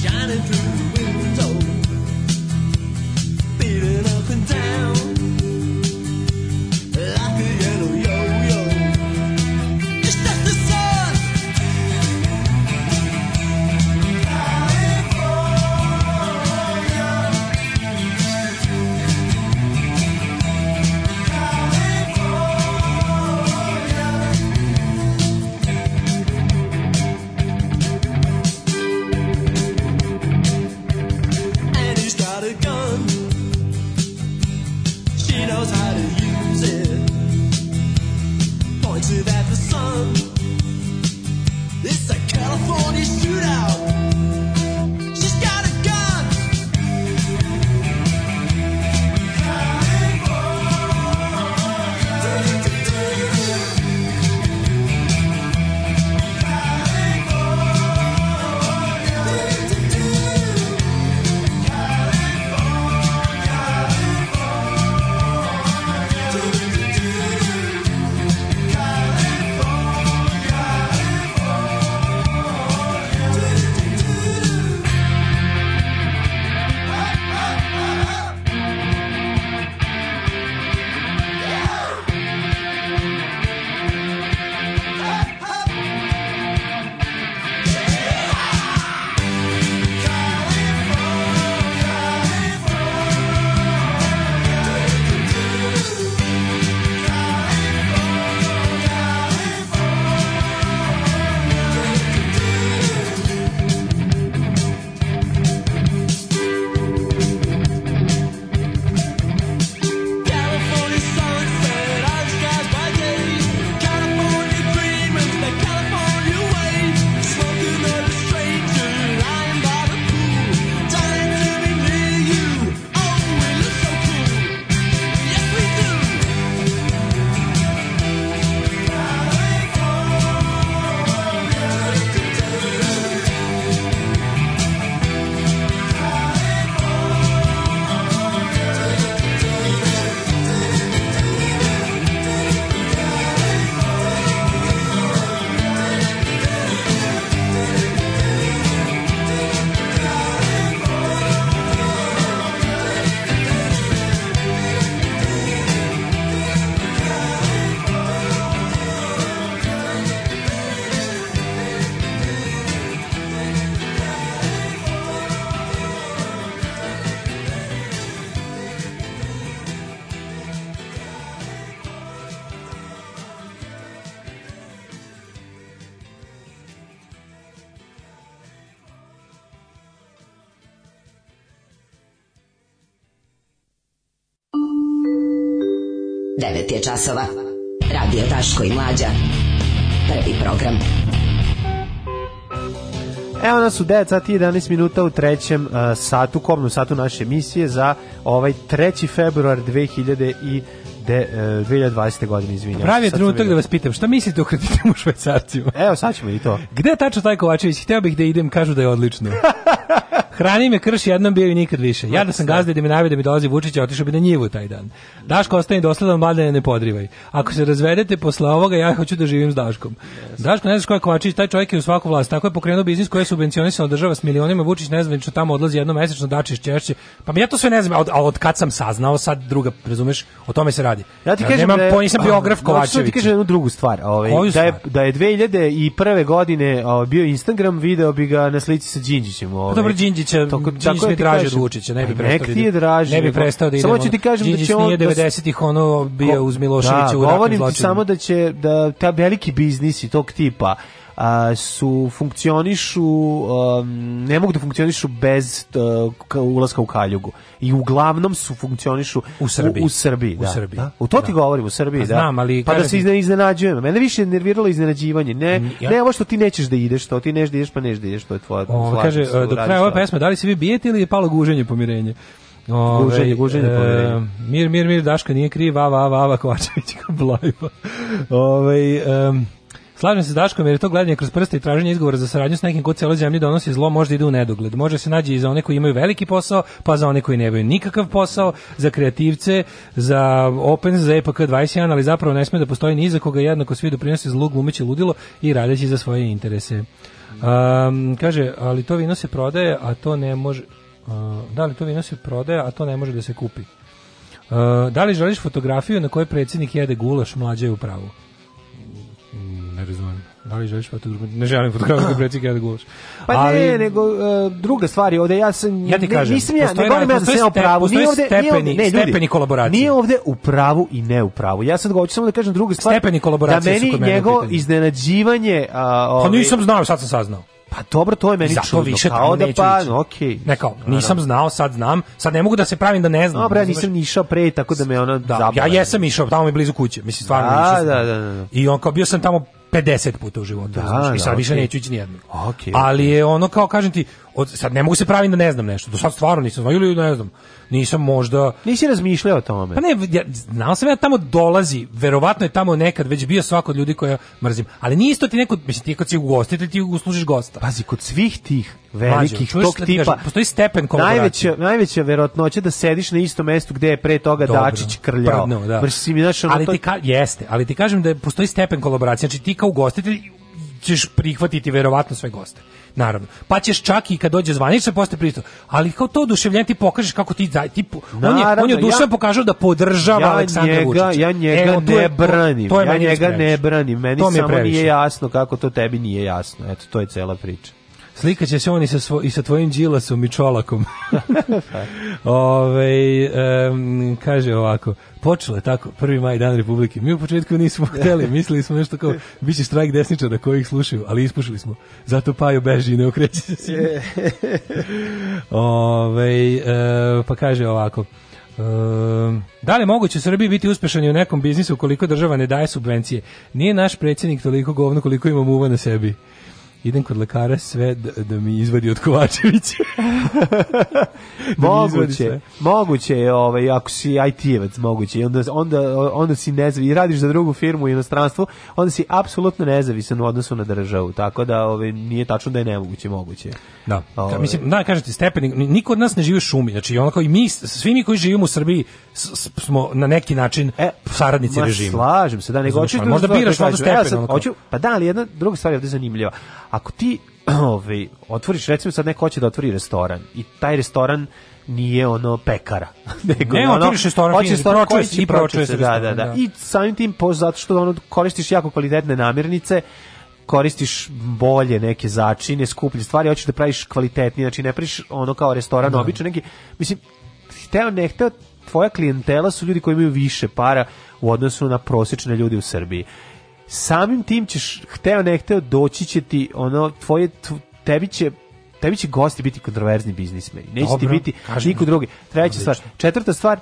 [SPEAKER 11] shining through the window, beating up and down like a yellow yo-yo. It's just the sun. and he's got a gun. She knows how to use it. Points it at the sun. It's a California shootout. She's got a gun. California. California.
[SPEAKER 14] 9 je časova. Radio Daško i Mlađa. Prvi program.
[SPEAKER 8] Evo nas u 9 sati i 11 minuta u trećem uh, satu, kobnom satu naše emisije za ovaj 3. februar 2000 i de, uh, 2020. godine, izvinjam.
[SPEAKER 7] Pravi je
[SPEAKER 8] Sad sam
[SPEAKER 7] trenutak da
[SPEAKER 8] vidio.
[SPEAKER 7] vas pitam, šta mislite o kreditima u švajcarcima?
[SPEAKER 8] Evo, sad ćemo i to.
[SPEAKER 7] Gde je tačno taj Kovačević? Hteo bih da idem, kažu da je odlično. Hrani me krš jednom bio i nikad više. Ja da sam gazda i da mi navio da mi dolazi Vučić, otišao bi na njivu taj dan. Daško ostane dosledan, mladene ne podrivaj. Ako se razvedete posle ovoga, ja hoću da živim s Daškom. Daško, ne znaš ko je Kovačević, taj čovjek je u svaku vlast. Tako je pokrenuo biznis koji je subvencionisano država s milionima. Vučić nezvanično tamo odlazi jednom mesečno, dači iz češće. Pa mi ja to sve ne znam, a od, a od kad sam saznao, sad druga, razumeš, o tome se radi.
[SPEAKER 8] Ja ti kažem
[SPEAKER 7] nemam
[SPEAKER 8] da je-
[SPEAKER 7] po- nisam biograf
[SPEAKER 8] A, da, hoću da ti
[SPEAKER 7] Kovačevića.
[SPEAKER 8] kažem jednu drugu stvar. Ovaj,
[SPEAKER 7] Koju
[SPEAKER 8] da, je, da je 2001. godine ovaj, bio Instagram, video bi ga na slici sa Đinđićem.
[SPEAKER 7] Pa
[SPEAKER 8] Ovaj.
[SPEAKER 7] dobro, Đinđić je-
[SPEAKER 8] Tako-
[SPEAKER 7] Đinđić
[SPEAKER 8] tako
[SPEAKER 7] mi je
[SPEAKER 8] ti
[SPEAKER 7] draži
[SPEAKER 8] kažem.
[SPEAKER 7] od Vučića, ne bi
[SPEAKER 8] Pa
[SPEAKER 7] prestao
[SPEAKER 8] nek
[SPEAKER 7] da
[SPEAKER 8] ti je
[SPEAKER 7] ide-
[SPEAKER 8] draži.
[SPEAKER 7] ne bi
[SPEAKER 8] nego-
[SPEAKER 7] prestao da ide,
[SPEAKER 8] Samo
[SPEAKER 7] ono,
[SPEAKER 8] ću ti kažem da
[SPEAKER 7] Đinđić
[SPEAKER 8] će on...
[SPEAKER 7] nije
[SPEAKER 8] da se-
[SPEAKER 7] 90-ih ono bio uz Miloševića
[SPEAKER 8] da,
[SPEAKER 7] u ratnim
[SPEAKER 8] govorim ti
[SPEAKER 7] zločinima.
[SPEAKER 8] samo da će da ta veliki biznisi tog tipa a, su funkcionišu um, ne mogu da funkcionišu bez uh, ka- ulaska u kaljugu i uglavnom su funkcionišu u
[SPEAKER 7] Srbiji.
[SPEAKER 8] u, Srbiji,
[SPEAKER 7] U
[SPEAKER 8] da,
[SPEAKER 7] Srbiji.
[SPEAKER 8] da. u to ti govorim u Srbiji
[SPEAKER 7] Pa
[SPEAKER 8] da
[SPEAKER 7] znam, ali
[SPEAKER 8] pa da
[SPEAKER 7] kažem
[SPEAKER 8] se
[SPEAKER 7] ti- Mm,
[SPEAKER 8] izne, iznenađujem mene više je nerviralo iznenađivanje ne
[SPEAKER 7] ja-
[SPEAKER 8] ne ovo što ti nećeš da ideš to ti neš da ideš pa neš da ideš to je tvoja
[SPEAKER 7] Ovo,
[SPEAKER 8] slažem
[SPEAKER 7] Ovaj, kaže, e,
[SPEAKER 8] se,
[SPEAKER 7] do
[SPEAKER 8] radiš
[SPEAKER 7] kraja ove
[SPEAKER 8] to.
[SPEAKER 7] pesme, da li se vi bijete ili je palo guženje pomirenje? Ovaj,
[SPEAKER 8] Guženje, guženje, pomirenje.
[SPEAKER 7] e, Mir, mir, mir, Daška nije kriv, ava, ava, ava, Kovačević ga blajba. Ove, em, Slažem se s Daškom jer je to gledanje kroz prste i traženje izgovora za saradnju s nekim ko celoj zemlji donosi zlo možda ide u nedogled. Može se nađe i za one koji imaju veliki posao, pa za one koji nemaju nikakav posao, za kreativce, za Open, za E EPK 21, ali zapravo ne sme da postoji ni iza koga jednako svi doprinose zlu glumeći ludilo i radeći za svoje interese. Um, kaže, ali to vino se prodaje, a to ne može... uh, da li to vino se prodaje, a to ne može da se kupi? Uh, da li želiš fotografiju na kojoj predsjednik jede gulaš, mlađe je u pravu? Mm, Ne razumem. Da li želiš fotografiju? Ne želim fotografiju na predsjednik jede gulaš.
[SPEAKER 8] Pa ne, nego e, druga stvar je ovde ja sam
[SPEAKER 7] Ja ti
[SPEAKER 8] ne-
[SPEAKER 7] kažem,
[SPEAKER 8] nisam ja,
[SPEAKER 7] postoje
[SPEAKER 8] ne volim
[SPEAKER 7] ra-
[SPEAKER 8] ja da sam
[SPEAKER 7] postoje
[SPEAKER 8] ja u
[SPEAKER 7] ste-
[SPEAKER 8] pravu.
[SPEAKER 7] postoje
[SPEAKER 8] Nije ovde, nije ovde,
[SPEAKER 7] stepeni-
[SPEAKER 8] ne, ljudi,
[SPEAKER 7] stepeni kolaboracije.
[SPEAKER 8] Nije ovde u pravu i ne u pravu. Ja sad hoću samo da kažem druga stvar.
[SPEAKER 7] Stepeni
[SPEAKER 8] da
[SPEAKER 7] kolaboracije su
[SPEAKER 8] meni
[SPEAKER 7] kod mene u
[SPEAKER 8] njegovo
[SPEAKER 7] pitanju.
[SPEAKER 8] iznenađivanje a,
[SPEAKER 7] Pa
[SPEAKER 8] ovaj,
[SPEAKER 7] nisam znao, sad sam saznao.
[SPEAKER 8] Pa dobro, to je meni
[SPEAKER 7] Zato
[SPEAKER 8] čudno.
[SPEAKER 7] više
[SPEAKER 8] kao
[SPEAKER 7] tamo
[SPEAKER 8] da
[SPEAKER 7] neću
[SPEAKER 8] pa,
[SPEAKER 7] ići.
[SPEAKER 8] okej.
[SPEAKER 7] Ne kao,
[SPEAKER 8] Naravno.
[SPEAKER 7] nisam znao, sad znam, sad ne mogu da se pravim da ne znam.
[SPEAKER 8] Dobro, ja
[SPEAKER 7] razumeš?
[SPEAKER 8] nisam ni išao pre, tako da me ona
[SPEAKER 7] Da, ja jesam išao, tamo mi je blizu kuće, mislim stvarno
[SPEAKER 8] Da,
[SPEAKER 7] išao sam.
[SPEAKER 8] da, da, da.
[SPEAKER 7] I on kao bio sam tamo 50 puta u životu,
[SPEAKER 8] Da,
[SPEAKER 7] znaš, i
[SPEAKER 8] da,
[SPEAKER 7] sad više
[SPEAKER 8] okej.
[SPEAKER 7] neću ići nijednom.
[SPEAKER 8] Okej,
[SPEAKER 7] Ali je ono kao kažem ti, od, sad ne mogu se pravim da ne znam nešto. Do sad stvarno nisam znao ili ne znam. Nisam možda
[SPEAKER 8] Nisi razmišljao o tome.
[SPEAKER 7] Pa ne, ja, znao sam ja da tamo dolazi, verovatno je tamo nekad već bio svako od ljudi koje ja mrzim. Ali nije isto ti neko, mislim ti kad si ugostitelj ti uslužiš gosta.
[SPEAKER 8] Pazi, kod svih tih
[SPEAKER 7] Mlađo,
[SPEAKER 8] Pa, velikih
[SPEAKER 7] čuješ
[SPEAKER 8] tog
[SPEAKER 7] šta ti
[SPEAKER 8] tipa.
[SPEAKER 7] kažem? Postoji stepen kolaboracije.
[SPEAKER 8] Najveća, najveća verovatnoća da sediš na istom mestu gde je pre toga
[SPEAKER 7] Dobro.
[SPEAKER 8] Dačić krljao.
[SPEAKER 7] Prdnuo, da.
[SPEAKER 8] Baš si mi, znaš, ono,
[SPEAKER 7] ali
[SPEAKER 8] to-
[SPEAKER 7] ti ka, jeste, ali ti kažem da je- postoji stepen kolaboracije. Znači ti kao ugostitelj ćeš prihvatiti verovatno sve goste. Naravno. Pa ćeš čak i kad dođe zvanično posle pristup. Ali kao to oduševljenje ti pokažeš kako ti daj, ti po- on je on
[SPEAKER 8] Naravno,
[SPEAKER 7] je oduševljen
[SPEAKER 8] ja-
[SPEAKER 7] pokazao da podržava
[SPEAKER 8] ja
[SPEAKER 7] Aleksandra
[SPEAKER 8] njega,
[SPEAKER 7] Vučića.
[SPEAKER 8] Ja njega
[SPEAKER 7] Evo, to
[SPEAKER 8] ne
[SPEAKER 7] je- to-
[SPEAKER 8] branim.
[SPEAKER 7] to je
[SPEAKER 8] ja
[SPEAKER 7] meni već
[SPEAKER 8] njega ne
[SPEAKER 7] previše.
[SPEAKER 8] branim. Meni
[SPEAKER 7] To mi je
[SPEAKER 8] samo
[SPEAKER 7] previše.
[SPEAKER 8] nije jasno kako to tebi nije jasno. Eto, to je cela priča.
[SPEAKER 7] Slikaće se on i sa, svo, i sa tvojim Đilasom i Čolakom. Ove, em, kaže ovako, počelo je tako, prvi maj dan Republike. Mi u početku nismo hteli, mislili smo nešto kao, bit će štrajk desničara koji ih slušaju, ali ispušili smo. Zato Pajo beži i ne okreće se. s njima. Ove, e, pa kaže ovako, em, da li je moguće u Srbiji biti uspešan i u nekom biznisu koliko država ne daje subvencije? Nije naš predsjednik toliko govno koliko ima muva na sebi idem kod lekara sve da, da mi izvadi od Kovačevića. Da mi izvadi
[SPEAKER 8] Moguće,
[SPEAKER 7] sve.
[SPEAKER 8] moguće je, ovaj, ako si IT-evac, moguće. I onda, onda, onda si nezavisan, i radiš za drugu firmu u inostranstvu, onda si apsolutno nezavisan u odnosu na državu. Tako da ovaj, nije tačno da je nemoguće, moguće. je.
[SPEAKER 7] Da.
[SPEAKER 8] Ovaj.
[SPEAKER 7] Ka, mislim, da, kažete, stepenik, ni- niko od nas ne živi u šumi, znači ono kao i mi, s- svi mi koji živimo u Srbiji s- s- smo na neki način saradnici
[SPEAKER 8] E, Ma,
[SPEAKER 7] režima.
[SPEAKER 8] Slažem se, da nego
[SPEAKER 7] Razumeš,
[SPEAKER 8] hoću
[SPEAKER 7] ali možda
[SPEAKER 8] drugu
[SPEAKER 7] biraš
[SPEAKER 8] stvar da
[SPEAKER 7] možda
[SPEAKER 8] kažem.
[SPEAKER 7] stepen.
[SPEAKER 8] Ja sad
[SPEAKER 7] ono kao.
[SPEAKER 8] hoću, pa da, ali jedna druga stvar je ovde zanimljiva. Ako ti ovaj otvoriš recimo sad neko hoće da otvori restoran i taj restoran nije ono pekara. Nego
[SPEAKER 7] Ne,
[SPEAKER 8] je ono,
[SPEAKER 7] otvoriš restoran,
[SPEAKER 8] hoćeš
[SPEAKER 7] fini,
[SPEAKER 8] restoran
[SPEAKER 7] pročuje
[SPEAKER 8] koji
[SPEAKER 7] se
[SPEAKER 8] će
[SPEAKER 7] i pročuje se
[SPEAKER 8] da, da,
[SPEAKER 7] restoran,
[SPEAKER 8] da.
[SPEAKER 7] da.
[SPEAKER 8] I samim tim po zato što ono koristiš jako kvalitetne namirnice, koristiš bolje neke začine, skuplje stvari, hoćeš da praviš kvalitetnije, znači ne praviš ono kao restoran
[SPEAKER 7] Da.
[SPEAKER 8] obično neki, mislim, hteo ne hteo tvoja klijentela su ljudi koji imaju više para u odnosu na prosječne ljude u Srbiji. Samim tim ćeš hteo ne hteo doći će ti ono tvoje tv- tebi će tebi će gosti biti kontroverzni biznismeni. Neće ti
[SPEAKER 7] Dobro,
[SPEAKER 8] biti
[SPEAKER 7] kažem.
[SPEAKER 8] niko drugi. Treća stvar, četvrta stvar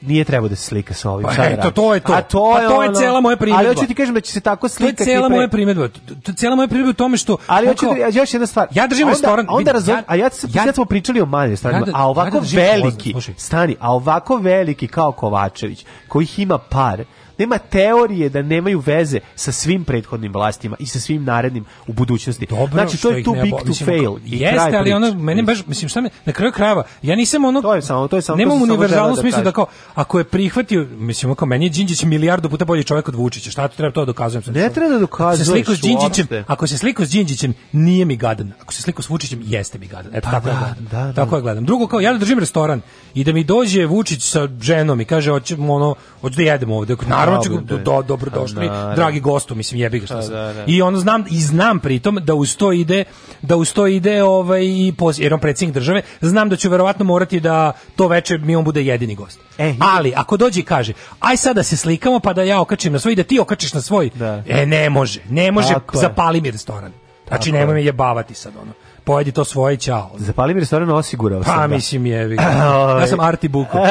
[SPEAKER 8] nije trebao da se slika sa ovim.
[SPEAKER 7] Pa
[SPEAKER 8] šta da
[SPEAKER 7] eto,
[SPEAKER 8] radi?
[SPEAKER 7] to je to.
[SPEAKER 8] A to
[SPEAKER 7] Pa
[SPEAKER 8] je,
[SPEAKER 7] to je
[SPEAKER 8] ono-
[SPEAKER 7] cela moja primedba.
[SPEAKER 8] Ali hoću ti kažem da će se tako
[SPEAKER 7] To je
[SPEAKER 8] slikati.
[SPEAKER 7] cela
[SPEAKER 8] pre-
[SPEAKER 7] moja primedba. To- To cela moja primedba u tome što
[SPEAKER 8] Ali hoću
[SPEAKER 7] kao-
[SPEAKER 8] ti, ja- još jedna stvar.
[SPEAKER 7] Ja držim
[SPEAKER 8] onda,
[SPEAKER 7] restoran.
[SPEAKER 8] Onda
[SPEAKER 7] vidi,
[SPEAKER 8] razum,
[SPEAKER 7] ja-
[SPEAKER 8] a ja ti ja, smo pričali o manjim restoranima,
[SPEAKER 7] Ja da-
[SPEAKER 8] a
[SPEAKER 7] ja da
[SPEAKER 8] ovako
[SPEAKER 7] držim
[SPEAKER 8] veliki,
[SPEAKER 7] poznan, slušaj.
[SPEAKER 8] stani, a ovako veliki kao Kovačević, kojih ima par, nema teorije da nemaju veze sa svim prethodnim vlastima i sa svim narednim u budućnosti.
[SPEAKER 7] dobro
[SPEAKER 8] znači, to
[SPEAKER 7] što
[SPEAKER 8] je
[SPEAKER 7] ih
[SPEAKER 8] too
[SPEAKER 7] ne
[SPEAKER 8] big
[SPEAKER 7] bo-
[SPEAKER 8] to
[SPEAKER 7] mislim,
[SPEAKER 8] fail.
[SPEAKER 7] ako-
[SPEAKER 8] I
[SPEAKER 7] Jeste,
[SPEAKER 8] kraj
[SPEAKER 7] ali
[SPEAKER 8] priče.
[SPEAKER 7] ono, mene baš, mislim, šta me, na kraju krajeva, ja nisam ono... To je
[SPEAKER 8] samo, to je samo,
[SPEAKER 7] Nemam
[SPEAKER 8] to sam samo
[SPEAKER 7] univerzalnu
[SPEAKER 8] želeo da
[SPEAKER 7] smislu da
[SPEAKER 8] kažem.
[SPEAKER 7] kao, ako je prihvatio, mislim, ono kao, meni je Đinđić milijardu puta bolji čovjek od Vučića, šta tu treba to da dokazujem? Ne
[SPEAKER 8] treba da
[SPEAKER 7] Ako se
[SPEAKER 8] dokazuješ
[SPEAKER 7] sliku s Đinđićem,
[SPEAKER 8] uopšte.
[SPEAKER 7] ako se sliku s Đinđićem, nije mi gadan. Ako se sliku s Vučićem, jeste mi gadan. Eto,
[SPEAKER 8] Pa
[SPEAKER 7] tako ja
[SPEAKER 8] da,
[SPEAKER 7] gledam.
[SPEAKER 8] da, da.
[SPEAKER 7] Tako ja gledam. Drugo, kao, ja da držim restoran i da mi dođe Vučić sa ženom i kaže, hoćemo ono, hoću da jedemo ovde. Naravno, ću,
[SPEAKER 8] Dobro,
[SPEAKER 7] do,
[SPEAKER 8] da.
[SPEAKER 7] do, dobro došli,
[SPEAKER 8] Pa, naravno.
[SPEAKER 7] dragi gostu, mislim, jebi ga što
[SPEAKER 8] Pa,
[SPEAKER 7] sam.
[SPEAKER 8] da, da.
[SPEAKER 7] I ono znam i znam pritom da uz to ide da uz to ide ovaj i poz, jer on predsjednik države, znam da ću verovatno morati da to veče mi on bude jedini gost.
[SPEAKER 8] E,
[SPEAKER 7] Ali ako dođe i kaže: "Aj sad da se slikamo pa da ja okačim na svoj i da ti okačiš na svoj." E ne može. Ne može
[SPEAKER 8] Tako je.
[SPEAKER 7] zapali mi restoran. Znači
[SPEAKER 8] Tako
[SPEAKER 7] nemoj
[SPEAKER 8] je.
[SPEAKER 7] me jebavati sad ono. Pojedi to svoje i ćao.
[SPEAKER 8] Zapali mi restoran osigurao sam.
[SPEAKER 7] Pa
[SPEAKER 8] da.
[SPEAKER 7] mislim jebi. ga.
[SPEAKER 8] Ovaj.
[SPEAKER 7] Ja sam Arti Buko.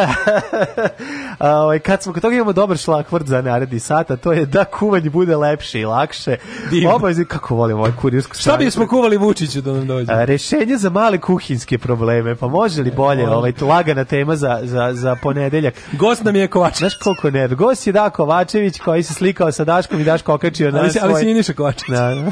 [SPEAKER 8] A, ovaj, kad smo kod toga imamo dobar šlakvrt za naredni sat, a to je da kuvanje bude lepše i lakše.
[SPEAKER 7] Divno.
[SPEAKER 8] Obavezni, kako volim ovaj kurirsku
[SPEAKER 7] Šta
[SPEAKER 8] stranicu.
[SPEAKER 7] bismo kuvali Vučiću da nam dođe?
[SPEAKER 8] A, Rešenje za male kuhinske probleme, pa može
[SPEAKER 7] E,
[SPEAKER 8] li bolje, ovaj, lagana tema za, za, za ponedeljak.
[SPEAKER 7] Gost nam je Kovačević.
[SPEAKER 8] Znaš koliko ne, gost je da Kovačević koji se slikao sa Daškom i Daško okačio na
[SPEAKER 7] Ali se- ali
[SPEAKER 8] svoj-
[SPEAKER 7] se Iniša Kovačević.
[SPEAKER 8] Da, da.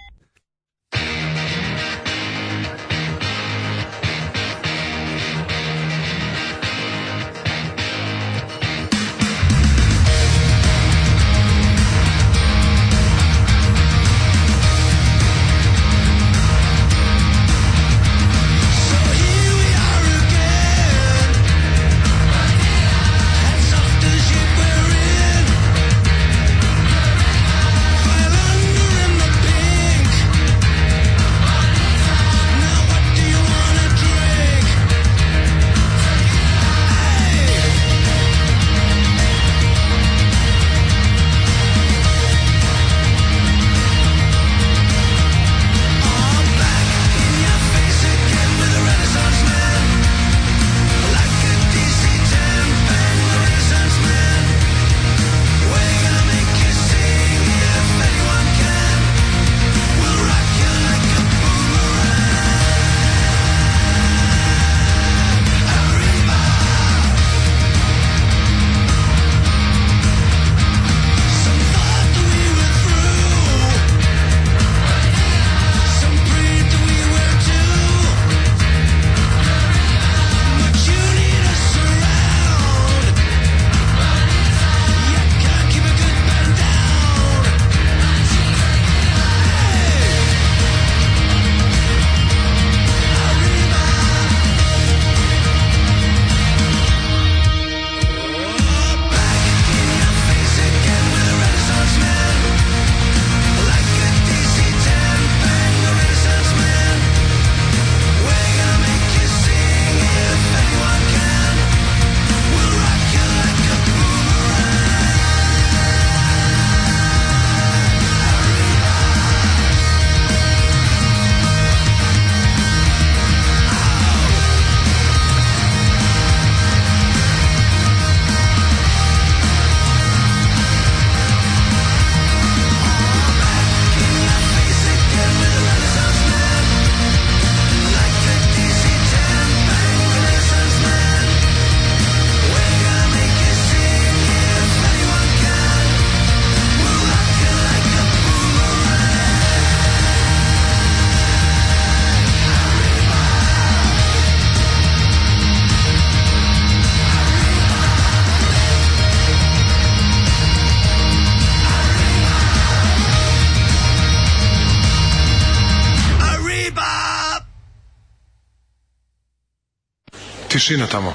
[SPEAKER 3] Tišina tamo.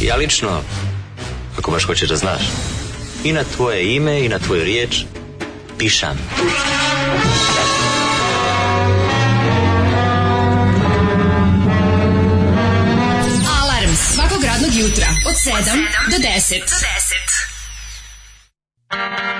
[SPEAKER 17] Ja lično, ako baš hoćeš da znaš, i na tvoje ime i na tvoju riječ pišam.
[SPEAKER 6] Alarm svakog radnog jutra od 7 do 10. Do 10.
[SPEAKER 11] Thank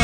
[SPEAKER 10] Oh,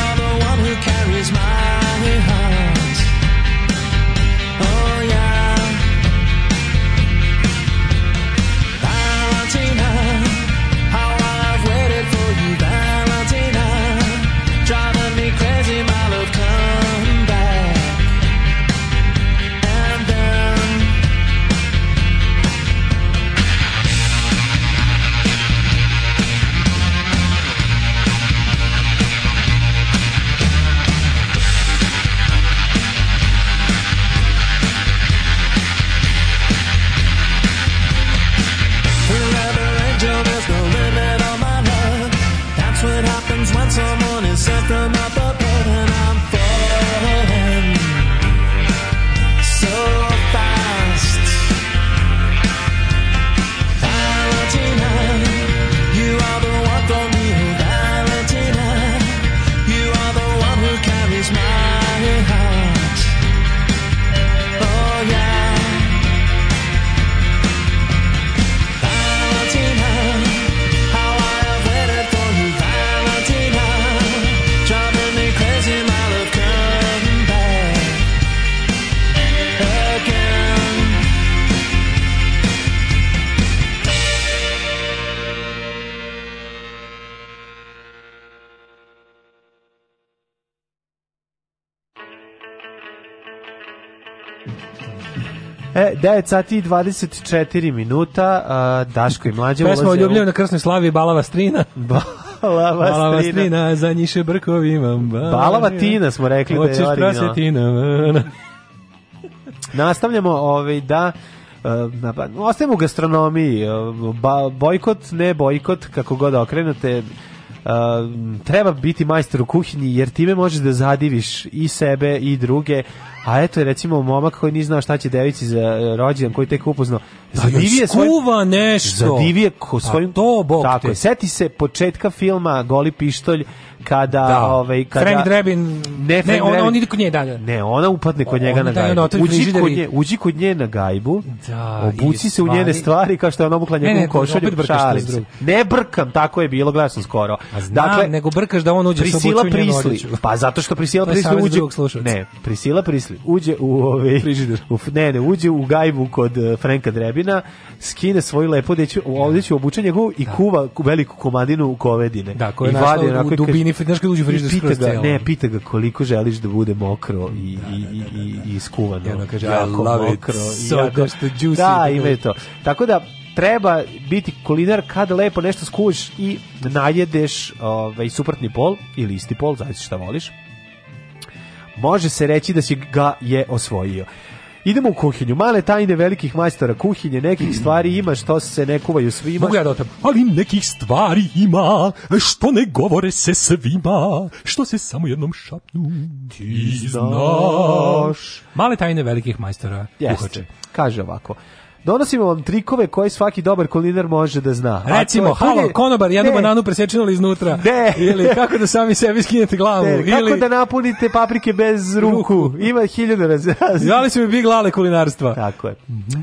[SPEAKER 1] happens when someone has set them up apart and I'm falling so fast. Valentina, you are the one for me. Oh, Valentina, you are the one who carries my heart. Oh yeah. Valentina, how I have waited for you, Valentina. Driving me crazy, my love, come back again.
[SPEAKER 8] E, 9 sati i 24 minuta, a, Daško i mlađe
[SPEAKER 7] Pesma o
[SPEAKER 8] ulaze
[SPEAKER 7] ljubljenju na krsnoj slavi Balava Strina.
[SPEAKER 8] Balava
[SPEAKER 7] Balava
[SPEAKER 8] Strina.
[SPEAKER 7] Strina, za njiše brkovi imam.
[SPEAKER 8] Balava Tina smo rekli da je
[SPEAKER 7] Hoćeš
[SPEAKER 8] original.
[SPEAKER 7] prasetina.
[SPEAKER 8] Nastavljamo ovaj da e, na- pa, ostajemo u gastronomiji e, ba, bojkot, ne bojkot kako god okrenete e, treba biti majstor u kuhinji jer time možeš da zadiviš i sebe i druge a eto je recimo momak koji nije znao šta će devici za e, rođendan koji je tek upoznao zadivije Pa svoj
[SPEAKER 7] skuva nešto.
[SPEAKER 8] zadivije ko
[SPEAKER 7] Pa
[SPEAKER 8] svojim
[SPEAKER 7] to, bog
[SPEAKER 8] tako
[SPEAKER 7] te.
[SPEAKER 8] je. seti se početka filma Goli pištolj kada
[SPEAKER 7] Da.
[SPEAKER 8] ovaj kada
[SPEAKER 7] Frank Drebin,
[SPEAKER 8] ne,
[SPEAKER 7] ne,
[SPEAKER 8] Frank
[SPEAKER 7] on,
[SPEAKER 8] Drebin.
[SPEAKER 7] on ide kod nje dalje.
[SPEAKER 8] Ne, ona upadne kod
[SPEAKER 7] Ona
[SPEAKER 8] njega na
[SPEAKER 7] daje ono
[SPEAKER 8] gajbu.
[SPEAKER 7] otvoreni
[SPEAKER 8] Uđi
[SPEAKER 7] frižider
[SPEAKER 8] kod,
[SPEAKER 7] i-
[SPEAKER 8] nje, uđi kod nje na gajbu,
[SPEAKER 7] Da,
[SPEAKER 8] obuci
[SPEAKER 7] i
[SPEAKER 8] se u njene
[SPEAKER 7] stvari-
[SPEAKER 8] stvari kao što je ona obukla
[SPEAKER 7] Ne,
[SPEAKER 8] njegovu
[SPEAKER 7] ne,
[SPEAKER 8] košulju
[SPEAKER 7] opet brkaš to s
[SPEAKER 8] šalice.
[SPEAKER 7] drugim.
[SPEAKER 8] Ne brkam, tako je bilo, gledao sam skoro. Dakle,
[SPEAKER 7] znam, nego brkaš da on uđe s
[SPEAKER 8] prisila
[SPEAKER 7] obuću u njenu
[SPEAKER 8] prisli.
[SPEAKER 7] odjeću.
[SPEAKER 8] Pa zato što prisila
[SPEAKER 7] To je
[SPEAKER 8] prisli
[SPEAKER 7] savez
[SPEAKER 8] uđe...
[SPEAKER 7] drugog slušalca.
[SPEAKER 8] Ne, prisila prisli. Uđe u ovaj frižider. U, ne, ne, uđe u gajbu kod eh, Franka Drebina, skine svoju lepu odeću, odeću obuče njegovu i kuva veliku komadinu kovedine.
[SPEAKER 7] Da, koja je
[SPEAKER 8] I
[SPEAKER 7] našla
[SPEAKER 8] vadi
[SPEAKER 7] u
[SPEAKER 8] onako i kaže-
[SPEAKER 7] dubini, znaš kad uđe u frižider
[SPEAKER 8] I pita
[SPEAKER 7] skroz
[SPEAKER 8] ga,
[SPEAKER 7] celo.
[SPEAKER 8] Ne, pita ga koliko želiš da bude mokro i, i, i, i, i skuvano.
[SPEAKER 7] I ona kaže, I
[SPEAKER 8] Jako
[SPEAKER 7] love it
[SPEAKER 8] mokro i
[SPEAKER 7] so
[SPEAKER 8] jako-
[SPEAKER 7] much, the juicy.
[SPEAKER 8] Da, ima je to. Tako da, treba biti kulinar kada lepo nešto skuvaš i najedeš ovaj, suprotni pol ili isti pol, zavisi šta voliš. Može se reći da si ga je osvojio. Idemo u kuhinju. Male tajne velikih majstora kuhinje, nekih stvari ima što se ne kuvaju svima.
[SPEAKER 7] Mogu ja da otam.
[SPEAKER 18] Ali nekih stvari ima, što ne govore se svima, što se samo jednom šapnu. Ti znaš.
[SPEAKER 7] Male tajne velikih majstora.
[SPEAKER 8] Jeste.
[SPEAKER 7] kuhače.
[SPEAKER 8] Kaže ovako. Donosimo vam trikove koje svaki dobar kulinar može da zna. A to
[SPEAKER 7] Pa Recimo,
[SPEAKER 8] je- to je-
[SPEAKER 7] halo, konobar, jednu
[SPEAKER 8] Ne,
[SPEAKER 7] bananu presečenu li iznutra.
[SPEAKER 8] Ne.
[SPEAKER 7] Ili kako da sami sebi skinete glavu.
[SPEAKER 8] ne, E, kako
[SPEAKER 7] ili
[SPEAKER 8] da napunite paprike bez ruku? Ima hiljada razreza.
[SPEAKER 7] Zvali su mi Big Lale kulinarstva.
[SPEAKER 8] Tako je.
[SPEAKER 7] Mhm.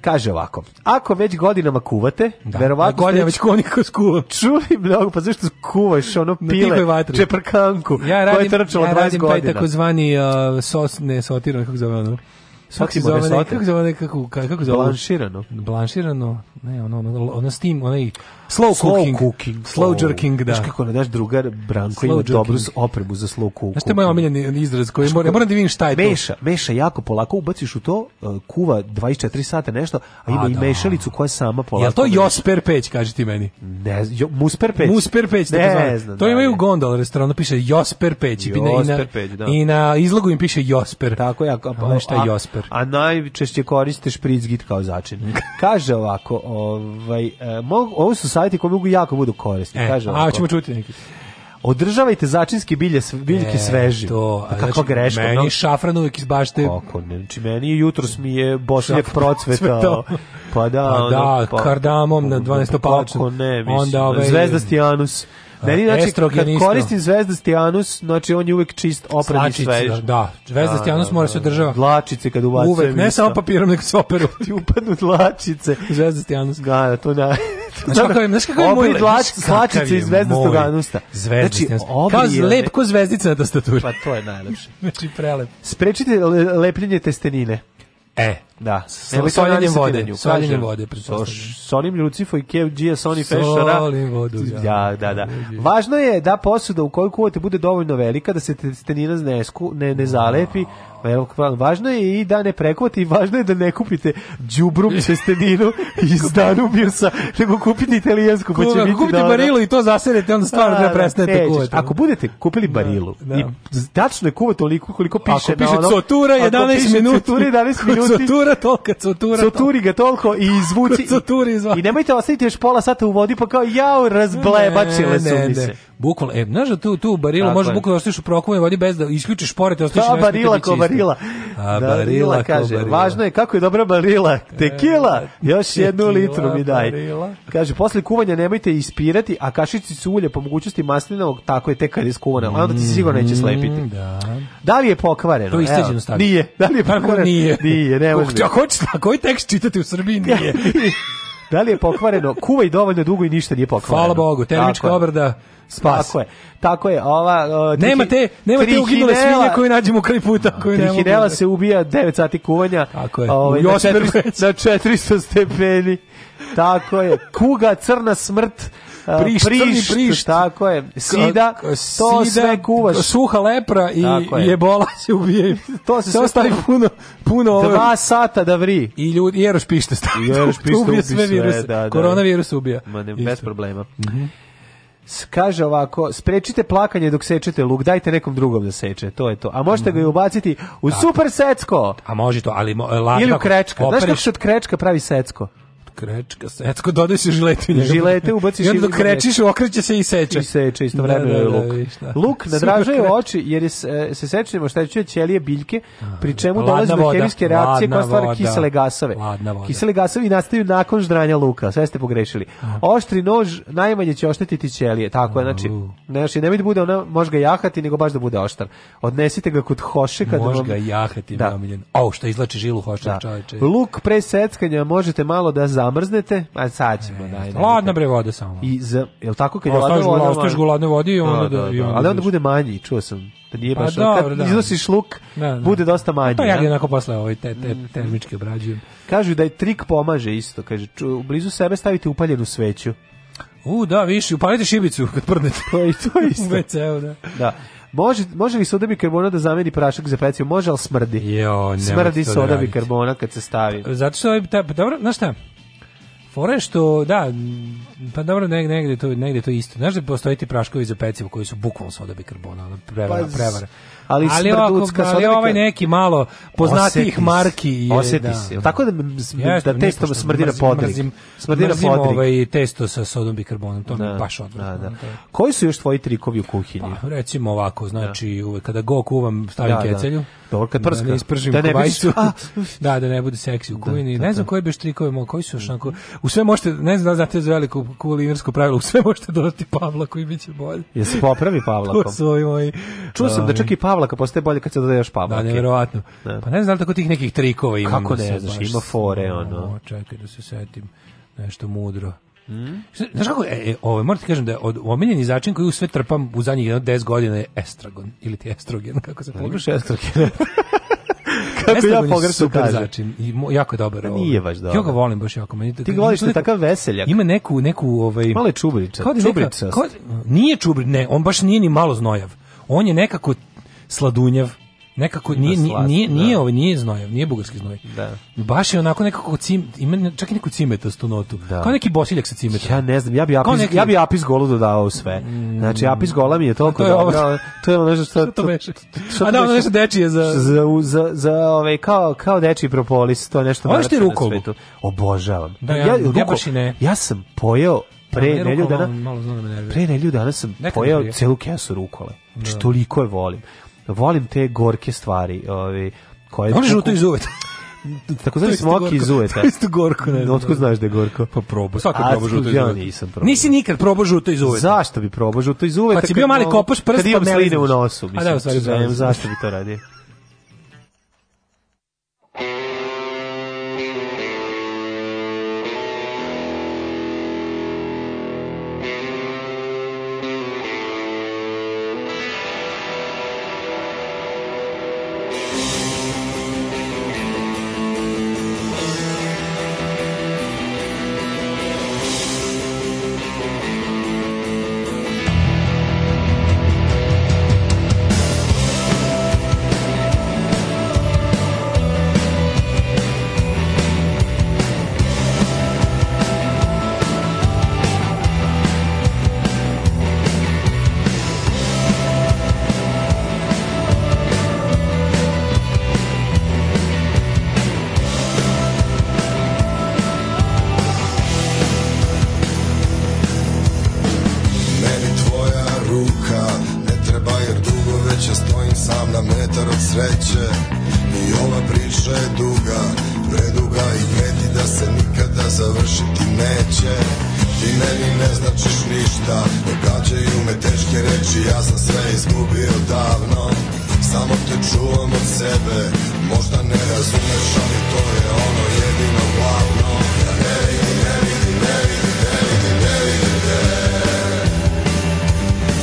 [SPEAKER 8] Kaže ovako, ako već godinama kuvate, da, verovatno...
[SPEAKER 7] godinama
[SPEAKER 8] ste
[SPEAKER 7] već koniko skuva.
[SPEAKER 8] Čuli mnogo, pa zašto kuvaš ono
[SPEAKER 7] Na tihoj
[SPEAKER 8] pile,
[SPEAKER 7] vatri.
[SPEAKER 8] čeprkanku,
[SPEAKER 7] Ja
[SPEAKER 8] koja je
[SPEAKER 7] radim,
[SPEAKER 8] trčala
[SPEAKER 7] ja
[SPEAKER 8] 20
[SPEAKER 7] radim taj
[SPEAKER 8] godina.
[SPEAKER 7] takozvani uh, sos, ne sotiran, kako zove ono? Kako se
[SPEAKER 8] Sotimore
[SPEAKER 7] zove, ne,
[SPEAKER 8] sote.
[SPEAKER 7] kako zove, kako, ka- kako zove?
[SPEAKER 8] Blanširano.
[SPEAKER 7] Blanširano, ne, ono, ono, ono steam, onaj slow,
[SPEAKER 8] Slow
[SPEAKER 7] cooking.
[SPEAKER 8] cooking.
[SPEAKER 7] Slow jerking, da.
[SPEAKER 8] Znaš kako ne daš drugar Branko
[SPEAKER 7] Slow
[SPEAKER 8] ima dobru
[SPEAKER 7] jerking.
[SPEAKER 8] opremu za slow cooking.
[SPEAKER 7] Znaš, to je moj omiljeni izraz koji moram, moram da vidim šta je to.
[SPEAKER 8] Meša, meša jako polako, ubaciš u to, uh, kuva 24 sata nešto, a ima
[SPEAKER 7] A,
[SPEAKER 8] i
[SPEAKER 7] da.
[SPEAKER 8] mešalicu koja sama polako.
[SPEAKER 7] Jel to Josper Peć, kaži ti meni?
[SPEAKER 8] Ne, znam, jo, musper peć.
[SPEAKER 7] Musper Peć, tako
[SPEAKER 8] ne
[SPEAKER 7] zove.
[SPEAKER 8] znam.
[SPEAKER 7] To
[SPEAKER 8] da,
[SPEAKER 7] imaju u
[SPEAKER 8] ne.
[SPEAKER 7] Gondol restoranu, piše Josper Peć. i na- i na-
[SPEAKER 8] Josper Peć, da.
[SPEAKER 7] I na izlogu im piše Josper.
[SPEAKER 8] Tako ja,
[SPEAKER 7] A znaš šta je Josper?
[SPEAKER 8] A, a najčešće koriste špricgit kao začin. Kaže ovako, ovaj, e, mogu, ovo su savjeti koji mogu jako budu korisni.
[SPEAKER 7] E,
[SPEAKER 8] Kaže ovako.
[SPEAKER 7] a, ćemo čuti neki.
[SPEAKER 8] Održavajte začinske bilje, sve- biljke
[SPEAKER 7] E,
[SPEAKER 8] svežim.
[SPEAKER 7] To,
[SPEAKER 8] Pa
[SPEAKER 7] a
[SPEAKER 8] kakva
[SPEAKER 7] znači,
[SPEAKER 8] greška.
[SPEAKER 7] Meni
[SPEAKER 8] mnogo-
[SPEAKER 7] šafran uvijek iz bašte.
[SPEAKER 8] Kako ne, znači meni jutros mi je bošnjak
[SPEAKER 7] Šafran
[SPEAKER 8] procvetao.
[SPEAKER 7] procvetao.
[SPEAKER 8] Pa da,
[SPEAKER 7] Pa da,
[SPEAKER 8] ono,
[SPEAKER 7] kardamom na 12 palaču.
[SPEAKER 8] Kako ne, mislim.
[SPEAKER 7] Onda ovaj-
[SPEAKER 8] Zvezdasti anus. Meni, znači, kad
[SPEAKER 7] estrogen isto.
[SPEAKER 8] koristim zvezdasti anus, znači on je uvek čist, opran i
[SPEAKER 7] Slačice,
[SPEAKER 8] svež.
[SPEAKER 7] da, da. Zvezdasti anus mora se održava.
[SPEAKER 8] Dlačice kad ubacujem.
[SPEAKER 7] Uvek, ne
[SPEAKER 8] isto.
[SPEAKER 7] samo pa- papirom, nego se operu.
[SPEAKER 8] Ti upadnu dlačice.
[SPEAKER 7] Zvezdasti anus.
[SPEAKER 8] Da, da, to da.
[SPEAKER 7] Znaš kakav je, znaš kakav je moj...
[SPEAKER 8] Obri dlač,
[SPEAKER 7] znaš kakav
[SPEAKER 8] dlačice
[SPEAKER 7] je
[SPEAKER 8] iz zvezdastog
[SPEAKER 7] moj
[SPEAKER 8] anusta.
[SPEAKER 7] Zvezdasti
[SPEAKER 8] Znači,
[SPEAKER 7] anus.
[SPEAKER 8] obri
[SPEAKER 7] Kao
[SPEAKER 8] je-
[SPEAKER 7] lep, ko zvezdica na tastaturi.
[SPEAKER 8] Pa to je najlepše.
[SPEAKER 7] Znači, prelep.
[SPEAKER 8] Sprečite le- lepljenje testenine.
[SPEAKER 7] E,
[SPEAKER 8] Da.
[SPEAKER 7] S-
[SPEAKER 8] Nemojte
[SPEAKER 7] soljenjem
[SPEAKER 8] raditi sa
[SPEAKER 7] vode,
[SPEAKER 8] pitanju.
[SPEAKER 7] soljenjem
[SPEAKER 8] Kažem,
[SPEAKER 7] vode, pretpostavljam.
[SPEAKER 8] soš- Solim Lucifo i Kev Gia, Sony Fešara.
[SPEAKER 7] Solim vodu,
[SPEAKER 8] Da,
[SPEAKER 7] da.
[SPEAKER 8] da, da. Važno je da posuda u kojoj kuvate bude dovoljno velika, da se testenina ne, sku- ne, ne zalepi. Veliko- Važno je i da ne prekuvate i važno je da ne kupite džubrum testeninu iz Danubiusa, nego kupite italijansku, pa će
[SPEAKER 7] Kuva,
[SPEAKER 8] biti
[SPEAKER 7] kupite
[SPEAKER 8] dobro.
[SPEAKER 7] barilu i to zasedete, onda stvarno
[SPEAKER 8] Da,
[SPEAKER 7] treba
[SPEAKER 8] da,
[SPEAKER 7] prestanete
[SPEAKER 8] nećeš.
[SPEAKER 7] kuvati.
[SPEAKER 8] Ako budete kupili barilu
[SPEAKER 7] Da,
[SPEAKER 8] i tačno je kuvati toliko koliko piše
[SPEAKER 7] Ako
[SPEAKER 8] na
[SPEAKER 7] piše
[SPEAKER 8] onom-
[SPEAKER 7] cotura
[SPEAKER 8] ako
[SPEAKER 7] 11
[SPEAKER 8] piše
[SPEAKER 7] minuta.
[SPEAKER 8] Cotura 11 minuti.
[SPEAKER 7] Cotura Cotura tolka, cotura
[SPEAKER 8] Coturi ga toliko i izvuci.
[SPEAKER 7] Coturi izvuci.
[SPEAKER 8] I nemojte ostaviti još pola sata u vodi, pa kao jao, razblebačile su mi se.
[SPEAKER 7] Bukvalno, e, znaš da tu, tu barilu
[SPEAKER 8] Tako
[SPEAKER 7] možeš
[SPEAKER 8] je.
[SPEAKER 7] bukvalno da ostaviš u prokuvanju vodi bez da isključiš pored i ostaviš
[SPEAKER 8] Ta
[SPEAKER 7] nešto
[SPEAKER 8] barila
[SPEAKER 7] biti
[SPEAKER 8] ko
[SPEAKER 7] čisto.
[SPEAKER 8] barila.
[SPEAKER 7] A barila ko
[SPEAKER 8] kaže,
[SPEAKER 7] barila. E,
[SPEAKER 8] važno je kako je dobra barila. Tekila, još jednu
[SPEAKER 7] tekila,
[SPEAKER 8] litru mi daj.
[SPEAKER 7] barila.
[SPEAKER 8] Kaže, posle kuvanja nemojte ispirati, a kašičicu ulja po mogućnosti maslinovog, tako je tek kad je skuvana. Onda ti se sigurno neće slepiti.
[SPEAKER 7] Mm, Da.
[SPEAKER 8] Da li je pokvareno?
[SPEAKER 7] To je isteđeno
[SPEAKER 8] Evo,
[SPEAKER 7] stavljeno.
[SPEAKER 8] Nije. Da li je
[SPEAKER 7] Tako
[SPEAKER 8] pokvareno?
[SPEAKER 7] E, pa Nije.
[SPEAKER 8] Nije, ne može
[SPEAKER 7] Kako- Ako hoćeš, ako koji tekst čitati u Srbiji, nije.
[SPEAKER 8] da li je pokvareno? Kuvaj dovoljno dugo i ništa nije pokvareno.
[SPEAKER 7] Hvala Bogu, termička
[SPEAKER 8] Tako je.
[SPEAKER 7] obrada, spas.
[SPEAKER 8] Tako je. Tako je. Ova, uh,
[SPEAKER 7] Nema te, nema te uginule svinje koje nađemo kraj puta. Koje ne mogu-
[SPEAKER 8] Trihinela se ubija 9 sati kuvanja. Tako
[SPEAKER 7] je.
[SPEAKER 8] Ovaj,
[SPEAKER 7] U
[SPEAKER 8] na,
[SPEAKER 7] osmeri
[SPEAKER 8] 400, na 400 stepeni. Tako je. Kuga, crna smrt, a,
[SPEAKER 7] Prišt, crni prišt.
[SPEAKER 8] Tako je. Sida,
[SPEAKER 7] K-
[SPEAKER 8] to
[SPEAKER 7] k-
[SPEAKER 8] sve kuvaš.
[SPEAKER 7] Suha lepra i,
[SPEAKER 8] Tako
[SPEAKER 7] je.
[SPEAKER 8] je.
[SPEAKER 7] i ebola se ubije.
[SPEAKER 8] To se
[SPEAKER 7] sve
[SPEAKER 8] sve-
[SPEAKER 7] ostavi puno, puno ove...
[SPEAKER 8] Dva sata da vri.
[SPEAKER 7] I ljudi, i Eroš pište stavi.
[SPEAKER 8] I Eroš pište
[SPEAKER 7] ubije
[SPEAKER 8] ubi
[SPEAKER 7] sve
[SPEAKER 8] sve,
[SPEAKER 7] viruse.
[SPEAKER 8] da, da.
[SPEAKER 7] Koronavirus ubija.
[SPEAKER 8] Ma ne,
[SPEAKER 7] Isto. Mhm.
[SPEAKER 8] bez problema. S- Kaže ovako, sprečite plakanje dok sečete luk, dajte nekom drugom da seče, to je to. A možete
[SPEAKER 7] Mhm.
[SPEAKER 8] ga i ubaciti u super secko
[SPEAKER 7] A može to, ali... mo- la-
[SPEAKER 8] ili u
[SPEAKER 7] kako-
[SPEAKER 8] krečka. Znaš
[SPEAKER 7] opereš-
[SPEAKER 8] kako se od krečka pravi secko?
[SPEAKER 7] krečka, secko, dodaj se žilete u njega.
[SPEAKER 8] Žilete ubaciš
[SPEAKER 7] i onda
[SPEAKER 8] ili
[SPEAKER 7] dok krečiš, okreće se i seče.
[SPEAKER 8] I seče istovremeno
[SPEAKER 7] Da, da,
[SPEAKER 8] je
[SPEAKER 7] da,
[SPEAKER 8] luk.
[SPEAKER 7] vidiš, da.
[SPEAKER 8] Luk
[SPEAKER 7] Super
[SPEAKER 8] nadražuje
[SPEAKER 7] krečka.
[SPEAKER 8] oči jer je, e, se, se sečenjem oštećuje ćelije biljke, pri čemu
[SPEAKER 7] Ladna
[SPEAKER 8] dolazi do
[SPEAKER 7] voda,
[SPEAKER 8] hemijske reakcije
[SPEAKER 7] ladna
[SPEAKER 8] koja stvara
[SPEAKER 7] voda,
[SPEAKER 8] kisele gasove.
[SPEAKER 7] ladna voda.
[SPEAKER 8] Kisele gasovi nastaju nakon ždranja luka, sve ste pogrešili. Oštri nož najmanje će oštetiti ćelije, tako je, znači, znači nemojte da bude ona može ga jahati, nego baš da bude oštar. Odnesite ga kod hoše kad
[SPEAKER 7] Može
[SPEAKER 8] vam-
[SPEAKER 7] ga jahati,
[SPEAKER 8] Da.
[SPEAKER 7] da. omiljen. O, što izlači žilu hošća,
[SPEAKER 8] Da.
[SPEAKER 7] da. čoveče.
[SPEAKER 8] Luk pre seckanja možete malo da zamrznete, a sad ćemo. daj, daj,
[SPEAKER 7] Ladna bre voda samo.
[SPEAKER 8] i za jel tako kad je
[SPEAKER 7] E, Ostaviš
[SPEAKER 8] ladna
[SPEAKER 7] ga-
[SPEAKER 8] voda
[SPEAKER 7] ostaviš
[SPEAKER 8] manje?
[SPEAKER 7] ga u ladnoj vodi i onda ono da- i onda
[SPEAKER 8] ali onda
[SPEAKER 7] vidiš.
[SPEAKER 8] bude manji čuo sam da nije
[SPEAKER 7] Pa
[SPEAKER 8] baš
[SPEAKER 7] dobro,
[SPEAKER 8] kad
[SPEAKER 7] da.
[SPEAKER 8] iznosiš luk
[SPEAKER 7] Da, da.
[SPEAKER 8] bude dosta manji
[SPEAKER 7] Pa ja ga
[SPEAKER 8] da?
[SPEAKER 7] onako posle ovaj te, te,
[SPEAKER 8] Mm.
[SPEAKER 7] termički obrađujem.
[SPEAKER 8] kažu da je trik pomaže isto kaže ču, blizu sebe stavite upaljenu sveću
[SPEAKER 7] U, da, viši, upalite šibicu kad prdnete.
[SPEAKER 8] to je to je
[SPEAKER 7] U
[SPEAKER 8] isto
[SPEAKER 7] WC-u, da.
[SPEAKER 8] da Može, može li soda bikarbona da zameni prašak za pecivo? Može, ali smrdi.
[SPEAKER 7] Jo, nemojte
[SPEAKER 8] smrdi
[SPEAKER 7] to da
[SPEAKER 8] soda
[SPEAKER 7] radite.
[SPEAKER 8] bikarbona kad se stavi.
[SPEAKER 7] Zato što ovaj, ta, pa dobro, znaš šta, fora je što, da, m, pa dobro, neg, negde, to, negde to isto. Znaš da postoji ti praškovi za pecivo koji su bukvalno soda bikarbona, ono, prevara,
[SPEAKER 8] Pa z-
[SPEAKER 7] prevara.
[SPEAKER 8] ali
[SPEAKER 7] ovako,
[SPEAKER 8] smrducka
[SPEAKER 7] ali
[SPEAKER 8] soda
[SPEAKER 7] ovaj
[SPEAKER 8] bikar-
[SPEAKER 7] neki malo
[SPEAKER 8] Osjeti
[SPEAKER 7] poznatijih
[SPEAKER 8] se,
[SPEAKER 7] marki je,
[SPEAKER 8] Osjeti
[SPEAKER 7] da.
[SPEAKER 8] se. Jel Tako da, m- z-
[SPEAKER 7] Jeste,
[SPEAKER 8] da
[SPEAKER 7] ne,
[SPEAKER 8] testo
[SPEAKER 7] pošto
[SPEAKER 8] smrdi na
[SPEAKER 7] mrzim-
[SPEAKER 8] podrig.
[SPEAKER 7] Mrzim,
[SPEAKER 8] smrdi na
[SPEAKER 7] mrzim
[SPEAKER 8] podrig.
[SPEAKER 7] ovaj testo sa sodom bikarbonom, to mi
[SPEAKER 8] Da,
[SPEAKER 7] je baš ono, odvratno.
[SPEAKER 8] da, da.
[SPEAKER 7] To je-
[SPEAKER 8] Koji su još tvoji trikovi u kuhinji?
[SPEAKER 7] Pa, recimo ovako, znači uvek kada go kuvam stavim
[SPEAKER 8] Da, da.
[SPEAKER 7] kecelju.
[SPEAKER 8] Dobro, kad prska.
[SPEAKER 7] Da ne ispržim
[SPEAKER 8] Da
[SPEAKER 7] da
[SPEAKER 8] ne
[SPEAKER 7] ne kobajcu.
[SPEAKER 8] bi- A,
[SPEAKER 7] da, da ne bude seksi u kuvini. ne znam koji bi štrikovi mo, koji su još onako... U sve možete, ne znam da li znate za veliko kulinarsko pravilo, u sve možete dodati Pavla koji bit će bolje.
[SPEAKER 8] Jesi popravi
[SPEAKER 7] To
[SPEAKER 8] Pavlakom?
[SPEAKER 7] su ovi moji...
[SPEAKER 8] Čuo sam da čak i Pavlaka postaje bolje kad se dodaje još
[SPEAKER 7] Da,
[SPEAKER 8] Pavlake.
[SPEAKER 7] nevjerovatno.
[SPEAKER 8] Da.
[SPEAKER 7] Pa ne znam da li tako tih nekih trikova ima.
[SPEAKER 8] Kako
[SPEAKER 7] da
[SPEAKER 8] ne
[SPEAKER 7] se
[SPEAKER 8] znaš,
[SPEAKER 7] baš-
[SPEAKER 8] ima fore, ono.
[SPEAKER 7] O, čekaj da se setim nešto mudro.
[SPEAKER 8] Mm?
[SPEAKER 7] Šta- Znaš kako, e, e, ovo, moram ti kažem da je od omiljeni začin koji u sve trpam u zadnjih jedno 10 godina je estragon, ili ti estrogen, kako se pogrešio.
[SPEAKER 8] Imaš estrogen. Kako ja pogrešno
[SPEAKER 7] super
[SPEAKER 8] kažem.
[SPEAKER 7] začin i mo- jako je dobar.
[SPEAKER 8] Pa
[SPEAKER 7] ovaj.
[SPEAKER 8] nije baš dobar.
[SPEAKER 7] Ja ga volim baš jako. Meni,
[SPEAKER 8] Ti ga voliš, ti takav veseljak.
[SPEAKER 7] Ima neku, neku, ovaj...
[SPEAKER 8] Malo je čubričast.
[SPEAKER 7] Kao da je neka-
[SPEAKER 8] Čubricast.
[SPEAKER 7] kao da- nije čubri, ne, on baš nije ni malo znojav. On je nekako sladunjav. Nekako nije, nije,
[SPEAKER 8] slast,
[SPEAKER 7] nije,
[SPEAKER 8] da.
[SPEAKER 7] nije, ovaj, nije znojav, nije bugarski znoj.
[SPEAKER 8] Da.
[SPEAKER 7] Baš je onako nekako cim, ima ne- čak i neku cimetastu notu.
[SPEAKER 8] Da.
[SPEAKER 7] Kao neki bosiljak sa cimetom.
[SPEAKER 8] Ja ne znam, ja bi
[SPEAKER 7] Kao
[SPEAKER 8] apis,
[SPEAKER 7] neki- Mm.
[SPEAKER 8] ja bi apis golu dodavao u sve. Znači, apis gola mi je toliko
[SPEAKER 7] To je ovo-
[SPEAKER 8] dobro. To je ono što...
[SPEAKER 7] Šta to beše?
[SPEAKER 8] šta
[SPEAKER 7] A
[SPEAKER 8] to
[SPEAKER 7] da, ono
[SPEAKER 8] beše?
[SPEAKER 7] nešto dečije za...
[SPEAKER 8] za, u- za, za ovaj, kao, kao dečiji propolis, to je
[SPEAKER 7] A
[SPEAKER 8] nešto
[SPEAKER 7] ono
[SPEAKER 8] najlepše
[SPEAKER 7] što je rukovu?
[SPEAKER 8] na svetu. Obožavam.
[SPEAKER 7] Da, ja- ja
[SPEAKER 8] ruko-
[SPEAKER 7] baš i ne.
[SPEAKER 8] Ja sam pojeo pre
[SPEAKER 7] Ja
[SPEAKER 8] E, nelju
[SPEAKER 7] rukom
[SPEAKER 8] dana,
[SPEAKER 7] malo- Malo zna da me nervira.
[SPEAKER 8] pre nelju dana sam
[SPEAKER 7] Nekad
[SPEAKER 8] pojeo
[SPEAKER 7] prije.
[SPEAKER 8] celu kesu rukole. Znači, toliko je volim. Volim te gorke stvari, ovaj, koje...
[SPEAKER 7] Oni žuto iz uveta.
[SPEAKER 8] Tako zvani
[SPEAKER 7] To isto
[SPEAKER 8] smoki
[SPEAKER 7] gorko.
[SPEAKER 8] iz uveta.
[SPEAKER 7] To isto gorko, ne znam.
[SPEAKER 8] Otko znaš da je gorko?
[SPEAKER 7] Pa probao, svako
[SPEAKER 8] A,
[SPEAKER 7] probao žuto iz
[SPEAKER 8] Ja
[SPEAKER 7] uveta.
[SPEAKER 8] nisam probao.
[SPEAKER 7] Nisi nikad probao žuto iz uveta.
[SPEAKER 8] Zašto bi probao žuto iz uveta?
[SPEAKER 7] Pa si
[SPEAKER 8] kad
[SPEAKER 7] bio mali
[SPEAKER 8] mogu-
[SPEAKER 7] kopaš prst,
[SPEAKER 8] Kad
[SPEAKER 7] pa
[SPEAKER 8] imam
[SPEAKER 7] ne
[SPEAKER 8] sline u
[SPEAKER 7] lizneš.
[SPEAKER 8] nosu,
[SPEAKER 7] A
[SPEAKER 8] mislim. znači,
[SPEAKER 7] da, u stvari,
[SPEAKER 8] znam
[SPEAKER 7] da.
[SPEAKER 8] zašto bi to radio.
[SPEAKER 19] Thank
[SPEAKER 11] ruka Ne treba jer dugo već ja stojim sam na metar od sreće I ova priča je duga, preduga i preti da se nikada završiti neće Ti meni ne značiš ništa, događaju me teške reči Ja sam sve izgubio davno, samo te čuvam od sebe Možda ne razumeš, ali to je ono jedino glavno Ja ne vidim, ne vidim, ne vidim, ne vidim, ne vidim te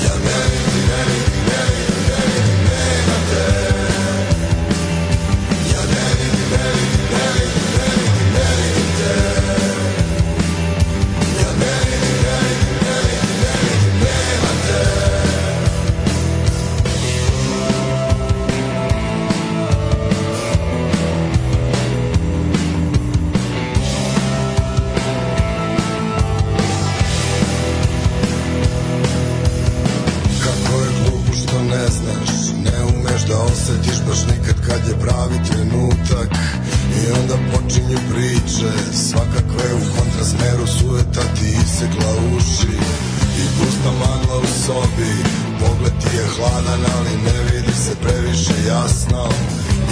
[SPEAKER 11] ja ne vidim, ne vidim, ne vidim, ne vidim, nema te. Ja ne vidim, ne vidim, ne vidim, ne vidim, ne vidim te. Ja ne vidim, ne vidim, ne vidim, ne vidim, nema te. Kako je glupo što ne znaš Ne umeš da osjetiš baš nikad kad je pravi trenutak I onda počinju priče Svakako je u kontrasmeru sujeta ti isekla uši I pusta magla u sobi Pogled ti je hladan ali ne vidi se previše jasno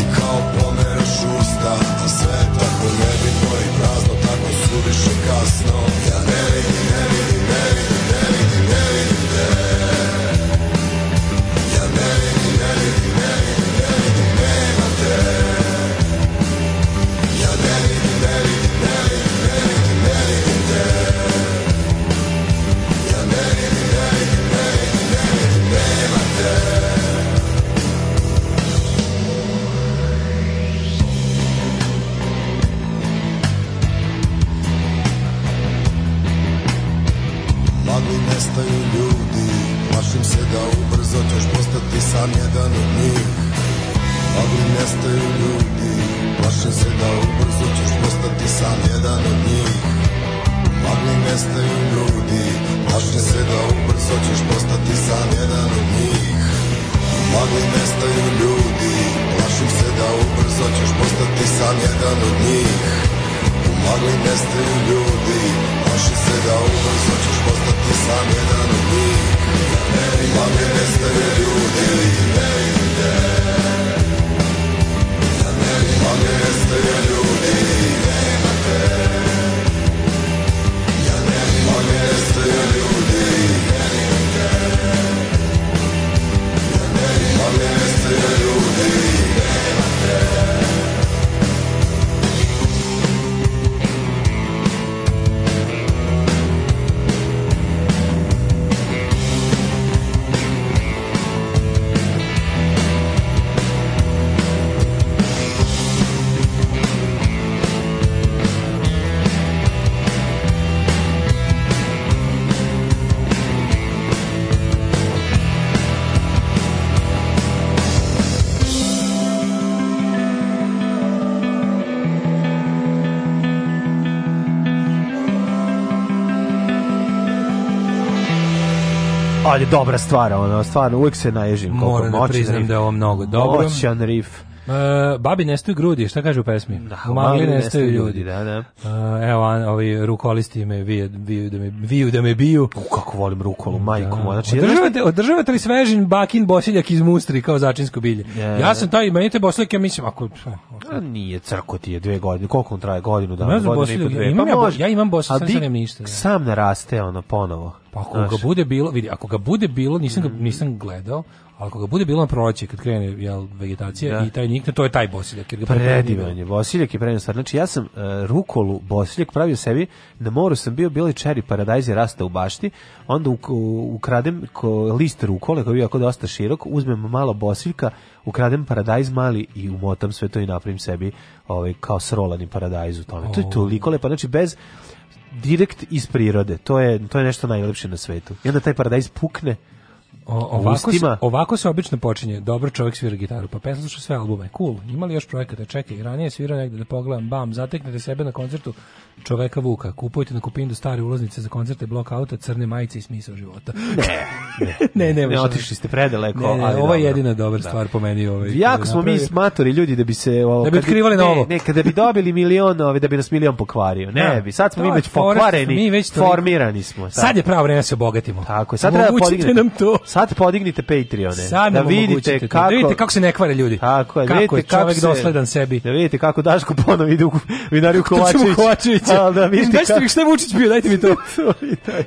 [SPEAKER 11] I kao pomeraš usta A sve je tako nebitno i prazno Tako suviše kasno Ja ne vidim, ne vidim, ne vidim, ne vidim, ne vidim te ja ne vidim, ne vidim, ne vidim, ne vidim, nema te. Ja ne vidim, ne vidim, ne vidim, ne vidim, ne vidim te. Ja ne vidim, ne vidim, ne vidim, ne vidim, nema te. Magli nestaju ljudi Plašim se da ubrzo ćeš postati sam jedan od njih Magli nestaju ljudi Plašim se da ubrzo ćeš postati sam jedan od njih Magli nestaju ljudi Plašim se da ubrzo ćeš postati sam jedan od njih Magli nestaju ljudi Plašim se da ubrzo ćeš postati sam jedan od njih U magli nestaju ljudi Plašim se da ubrzo ćeš postati sam jedan od njih U magli nestaju ljudi U magli nestaju ljudi U magli nestaju ljudi U magli nestaju ljudi
[SPEAKER 8] Ali dobra stvar, ono, stvarno, uvijek se naježim. koliko
[SPEAKER 7] Moram da
[SPEAKER 8] moćan
[SPEAKER 7] priznam
[SPEAKER 8] riff.
[SPEAKER 7] da je ovo mnogo dobro.
[SPEAKER 8] Moćan riff.
[SPEAKER 7] E, babi nestaju grudi, šta kaže u pesmi? Da,
[SPEAKER 8] u magli nestaju ljudi, da, da.
[SPEAKER 7] E, evo, an, ovi rukolisti me vije, viju, da me, viju da me biju.
[SPEAKER 8] kako volim rukolu, majko moja. Znači,
[SPEAKER 7] održavate, održavate li svežin bakin bosiljak iz mustri kao začinsko bilje?
[SPEAKER 8] Je.
[SPEAKER 7] Ja sam taj, meni te bosiljak, ja mislim, ako...
[SPEAKER 8] A Nije crko ti je dve godine, koliko on traje godinu dana,
[SPEAKER 7] Ne znam,
[SPEAKER 8] godinu i po
[SPEAKER 7] Bosiljak,
[SPEAKER 8] dve. Pa
[SPEAKER 7] imam ja bo-
[SPEAKER 8] može.
[SPEAKER 7] ja imam Bosiljak,
[SPEAKER 8] A
[SPEAKER 7] sad
[SPEAKER 8] di-
[SPEAKER 7] sam nemam ništa, da.
[SPEAKER 8] Sam naraste ono ponovo.
[SPEAKER 7] Pa ako ga bude bilo, vidi, ako ga bude bilo, nisam ga
[SPEAKER 8] Mm.
[SPEAKER 7] nisam gledao, ali ako ga bude bilo na proleće kad krene jel, vegetacija
[SPEAKER 8] Da.
[SPEAKER 7] i taj nikne, to je taj bosiljak. Jer ga
[SPEAKER 8] Predivan je, Bosiljak je predivan stvar. Znači ja sam e, rukolu Bosiljak pravio sebi, na moru sam bio, bili čeri paradajz je rastao u bašti, onda u, u- ukradem ko, list rukole koji je jako dosta širok, uzmem malo Bosiljka, ukradem paradajz mali i umotam sve to i napravim sebi ovaj, kao srolani paradajz u tome. To
[SPEAKER 7] Oh.
[SPEAKER 8] je toliko lepo, znači bez direkt iz prirode. To je, to je nešto najlepše na svetu. I onda taj paradajz pukne
[SPEAKER 7] O- ovako, se,
[SPEAKER 8] ustima.
[SPEAKER 7] ovako se obično počinje. Dobro čovjek svira gitaru, pa pesma sluša sve albume. Cool. Ima li još projekata? Čekaj, ranije je svirao negde da pogledam. Bam, zateknete sebe na koncertu čoveka Vuka. Kupujte na Kupindu stare ulaznice za koncerte, blok auta, crne majice i smisao života.
[SPEAKER 8] Ne,
[SPEAKER 7] ne, ne,
[SPEAKER 8] ne,
[SPEAKER 7] baš
[SPEAKER 8] otišli ste predaleko.
[SPEAKER 7] Ne, ne,
[SPEAKER 8] ali
[SPEAKER 7] ovo je
[SPEAKER 8] dobro.
[SPEAKER 7] jedina dobra stvar po meni. Ovaj,
[SPEAKER 8] Jako
[SPEAKER 7] koju
[SPEAKER 8] smo mi
[SPEAKER 7] napravio.
[SPEAKER 8] smatori ljudi da bi se ovo,
[SPEAKER 7] Da bi
[SPEAKER 8] kad
[SPEAKER 7] otkrivali
[SPEAKER 8] ne,
[SPEAKER 7] novo.
[SPEAKER 8] Ne, kada bi dobili milion, ove, da bi nas milion pokvario. Ne,
[SPEAKER 7] Da.
[SPEAKER 8] bi. Sad smo
[SPEAKER 7] To
[SPEAKER 8] mi
[SPEAKER 7] je
[SPEAKER 8] već
[SPEAKER 7] fora što smo
[SPEAKER 8] pokvareni,
[SPEAKER 7] mi već toliko-
[SPEAKER 8] formirani smo.
[SPEAKER 7] Sad je pravo vreme da se obogatimo.
[SPEAKER 8] Tako je. Sad treba
[SPEAKER 7] Omogućite
[SPEAKER 8] podignete.
[SPEAKER 7] nam to.
[SPEAKER 8] Sad podignite Patreone.
[SPEAKER 7] Sad
[SPEAKER 8] da
[SPEAKER 7] nam
[SPEAKER 8] vidite
[SPEAKER 7] omogućite to.
[SPEAKER 8] kako
[SPEAKER 7] Da vidite kako se ne kvare ljudi.
[SPEAKER 8] Tako je, da
[SPEAKER 7] Kako
[SPEAKER 8] vidite
[SPEAKER 7] je čovek
[SPEAKER 8] se-
[SPEAKER 7] dosledan sebi.
[SPEAKER 8] Da vidite kako Daško ponovo ide u vinariju
[SPEAKER 7] Trčimo
[SPEAKER 8] Kovačević.
[SPEAKER 7] Kovačevića.
[SPEAKER 8] Al da vidite
[SPEAKER 7] Dajte mi
[SPEAKER 8] kako-
[SPEAKER 7] šta je Vučić bio, dajte mi to.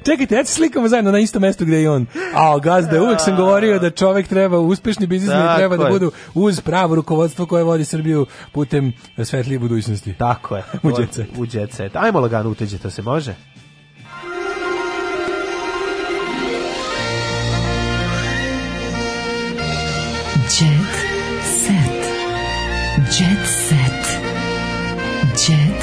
[SPEAKER 7] Čekajte, ja se slikamo zajedno na istom mestu gde je i on. A gazda, uvek sam govorio da čovek treba, uspešni biznismeni
[SPEAKER 8] Tako
[SPEAKER 7] treba da
[SPEAKER 8] je.
[SPEAKER 7] budu uz pravo rukovodstvo koje vodi Srbiju putem svetlije budućnosti.
[SPEAKER 8] Tako je.
[SPEAKER 7] U jet set.
[SPEAKER 8] U jet set. Ajmo lagano uteđe, to se može.
[SPEAKER 6] Jet set. Jet set. Jet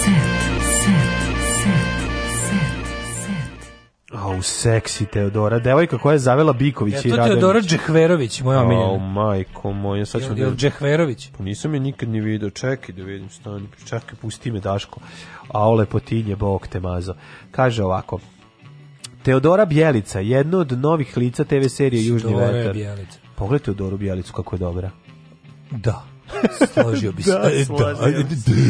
[SPEAKER 6] set. Set. Set. Set. Set.
[SPEAKER 8] Au, seksi Teodora, devojka koja je zavela Biković
[SPEAKER 7] Ja, E, to
[SPEAKER 8] i Radonjić.
[SPEAKER 7] Teodora Džehverović, moja omiljena.
[SPEAKER 8] Au, majko moja, sad ću...
[SPEAKER 7] Jel- jel Džehverović?
[SPEAKER 8] Pa nisam je nikad ni video, čekaj da vidim stani, čekaj, pusti me Daško. A o lepotinje, bog te mazo. Kaže ovako, Teodora Bjelica, jedno od novih lica TV serije Južni
[SPEAKER 7] Teodora
[SPEAKER 8] vetar.
[SPEAKER 7] Bjelica.
[SPEAKER 8] Pogledaj Teodoru Bjelicu kako je dobra.
[SPEAKER 7] Da. Složio bi se.
[SPEAKER 8] Da,
[SPEAKER 7] E,
[SPEAKER 8] složio
[SPEAKER 7] da,
[SPEAKER 8] bi se.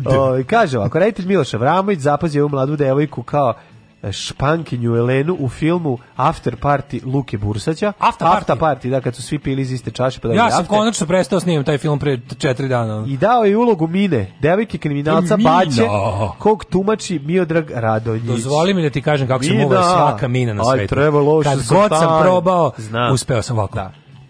[SPEAKER 8] Da. O, Ovaj, kaže ovako, reditelj Miloš Avramović zapazio ovu mladu devojku kao e, špankinju Elenu u filmu After Party Luke Bursaća. After Party, da, kad su svi pili iz iste čaše. Pa dobili
[SPEAKER 7] Ja sam
[SPEAKER 8] after.
[SPEAKER 7] konačno prestao snimam taj film pre četiri dana. ono.
[SPEAKER 8] I dao je ulogu Mine, devojke kriminalca
[SPEAKER 7] Mina.
[SPEAKER 8] Baće, kog tumači Miodrag Radonjić.
[SPEAKER 7] Dozvoli mi da ti kažem kako se
[SPEAKER 8] Mina.
[SPEAKER 7] muva svaka mina na
[SPEAKER 8] Aj,
[SPEAKER 7] svetu.
[SPEAKER 8] treba loše
[SPEAKER 7] Kad
[SPEAKER 8] sam
[SPEAKER 7] god sam
[SPEAKER 8] stan.
[SPEAKER 7] probao,
[SPEAKER 8] Znam.
[SPEAKER 7] uspeo sam ovako.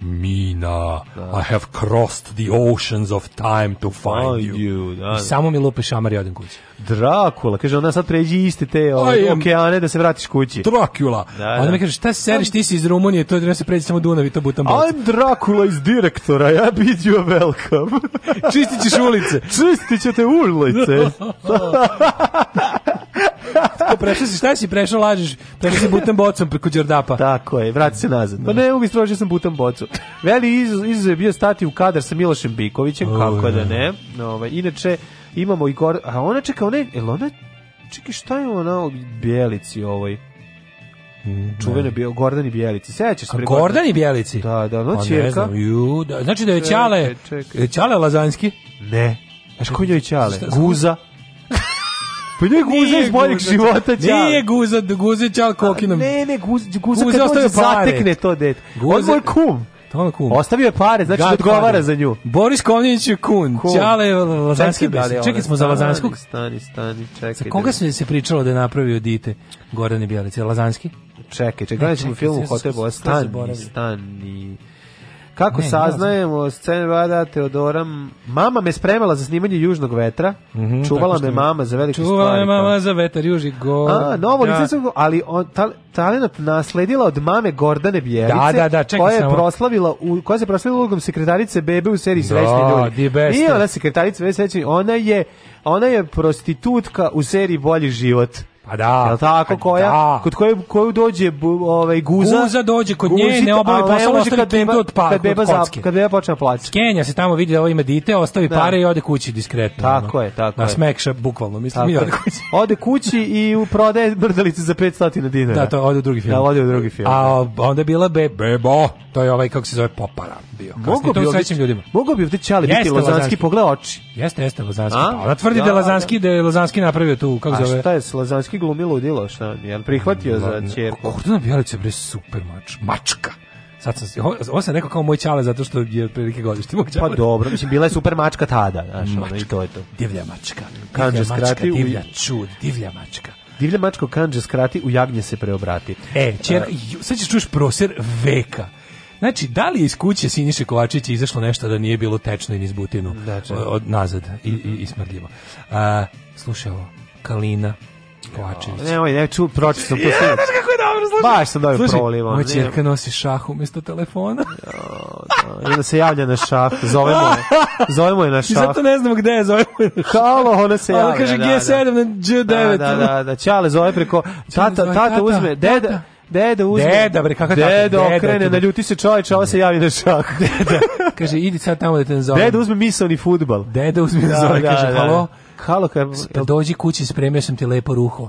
[SPEAKER 7] Mina, I have crossed the oceans of time to find
[SPEAKER 8] Find
[SPEAKER 7] you.
[SPEAKER 8] you, da,
[SPEAKER 7] I
[SPEAKER 8] da.
[SPEAKER 7] samo mi lupe šamar i odem kući.
[SPEAKER 8] Drakula, kaže ona sad pređi iste te
[SPEAKER 7] I
[SPEAKER 8] ove,
[SPEAKER 7] am
[SPEAKER 8] okeane da se vratiš kući.
[SPEAKER 7] Drakula.
[SPEAKER 8] Da,
[SPEAKER 7] A onda
[SPEAKER 8] da.
[SPEAKER 7] mi kaže, šta se seriš, ti si iz Rumunije, to da se pređe samo Dunav i to butan bolca.
[SPEAKER 8] I'm Dracula iz direktora, ja bit you a welcome.
[SPEAKER 7] Čistit ćeš ulice.
[SPEAKER 8] Čistit ćete ulice.
[SPEAKER 7] Ko prešao Pa si, šta si prešao, lažeš, prešao si butan bocom preko Đordapa.
[SPEAKER 8] Tako je, vrati se nazad. Pa ne, mogu istrožio sam putem bocu. Veli izuz izuz je bio stati u kadar sa Milošem Bikovićem, kako da ne. Ovaj, inače, imamo i gor... A ona čeka, ona je... Jel ona... Čekaj, šta je ona u Bjelici ovoj? Čuvene bio Gordani Bjelici. Sećaš se?
[SPEAKER 7] A
[SPEAKER 8] bre,
[SPEAKER 7] Gordani Bjelici?
[SPEAKER 8] Da, da,
[SPEAKER 7] Pa
[SPEAKER 8] ona
[SPEAKER 7] ne
[SPEAKER 8] ćerka.
[SPEAKER 7] znam, ju, da, znači da je
[SPEAKER 8] Čekaj,
[SPEAKER 7] Ćale,
[SPEAKER 8] čekaj.
[SPEAKER 7] Ćale Lazanski?
[SPEAKER 8] Ne. Znaš ko njoj Ćale?
[SPEAKER 7] Šta-
[SPEAKER 8] Guza. Pa njoj Guza
[SPEAKER 7] Nije
[SPEAKER 8] iz boljeg
[SPEAKER 7] Guza,
[SPEAKER 8] života Ćale.
[SPEAKER 7] Nije guza, guza je Ćale Kokinom.
[SPEAKER 8] Ne, ne, Guza, Guza,
[SPEAKER 7] Guza
[SPEAKER 8] kad
[SPEAKER 7] ostavio
[SPEAKER 8] dođe
[SPEAKER 7] pare.
[SPEAKER 8] zatekne to dete.
[SPEAKER 7] Guza-
[SPEAKER 8] On moj kum.
[SPEAKER 7] To je kum.
[SPEAKER 8] Ostavio je pare, znači da
[SPEAKER 7] Godfather.
[SPEAKER 8] odgovara za nju.
[SPEAKER 7] Boris Komljenić je kun.
[SPEAKER 8] Kum.
[SPEAKER 7] Ćale Lazanski.
[SPEAKER 8] Čekaj, da li je ona-
[SPEAKER 7] Čekaj, smo za Lazanskog.
[SPEAKER 8] Stani, stani, stani, čekaj.
[SPEAKER 7] Za koga
[SPEAKER 8] da-
[SPEAKER 7] se se pričalo da je napravio dite Gorane Bjelice? Lazanski?
[SPEAKER 8] Čekaj, čekaj,
[SPEAKER 7] Ne,
[SPEAKER 8] gledat ćemo
[SPEAKER 7] čekaj,
[SPEAKER 8] film u
[SPEAKER 7] ja sam
[SPEAKER 8] Hotel Bola.
[SPEAKER 7] skroz
[SPEAKER 8] Stani,
[SPEAKER 7] zaboravio.
[SPEAKER 8] stani. Kako
[SPEAKER 7] Ne,
[SPEAKER 8] saznajemo scenu rada Teodora, mama me spremala za snimanje Južnog vetra, čuvala
[SPEAKER 7] Mhm, tako što
[SPEAKER 8] me
[SPEAKER 7] je.
[SPEAKER 8] mama za velike stvari. pa-
[SPEAKER 7] Čuvala je
[SPEAKER 8] kao-
[SPEAKER 7] mama za vetar Juži Gor.
[SPEAKER 8] A, novo
[SPEAKER 7] Pa, Da.
[SPEAKER 8] lice su, ali on ta, talenat nasledila od mame Gordane Bjelice,
[SPEAKER 7] Da, da, da, čekaj
[SPEAKER 8] koja je
[SPEAKER 7] samo.
[SPEAKER 8] proslavila, u, koja se proslavila ulogom sekretarice bebe u seriji Srećni
[SPEAKER 7] Da,
[SPEAKER 8] ljudi.
[SPEAKER 7] di beste.
[SPEAKER 8] Nije ona sekretarica bebe srećni, ona je ona je prostitutka u seriji Bolji život.
[SPEAKER 7] Pa da.
[SPEAKER 8] Jel tako
[SPEAKER 7] Pa
[SPEAKER 8] koja?
[SPEAKER 7] da.
[SPEAKER 8] Kod koje koju dođe bu, ovaj guza.
[SPEAKER 7] Guza dođe kod nje,
[SPEAKER 8] Guzita,
[SPEAKER 7] ne obavi
[SPEAKER 8] ali ne
[SPEAKER 7] posao,
[SPEAKER 8] može
[SPEAKER 7] ostavi
[SPEAKER 8] kad beba-
[SPEAKER 7] kintu od pa-
[SPEAKER 8] kad beba
[SPEAKER 7] od
[SPEAKER 8] zap-
[SPEAKER 7] kocke.
[SPEAKER 8] Kad beba počne plaći.
[SPEAKER 7] Kenja se tamo vidi da ovo ima dite, ostavi
[SPEAKER 8] Da.
[SPEAKER 7] pare i ode kući diskretno.
[SPEAKER 8] Tako
[SPEAKER 7] ono.
[SPEAKER 8] je, tako
[SPEAKER 7] Na
[SPEAKER 8] je.
[SPEAKER 7] smekša, bukvalno, mislim,
[SPEAKER 8] Tako
[SPEAKER 7] i
[SPEAKER 8] je.
[SPEAKER 7] ode kući.
[SPEAKER 8] Ode kući i u- prodaje mrdalice za 500 dinara.
[SPEAKER 7] Da, to ode u drugi film.
[SPEAKER 8] Da, ode u drugi film.
[SPEAKER 7] A o- onda je bila be, Bebo, to je ovaj, kako se zove, Popara bio. Mogu bi ovdje... ljudima.
[SPEAKER 8] Mogao bi ovdje Ćale biti
[SPEAKER 7] Jeste Lazanski.
[SPEAKER 8] Lazanski, pogledaj oči.
[SPEAKER 7] Jeste, jeste Lazanski.
[SPEAKER 8] A?
[SPEAKER 7] Pa Ona tvrdi
[SPEAKER 8] Da,
[SPEAKER 7] da, je Lazanski, da je Lazanski napravio tu, kako
[SPEAKER 8] A
[SPEAKER 7] zove.
[SPEAKER 8] šta je s Lazanski glumilo udilo, šta? Je li prihvatio za
[SPEAKER 7] Ladno.
[SPEAKER 8] ćerku?
[SPEAKER 7] Gordana Bjelica, bre, super mač, mačka. Sad sam, se- ovo, ovo sam rekao kao moj čale zato što je otprilike godište moj
[SPEAKER 8] Pa
[SPEAKER 7] ćale.
[SPEAKER 8] dobro, mislim, bila je super mačka tada, znaš, ono, i
[SPEAKER 7] Mačka.
[SPEAKER 8] to je to.
[SPEAKER 7] Divlja mačka.
[SPEAKER 8] Kanđe
[SPEAKER 7] Divlja mačka,
[SPEAKER 8] skrati u-
[SPEAKER 7] divlja čud, divlja mačka.
[SPEAKER 8] Divlja mačka u kanđe skrati, u jagnje se preobrati.
[SPEAKER 7] E, čerka, ju, sad ćeš čuš prosjer veka. Znači, da li je iz kuće Siniše Kovačića izašlo nešto da nije bilo tečno i niz butinu
[SPEAKER 8] čekaj.
[SPEAKER 7] o- od nazad i, i, i smrdljivo? A, slušaj ovo, Kalina Kovačević.
[SPEAKER 8] Nemoj, ne, ču, proči sam to sve.
[SPEAKER 7] Kako je dobro, slušaj.
[SPEAKER 8] Baš sam dobro
[SPEAKER 7] Slušaj,
[SPEAKER 8] prolivo. ono,
[SPEAKER 7] moja
[SPEAKER 8] ne.
[SPEAKER 7] čerka nosi šah umesto telefona.
[SPEAKER 8] I onda se javlja na šah, zovemo je. Zovemo je na
[SPEAKER 7] I
[SPEAKER 8] šah.
[SPEAKER 7] zato ne znamo gde je, zovemo je na šah.
[SPEAKER 8] Halo, ona se
[SPEAKER 7] A
[SPEAKER 8] javlja.
[SPEAKER 7] ona kaže
[SPEAKER 8] da,
[SPEAKER 7] G7 na G9.
[SPEAKER 8] Da, da, da, da. Ćale zove preko,
[SPEAKER 7] Ćale
[SPEAKER 8] tata,
[SPEAKER 7] zove,
[SPEAKER 8] tata
[SPEAKER 7] tata,
[SPEAKER 8] uzme,
[SPEAKER 7] tata.
[SPEAKER 8] deda, Deda uzme.
[SPEAKER 7] Deda, bre, kakav tata?
[SPEAKER 8] Deda
[SPEAKER 7] Deda,
[SPEAKER 8] okrene,
[SPEAKER 7] to-
[SPEAKER 8] naljuti se čovječ, a ova se javi na šah.
[SPEAKER 7] Kaže, idi sad tamo da te ne zovem.
[SPEAKER 8] Deda uzme misalni futbal.
[SPEAKER 7] Deda uzme da, zove, kaže, halo,
[SPEAKER 8] Halo, kaj-
[SPEAKER 7] dođi kući, spremio sam ti lepo ruho.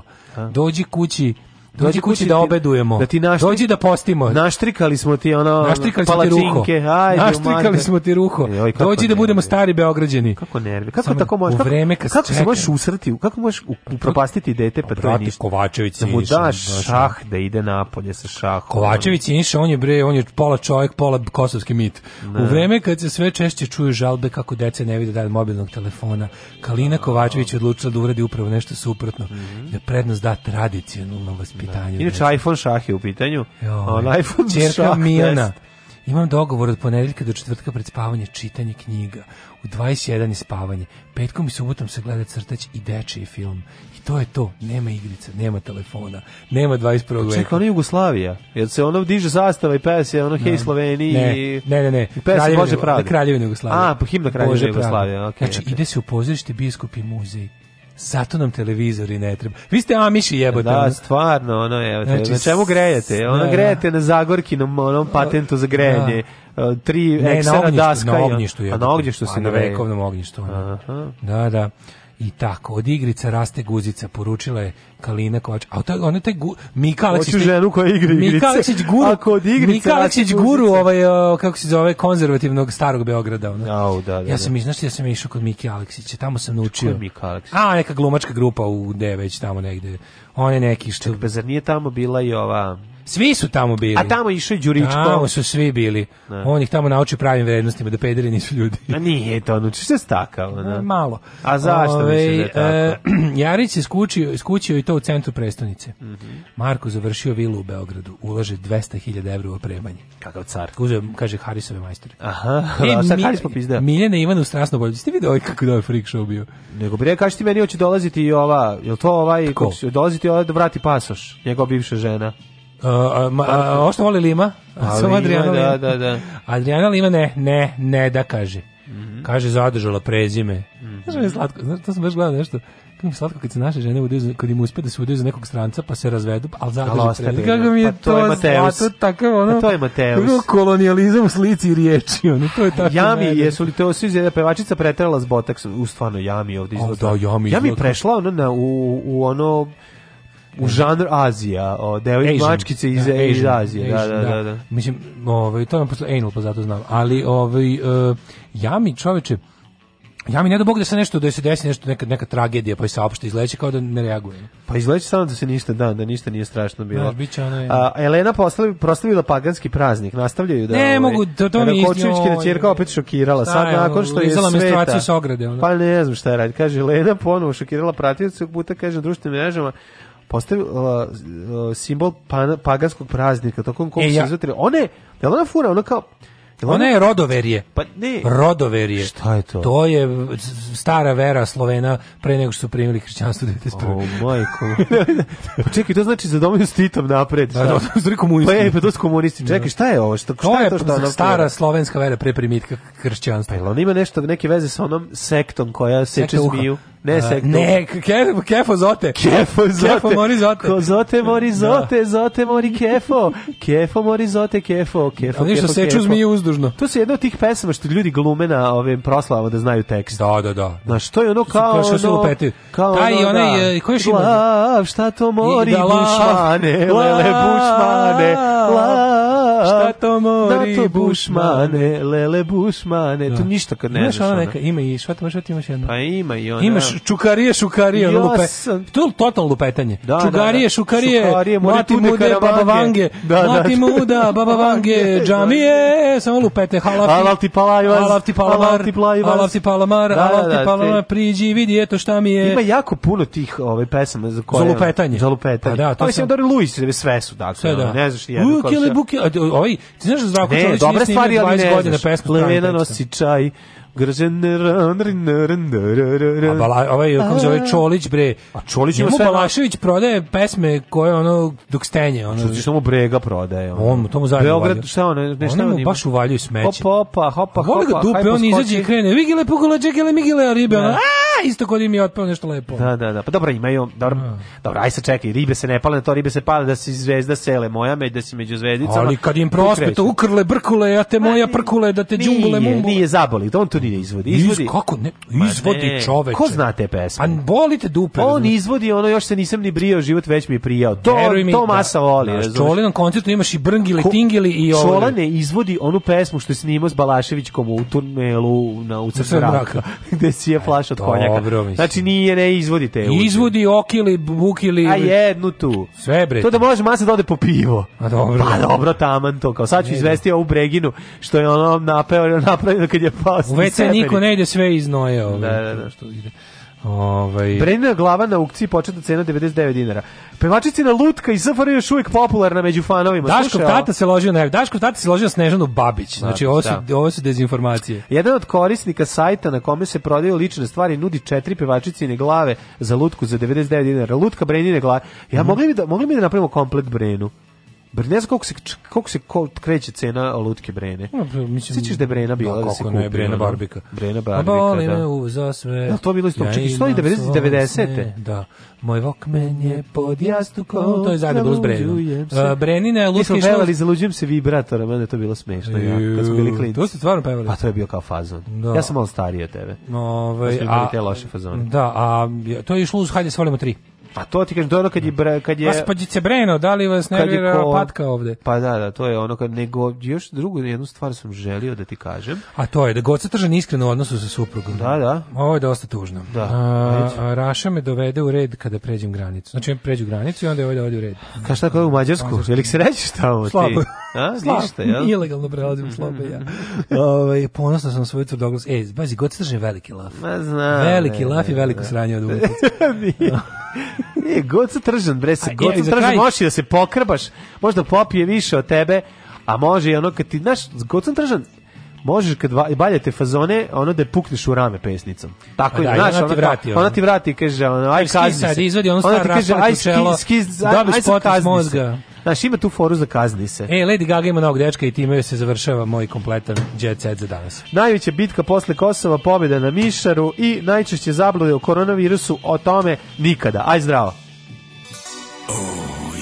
[SPEAKER 7] Dođi kući, Dođi kući da
[SPEAKER 8] ti-
[SPEAKER 7] obedujemo.
[SPEAKER 8] Da ti naštrikali,
[SPEAKER 7] Dođi da postimo.
[SPEAKER 8] Naštrikali smo ti ono
[SPEAKER 7] Naštrikali smo ti ruho.
[SPEAKER 8] palačinke. Ajde,
[SPEAKER 7] Naštrikali
[SPEAKER 8] mater.
[SPEAKER 7] smo ti ruho.
[SPEAKER 8] Joj, kako
[SPEAKER 7] Dođi da
[SPEAKER 8] nervi.
[SPEAKER 7] budemo stari Beograđani.
[SPEAKER 8] Kako nervi? Kako
[SPEAKER 7] Samo
[SPEAKER 8] tako možeš?
[SPEAKER 7] U
[SPEAKER 8] Kako-
[SPEAKER 7] vreme kad
[SPEAKER 8] kako se
[SPEAKER 7] čeka.
[SPEAKER 8] možeš usrati? Kako možeš u- upropastiti dete pa to je
[SPEAKER 7] Brate,
[SPEAKER 8] ništa?
[SPEAKER 7] Kovačević
[SPEAKER 8] da mu
[SPEAKER 7] Siniša,
[SPEAKER 8] daš
[SPEAKER 7] znaš, ono.
[SPEAKER 8] šah da ide napolje sa šahom.
[SPEAKER 7] Kovačević Siniša, on je bre, on je pola čovjek, pola kosovski mit.
[SPEAKER 8] Ne.
[SPEAKER 7] U vreme kad se sve češće čuju žalbe kako dece ne vide dan mobilnog telefona, Kalina Kovačević je odlučila da uradi upravo nešto suprotno, da prednost da tradicionalnom vaspitanju.
[SPEAKER 8] Mhm. ono. Inače,
[SPEAKER 7] dece.
[SPEAKER 8] iPhone šah je u pitanju. a
[SPEAKER 7] Joj.
[SPEAKER 8] On iPhone
[SPEAKER 7] Ćerka
[SPEAKER 8] šah
[SPEAKER 7] Miljana.
[SPEAKER 8] test.
[SPEAKER 7] Imam dogovor od ponedeljka do četvrtka pred spavanje čitanje knjiga. U 21 je spavanje. Petkom i subotom se gleda crtać i dečiji film. I to je to. Nema igrica, nema telefona, nema 21. veka.
[SPEAKER 8] Čekaj, ono je Jugoslavija. Jel se ono diže zastava i pes je ono Hej Sloveniji
[SPEAKER 7] Ne,
[SPEAKER 8] i...
[SPEAKER 7] ne, ne, ne.
[SPEAKER 8] I pes je Bože pravde.
[SPEAKER 7] Kraljevina Jugoslavije.
[SPEAKER 8] A, po himna Kraljevina
[SPEAKER 7] Bože
[SPEAKER 8] Jugoslavije.
[SPEAKER 7] pravde.
[SPEAKER 8] Okay,
[SPEAKER 7] znači, ide se u pozorište, biskup i muzej. Zato nam televizori ne treba. Vi ste amiši jebote.
[SPEAKER 8] Da,
[SPEAKER 7] ono.
[SPEAKER 8] stvarno, ono je,
[SPEAKER 7] Znači,
[SPEAKER 8] znači, na čemu grejete? Ono
[SPEAKER 7] da,
[SPEAKER 8] grejete na Zagorkinom onom patentu za grejanje. e, Tri
[SPEAKER 7] Ne, na
[SPEAKER 8] eksena
[SPEAKER 7] ognjištu,
[SPEAKER 8] daska. i
[SPEAKER 7] na
[SPEAKER 8] on-
[SPEAKER 7] ognjištu je.
[SPEAKER 8] A na ognjištu se
[SPEAKER 7] na
[SPEAKER 8] greje.
[SPEAKER 7] vekovnom ognjištu. ono. Da, da. I tako, od igrica raste guzica, poručila je Kalina Kovač. A taj, ona taj gu, Mika Aleksić...
[SPEAKER 8] Hoću ženu koja igra igrice.
[SPEAKER 7] Mika Aleksić guru,
[SPEAKER 8] Ako od igrice
[SPEAKER 7] Mika
[SPEAKER 8] raste
[SPEAKER 7] Aleksić
[SPEAKER 8] guzica.
[SPEAKER 7] guru, ovaj, o, kako se zove, konzervativnog starog Beograda. Ono.
[SPEAKER 8] Au, da, da,
[SPEAKER 7] ja sam,
[SPEAKER 8] da.
[SPEAKER 7] iz- znaš ti, ja sam išao kod Mike Aleksića, tamo sam naučio.
[SPEAKER 8] Ko je Mika Aleksić?
[SPEAKER 7] A, neka glumačka grupa u gde već tamo negde. On je neki što...
[SPEAKER 8] Pa zar nije tamo bila i ova...
[SPEAKER 7] Svi su tamo bili.
[SPEAKER 8] A tamo je išao i Đuričko.
[SPEAKER 7] Tamo su svi bili.
[SPEAKER 8] Da.
[SPEAKER 7] On ih tamo nauči pravim vrednostima, da pederi nisu ljudi.
[SPEAKER 8] A nije to, ono, što se stakao?
[SPEAKER 7] E,
[SPEAKER 8] ono?
[SPEAKER 7] Malo.
[SPEAKER 8] A zašto
[SPEAKER 7] Ovaj,
[SPEAKER 8] misliš da je tako?
[SPEAKER 7] e, Jarić je skučio, skućio i to u centru prestonice.
[SPEAKER 8] Mhm.
[SPEAKER 7] Marko završio vilu u Beogradu, ulaže 200.000 evra u opremanje.
[SPEAKER 8] Kakav car.
[SPEAKER 7] Uzeo, kaže Harisove majstore. E,
[SPEAKER 8] Aha, da, sad Haris popizdeo.
[SPEAKER 7] Miljana Ivana u Strasno bolje. Ste videli ovaj kako je ovaj freak show bio?
[SPEAKER 8] Nego bre, kaži ti meni, hoće dolaziti i ova, je to ovaj,
[SPEAKER 7] Ko?
[SPEAKER 8] kako se- dolaziti ovaj da vrati pasoš, njegova bivša žena.
[SPEAKER 7] A, a, ma, a, ovo što voli Lima? A,
[SPEAKER 8] Ali
[SPEAKER 7] Samo
[SPEAKER 8] ima,
[SPEAKER 7] Adriana Lima.
[SPEAKER 8] da, da, da.
[SPEAKER 7] Adriana Lima ne, ne, ne da kaže.
[SPEAKER 8] Mhm.
[SPEAKER 7] Kaže zadržala prezime. Znaš, ono je slatko, znaš, to sam baš gledao nešto. Kako mi je slatko kad se naše žene udaju, za- kad im uspe da se udaju za nekog stranca, pa se razvedu, ali zadrže
[SPEAKER 8] Ali ostane,
[SPEAKER 7] prezime. Kako mi je
[SPEAKER 8] pa to je
[SPEAKER 7] to
[SPEAKER 8] Mateus.
[SPEAKER 7] slatko, takav ono...
[SPEAKER 8] Pa to je Mateus.
[SPEAKER 7] kako kolonijalizam u slici i riječi, ono, to je tako...
[SPEAKER 8] Jami,
[SPEAKER 7] najbolje.
[SPEAKER 8] jesu li to svi jedna pevačica pretrala s botak, u stvarno Jami ovdje
[SPEAKER 7] A,
[SPEAKER 8] izgleda.
[SPEAKER 7] da, Jami
[SPEAKER 8] Jami je
[SPEAKER 7] izgleda.
[SPEAKER 8] prešla ono na, u, u ono, u žanr Azija, o, deo iz
[SPEAKER 7] Asian.
[SPEAKER 8] mačkice iz,
[SPEAKER 7] Da,
[SPEAKER 8] iz
[SPEAKER 7] Asian,
[SPEAKER 8] Azije, da,
[SPEAKER 7] Asian,
[SPEAKER 8] da, da, da.
[SPEAKER 7] Mislim, ovaj, to nam posle anal, pa zato znam. Ali, ovaj, uh, ja mi, čoveče, ja mi ne da Bog da se nešto, da se desi nešto, neka, neka tragedija, pa je saopšte, izleće kao da ne reagujem.
[SPEAKER 8] Pa izgleda samo da se ništa da, da ništa nije strašno bilo.
[SPEAKER 7] Znaš, bit će ono je-
[SPEAKER 8] A, Elena poslavi, proslavila paganski praznik, nastavljaju da... ovaj,
[SPEAKER 7] Ne mogu, to- to mi je
[SPEAKER 8] Rakočevićkina
[SPEAKER 7] iznio-
[SPEAKER 8] ćerka opet šokirala,
[SPEAKER 7] Šta
[SPEAKER 8] sad
[SPEAKER 7] je,
[SPEAKER 8] nakon što je
[SPEAKER 7] lizala
[SPEAKER 8] sveta...
[SPEAKER 7] menstruaciju s ograde, ono.
[SPEAKER 8] Pa ne znam šta je radi. Kaže, Elena ponovo šokirala pratioce, puta kaže na društvenim mrežama, postavila uh, simbol pana- paganskog praznika, tokom kog
[SPEAKER 7] E,
[SPEAKER 8] se
[SPEAKER 7] ja-
[SPEAKER 8] izvatili. Ona je, jel ona fura, ona kao... jel
[SPEAKER 7] Ona je rodoverje.
[SPEAKER 8] Pa ne.
[SPEAKER 7] Rodoverje.
[SPEAKER 8] Šta je to?
[SPEAKER 7] To je s- stara vera Slovena pre nego što su primili hrišćanstvo 91.
[SPEAKER 8] O, majko. Pa čekaj, to znači za dominu s Titom napred.
[SPEAKER 7] Da, da, to su rekli komunisti.
[SPEAKER 8] Pa je, pa to su komunisti. Čekaj, šta je ovo? Šta,
[SPEAKER 7] To
[SPEAKER 8] šta
[SPEAKER 7] je
[SPEAKER 8] to što ona
[SPEAKER 7] stara slovenska vera pre primitka hrišćanstva.
[SPEAKER 8] Jel on ima nešto, neke veze sa onom sektom koja seče
[SPEAKER 7] Sekta uha.
[SPEAKER 8] zmiju?
[SPEAKER 7] A,
[SPEAKER 8] Ne, sektom.
[SPEAKER 7] Ne, ke- kefo zote.
[SPEAKER 8] Kefo zote.
[SPEAKER 7] Kefo mori zote.
[SPEAKER 8] Ko zote mori zote, zote mori kefo. Kefo mori zote, kefo, kefo,
[SPEAKER 7] Ali ništa
[SPEAKER 8] kefo,
[SPEAKER 7] seču
[SPEAKER 8] kefo.
[SPEAKER 7] zmiju uzdužno.
[SPEAKER 8] To su jedna od tih pesama što ljudi glume na ovim proslavama da znaju tekst.
[SPEAKER 7] Da, da, da.
[SPEAKER 8] Znaš, to je ono kao
[SPEAKER 7] Kao što su
[SPEAKER 8] ono...
[SPEAKER 7] lupeti.
[SPEAKER 8] Kao
[SPEAKER 7] Taj
[SPEAKER 8] ono,
[SPEAKER 7] onaj,
[SPEAKER 8] da.
[SPEAKER 7] e, ko još ima?
[SPEAKER 8] Lav, šta to mori,
[SPEAKER 7] I da, lav,
[SPEAKER 8] bušmane, lele,
[SPEAKER 7] lav,
[SPEAKER 8] bušmane, lav.
[SPEAKER 7] šta to mori,
[SPEAKER 8] Da to
[SPEAKER 7] bušmane,
[SPEAKER 8] bušmane, lele, bušmane. To ništa kad ne
[SPEAKER 7] Imaš
[SPEAKER 8] znaš.
[SPEAKER 7] ona
[SPEAKER 8] ono.
[SPEAKER 7] neka, ima i šta tamo, šta ti imaš jedno?
[SPEAKER 8] Pa ima i ona.
[SPEAKER 7] Imaš čukarije, šukarije, ono
[SPEAKER 8] Ja
[SPEAKER 7] lupe.
[SPEAKER 8] sam-
[SPEAKER 7] To je totalno lupetanje.
[SPEAKER 8] Da,
[SPEAKER 7] čugarije,
[SPEAKER 8] da, da.
[SPEAKER 7] šukarije,
[SPEAKER 8] Šukarije, mori
[SPEAKER 7] mati
[SPEAKER 8] tude
[SPEAKER 7] mude, baba
[SPEAKER 8] karavange.
[SPEAKER 7] vange,
[SPEAKER 8] Da, da,
[SPEAKER 7] mati
[SPEAKER 8] da.
[SPEAKER 7] muda, baba vange, džamije, samo lupete, halafti.
[SPEAKER 8] Halal ti palajvas,
[SPEAKER 7] Halal ti palamar,
[SPEAKER 8] halal ti plajvas.
[SPEAKER 7] halal ti palamar,
[SPEAKER 8] Da, da,
[SPEAKER 7] halal
[SPEAKER 8] da,
[SPEAKER 7] ti
[SPEAKER 8] te-
[SPEAKER 7] palamar, priđi, vidi, eto šta mi je.
[SPEAKER 8] Ima jako puno tih ove pesama za koje ono-
[SPEAKER 7] Za lupetanje.
[SPEAKER 8] Za lupetanje.
[SPEAKER 7] Pa da, to
[SPEAKER 8] mislim
[SPEAKER 7] sam-
[SPEAKER 8] da Luis sve su dakle.
[SPEAKER 7] Sve da.
[SPEAKER 8] ono, Ne znaš jedno.
[SPEAKER 7] Uj, kele buke, a, ovaj, ti znaš da Zdravko
[SPEAKER 8] Ne,
[SPEAKER 7] Čolić
[SPEAKER 8] dobra
[SPEAKER 7] nije
[SPEAKER 8] stvar,
[SPEAKER 7] snimio
[SPEAKER 8] ali
[SPEAKER 7] 20
[SPEAKER 8] ne
[SPEAKER 7] godina
[SPEAKER 8] znaš.
[SPEAKER 7] pesmu
[SPEAKER 8] Levena
[SPEAKER 7] stranim tekstom.
[SPEAKER 8] nosi čaj. Gržen ran, rin, rin, rin, rin,
[SPEAKER 7] A
[SPEAKER 8] rin.
[SPEAKER 7] Bala, ovaj, kako se zove,
[SPEAKER 8] A.
[SPEAKER 7] Čolić, bre.
[SPEAKER 8] A Čolić ima
[SPEAKER 7] Njemu
[SPEAKER 8] sve na-
[SPEAKER 7] Balašević prodaje pesme koje, ono, dok stenje, ono,
[SPEAKER 8] Što ti što mu brega prodaje. ono.
[SPEAKER 7] On mu to mu zajedno
[SPEAKER 8] Beograd,
[SPEAKER 7] uvalio.
[SPEAKER 8] šta ono, ne šta
[SPEAKER 7] Oni
[SPEAKER 8] on
[SPEAKER 7] mu
[SPEAKER 8] ima?
[SPEAKER 7] baš uvaljuju smeće.
[SPEAKER 8] Hop, hopa, hopa,
[SPEAKER 7] Pa
[SPEAKER 8] hopa.
[SPEAKER 7] voli ga
[SPEAKER 8] haj
[SPEAKER 7] dupe, on
[SPEAKER 8] poskoči.
[SPEAKER 7] izađe i krene. Vigile, pugula, džegile, migile, a ribe. Ono,
[SPEAKER 8] Ne.
[SPEAKER 7] "A, isto kod im je otpao nešto lepo.
[SPEAKER 8] Da, da, da. Pa dobro, imaju, dobro, dobro, aj sad čekaj, ribe se ne pale na to, ribe se pale da se zvezda sele moja, me- da se među zvezdicama.
[SPEAKER 7] Ali kad im
[SPEAKER 8] Tu
[SPEAKER 7] prospeto
[SPEAKER 8] kreću.
[SPEAKER 7] ukrle, brkule, ja te moja prkule, da te džumbule,
[SPEAKER 8] Nije,
[SPEAKER 7] mumbule.
[SPEAKER 8] Nije zaboli, to on to nije izvodi.
[SPEAKER 7] Iz-
[SPEAKER 8] Izvodi.
[SPEAKER 7] kako ne?
[SPEAKER 8] Ma
[SPEAKER 7] Izvodi
[SPEAKER 8] ne,
[SPEAKER 7] čoveče.
[SPEAKER 8] Ko zna te pesme?
[SPEAKER 7] A bolite dupe.
[SPEAKER 8] On
[SPEAKER 7] razumeš?
[SPEAKER 8] izvodi ono još se nisam ni brijao, život već mi je prijao. To,
[SPEAKER 7] Veruj mi,
[SPEAKER 8] to
[SPEAKER 7] da.
[SPEAKER 8] masa voli.
[SPEAKER 7] Znaš,
[SPEAKER 8] razumeš?
[SPEAKER 7] Čolinom koncertu imaš i brngili, tingili i ovo.
[SPEAKER 8] Šola ne izvodi onu pesmu što je snimao s Balaševićkom u tunelu na u
[SPEAKER 7] Crn
[SPEAKER 8] Crn
[SPEAKER 7] mraka. E,
[SPEAKER 8] mraka, gde si je flaš od
[SPEAKER 7] Dobro,
[SPEAKER 8] konjaka.
[SPEAKER 7] mislim.
[SPEAKER 8] Znači nije, ne izvodi te. uđe.
[SPEAKER 7] Izvodi, okili, bukili.
[SPEAKER 8] A jednu tu.
[SPEAKER 7] Sve bre.
[SPEAKER 8] To da može masa da ode po pivo.
[SPEAKER 7] A dobro.
[SPEAKER 8] Pa dobro, taman to. Kao sad ću
[SPEAKER 7] Ne,
[SPEAKER 8] izvesti ovu Breginu što je ono napeo, napravljeno kad je pao.
[SPEAKER 7] U WC niko ne ide sve iz noja. ovaj.
[SPEAKER 8] Da, da, da. Što ide.
[SPEAKER 7] Ovaj.
[SPEAKER 8] Brenina glava na aukciji početna cena 99 dinara. Pevačicina Lutka i Safari još uvijek popularna među fanovima.
[SPEAKER 7] Daškov
[SPEAKER 8] Slušaj, ovo.
[SPEAKER 7] tata se ložio na Daškov tata se ložio na Snežanu Babić. Znači ovo su
[SPEAKER 8] Da.
[SPEAKER 7] ovo su dezinformacije.
[SPEAKER 8] Jedan od korisnika sajta na kome se prodaju lične stvari nudi četiri pevačicine glave za lutku za 99 dinara. Lutka Brenine glave. Ja
[SPEAKER 7] Mhm.
[SPEAKER 8] mogli bi da mogli bi da napravimo komplet Brenu. Br- Ne znam koliko se, č- koliko se ko- kreće cena lutke Brene.
[SPEAKER 7] No, pa, mislim-
[SPEAKER 8] Sjećaš da je Brena bila
[SPEAKER 7] Da,
[SPEAKER 8] da,
[SPEAKER 7] kako
[SPEAKER 8] se
[SPEAKER 7] ne,
[SPEAKER 8] kupi.
[SPEAKER 7] Brena
[SPEAKER 8] ono?
[SPEAKER 7] Barbika.
[SPEAKER 8] Brena
[SPEAKER 7] A Pa boli
[SPEAKER 8] Barbika,
[SPEAKER 7] me
[SPEAKER 8] da.
[SPEAKER 7] uza sve.
[SPEAKER 8] Jel to je bilo isto?
[SPEAKER 7] Ja
[SPEAKER 8] Čekaj, stoji
[SPEAKER 7] imam
[SPEAKER 8] 90,
[SPEAKER 7] svoje
[SPEAKER 8] 90-te.
[SPEAKER 7] sne, Da. Moj Walkman je pod jastukom. To je zajedno bilo s Breninom.
[SPEAKER 8] Zaluđujem se.
[SPEAKER 7] Uh, Brenina je
[SPEAKER 8] Mi smo
[SPEAKER 7] lutka išla...
[SPEAKER 8] pevali, zaluđujem se vibratorom, onda je to bilo smešno. Ja, kad smo bili
[SPEAKER 7] Ju,
[SPEAKER 8] klinci.
[SPEAKER 7] To ste stvarno pevali.
[SPEAKER 8] Pa to je bio kao fazon.
[SPEAKER 7] Da.
[SPEAKER 8] Ja sam malo stariji od tebe.
[SPEAKER 7] Ovaj,
[SPEAKER 8] Pa smo imali
[SPEAKER 7] a-
[SPEAKER 8] te loše fazone.
[SPEAKER 7] Da, a to je išlo uz Hajde svolimo tri.
[SPEAKER 8] Pa to ti kažem, to je ono kad je... Bre, kad je
[SPEAKER 7] Gospodjice Breno, da li vas
[SPEAKER 8] kad je
[SPEAKER 7] pa nervira
[SPEAKER 8] ko-
[SPEAKER 7] patka ovde?
[SPEAKER 8] Pa da, da, to je ono kad... Nego, još drugu jednu stvar sam želio da ti kažem.
[SPEAKER 7] A to je da Goca Tržan iskreno u odnosu sa suprugom.
[SPEAKER 8] Da, da.
[SPEAKER 7] Ovo je dosta tužno.
[SPEAKER 8] Da,
[SPEAKER 7] A,
[SPEAKER 8] ajde.
[SPEAKER 7] a Raša me dovede u red kada pređem granicu. Znači, ja pređu granicu i onda je ovaj da ode u red.
[SPEAKER 8] Ka šta kao u Mađarsku? Je li se rećeš tamo ti?
[SPEAKER 7] Slabo.
[SPEAKER 8] A,
[SPEAKER 7] Slabo.
[SPEAKER 8] ništa, jel?
[SPEAKER 7] Ilegalno prelazim slabo ja. Ovaj ponosno sam na svoju tvrdoglas. E, bazi, Goca Tržan je veliki laf.
[SPEAKER 8] Ma znam,
[SPEAKER 7] veliki
[SPEAKER 8] ne,
[SPEAKER 7] laf i
[SPEAKER 8] ne,
[SPEAKER 7] veliko
[SPEAKER 8] ne.
[SPEAKER 7] sranje od uvek.
[SPEAKER 8] Nije, E, god se tržan, bre, se
[SPEAKER 7] A,
[SPEAKER 8] god
[SPEAKER 7] je,
[SPEAKER 8] se
[SPEAKER 7] za
[SPEAKER 8] tržan,
[SPEAKER 7] kraj-
[SPEAKER 8] možeš i da se pokrbaš, možda popije više od tebe, a može i ono kad ti, znaš, god sam tržan, možeš kad va- baljate fazone, ono da je pukneš u rame pesnicom. Tako
[SPEAKER 7] A
[SPEAKER 8] je,
[SPEAKER 7] da, i
[SPEAKER 8] znaš,
[SPEAKER 7] ona ti
[SPEAKER 8] ono,
[SPEAKER 7] vrati,
[SPEAKER 8] ona,
[SPEAKER 7] ono.
[SPEAKER 8] ti vrati i kaže, ono, aj
[SPEAKER 7] Ski
[SPEAKER 8] kazni
[SPEAKER 7] sad,
[SPEAKER 8] se.
[SPEAKER 7] izvadi ono
[SPEAKER 8] Ona
[SPEAKER 7] stvar
[SPEAKER 8] ti kaže,
[SPEAKER 7] raspalicu
[SPEAKER 8] aj
[SPEAKER 7] u čelo,
[SPEAKER 8] ski, ski, aj,
[SPEAKER 7] dobiš
[SPEAKER 8] aj sad
[SPEAKER 7] potres
[SPEAKER 8] kazni se.
[SPEAKER 7] mozga.
[SPEAKER 8] Znaš, ima tu foru za kazni se.
[SPEAKER 7] E, Lady Gaga ima novog dečka i time se završava moj kompletan jet set za danas.
[SPEAKER 8] Najveća bitka posle Kosova, pobjeda na Mišaru i najčešće zablude o koronavirusu, o tome nikada. Aj zdravo.